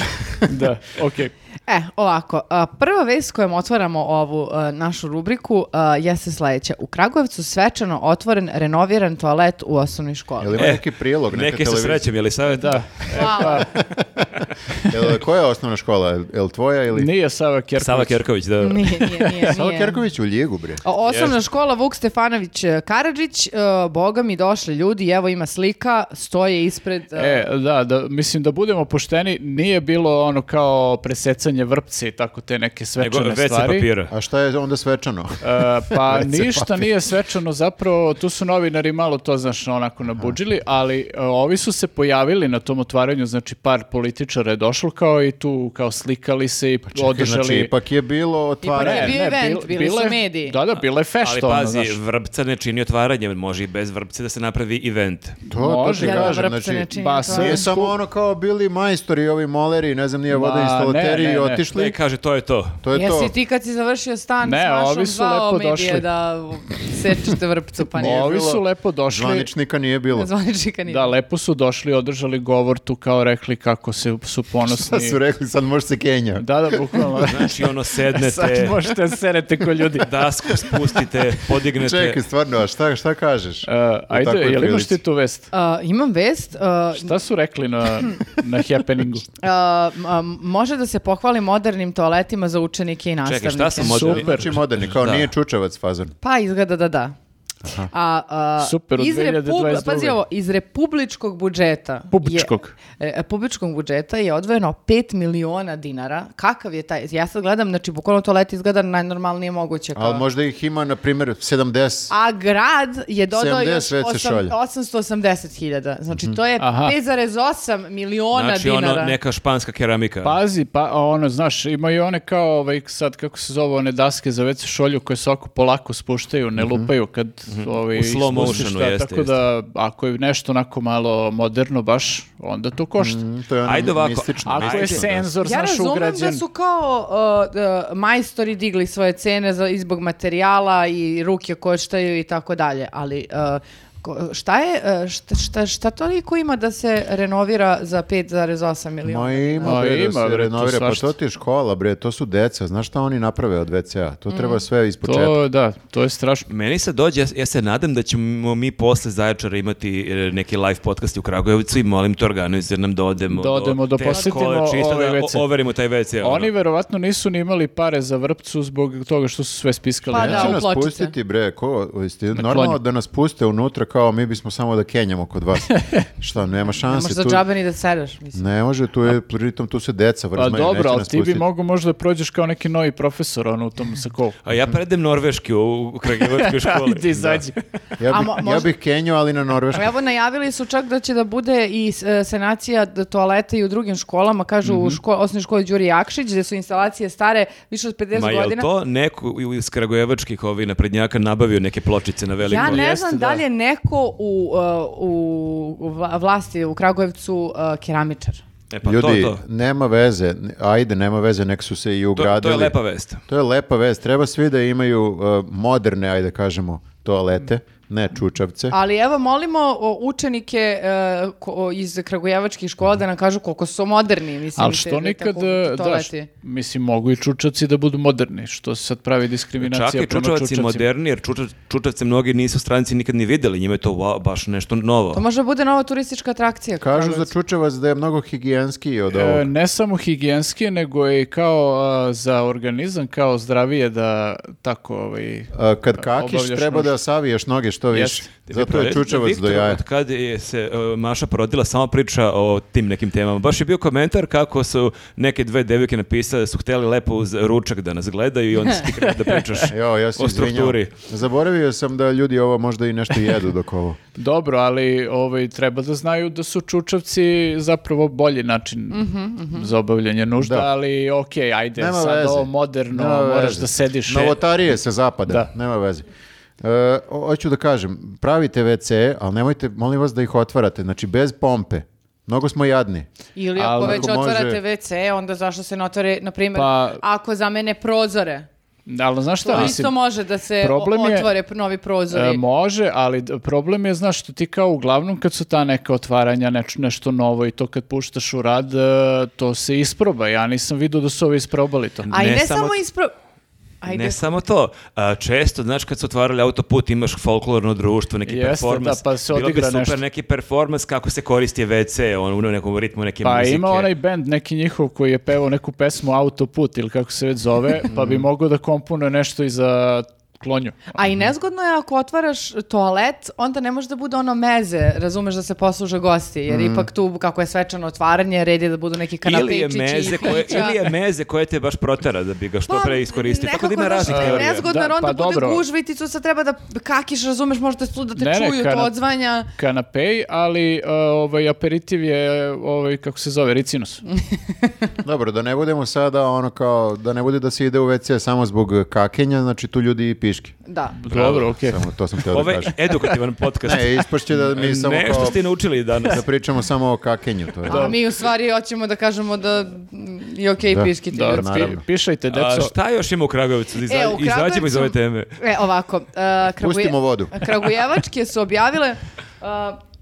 [SPEAKER 2] da, okej.
[SPEAKER 1] E, ovako, a, prva vest s kojom otvaramo ovu a, našu rubriku a, jeste sledeća. U Kragujevcu svečano otvoren renoviran toalet u osnovnoj školi.
[SPEAKER 3] Jel ima
[SPEAKER 4] E,
[SPEAKER 3] neki prilog, neka
[SPEAKER 4] Neke se
[SPEAKER 3] televizija?
[SPEAKER 4] srećem, je li sad? Da.
[SPEAKER 1] Hvala.
[SPEAKER 3] Jel, koja je osnovna škola? Jel, jel tvoja ili...
[SPEAKER 2] Nije Sava Kerković.
[SPEAKER 4] Sava Kerković, da.
[SPEAKER 1] Nije, nije, nije.
[SPEAKER 3] Sava
[SPEAKER 1] nije.
[SPEAKER 3] Kerković u Ljigu, bre.
[SPEAKER 1] O- Osnovna škola Vuk Stefanović e, Karadžić, e, boga mi došli ljudi, evo ima slika, stoje ispred... e,
[SPEAKER 2] E, da, da, mislim da budemo pošteni, nije bilo ono kao presecanje vrpce i tako te neke
[SPEAKER 4] Nego
[SPEAKER 2] svečane
[SPEAKER 4] WC
[SPEAKER 2] stvari.
[SPEAKER 4] papira.
[SPEAKER 3] A šta je onda svečano?
[SPEAKER 2] E, pa
[SPEAKER 3] WC
[SPEAKER 2] ništa
[SPEAKER 3] papir.
[SPEAKER 2] nije svečano, zapravo tu su novinari malo to znaš onako nabuđili, ali e, ovi su se pojavili na tom otvaranju, znači par političara profesora je došlo kao i tu kao slikali se i održali.
[SPEAKER 3] Znači, ipak je bilo
[SPEAKER 1] Ipak je
[SPEAKER 3] otvaranje.
[SPEAKER 1] bio event,
[SPEAKER 2] bil-
[SPEAKER 1] bili
[SPEAKER 2] bila
[SPEAKER 1] su
[SPEAKER 2] je-
[SPEAKER 1] mediji.
[SPEAKER 2] Da, da, bila je
[SPEAKER 4] Ali
[SPEAKER 2] fešta. ono,
[SPEAKER 4] pazi,
[SPEAKER 2] znaš.
[SPEAKER 4] vrpca ne čini otvaranje, može i bez vrpce da se napravi event. E,
[SPEAKER 3] To, to
[SPEAKER 2] Može.
[SPEAKER 3] ti
[SPEAKER 1] Ja, da,
[SPEAKER 3] kažem,
[SPEAKER 1] vrpce ne
[SPEAKER 3] znači,
[SPEAKER 1] čini
[SPEAKER 2] pa
[SPEAKER 1] otvaranje.
[SPEAKER 3] nije samo ono kao bili majstori, ovi moleri, ne znam, nije vodoinstalateri
[SPEAKER 2] ne, ne,
[SPEAKER 3] i
[SPEAKER 2] ne.
[SPEAKER 3] otišli.
[SPEAKER 4] Ne, kaže, to je to.
[SPEAKER 3] To je to.
[SPEAKER 1] Jesi ti kad si završio stan
[SPEAKER 2] Ne,
[SPEAKER 1] s Mašom
[SPEAKER 2] ovi su
[SPEAKER 1] zvao
[SPEAKER 2] lepo
[SPEAKER 1] medije
[SPEAKER 2] došli.
[SPEAKER 1] da sečete vrpcu, pa
[SPEAKER 3] Nije
[SPEAKER 1] nije.
[SPEAKER 2] Ovi
[SPEAKER 3] bilo-
[SPEAKER 2] su lepo došli.
[SPEAKER 3] Zvaničnika nije bilo.
[SPEAKER 1] Zvaničnika nije.
[SPEAKER 2] Da, lepo su došli, održali govor tu kao rekli kako se su ponosni.
[SPEAKER 3] Šta su rekli, sad može se Kenja.
[SPEAKER 2] Da, da, bukvalno.
[SPEAKER 4] Znači, ono,
[SPEAKER 2] Sad
[SPEAKER 4] sednete,
[SPEAKER 2] možete da serete ko ljudi.
[SPEAKER 4] dasku spustite, podignete.
[SPEAKER 3] Čekaj, stvarno, a šta, šta kažeš?
[SPEAKER 2] E, ajde,
[SPEAKER 3] takvoj
[SPEAKER 2] je li imaš
[SPEAKER 3] prilici.
[SPEAKER 2] ti tu vest?
[SPEAKER 1] A, E, imam vest. a,
[SPEAKER 2] Šta su rekli na, na happeningu?
[SPEAKER 1] a, e, m- a, može da se pohvali modernim toaletima za učenike i nastavnike.
[SPEAKER 4] Čekaj, šta su moderni?
[SPEAKER 2] Super.
[SPEAKER 3] Znači moderni, kao
[SPEAKER 4] Da.
[SPEAKER 3] nije Čučevac fazon.
[SPEAKER 1] Pa izgleda da da. A, a,
[SPEAKER 2] Super, od
[SPEAKER 1] iz repub-
[SPEAKER 2] 2022..
[SPEAKER 1] Pazi ovo, iz republičkog budžeta.
[SPEAKER 2] Publičkog.
[SPEAKER 1] Je, e, publičkog budžeta je odvojeno 5 miliona dinara. Kakav je taj? Ja sad gledam, znači bukvalno toalet izgleda najnormalnije moguće. Kao.
[SPEAKER 3] Ali možda ih ima, na primjer, 70.
[SPEAKER 1] A grad je dodao
[SPEAKER 3] 70
[SPEAKER 1] još
[SPEAKER 3] već se
[SPEAKER 1] osam-
[SPEAKER 3] šalje.
[SPEAKER 1] 880 hiljada. Znači to je
[SPEAKER 2] Mhm. Aha.
[SPEAKER 1] 5,8 miliona
[SPEAKER 4] Znači,
[SPEAKER 1] dinara.
[SPEAKER 4] ono, neka španska keramika.
[SPEAKER 2] Pazi, pa a ono, znaš, imaju one kao ovaj, sad, kako se zove, one daske za WC šolju koje se oko polako spuštaju, ne lupaju kad ovaj,
[SPEAKER 4] Mhm. U slow
[SPEAKER 2] ispustiš,
[SPEAKER 4] motionu,
[SPEAKER 2] da,
[SPEAKER 4] jeste,
[SPEAKER 2] Tako da, ako je nešto onako malo moderno baš, onda to košta.
[SPEAKER 4] Mhm.
[SPEAKER 3] Mm, To je ono
[SPEAKER 4] Ajde ovako,
[SPEAKER 3] mistično.
[SPEAKER 2] Ako je
[SPEAKER 4] Ajde.
[SPEAKER 2] senzor,
[SPEAKER 1] Ja
[SPEAKER 2] znaš,
[SPEAKER 1] razumem
[SPEAKER 2] ugrađen.
[SPEAKER 1] da su kao uh, da, majstori digli svoje cene za, i zbog materijala i ruke koštaju i tako dalje, ali uh, ko- šta je, uh, šta, šta, šta toliko ima da se renovira za 5,8 miliona?
[SPEAKER 3] Ma ima,
[SPEAKER 2] A,
[SPEAKER 3] bre, da
[SPEAKER 2] ima,
[SPEAKER 3] se
[SPEAKER 2] bre, tu
[SPEAKER 3] renovira. Pa
[SPEAKER 2] svašta.
[SPEAKER 3] to ti je škola, bre, to su deca. Znaš šta oni naprave od WC-a? To
[SPEAKER 1] Mm.
[SPEAKER 3] treba sve iz početka.
[SPEAKER 2] To, da, to je strašno.
[SPEAKER 4] Meni se dođe, ja, ja se nadam da ćemo mi posle Zaječara imati e, neki live podcast u Kragujevcu i molim te organizuje nam da odemo.
[SPEAKER 2] Da odemo, da
[SPEAKER 4] te
[SPEAKER 2] posjetimo
[SPEAKER 4] škole, čisto
[SPEAKER 2] ovaj
[SPEAKER 4] da
[SPEAKER 2] WC.
[SPEAKER 4] o- overimo taj WC. ono.
[SPEAKER 2] Oni verovatno nisu ni imali pare za vrpcu zbog toga što su sve spiskali.
[SPEAKER 1] Pa
[SPEAKER 3] Neće
[SPEAKER 1] da, u
[SPEAKER 3] nas
[SPEAKER 1] pločice.
[SPEAKER 3] pustiti, bre, ko, jeste, normalno da nas puste unutra kao mi bismo samo da kenjamo kod vas. Šta, nema
[SPEAKER 1] Ne
[SPEAKER 3] šanse
[SPEAKER 1] možeš za
[SPEAKER 3] tu.
[SPEAKER 1] džabe ni da seraš, mislim.
[SPEAKER 3] Ne može, tu je, pritom tu se deca
[SPEAKER 2] Pa
[SPEAKER 3] vrzmaju,
[SPEAKER 2] dobro,
[SPEAKER 3] neće
[SPEAKER 2] ali
[SPEAKER 3] nas
[SPEAKER 2] ti bi
[SPEAKER 3] pustiti.
[SPEAKER 2] mogo možda da prođeš kao neki novi profesor ono, u tom sakovu.
[SPEAKER 4] A ja predem norveški u, u Kragujevačkoj školi.
[SPEAKER 2] Ajde, izađi.
[SPEAKER 3] Ja
[SPEAKER 1] A
[SPEAKER 3] bih,
[SPEAKER 1] mo-
[SPEAKER 3] ja
[SPEAKER 1] možda-
[SPEAKER 3] bih kenjao, ali na Norveškom.
[SPEAKER 1] Evo najavili su čak da će da bude i e, sanacija d- toaleta i u drugim školama, kažu
[SPEAKER 3] Mhm.
[SPEAKER 1] u ško, osnovnoj školi Đuri Jakšić, gde su instalacije stare više od 50
[SPEAKER 4] Ma je
[SPEAKER 1] godina.
[SPEAKER 4] to neko u- iz Kragujevačkih ovih naprednjaka nabavio neke pločice na velikom?
[SPEAKER 1] Ja ne
[SPEAKER 2] jeste,
[SPEAKER 1] znam da
[SPEAKER 2] da.
[SPEAKER 1] li je neko u, uh, u vla- vlasti u Kragujevcu uh, keramičar.
[SPEAKER 4] E pa
[SPEAKER 3] Ljudi,
[SPEAKER 4] to, to.
[SPEAKER 3] nema veze, ajde, nema veze, nek su se i
[SPEAKER 4] To,
[SPEAKER 3] ugradili.
[SPEAKER 4] to je lepa vest.
[SPEAKER 3] To je lepa vez, treba svi da imaju uh, moderne, ajde kažemo, toalete, ne čučavce.
[SPEAKER 1] Ali evo, molimo o, učenike uh, ko- o, iz Kragujevačkih škola da nam kažu koliko su moderni. Mislim,
[SPEAKER 2] Ali
[SPEAKER 1] te-
[SPEAKER 2] što
[SPEAKER 1] te-
[SPEAKER 2] nikad,
[SPEAKER 1] tako-
[SPEAKER 2] e, da,
[SPEAKER 1] toaleti.
[SPEAKER 2] š- mislim, mogu i čučavci da budu moderni, što se sad pravi diskriminacija
[SPEAKER 4] Čak i
[SPEAKER 2] prema
[SPEAKER 4] čučavac je
[SPEAKER 2] čučavcima.
[SPEAKER 4] moderni, jer čuča- čučavce mnogi nisu stranci nikad ni videli, njima je to wow, baš nešto novo.
[SPEAKER 1] To može bude nova turistička atrakcija.
[SPEAKER 3] Kažu za
[SPEAKER 1] Kragujevac.
[SPEAKER 3] čučavac da je mnogo higijenskiji od
[SPEAKER 2] E,
[SPEAKER 3] ovog.
[SPEAKER 2] ne samo higijenski, nego i kao a, za organizam, kao zdravije da tako ovaj,
[SPEAKER 3] A, kad kakiš,
[SPEAKER 2] obavljaš
[SPEAKER 3] treba
[SPEAKER 2] nož.
[SPEAKER 3] da saviješ noge što više.
[SPEAKER 2] Jeste.
[SPEAKER 3] Zato je čučavac do
[SPEAKER 4] Viktor,
[SPEAKER 3] jaja.
[SPEAKER 4] Od kad je se uh, Maša porodila, samo priča o tim nekim temama. Baš je bio komentar kako su neke dve devike napisale da su hteli lepo uz ručak da nas gledaju i onda si ti krenuo da pričaš
[SPEAKER 3] Jo, ja se
[SPEAKER 4] o
[SPEAKER 3] izvinjavam.
[SPEAKER 4] strukturi.
[SPEAKER 3] Zaboravio sam da ljudi ovo možda i nešto jedu dok ovo.
[SPEAKER 2] Dobro, ali ovaj, treba da znaju da su čučavci zapravo bolji način
[SPEAKER 1] Mhm,
[SPEAKER 2] za obavljanje nužda,
[SPEAKER 3] Da.
[SPEAKER 2] ali okej, ajde,
[SPEAKER 3] Nema
[SPEAKER 2] sad
[SPEAKER 3] veze.
[SPEAKER 2] ovo moderno,
[SPEAKER 3] Nema
[SPEAKER 2] moraš
[SPEAKER 3] veze.
[SPEAKER 2] da sediš.
[SPEAKER 1] e-
[SPEAKER 3] Novotarije se zapada,
[SPEAKER 2] Da.
[SPEAKER 3] nema veze. E, o- hoću da kažem, pravite WC, ali nemojte, molim vas da ih otvarate, znači bez pompe. Mnogo smo jadni.
[SPEAKER 1] Ili ako
[SPEAKER 2] Ali
[SPEAKER 1] već
[SPEAKER 3] ako može-
[SPEAKER 1] otvarate WC, onda zašto se ne otvore, na primjer,
[SPEAKER 2] Pa-
[SPEAKER 1] ako zamene prozore.
[SPEAKER 2] Ali znaš šta,
[SPEAKER 1] To
[SPEAKER 2] mislim,
[SPEAKER 1] isto može da se o-
[SPEAKER 2] problem je-
[SPEAKER 1] otvore novi prozori.
[SPEAKER 2] e, može, ali d- problem je, znaš, što ti kao uglavnom kad su ta neka otvaranja, neč- nešto novo i to kad puštaš u rad, e, to se isproba. Ja nisam vidio da su ovi isprobali to.
[SPEAKER 1] A i
[SPEAKER 4] ne
[SPEAKER 1] ne,
[SPEAKER 4] samo-
[SPEAKER 1] samo, ispro... Ajde.
[SPEAKER 4] Ne samo to, a, često, znaš, kad su otvarali autoput, imaš folklorno društvo, neki
[SPEAKER 2] Jeste,
[SPEAKER 4] performans.
[SPEAKER 2] da, pa se
[SPEAKER 4] Bilo bi
[SPEAKER 2] odigra
[SPEAKER 4] super
[SPEAKER 2] nešto.
[SPEAKER 4] neki performans kako se koristi WC, on, u nekom ritmu neke
[SPEAKER 2] Pa
[SPEAKER 4] muzike.
[SPEAKER 2] ima onaj band neki njihov koji je pevao neku pesmu Autoput ili kako se već zove, pa bi mogao da komponuje nešto i za klonju.
[SPEAKER 1] A i nezgodno je ako otvaraš toalet, onda ne može da bude ono meze, razumeš da se posluže gosti, jer
[SPEAKER 2] Mhm.
[SPEAKER 1] ipak tu kako je svečano otvaranje, red je da budu neki
[SPEAKER 4] Ili je,
[SPEAKER 1] kanapečići
[SPEAKER 4] meze
[SPEAKER 1] i
[SPEAKER 4] koje,
[SPEAKER 1] pića.
[SPEAKER 4] ili je meze koje te baš protera da bi ga što
[SPEAKER 1] Pa,
[SPEAKER 4] pre iskoristio. Tako da ima
[SPEAKER 1] nekako,
[SPEAKER 4] raznih
[SPEAKER 1] znaš,
[SPEAKER 4] teorija.
[SPEAKER 1] Nezgodno, jer
[SPEAKER 2] Da,
[SPEAKER 1] onda
[SPEAKER 2] pa
[SPEAKER 1] bude
[SPEAKER 2] dobro.
[SPEAKER 1] gužva i ti tu sad treba da kakiš, razumeš, možda tu da te
[SPEAKER 2] Ne, ne,
[SPEAKER 1] čuju, to
[SPEAKER 2] kanap-
[SPEAKER 1] odzvanja.
[SPEAKER 2] Kanapej, ali e, ovaj, aperitiv je, ovaj, kako se zove, ricinus.
[SPEAKER 3] Dobro, da ne budemo sada ono kao, da ne bude da se ide u WC samo zbog kakenja, znači tu ljudi i piški.
[SPEAKER 1] Da.
[SPEAKER 2] Dobro, okej.
[SPEAKER 3] Samo to sam htio da
[SPEAKER 4] Ovo je
[SPEAKER 3] kažem.
[SPEAKER 4] Ovaj edukativan podcast.
[SPEAKER 3] Ne, ispašće da mi samo
[SPEAKER 4] Nešto
[SPEAKER 3] kao,
[SPEAKER 4] ste naučili danas.
[SPEAKER 3] da pričamo samo o kakenju, to je.
[SPEAKER 1] A mi u stvari hoćemo da kažemo da je okej
[SPEAKER 3] Da.
[SPEAKER 1] piškiti.
[SPEAKER 2] Dobro,
[SPEAKER 3] Da,
[SPEAKER 2] pi-
[SPEAKER 3] naravno.
[SPEAKER 2] pišajte,
[SPEAKER 4] A
[SPEAKER 2] deco.
[SPEAKER 4] šta još ima u Kragovicu? Iza,
[SPEAKER 1] E, u
[SPEAKER 4] Izađemo iz ove
[SPEAKER 1] Kragujevcu-
[SPEAKER 4] teme.
[SPEAKER 1] E, ovako. e, Kraguje-
[SPEAKER 3] Pustimo vodu.
[SPEAKER 1] Kragujevačke su objavile... e,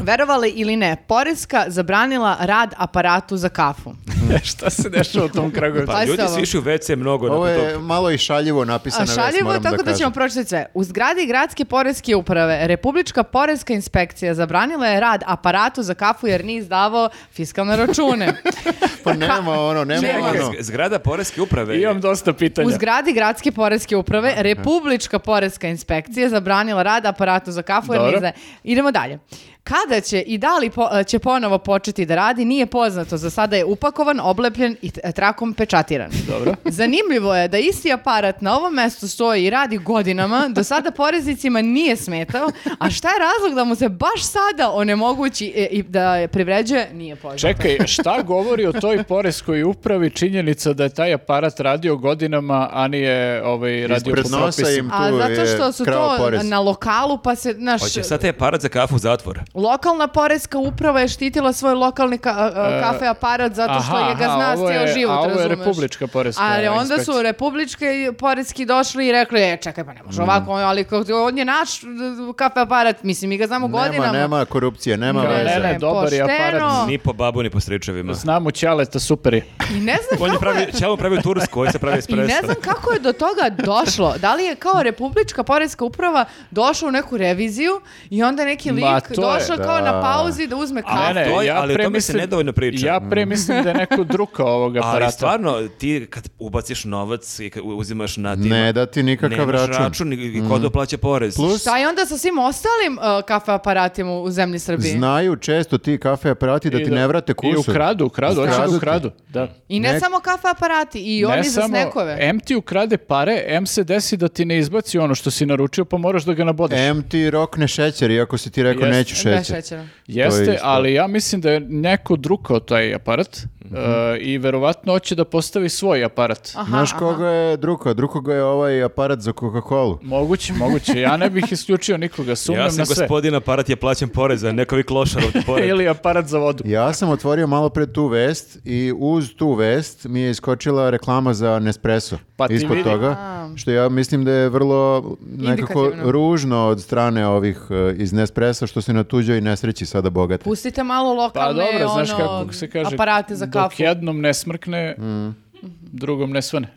[SPEAKER 1] Verovali ili ne, Poreska zabranila rad aparatu za kafu.
[SPEAKER 2] šta se dešava u tom Kragujevcu?
[SPEAKER 1] Pa,
[SPEAKER 4] Pa ljudi
[SPEAKER 1] samo.
[SPEAKER 4] su išli u WC mnogo.
[SPEAKER 3] Ovo
[SPEAKER 4] nakon
[SPEAKER 3] je malo i šaljivo
[SPEAKER 1] A
[SPEAKER 3] napisana vest,
[SPEAKER 1] šaljivo je
[SPEAKER 3] moram
[SPEAKER 1] tako da,
[SPEAKER 3] kažem.
[SPEAKER 1] ćemo pročitati sve. U zgradi Gradske poreske uprave Republička poreska inspekcija zabranila je rad aparatu za kafu jer nije izdavao fiskalne račune.
[SPEAKER 3] Pa nema ono, nema
[SPEAKER 1] Čekaj,
[SPEAKER 3] ono.
[SPEAKER 4] Zg- Zgrada poreske uprave.
[SPEAKER 2] Imam dosta
[SPEAKER 1] U
[SPEAKER 2] pitanja.
[SPEAKER 1] zgradi Gradske poreske uprave Republička poreska inspekcija zabranila rad aparatu za kafu jer
[SPEAKER 2] Dobro.
[SPEAKER 1] nije izdaje. Idemo dalje. Kada će i da li po- će ponovo početi da radi, nije poznato. Za sada je upakovan, oblepljen i t- trakom pečatiran.
[SPEAKER 2] Dobro.
[SPEAKER 1] Zanimljivo je da isti aparat na ovom mestu stoji i radi godinama, do sada poreznicima nije smetao, a šta je razlog da mu se baš sada onemogući e, i da privređuje, nije poznato.
[SPEAKER 2] Čekaj, šta govori o toj poreskoj upravi činjenica da je taj aparat radio godinama, a nije ovaj, radio
[SPEAKER 3] Ispred
[SPEAKER 2] po
[SPEAKER 3] nosa
[SPEAKER 2] propisima?
[SPEAKER 3] im
[SPEAKER 1] A
[SPEAKER 3] tu
[SPEAKER 1] zato što
[SPEAKER 3] je
[SPEAKER 1] su
[SPEAKER 3] krao
[SPEAKER 1] to
[SPEAKER 3] porez.
[SPEAKER 1] na lokalu, pa se, naš,
[SPEAKER 4] Hoće sad te parat za kafu u zatvor.
[SPEAKER 1] Lokalna porezka uprava je štitila svoj lokalni ka- a- a- kafe aparat zato što
[SPEAKER 2] E, Aha,
[SPEAKER 1] je ga
[SPEAKER 2] aha,
[SPEAKER 1] zna
[SPEAKER 2] ovo je-
[SPEAKER 1] cijel život,
[SPEAKER 2] a ovo je
[SPEAKER 1] razumeš?
[SPEAKER 2] republička poreska
[SPEAKER 1] Ali onda su
[SPEAKER 2] inspekcija.
[SPEAKER 1] republičke porezki došli i rekli, e, čekaj, pa ne može
[SPEAKER 2] Mhm.
[SPEAKER 1] ovako, ali kao- on je naš d- d- kafe aparat, mislim, mi ga znamo godinama. "E,
[SPEAKER 3] Nema, nema korupcije, nema
[SPEAKER 2] Ne,
[SPEAKER 3] veze.
[SPEAKER 2] ne, ne, dobar je
[SPEAKER 1] pošteno.
[SPEAKER 2] aparat.
[SPEAKER 4] Ni po babu, ni po stričevima.
[SPEAKER 2] Znam u Ćaleta, super je.
[SPEAKER 1] I ne znam
[SPEAKER 4] On je
[SPEAKER 1] kako
[SPEAKER 4] pravi,
[SPEAKER 1] je-
[SPEAKER 4] Ćao pravi Tursku, on se pravi
[SPEAKER 1] I ne
[SPEAKER 4] espresso.
[SPEAKER 1] znam kako je do toga došlo. Da li je kao republička porezka uprava došla u neku reviziju i onda neki
[SPEAKER 2] Ma,
[SPEAKER 1] lik
[SPEAKER 2] to je-
[SPEAKER 1] došao kao na
[SPEAKER 3] da.
[SPEAKER 1] pauzi da uzme kafu.
[SPEAKER 4] A ne, to je- ali o tome se nedovoljno priča.
[SPEAKER 2] Ja pre mislim da je neko drukao ovog aparata.
[SPEAKER 4] Ali stvarno, ti kad ubaciš novac i kad uzimaš na tim,
[SPEAKER 3] Ne da ti nikakav
[SPEAKER 4] nemaš
[SPEAKER 3] račun.
[SPEAKER 4] račun i- i ko doplaća porez.
[SPEAKER 3] Plus,
[SPEAKER 1] Šta je onda sa svim ostalim uh, kafe aparatima u zemlji Srbije?
[SPEAKER 3] znaju često ti kafe aparati da
[SPEAKER 2] I
[SPEAKER 3] ti
[SPEAKER 2] da-
[SPEAKER 3] ne vrate
[SPEAKER 2] I
[SPEAKER 3] kusur.
[SPEAKER 2] ukradu, ukradu, hoće
[SPEAKER 3] Ukradu
[SPEAKER 2] da
[SPEAKER 3] ti.
[SPEAKER 2] ukradu. Da.
[SPEAKER 1] I ne,
[SPEAKER 3] Nek-
[SPEAKER 1] samo kafe aparati, i oni
[SPEAKER 2] ne
[SPEAKER 1] za
[SPEAKER 2] samo,
[SPEAKER 1] snekove.
[SPEAKER 2] em ti ukrade pare, em se desi da ti ne izbaci ono što si naručio, pa moraš da ga nabodeš.
[SPEAKER 3] Em ti rokne šećer, iako si ti rekao
[SPEAKER 2] Jeste.
[SPEAKER 3] neću
[SPEAKER 1] Da,
[SPEAKER 3] šećer.
[SPEAKER 1] šećera.
[SPEAKER 3] To je
[SPEAKER 2] Jeste,
[SPEAKER 3] isto.
[SPEAKER 2] ali ja mislim da je neko drukao taj aparat
[SPEAKER 4] Mhm.
[SPEAKER 2] e, i verovatno hoće da postavi svoj aparat.
[SPEAKER 1] Aha,
[SPEAKER 3] Znaš
[SPEAKER 1] aha.
[SPEAKER 3] koga je drugo? Drugo ga je ovaj aparat za Coca-Cola.
[SPEAKER 2] Moguće, moguće. Ja ne bih isključio nikoga, sumnjam
[SPEAKER 4] Ja sam
[SPEAKER 2] na sve.
[SPEAKER 4] gospodin aparat, ja plaćam porez, a neko vi klošar ovdje pored.
[SPEAKER 2] Ili aparat za vodu.
[SPEAKER 3] Ja sam otvorio malo pre tu vest i uz tu vest mi je iskočila reklama za Nespresso
[SPEAKER 2] Pa ti
[SPEAKER 3] ispod
[SPEAKER 2] vidi.
[SPEAKER 3] toga, što ja mislim da je vrlo nekako
[SPEAKER 1] Indikativno.
[SPEAKER 3] ružno od strane ovih e, iz Nespresso što se na tuđoj nesreći sada bogate.
[SPEAKER 1] Pustite malo
[SPEAKER 2] Pa
[SPEAKER 1] lokalne
[SPEAKER 2] dobro, znaš
[SPEAKER 1] ono,
[SPEAKER 2] kako se kaže,
[SPEAKER 1] aparate za
[SPEAKER 2] dok
[SPEAKER 1] kafu. Mhm.
[SPEAKER 2] jednom ne smrkne, drugom ne svane.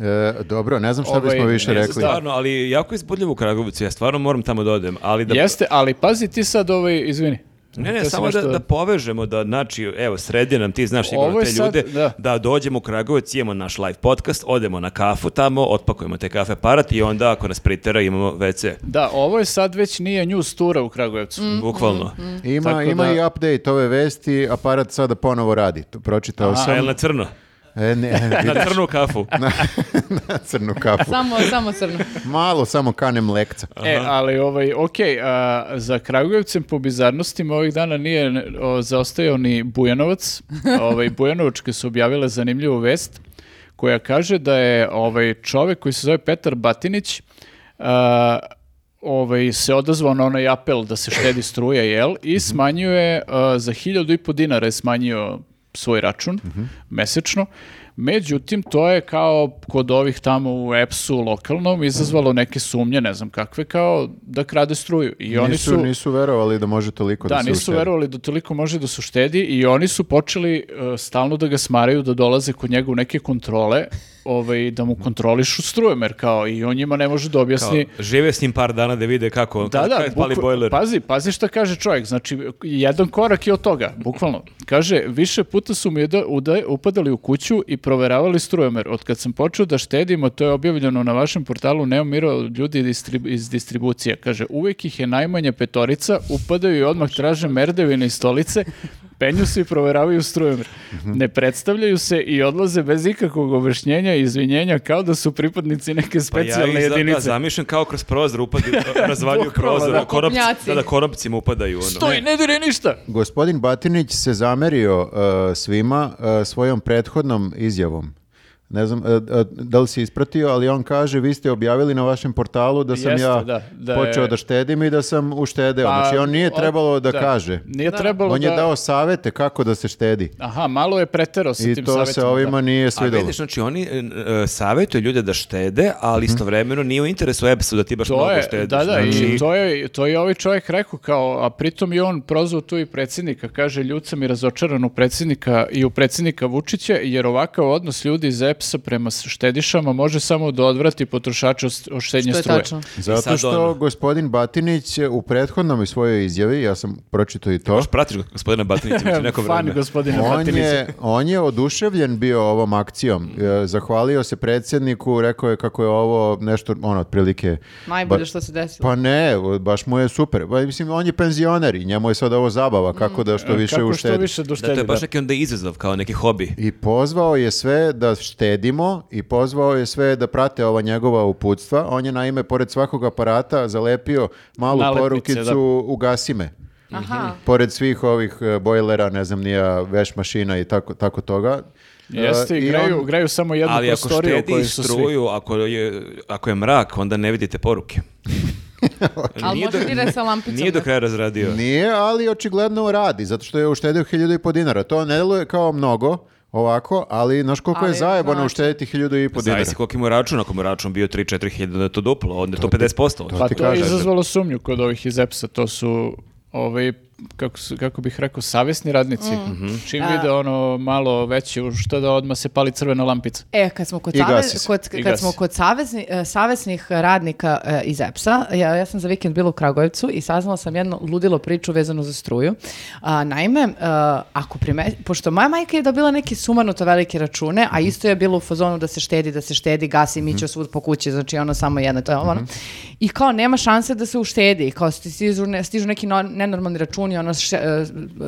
[SPEAKER 3] E, dobro, ne znam šta
[SPEAKER 2] Ovaj,
[SPEAKER 3] bismo više
[SPEAKER 2] ne znam,
[SPEAKER 3] rekli.
[SPEAKER 2] da.
[SPEAKER 4] Stvarno, ali jako je izbudljivo u Kragovicu, ja stvarno moram tamo da odem. Ali da,
[SPEAKER 2] Jeste, ali pazi ti sad ovaj, izvini.
[SPEAKER 4] Ne, ne,
[SPEAKER 2] Htio si
[SPEAKER 4] samo da,
[SPEAKER 2] nešto-
[SPEAKER 4] da povežemo, da, znači, evo, sredi nam, ti znaš sigurno
[SPEAKER 2] Ovo je
[SPEAKER 4] te
[SPEAKER 2] sad-
[SPEAKER 4] ljude,
[SPEAKER 2] da.
[SPEAKER 4] da. dođemo u Kragovac, imamo naš live podcast, odemo na kafu tamo, otpakujemo te kafe parat i onda, ako nas pritera, imamo WC.
[SPEAKER 2] Da, ovo je sad već nije news tura u Kragujevcu.
[SPEAKER 4] Bukvalno.
[SPEAKER 3] Ima,
[SPEAKER 2] Tako
[SPEAKER 3] ima
[SPEAKER 2] da-
[SPEAKER 3] i update ove vesti, aparat sada ponovo radi. To Pročitao
[SPEAKER 4] A,
[SPEAKER 3] sam.
[SPEAKER 4] jel na crno?
[SPEAKER 3] E, ne,
[SPEAKER 4] Na crnu kafu.
[SPEAKER 3] na crnu kapu.
[SPEAKER 1] Samo, samo crno.
[SPEAKER 3] Malo samo kanem lekca.
[SPEAKER 2] E, ali ovaj, okej, a, za Kragujevcem po bizarnostima ovih dana nije ne- o, zaostajao ni Bujanovac. Ovaj, Bujanovačke su objavile zanimljivu vest koja kaže da je ovaj čovek koji se zove Petar Batinić a, ovaj, se odazvao na onaj apel da se štedi struja, jel?
[SPEAKER 3] Mhm.
[SPEAKER 2] I smanjio je, a, za hiljadu i po dinara je smanjio svoj račun
[SPEAKER 3] Mhm.
[SPEAKER 2] mesečno. Međutim, to je kao kod ovih tamo u EPS-u lokalnom izazvalo
[SPEAKER 3] Mhm.
[SPEAKER 2] neke sumnje, ne znam kakve, kao da krade struju. I oni
[SPEAKER 3] nisu,
[SPEAKER 2] su,
[SPEAKER 3] nisu verovali da može toliko da,
[SPEAKER 2] da,
[SPEAKER 3] se
[SPEAKER 2] nisu
[SPEAKER 3] uštedi.
[SPEAKER 2] verovali da toliko može da se štedi i oni su počeli e, stalno da ga smaraju, da dolaze kod njega u neke kontrole, ovaj, da mu kontrolišu strujom, jer kao i on njima ne može da
[SPEAKER 4] Kao,
[SPEAKER 2] objasni...
[SPEAKER 4] Žive s njim par dana da vide kako,
[SPEAKER 2] Da,
[SPEAKER 4] kako
[SPEAKER 2] da,
[SPEAKER 4] kako
[SPEAKER 2] bukva-
[SPEAKER 4] pali
[SPEAKER 2] pa
[SPEAKER 4] bojler.
[SPEAKER 2] pazi, pazi šta kaže čovjek, znači jedan korak je od toga, bukvalno. Kaže, više puta su mi uda- uda- upadali u kuću i proveravali strujomer. Od kad sam počeo da štedimo, to je objavljeno na vašem portalu Neomiro od ljudi distrib- iz distribucija. Kaže, uvijek ih je najmanja petorica, upadaju i odmah traže merdevine i stolice, penju se i proveravaju strujomer.
[SPEAKER 4] Mhm.
[SPEAKER 2] Ne predstavljaju se i odlaze bez ikakvog objašnjenja i izvinjenja kao da su pripadnici neke
[SPEAKER 4] Pa ja
[SPEAKER 2] specijalne
[SPEAKER 4] ih za- da,
[SPEAKER 2] jedinice.
[SPEAKER 4] zamišljam kao kroz prozor upadi, razvaljuju
[SPEAKER 2] Bukvalno,
[SPEAKER 4] prozor,
[SPEAKER 2] da.
[SPEAKER 4] konopci-
[SPEAKER 1] Kopnjaci.
[SPEAKER 4] da, da, konopcima upadaju. Ono.
[SPEAKER 2] Stoji, ne dire ništa!
[SPEAKER 3] Gospodin Batinić se zamerio e, svima e, svojom prethodnom izjavom. Ne znam e, e, da li si ispratio, ali on kaže vi ste objavili na vašem portalu da sam
[SPEAKER 2] Jeste,
[SPEAKER 3] ja
[SPEAKER 2] da, da je-
[SPEAKER 3] počeo da štedim i da sam uštedeo.
[SPEAKER 2] Pa,
[SPEAKER 3] znači on nije
[SPEAKER 2] o-
[SPEAKER 3] trebalo da,
[SPEAKER 2] da.
[SPEAKER 3] kaže.
[SPEAKER 2] Nije trebalo
[SPEAKER 3] On je
[SPEAKER 2] da-
[SPEAKER 3] dao savete kako da se štedi.
[SPEAKER 2] Aha, malo je pretero sa
[SPEAKER 3] I
[SPEAKER 2] tim
[SPEAKER 3] to se
[SPEAKER 2] savjetima,
[SPEAKER 3] ovima
[SPEAKER 2] da.
[SPEAKER 3] nije
[SPEAKER 4] A
[SPEAKER 3] svidelo.
[SPEAKER 4] vidiš, znači oni e, e, savjetuju ljude da štede, ali
[SPEAKER 3] Mhm.
[SPEAKER 4] istovremeno nije u interesu EBS-u da ti baš
[SPEAKER 2] To
[SPEAKER 4] mnogo
[SPEAKER 2] je,
[SPEAKER 4] štediš.
[SPEAKER 2] da, da,
[SPEAKER 4] znači,
[SPEAKER 2] i to je, to je ovaj čovjek rekao kao, a pritom je on prozvao tu i predsjednika, kaže ljud sam i razočaran u predsjednika i u predsjednika Vučića, jer ovakav odnos ljudi iz EPS-a prema štedišama može samo da odvrati potrošače od st- od štednje
[SPEAKER 1] Što je
[SPEAKER 2] struje.
[SPEAKER 1] tačno.
[SPEAKER 3] Zato
[SPEAKER 4] sad
[SPEAKER 3] što
[SPEAKER 4] ono.
[SPEAKER 3] gospodin Batinić je u prethodnom i svojoj izjavi, ja sam pročitao i to,
[SPEAKER 4] Baš pratiš gospodina Batinića već znači, neko
[SPEAKER 2] Fan
[SPEAKER 4] vreme.
[SPEAKER 2] gospodine
[SPEAKER 3] on
[SPEAKER 2] Batinića.
[SPEAKER 3] je, on je oduševljen bio ovom akcijom.
[SPEAKER 2] Mm.
[SPEAKER 3] E, Zahvalio se predsjedniku, rekao je kako je ovo nešto, ono, otprilike...
[SPEAKER 1] Najbolje
[SPEAKER 3] ba-
[SPEAKER 1] što se desilo.
[SPEAKER 3] Pa ne, o, baš mu je super. Pa, mislim, on je penzioner i njemu je sad ovo zabava, kako da što više
[SPEAKER 2] Mm. E, Kako što
[SPEAKER 3] uštedi.
[SPEAKER 2] više da
[SPEAKER 4] Da, to
[SPEAKER 2] uštedi,
[SPEAKER 4] je baš e,
[SPEAKER 2] da.
[SPEAKER 4] neki onda izazov, kao neki hobi.
[SPEAKER 3] I pozvao je sve da štedimo i pozvao je sve da prate ova njegova uputstva. On je naime, pored svakog aparata, zalepio malu
[SPEAKER 2] Nalepnice,
[SPEAKER 3] porukicu ugasi me.
[SPEAKER 1] Aha.
[SPEAKER 3] Pored svih ovih e, bojlera, ne znam, nija veš mašina i tako, tako toga.
[SPEAKER 2] Jeste,
[SPEAKER 3] E, i
[SPEAKER 2] greju,
[SPEAKER 3] on-
[SPEAKER 2] greju samo jednu
[SPEAKER 4] Ali ako
[SPEAKER 2] prostoriju u kojoj
[SPEAKER 4] štediš
[SPEAKER 2] su svi.
[SPEAKER 4] struju, ako je, ako je mrak, onda ne vidite poruke.
[SPEAKER 1] Ali
[SPEAKER 4] Nije
[SPEAKER 1] može
[SPEAKER 4] do-
[SPEAKER 1] dire sa lampicom.
[SPEAKER 4] Nije do
[SPEAKER 1] ne?
[SPEAKER 4] kraja razradio.
[SPEAKER 3] Nije, ali očigledno radi, zato što je uštedio hiljadu i po dinara. To ne deluje kao mnogo, ovako, ali znaš koliko je
[SPEAKER 1] Ali,
[SPEAKER 3] zajebano
[SPEAKER 1] znači-
[SPEAKER 3] uštediti hiljadu i po dinara.
[SPEAKER 4] Zavisi koliko mu je račun, ako mu je račun bio 3-4 hiljada, onda je to duplo, onda je to 50%.
[SPEAKER 2] Pa
[SPEAKER 3] ti
[SPEAKER 2] to je
[SPEAKER 3] kažem.
[SPEAKER 2] izazvalo sumnju kod ovih iz EPS-a, to su ovaj, kako, su- kako bih rekao, savjesni radnici.
[SPEAKER 1] Mm.
[SPEAKER 3] Mhm.
[SPEAKER 2] Čim
[SPEAKER 1] A-
[SPEAKER 2] vide ono malo veće ušteda, odmah se pali crvena lampica.
[SPEAKER 1] E, kad smo kod,
[SPEAKER 3] I
[SPEAKER 1] save-
[SPEAKER 3] gasi se.
[SPEAKER 1] kod,
[SPEAKER 2] I
[SPEAKER 1] kad
[SPEAKER 2] gasi.
[SPEAKER 1] smo kod savezni- e, savesnih radnika e, iz EPS-a, ja, ja sam za vikend bila u Kragujevcu i saznala sam jednu ludilo priču vezanu za struju. A, naime, e, ako prime, pošto moja majka je dobila neke sumanuto velike račune,
[SPEAKER 3] Mhm.
[SPEAKER 1] a isto je bilo u fazonu da se štedi, da se štedi, gasi, miće svud po kući, znači ono samo jedno, to je ono.
[SPEAKER 3] Mhm.
[SPEAKER 1] I kao nema šanse da se uštedi, kao sti- stižu, ne, stižu neki no- nenormalni računi, ono š- e,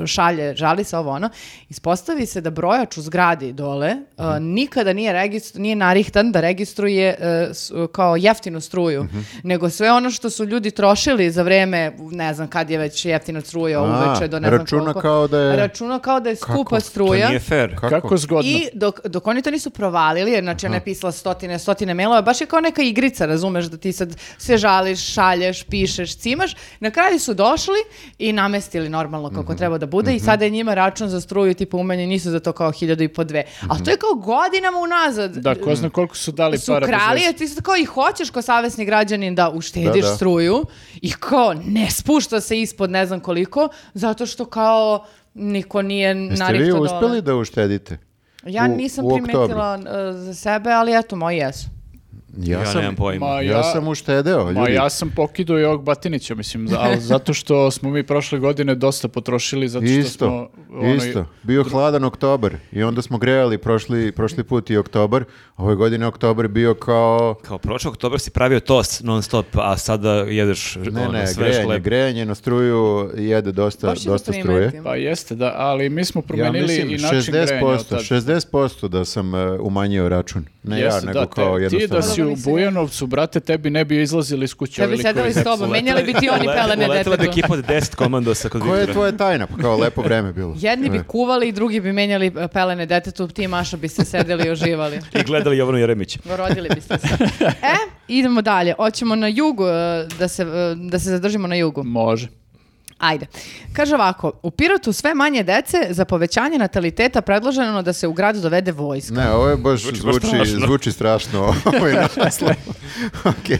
[SPEAKER 1] šalje, žali se ovo ono. Ispostavi se da brojač u zgradi dole e,
[SPEAKER 3] Mhm.
[SPEAKER 1] nikada nije, registru, nije narihtan da registruje e, s- kao jeftinu struju,
[SPEAKER 3] Mhm.
[SPEAKER 1] nego sve ono što su ljudi trošili za vreme, ne znam kad je već jeftina struja,
[SPEAKER 3] A,
[SPEAKER 1] uveče do ne znam
[SPEAKER 3] računa
[SPEAKER 1] koliko.
[SPEAKER 3] kao da je-
[SPEAKER 1] Računa kao da je skupa
[SPEAKER 4] To
[SPEAKER 1] struja.
[SPEAKER 4] nije fair.
[SPEAKER 3] Kako?
[SPEAKER 2] Kako, zgodno.
[SPEAKER 1] I dok, dok oni to nisu provalili, jer znači ona je pisala stotine, stotine mailova, baš je kao neka igrica, razumeš, da ti sad se žališ, šalješ, pišeš, cimaš. Na kraju su došli i namestili normalno kako treba da bude i sada je njima račun za struju, tipa umenje, nisu za to kao hiljadu i po dve. Ali to je kao godinama unazad.
[SPEAKER 2] Da, ko
[SPEAKER 3] Mm.
[SPEAKER 2] zna koliko su dali
[SPEAKER 1] su
[SPEAKER 2] para. bez
[SPEAKER 1] krali,
[SPEAKER 2] veze.
[SPEAKER 1] a ti sad kao i hoćeš kao savjesni građanin da uštediš
[SPEAKER 3] Da, da.
[SPEAKER 1] struju i kao ne spušta se ispod ne znam koliko, zato što kao niko nije
[SPEAKER 3] Jeste
[SPEAKER 1] narihto
[SPEAKER 3] vi
[SPEAKER 1] dole.
[SPEAKER 3] uspeli da uštedite?
[SPEAKER 1] Ja
[SPEAKER 3] U-
[SPEAKER 1] nisam
[SPEAKER 3] u oktobru.
[SPEAKER 1] primetila e, za sebe, ali eto, moji jesu.
[SPEAKER 3] Ja,
[SPEAKER 4] Ja,
[SPEAKER 3] sam,
[SPEAKER 4] nemam pojma.
[SPEAKER 2] Ma,
[SPEAKER 3] ja, sam uštedeo,
[SPEAKER 2] Ma
[SPEAKER 3] ljudi.
[SPEAKER 2] ja sam pokidao i ovog Batinića, mislim, za- ali zato što smo mi prošle godine dosta potrošili, zato što
[SPEAKER 3] Isto,
[SPEAKER 2] smo... ono,
[SPEAKER 3] isto. Bio hladan oktobar i onda smo grejali prošli, prošli put i oktobar. Ove godine oktobar bio kao...
[SPEAKER 4] Kao prošlog oktobra si pravio tost non stop, a sada jedeš
[SPEAKER 3] Ne,
[SPEAKER 4] ono,
[SPEAKER 3] ne,
[SPEAKER 4] svež
[SPEAKER 3] grejanje,
[SPEAKER 4] hleb.
[SPEAKER 3] grejanje na struju jede dosta,
[SPEAKER 1] Baš je
[SPEAKER 3] dosta
[SPEAKER 1] da
[SPEAKER 3] struje.
[SPEAKER 1] primetim.
[SPEAKER 2] Pa jeste, da, ali mi smo
[SPEAKER 3] Ja
[SPEAKER 2] promenili
[SPEAKER 3] mislim
[SPEAKER 2] i način grejanja od
[SPEAKER 3] 60%,
[SPEAKER 2] tad.
[SPEAKER 3] 60% da sam e, umanjio račun. Ne
[SPEAKER 2] Jeste,
[SPEAKER 3] ja, nego
[SPEAKER 2] da, te-
[SPEAKER 3] kao
[SPEAKER 2] ti
[SPEAKER 3] jednostavno.
[SPEAKER 2] da si
[SPEAKER 1] Dobro,
[SPEAKER 2] u
[SPEAKER 1] nisi
[SPEAKER 2] Bujanovcu, brate, tebi ne bi izlazili iz kuće.
[SPEAKER 1] Da bi
[SPEAKER 2] ovi
[SPEAKER 1] sedeli
[SPEAKER 2] likovi.
[SPEAKER 1] s tobom, menjali bi ti oni
[SPEAKER 4] Ulet-
[SPEAKER 1] pelene
[SPEAKER 4] Uletela Pa bi
[SPEAKER 1] detetu.
[SPEAKER 4] ekipa od 10 komandosa kod
[SPEAKER 3] Koja je
[SPEAKER 4] Viktora.
[SPEAKER 3] tvoja tajna? Pa Kao lepo vreme bilo.
[SPEAKER 1] Jedni bi
[SPEAKER 3] E.
[SPEAKER 1] kuvali, drugi bi menjali e, pelene detetu, ti i Maša bi se sedeli i uživali.
[SPEAKER 4] I gledali Jovanu Jeremić.
[SPEAKER 1] Rodili biste se. E, idemo dalje. Hoćemo na jugu, e, da se, e, da se zadržimo na jugu.
[SPEAKER 2] Može.
[SPEAKER 1] Ajde. Kaže ovako, u Pirotu sve manje dece za povećanje nataliteta predloženo da se u gradu dovede vojska.
[SPEAKER 3] Ne, ovo je baš,
[SPEAKER 4] Zvuči
[SPEAKER 3] zvuči,
[SPEAKER 4] baš
[SPEAKER 3] zvuči strašno. Ovo je naslov. Okej.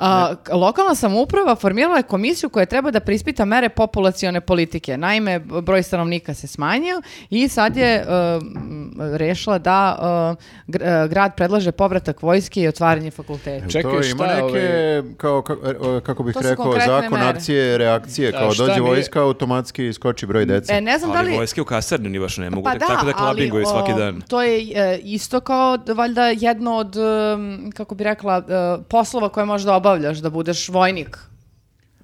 [SPEAKER 1] A, k- lokalna samouprava formirala je komisiju koja treba da prispita mere populacione politike. Naime, b- broj stanovnika se smanjio i sad je uh, m, rešila da uh, gr- uh, grad predlaže povratak vojske i otvaranje fakulteta.
[SPEAKER 2] Čekaj,
[SPEAKER 3] to
[SPEAKER 2] šta
[SPEAKER 3] ima neke,
[SPEAKER 2] ovaj-
[SPEAKER 3] kao, ka- e, kako bih
[SPEAKER 1] To su
[SPEAKER 3] rekao,
[SPEAKER 1] konkretne
[SPEAKER 3] zakon
[SPEAKER 1] mere.
[SPEAKER 3] akcije, reakcije,
[SPEAKER 2] Da,
[SPEAKER 3] kao
[SPEAKER 2] šta
[SPEAKER 3] dođe
[SPEAKER 2] nije-
[SPEAKER 3] vojska, automatski skoči broj dece.
[SPEAKER 1] E, ne znam da
[SPEAKER 4] Ali
[SPEAKER 1] li...
[SPEAKER 4] vojske u kasarni ni baš ne mogu,
[SPEAKER 1] Pa
[SPEAKER 4] tek
[SPEAKER 1] da,
[SPEAKER 4] tako da
[SPEAKER 1] ali
[SPEAKER 4] klabinguje svaki
[SPEAKER 1] o,
[SPEAKER 4] dan.
[SPEAKER 1] to je e, isto kao d- valjda jedno od, em, kako bi rekla, e, poslova koje možda obavljaš, da budeš vojnik.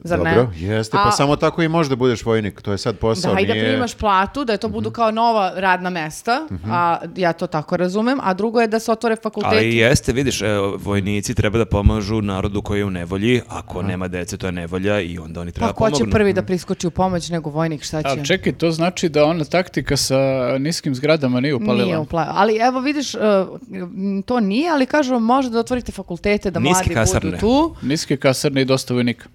[SPEAKER 1] Zar ne?
[SPEAKER 3] Dobro, jeste, pa
[SPEAKER 1] A-
[SPEAKER 3] samo tako i možda budeš vojnik, to je sad posao,
[SPEAKER 1] Da, i da
[SPEAKER 3] nije-
[SPEAKER 1] primaš platu, da to budu
[SPEAKER 4] Mhm.
[SPEAKER 1] kao nova radna mesta, a ja to tako razumem, a drugo je da se otvore fakulteti.
[SPEAKER 4] Ali jeste, vidiš, e, vojnici treba da pomažu narodu koji je u nevolji, ako nema dece to je nevolja i onda oni
[SPEAKER 1] pa
[SPEAKER 4] treba Mhm.
[SPEAKER 1] ko će
[SPEAKER 4] pomognu.
[SPEAKER 1] prvi da priskoči u pomoć nego vojnik, šta će?
[SPEAKER 2] Ali čekaj, to znači da ona taktika sa niskim zgradama nije upalila.
[SPEAKER 1] Nije upla- Ali evo vidiš, e, m, to nije, ali kažu možda da otvorite fakultete, da
[SPEAKER 4] Niske
[SPEAKER 1] mladi
[SPEAKER 4] kasarne.
[SPEAKER 1] budu tu
[SPEAKER 2] Niske kasarne i dosta vojnika.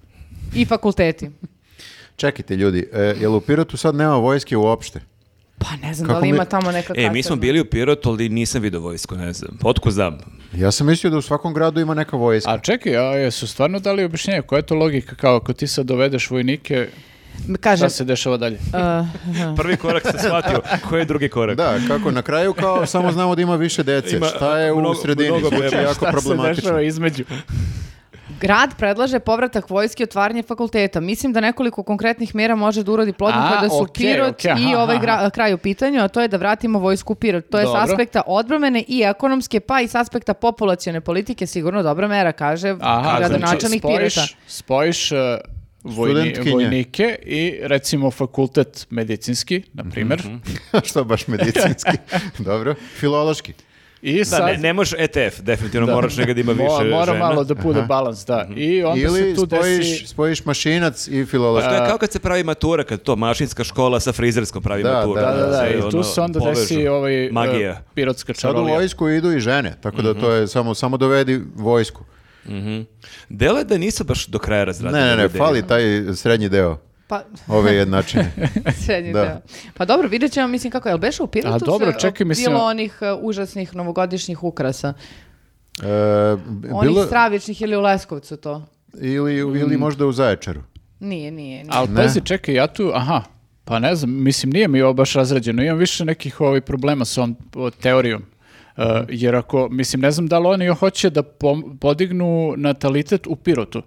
[SPEAKER 1] i fakulteti.
[SPEAKER 3] Čekajte ljudi, e, jel u Pirotu sad nema vojske uopšte?
[SPEAKER 1] Pa ne znam
[SPEAKER 3] Kako
[SPEAKER 1] da li
[SPEAKER 3] mi-
[SPEAKER 1] ima tamo neka
[SPEAKER 4] E, mi smo
[SPEAKER 1] kasarna.
[SPEAKER 4] bili u Pirotu, ali nisam vidio vojsku, ne znam. Otko znam.
[SPEAKER 3] Ja sam mislio da u svakom gradu ima neka vojska.
[SPEAKER 2] A čekaj, a jesu stvarno dali objašnjenje? Koja je to logika? Kao ako ti sad dovedeš vojnike,
[SPEAKER 1] Kažem,
[SPEAKER 2] šta se dešava dalje?
[SPEAKER 1] e,
[SPEAKER 4] Prvi korak sam shvatio. Koji je drugi korak?
[SPEAKER 3] Da, kako na kraju kao samo znamo da ima više dece.
[SPEAKER 4] Ima,
[SPEAKER 3] Šta je u
[SPEAKER 4] mnogo-
[SPEAKER 3] sredini?
[SPEAKER 4] mnogo
[SPEAKER 3] Zvuči
[SPEAKER 4] problema.
[SPEAKER 3] jako
[SPEAKER 2] se
[SPEAKER 3] problematično.
[SPEAKER 2] dešava između?
[SPEAKER 1] grad predlaže povratak vojske i otvaranje fakulteta. Mislim da nekoliko konkretnih mjera može da urodi plodom
[SPEAKER 2] A,
[SPEAKER 1] kada su
[SPEAKER 2] okej,
[SPEAKER 1] Pirot
[SPEAKER 2] okej, aha,
[SPEAKER 1] i ovaj
[SPEAKER 2] aha.
[SPEAKER 1] gra- kraj u pitanju, a to je da vratimo vojsku u Pirot. To je
[SPEAKER 2] Dobro.
[SPEAKER 1] s aspekta odbromene i ekonomske, pa i s aspekta populacione politike sigurno dobra mera, kaže
[SPEAKER 2] Aha, znači
[SPEAKER 1] gradonačelnik
[SPEAKER 2] spojiš,
[SPEAKER 1] Pirota.
[SPEAKER 2] spojiš uh, vojni-
[SPEAKER 3] Studentkinje.
[SPEAKER 2] vojnike i recimo fakultet medicinski, na primjer,
[SPEAKER 4] Mhm.
[SPEAKER 3] Što baš medicinski? Dobro. Filološki.
[SPEAKER 2] i
[SPEAKER 4] Da,
[SPEAKER 2] sad...
[SPEAKER 4] ne, ne možeš ETF, definitivno moraš negdje da ima više
[SPEAKER 2] Mo- Mora
[SPEAKER 4] žena. Mhm.
[SPEAKER 2] malo da bude balans, da. I onda
[SPEAKER 3] Ili
[SPEAKER 2] se tu
[SPEAKER 3] spojiš,
[SPEAKER 2] desi...
[SPEAKER 3] spojiš mašinac i
[SPEAKER 4] Pa to
[SPEAKER 3] filološki.
[SPEAKER 4] je kao kad se pravi matura, kad to mašinska škola sa frizerskom pravi
[SPEAKER 3] Da,
[SPEAKER 4] maturu.
[SPEAKER 3] da,
[SPEAKER 2] Da, da, da,
[SPEAKER 4] se,
[SPEAKER 2] i tu
[SPEAKER 4] ono,
[SPEAKER 2] se onda
[SPEAKER 4] povežu.
[SPEAKER 2] desi ovaj, e,
[SPEAKER 4] Magija.
[SPEAKER 2] pirotska
[SPEAKER 3] Sad u
[SPEAKER 2] čarolija.
[SPEAKER 3] vojsku idu i žene, tako da
[SPEAKER 4] Mhm.
[SPEAKER 3] to je samo, samo dovedi vojsku.
[SPEAKER 4] Delo je da nisu baš do kraja
[SPEAKER 3] Ne,
[SPEAKER 4] razradili.
[SPEAKER 3] ne, ne,
[SPEAKER 4] ideju.
[SPEAKER 3] fali taj srednji deo
[SPEAKER 1] Pa,
[SPEAKER 3] ove jednačine.
[SPEAKER 1] srednji
[SPEAKER 3] Da.
[SPEAKER 1] deo. Pa dobro, vidjet ćemo, mislim, kako je, ali beše u Pirotu
[SPEAKER 2] A dobro,
[SPEAKER 1] se, o,
[SPEAKER 2] čekaj, mislim-
[SPEAKER 1] bilo onih e, užasnih novogodišnjih ukrasa.
[SPEAKER 3] E, b-
[SPEAKER 1] Onih
[SPEAKER 3] bilo,
[SPEAKER 1] stravičnih ili u Leskovcu to.
[SPEAKER 3] ili, ili
[SPEAKER 2] Mm.
[SPEAKER 3] možda u Zaječaru.
[SPEAKER 1] Nije, nije, nije.
[SPEAKER 2] Ali
[SPEAKER 3] Ne.
[SPEAKER 2] pazi, čekaj, ja tu, aha, pa ne znam, mislim, nije mi ovo baš razrađeno. Imam više nekih ovih problema s ovom o, teorijom. E, jer ako, mislim, ne znam da li oni hoće da pom- podignu natalitet u Pirotu.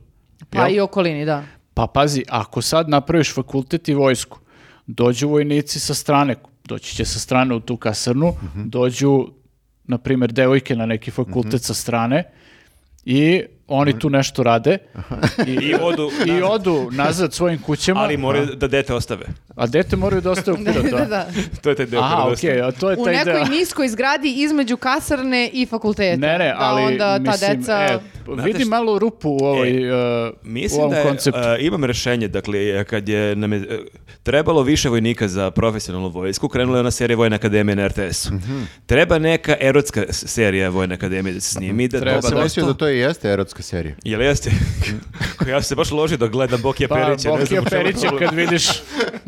[SPEAKER 1] Pa i okolini, da.
[SPEAKER 2] Pa pazi, ako sad napraviš fakultet i vojsku, dođu vojnici sa strane, doći će sa strane u tu kasarnu, dođu, na primjer, devojke na neki fakultet sa strane i oni tu nešto rade
[SPEAKER 4] I odu
[SPEAKER 2] i
[SPEAKER 4] nazad.
[SPEAKER 2] odu nazad svojim kućama,
[SPEAKER 4] Ali moraju da dete ostave.
[SPEAKER 2] a dete moraju da ostaje u Pirotu.
[SPEAKER 1] da, da.
[SPEAKER 4] To je taj deo
[SPEAKER 2] Aha,
[SPEAKER 4] koji
[SPEAKER 2] okej,
[SPEAKER 4] ostaje.
[SPEAKER 2] a to je
[SPEAKER 1] U
[SPEAKER 2] taj
[SPEAKER 1] nekoj
[SPEAKER 2] deo.
[SPEAKER 1] niskoj zgradi između kasarne i fakulteta.
[SPEAKER 2] Ne, ne,
[SPEAKER 1] da
[SPEAKER 2] ali
[SPEAKER 1] onda ta
[SPEAKER 2] mislim,
[SPEAKER 1] deca...
[SPEAKER 2] e,
[SPEAKER 4] Znate
[SPEAKER 2] vidi
[SPEAKER 4] šta-
[SPEAKER 2] malu rupu u, ovoj, e, u
[SPEAKER 4] Mislim
[SPEAKER 2] ovom
[SPEAKER 4] da je, e,
[SPEAKER 2] konceptu.
[SPEAKER 4] a, imam rešenje, dakle, e, kad je nam je, e, trebalo više vojnika za profesionalnu vojsku, krenula je ona serija Vojna akademija na RTS-u.
[SPEAKER 2] Mhm.
[SPEAKER 4] Treba neka erotska s- serija Vojne akademije da se snimi. Da
[SPEAKER 2] Treba,
[SPEAKER 3] Ja
[SPEAKER 4] to
[SPEAKER 3] sam
[SPEAKER 4] prosto-
[SPEAKER 3] mislio da to i jeste erotska serija.
[SPEAKER 4] Jel jeste? ja sam se baš ložio da gledam Bokija
[SPEAKER 2] Pa,
[SPEAKER 4] Perića.
[SPEAKER 2] Bokija
[SPEAKER 4] ne znam u čemu je
[SPEAKER 2] Perića
[SPEAKER 4] problem.
[SPEAKER 2] kad vidiš,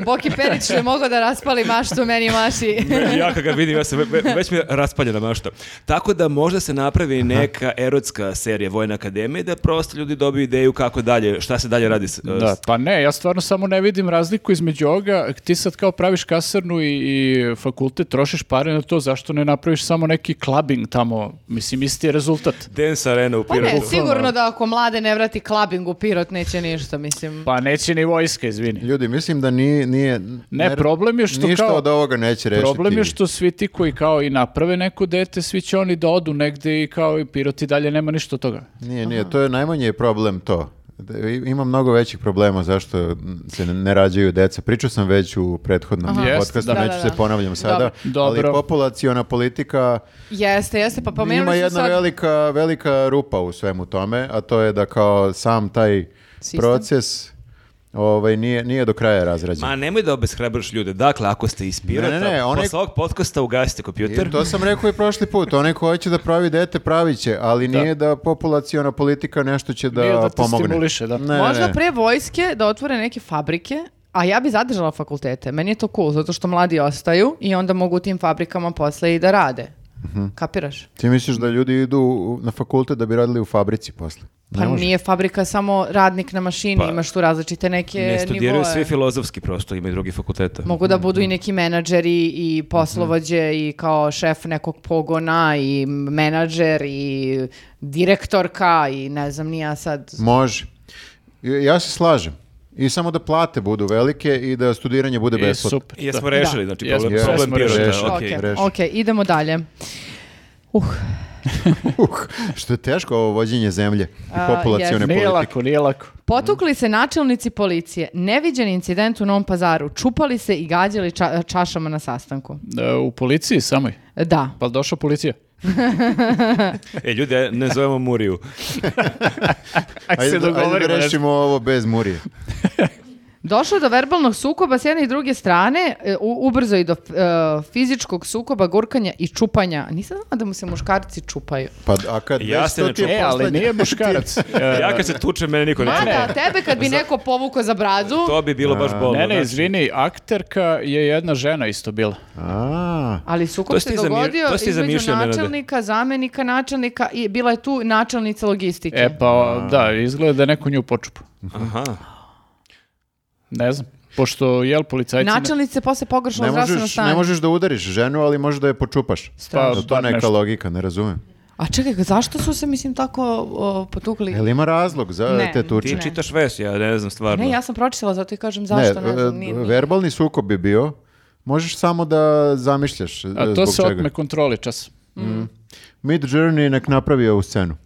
[SPEAKER 1] Boki Perić je mogao da raspali maštu meni i maši.
[SPEAKER 4] ja kad ga vidim, ja sam ve- ve- već mi je raspaljena mašta. Tako da možda se napravi neka erotska serija Vojne akademije da prosto ljudi dobiju ideju kako dalje, šta se dalje radi. s-
[SPEAKER 2] Da, pa ne, ja stvarno samo ne vidim razliku između ovoga, ti sad kao praviš kasarnu i, i fakultet, trošiš pare na to, zašto ne napraviš samo neki clubbing tamo, mislim, isti je rezultat.
[SPEAKER 4] Dance Arena u
[SPEAKER 1] Pa ne,
[SPEAKER 4] Pirotu.
[SPEAKER 1] sigurno da ako mlade ne vrati klabing u Pirot neće ništa, mislim.
[SPEAKER 2] Pa neće ni vojska, izvini.
[SPEAKER 3] Ljudi, mislim da nije... nije
[SPEAKER 2] Ne, problem je što
[SPEAKER 3] Ništa
[SPEAKER 2] kao-
[SPEAKER 3] od ovoga neće rešiti.
[SPEAKER 2] Problem je što svi ti koji kao i naprave neko dete, svi će oni da odu negde i kao i Pirot i dalje nema ništa od toga.
[SPEAKER 3] Nije, nije, to je najmanji problem to. Da, i- Ima mnogo većih problema zašto se ne- ne rađaju deca. Pričao sam već u prethodnom
[SPEAKER 2] Jeste,
[SPEAKER 3] podcastu,
[SPEAKER 2] da.
[SPEAKER 3] neću
[SPEAKER 1] Da, da,
[SPEAKER 3] se
[SPEAKER 1] da.
[SPEAKER 3] ponavljam sada,
[SPEAKER 2] Dobro.
[SPEAKER 3] ali populaciona politika
[SPEAKER 1] Jeste, jeste, pa pomenuli
[SPEAKER 3] ima
[SPEAKER 1] smo
[SPEAKER 3] jedna
[SPEAKER 1] sad...
[SPEAKER 3] velika, velika rupa u svemu tome, a to je da kao sam taj
[SPEAKER 1] Sistem.
[SPEAKER 3] proces ovaj, nije, nije do kraja razrađen.
[SPEAKER 4] Ma nemoj da obeshrabriš ljude. Dakle, ako ste iz Pirota,
[SPEAKER 3] Ne, ne, ne, onaj-
[SPEAKER 4] posle ovog podcasta ugasite kompjuter.
[SPEAKER 3] I to sam rekao i prošli put, onaj ko hoće da pravi dete, pravi će, ali nije da populaciona politika nešto će da,
[SPEAKER 2] Nije da te
[SPEAKER 3] pomogne.
[SPEAKER 2] stimuliše, da.
[SPEAKER 3] Ne,
[SPEAKER 1] Možda
[SPEAKER 3] ne.
[SPEAKER 1] pre vojske da otvore neke fabrike, a ja bi zadržala fakultete. Meni je to cool, zato što mladi ostaju i onda mogu u tim fabrikama posle i da rade. Kapiraš?
[SPEAKER 3] Ti misliš da ljudi idu u- na fakultet da bi radili u fabrici posle?
[SPEAKER 1] Pa nije fabrika samo radnik na mašini,
[SPEAKER 4] Pa,
[SPEAKER 1] imaš tu različite neke
[SPEAKER 4] Ne studiraju
[SPEAKER 1] nivoe.
[SPEAKER 4] svi filozofski prosto, imaju drugi fakulteta.
[SPEAKER 1] Mogu Pa, da Mhm. budu i neki menadžeri i poslovođe i kao šef nekog pogona i menadžer i direktorka i ne znam ni ja sad.
[SPEAKER 3] Može. Ja se slažem. I samo da plate budu velike i da studiranje bude
[SPEAKER 2] I
[SPEAKER 3] besplatno.
[SPEAKER 2] super.
[SPEAKER 4] Jesmo rešili, znači
[SPEAKER 2] Jesmo,
[SPEAKER 4] problem,
[SPEAKER 3] jesmo
[SPEAKER 4] problem
[SPEAKER 2] rešili.
[SPEAKER 4] Pirota,
[SPEAKER 3] Rešili.
[SPEAKER 4] okej.
[SPEAKER 1] Ok,
[SPEAKER 3] reši.
[SPEAKER 1] ok, idemo dalje. Uh,
[SPEAKER 3] Uh, što je teško ovo vođenje zemlje i
[SPEAKER 1] A,
[SPEAKER 3] populacione
[SPEAKER 1] jeste.
[SPEAKER 2] Nije
[SPEAKER 3] politike.
[SPEAKER 2] lako, nije lako.
[SPEAKER 1] potukli se načelnici policije, neviđen incident u Novom pazaru, čupali se i gađali ča- čašama na sastanku.
[SPEAKER 2] E, u policiji samoj.
[SPEAKER 1] Da.
[SPEAKER 2] Pa došla policija.
[SPEAKER 4] E, ljudi, aj, ne zovemo Muriju.
[SPEAKER 2] Ajde, se
[SPEAKER 3] Ajde, da- ajde
[SPEAKER 2] dogovorimo.
[SPEAKER 3] da
[SPEAKER 2] nešto.
[SPEAKER 3] rešimo ovo bez murije.
[SPEAKER 1] Došlo je do verbalnog sukoba s jedne i druge strane, e, u- ubrzo i do e, fizičkog sukoba, gurkanja i čupanja. Nisam znala da mu se muškarci čupaju.
[SPEAKER 3] Pa, a kad
[SPEAKER 4] Ja
[SPEAKER 3] već
[SPEAKER 4] se
[SPEAKER 3] to
[SPEAKER 4] ne
[SPEAKER 3] ti je
[SPEAKER 2] E, ali
[SPEAKER 3] poslednje-
[SPEAKER 2] nije muškarac. E,
[SPEAKER 4] Ja kad se tučem, mene niko ne
[SPEAKER 1] Ma
[SPEAKER 4] čuje.
[SPEAKER 1] da, tebe kad bi neko povukao za bradu,
[SPEAKER 4] To bi bilo baš
[SPEAKER 3] Ono,
[SPEAKER 4] bolno.
[SPEAKER 2] Ne, ne,
[SPEAKER 4] znači.
[SPEAKER 2] izvini, akterka je jedna žena isto bila.
[SPEAKER 3] A,
[SPEAKER 1] ali
[SPEAKER 4] To
[SPEAKER 1] sukob
[SPEAKER 4] si
[SPEAKER 1] se
[SPEAKER 4] ti zamir-
[SPEAKER 1] dogodio
[SPEAKER 4] to si ti
[SPEAKER 1] između
[SPEAKER 4] zamišljao, Nenade.
[SPEAKER 1] načelnika, zamenika načelnika i bila je tu načelnica logistike.
[SPEAKER 2] E pa, da, izgleda da je neko nju počupa.
[SPEAKER 4] Aha.
[SPEAKER 2] Ne znam. Pošto, jel, policajci... ne-
[SPEAKER 1] Načelnica se posle pogrešila
[SPEAKER 3] ne,
[SPEAKER 1] zdravstveno
[SPEAKER 3] možeš, ne
[SPEAKER 1] stanje.
[SPEAKER 3] možeš da udariš ženu, ali možeš da je počupaš.
[SPEAKER 2] Pa,
[SPEAKER 3] Jel to
[SPEAKER 2] bar
[SPEAKER 3] neka
[SPEAKER 2] nešto.
[SPEAKER 3] logika, ne razumem.
[SPEAKER 1] A čekaj, zašto su se, mislim, tako o, potukli?
[SPEAKER 3] Jel ima razlog za
[SPEAKER 1] Ne,
[SPEAKER 3] te tuče?
[SPEAKER 4] Ti
[SPEAKER 1] Ne.
[SPEAKER 4] čitaš ves, ja ne znam stvarno.
[SPEAKER 1] Ne, ja sam pročitala, zato i kažem zašto, ne, znam,
[SPEAKER 3] e,
[SPEAKER 1] ni- ni-
[SPEAKER 3] verbalni sukob bi bio. Možeš samo da zamišljaš e,
[SPEAKER 2] A to
[SPEAKER 3] zbog
[SPEAKER 2] se
[SPEAKER 3] čega.
[SPEAKER 2] otme kontroli čas.
[SPEAKER 3] Mid Journey nek napravi ovu scenu.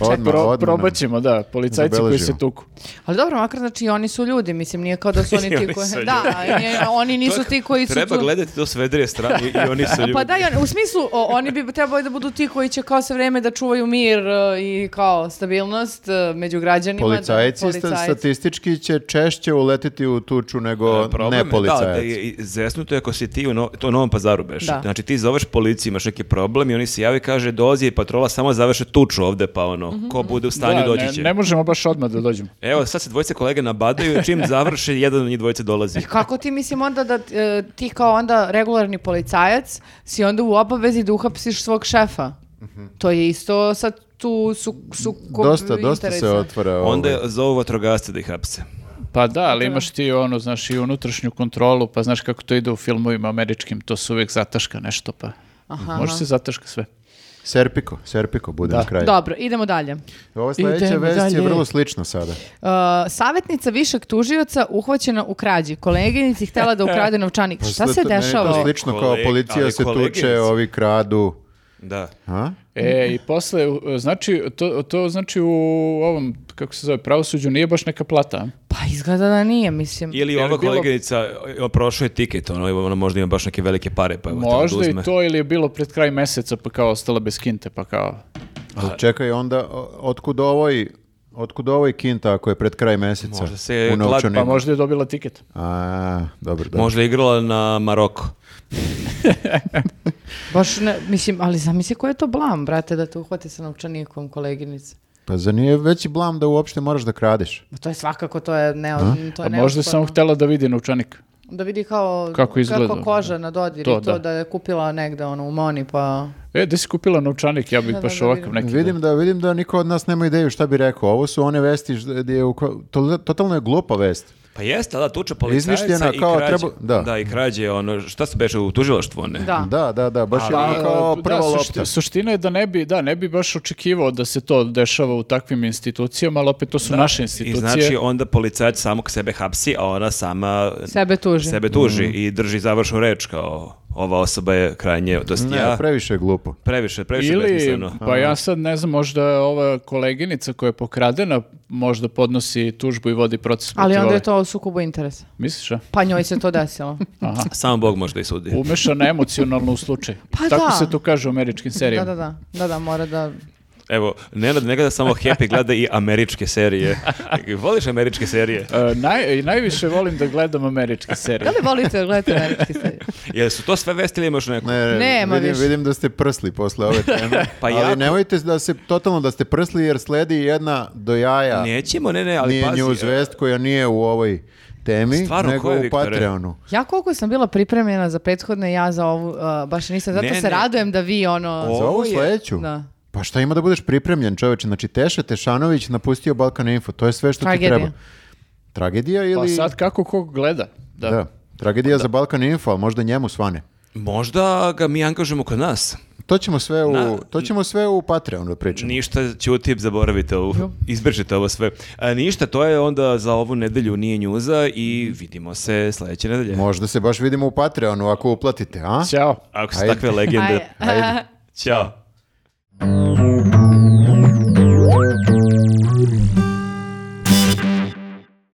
[SPEAKER 3] Odmah,
[SPEAKER 2] E, Pro,
[SPEAKER 3] odmah.
[SPEAKER 2] probat ćemo, da, policajci koji se
[SPEAKER 3] Zabeležimo.
[SPEAKER 2] tuku.
[SPEAKER 1] Ali dobro, makar znači oni su ljudi, mislim nije kao da su oni ti
[SPEAKER 4] Oni
[SPEAKER 1] koji
[SPEAKER 4] su
[SPEAKER 1] da, nije- oni nisu
[SPEAKER 4] To-
[SPEAKER 1] ti koji su
[SPEAKER 4] Treba
[SPEAKER 1] tu-
[SPEAKER 4] gledati to s vedrije strane i, i oni su ljudi.
[SPEAKER 1] Pa da, i oni- u smislu o, oni bi trebali da budu ti koji će kao sve vreme da čuvaju mir e, i kao stabilnost e, među građanima. da-
[SPEAKER 3] Policajci, sta-
[SPEAKER 1] policajci.
[SPEAKER 3] statistički će češće uletiti u tuču
[SPEAKER 2] E,
[SPEAKER 3] nego
[SPEAKER 4] Problem je,
[SPEAKER 3] ne policajac.
[SPEAKER 4] Da, da je i zesnuto je ako si ti u, no, to u Novom pazaru beš.
[SPEAKER 1] Da.
[SPEAKER 4] Znači ti zoveš policiju, imaš neki problem i oni se javi i kaže dozi patrola samo završe tuču ovde pa ono,
[SPEAKER 1] Mhm,
[SPEAKER 4] ko bude u stanju
[SPEAKER 2] Da,
[SPEAKER 4] doći
[SPEAKER 2] ne,
[SPEAKER 4] će.
[SPEAKER 2] ne možemo baš odmah da dođemo.
[SPEAKER 4] Evo sad se dvojice kolege nabadaju, čim završe jedan od njih dvojice dolazi.
[SPEAKER 1] Kako ti mislim onda da e, ti kao onda regularni policajac si onda u obavezi da uhapsiš svog šefa? To je isto sad tu su, sukob
[SPEAKER 3] Mhm. Dosta, dosta se
[SPEAKER 1] interesa.
[SPEAKER 3] otvara ovaj. ovo.
[SPEAKER 4] Onda zovu vatrogasce da ih hapse.
[SPEAKER 2] Pa da, ali imaš ti ono, znaš, i unutrašnju kontrolu, pa znaš kako to ide u filmovima američkim, to se uvek zataška nešto, pa
[SPEAKER 1] Aha,
[SPEAKER 2] može
[SPEAKER 1] aha.
[SPEAKER 2] se zataška sve.
[SPEAKER 3] Serpiko, Serpiko bude na kraju.
[SPEAKER 1] Dobro, idemo dalje. E,
[SPEAKER 3] Ova sledeća
[SPEAKER 2] Idemo
[SPEAKER 3] vest je
[SPEAKER 2] dalje.
[SPEAKER 3] vrlo slična sada.
[SPEAKER 1] Uh, savjetnica višeg tužioca uhvaćena u krađi. Koleginici htjela da ukrade novčanik. Šta
[SPEAKER 3] Sad
[SPEAKER 1] se
[SPEAKER 3] Pa to- meni je to
[SPEAKER 1] dešava?
[SPEAKER 3] slično kao
[SPEAKER 4] Koleg-
[SPEAKER 3] policija
[SPEAKER 4] ali
[SPEAKER 3] se tuče,
[SPEAKER 4] koleginici.
[SPEAKER 3] ovi kradu.
[SPEAKER 4] Da.
[SPEAKER 3] A?
[SPEAKER 2] E, i posle, u- znači, to, to znači u ovom, kako se zove, pravosuđu nije baš neka plata. a?
[SPEAKER 1] Pa izgleda da nije, mislim.
[SPEAKER 4] Ili
[SPEAKER 2] Jer
[SPEAKER 4] ova
[SPEAKER 2] je bilo-
[SPEAKER 4] koleginica o, prošao je tiket, ono, ona možda ima baš neke velike pare, pa evo htjela da
[SPEAKER 2] Možda i
[SPEAKER 4] uzme.
[SPEAKER 2] to ili je bilo pred kraj meseca pa kao ostala bez kinte pa kao
[SPEAKER 3] Ali čekaj onda, o- otkud ovoj, otkud ovoj kinta ako je pred kraj meseca?
[SPEAKER 4] Možda se je
[SPEAKER 3] u
[SPEAKER 4] glad-
[SPEAKER 3] novčaniku?
[SPEAKER 2] pa možda je dobila tiket.
[SPEAKER 3] A, dobro, dobro.
[SPEAKER 4] Možda je igrala na Maroko.
[SPEAKER 1] Baš ne, mislim, ali zamisli ko je to blam, brate, da te uhvate sa novčanikom, koleginice.
[SPEAKER 3] Pa zar nije veći blam da uopšte moraš da kradeš?
[SPEAKER 1] Ma to je svakako, to je, ne, to
[SPEAKER 2] A
[SPEAKER 1] je
[SPEAKER 2] Pa možda je samo
[SPEAKER 1] neosporno.
[SPEAKER 2] htela da vidi novčanik.
[SPEAKER 1] Da vidi kao
[SPEAKER 2] Kako izgleda.
[SPEAKER 1] koža na dodir
[SPEAKER 2] To,
[SPEAKER 1] i to da.
[SPEAKER 2] da.
[SPEAKER 1] je kupila negde ono, u Moni, pa...
[SPEAKER 2] E, gde si kupila novčanik? Ja bih
[SPEAKER 1] Da, da,
[SPEAKER 2] baš
[SPEAKER 1] da
[SPEAKER 2] ovakav
[SPEAKER 1] vidim.
[SPEAKER 2] neki.
[SPEAKER 3] Vidim da, vidim da niko od nas nema ideju šta bi rekao. Ovo su one vesti ž- gdje je u ko- to- totalno je glupa vest.
[SPEAKER 4] Pa jeste, da, tuča policajca
[SPEAKER 3] Izmišljena
[SPEAKER 4] i
[SPEAKER 3] kao
[SPEAKER 4] krađe.
[SPEAKER 3] treba- da.
[SPEAKER 4] i krađe, ono, šta se beše u tužilaštvu, one?
[SPEAKER 1] Da.
[SPEAKER 3] Da, da, da, baš je
[SPEAKER 2] Pa,
[SPEAKER 3] ono kao
[SPEAKER 2] da,
[SPEAKER 3] prva
[SPEAKER 2] sušti-
[SPEAKER 3] lopta.
[SPEAKER 2] suština je da ne bi, da, ne bi baš očekivao da se to dešava u takvim institucijama, ali opet to su naše
[SPEAKER 4] I
[SPEAKER 2] institucije.
[SPEAKER 4] znači onda policajac samog sebe hapsi, a ona sama
[SPEAKER 1] Sebe tuži.
[SPEAKER 4] sebe tuži
[SPEAKER 3] Mhm.
[SPEAKER 4] i drži završnu reč kao ova osoba je krajnje, to jest
[SPEAKER 3] Ne,
[SPEAKER 4] ja,
[SPEAKER 3] previše je glupo.
[SPEAKER 4] previše, previše
[SPEAKER 2] Ili,
[SPEAKER 4] besmisleno.
[SPEAKER 2] pa ja sad ne znam, možda je ova koleginica koja je pokradena možda podnosi tužbu i vodi proces.
[SPEAKER 1] Ali
[SPEAKER 2] protiv
[SPEAKER 1] onda
[SPEAKER 2] ove.
[SPEAKER 1] je to u sukobu interesa.
[SPEAKER 2] Misliš, a?
[SPEAKER 1] Pa njoj se to desilo.
[SPEAKER 4] Samo Bog može da i sudi.
[SPEAKER 2] Umešana emocionalno u slučaj.
[SPEAKER 1] Pa
[SPEAKER 2] Tako
[SPEAKER 1] da.
[SPEAKER 2] se to kaže u američkim
[SPEAKER 1] da,
[SPEAKER 2] serijama.
[SPEAKER 1] da, da. Da, da, mora da...
[SPEAKER 4] Evo, Nenad ne gleda samo Happy, gleda i američke serije. Voliš američke serije?
[SPEAKER 2] E, naj, i najviše volim da gledam američke serije.
[SPEAKER 1] Da li volite da gledate američke serije?
[SPEAKER 4] Jel su to sve vesti ili imaš neku?
[SPEAKER 3] Ne,
[SPEAKER 1] Nema
[SPEAKER 3] vidim,
[SPEAKER 1] više.
[SPEAKER 3] vidim da ste prsli posle ove teme.
[SPEAKER 4] Pa
[SPEAKER 3] ali
[SPEAKER 4] jako.
[SPEAKER 3] nemojte da se totalno da ste prsli jer sledi jedna do jaja.
[SPEAKER 4] Nećemo, ne, ne, ali
[SPEAKER 3] nije
[SPEAKER 4] pazi. e,
[SPEAKER 3] news vest koja nije u ovoj temi,
[SPEAKER 4] Stvarno,
[SPEAKER 3] nego
[SPEAKER 4] ko je,
[SPEAKER 3] u
[SPEAKER 4] Viktore?
[SPEAKER 3] Patreonu.
[SPEAKER 1] Ja koliko sam bila pripremljena za prethodne, ja za ovu, uh, baš nisam, zato
[SPEAKER 4] Ne,
[SPEAKER 1] se
[SPEAKER 4] ne.
[SPEAKER 1] radujem da vi ono...
[SPEAKER 4] Ovo
[SPEAKER 3] Za ovu
[SPEAKER 4] je-
[SPEAKER 3] sledeću?
[SPEAKER 1] Da.
[SPEAKER 3] Pa šta ima da budeš pripremljen, čoveče? Znači, Teša Tešanović napustio Balkan Info. To je sve što
[SPEAKER 1] Tragedija.
[SPEAKER 3] ti treba. Tragedija ili...
[SPEAKER 2] Pa sad kako kog gleda. Da.
[SPEAKER 3] Da. Tragedija za Balkan Info, ali možda njemu svane.
[SPEAKER 4] Možda ga mi angažujemo kod nas.
[SPEAKER 3] To ćemo sve u,
[SPEAKER 4] Na-
[SPEAKER 3] to ćemo sve u Patreonu da pričamo.
[SPEAKER 4] Ništa, ćuti, zaboravite ovo, izbrišite ovo sve. A, ništa, to je onda za ovu nedelju nije njuza i vidimo se sledeće nedelje.
[SPEAKER 3] Možda se baš vidimo u Patreonu ako uplatite, a?
[SPEAKER 2] Ćao.
[SPEAKER 4] Ako su
[SPEAKER 3] Ajde.
[SPEAKER 4] takve legende.
[SPEAKER 1] Aj,
[SPEAKER 4] Ćao.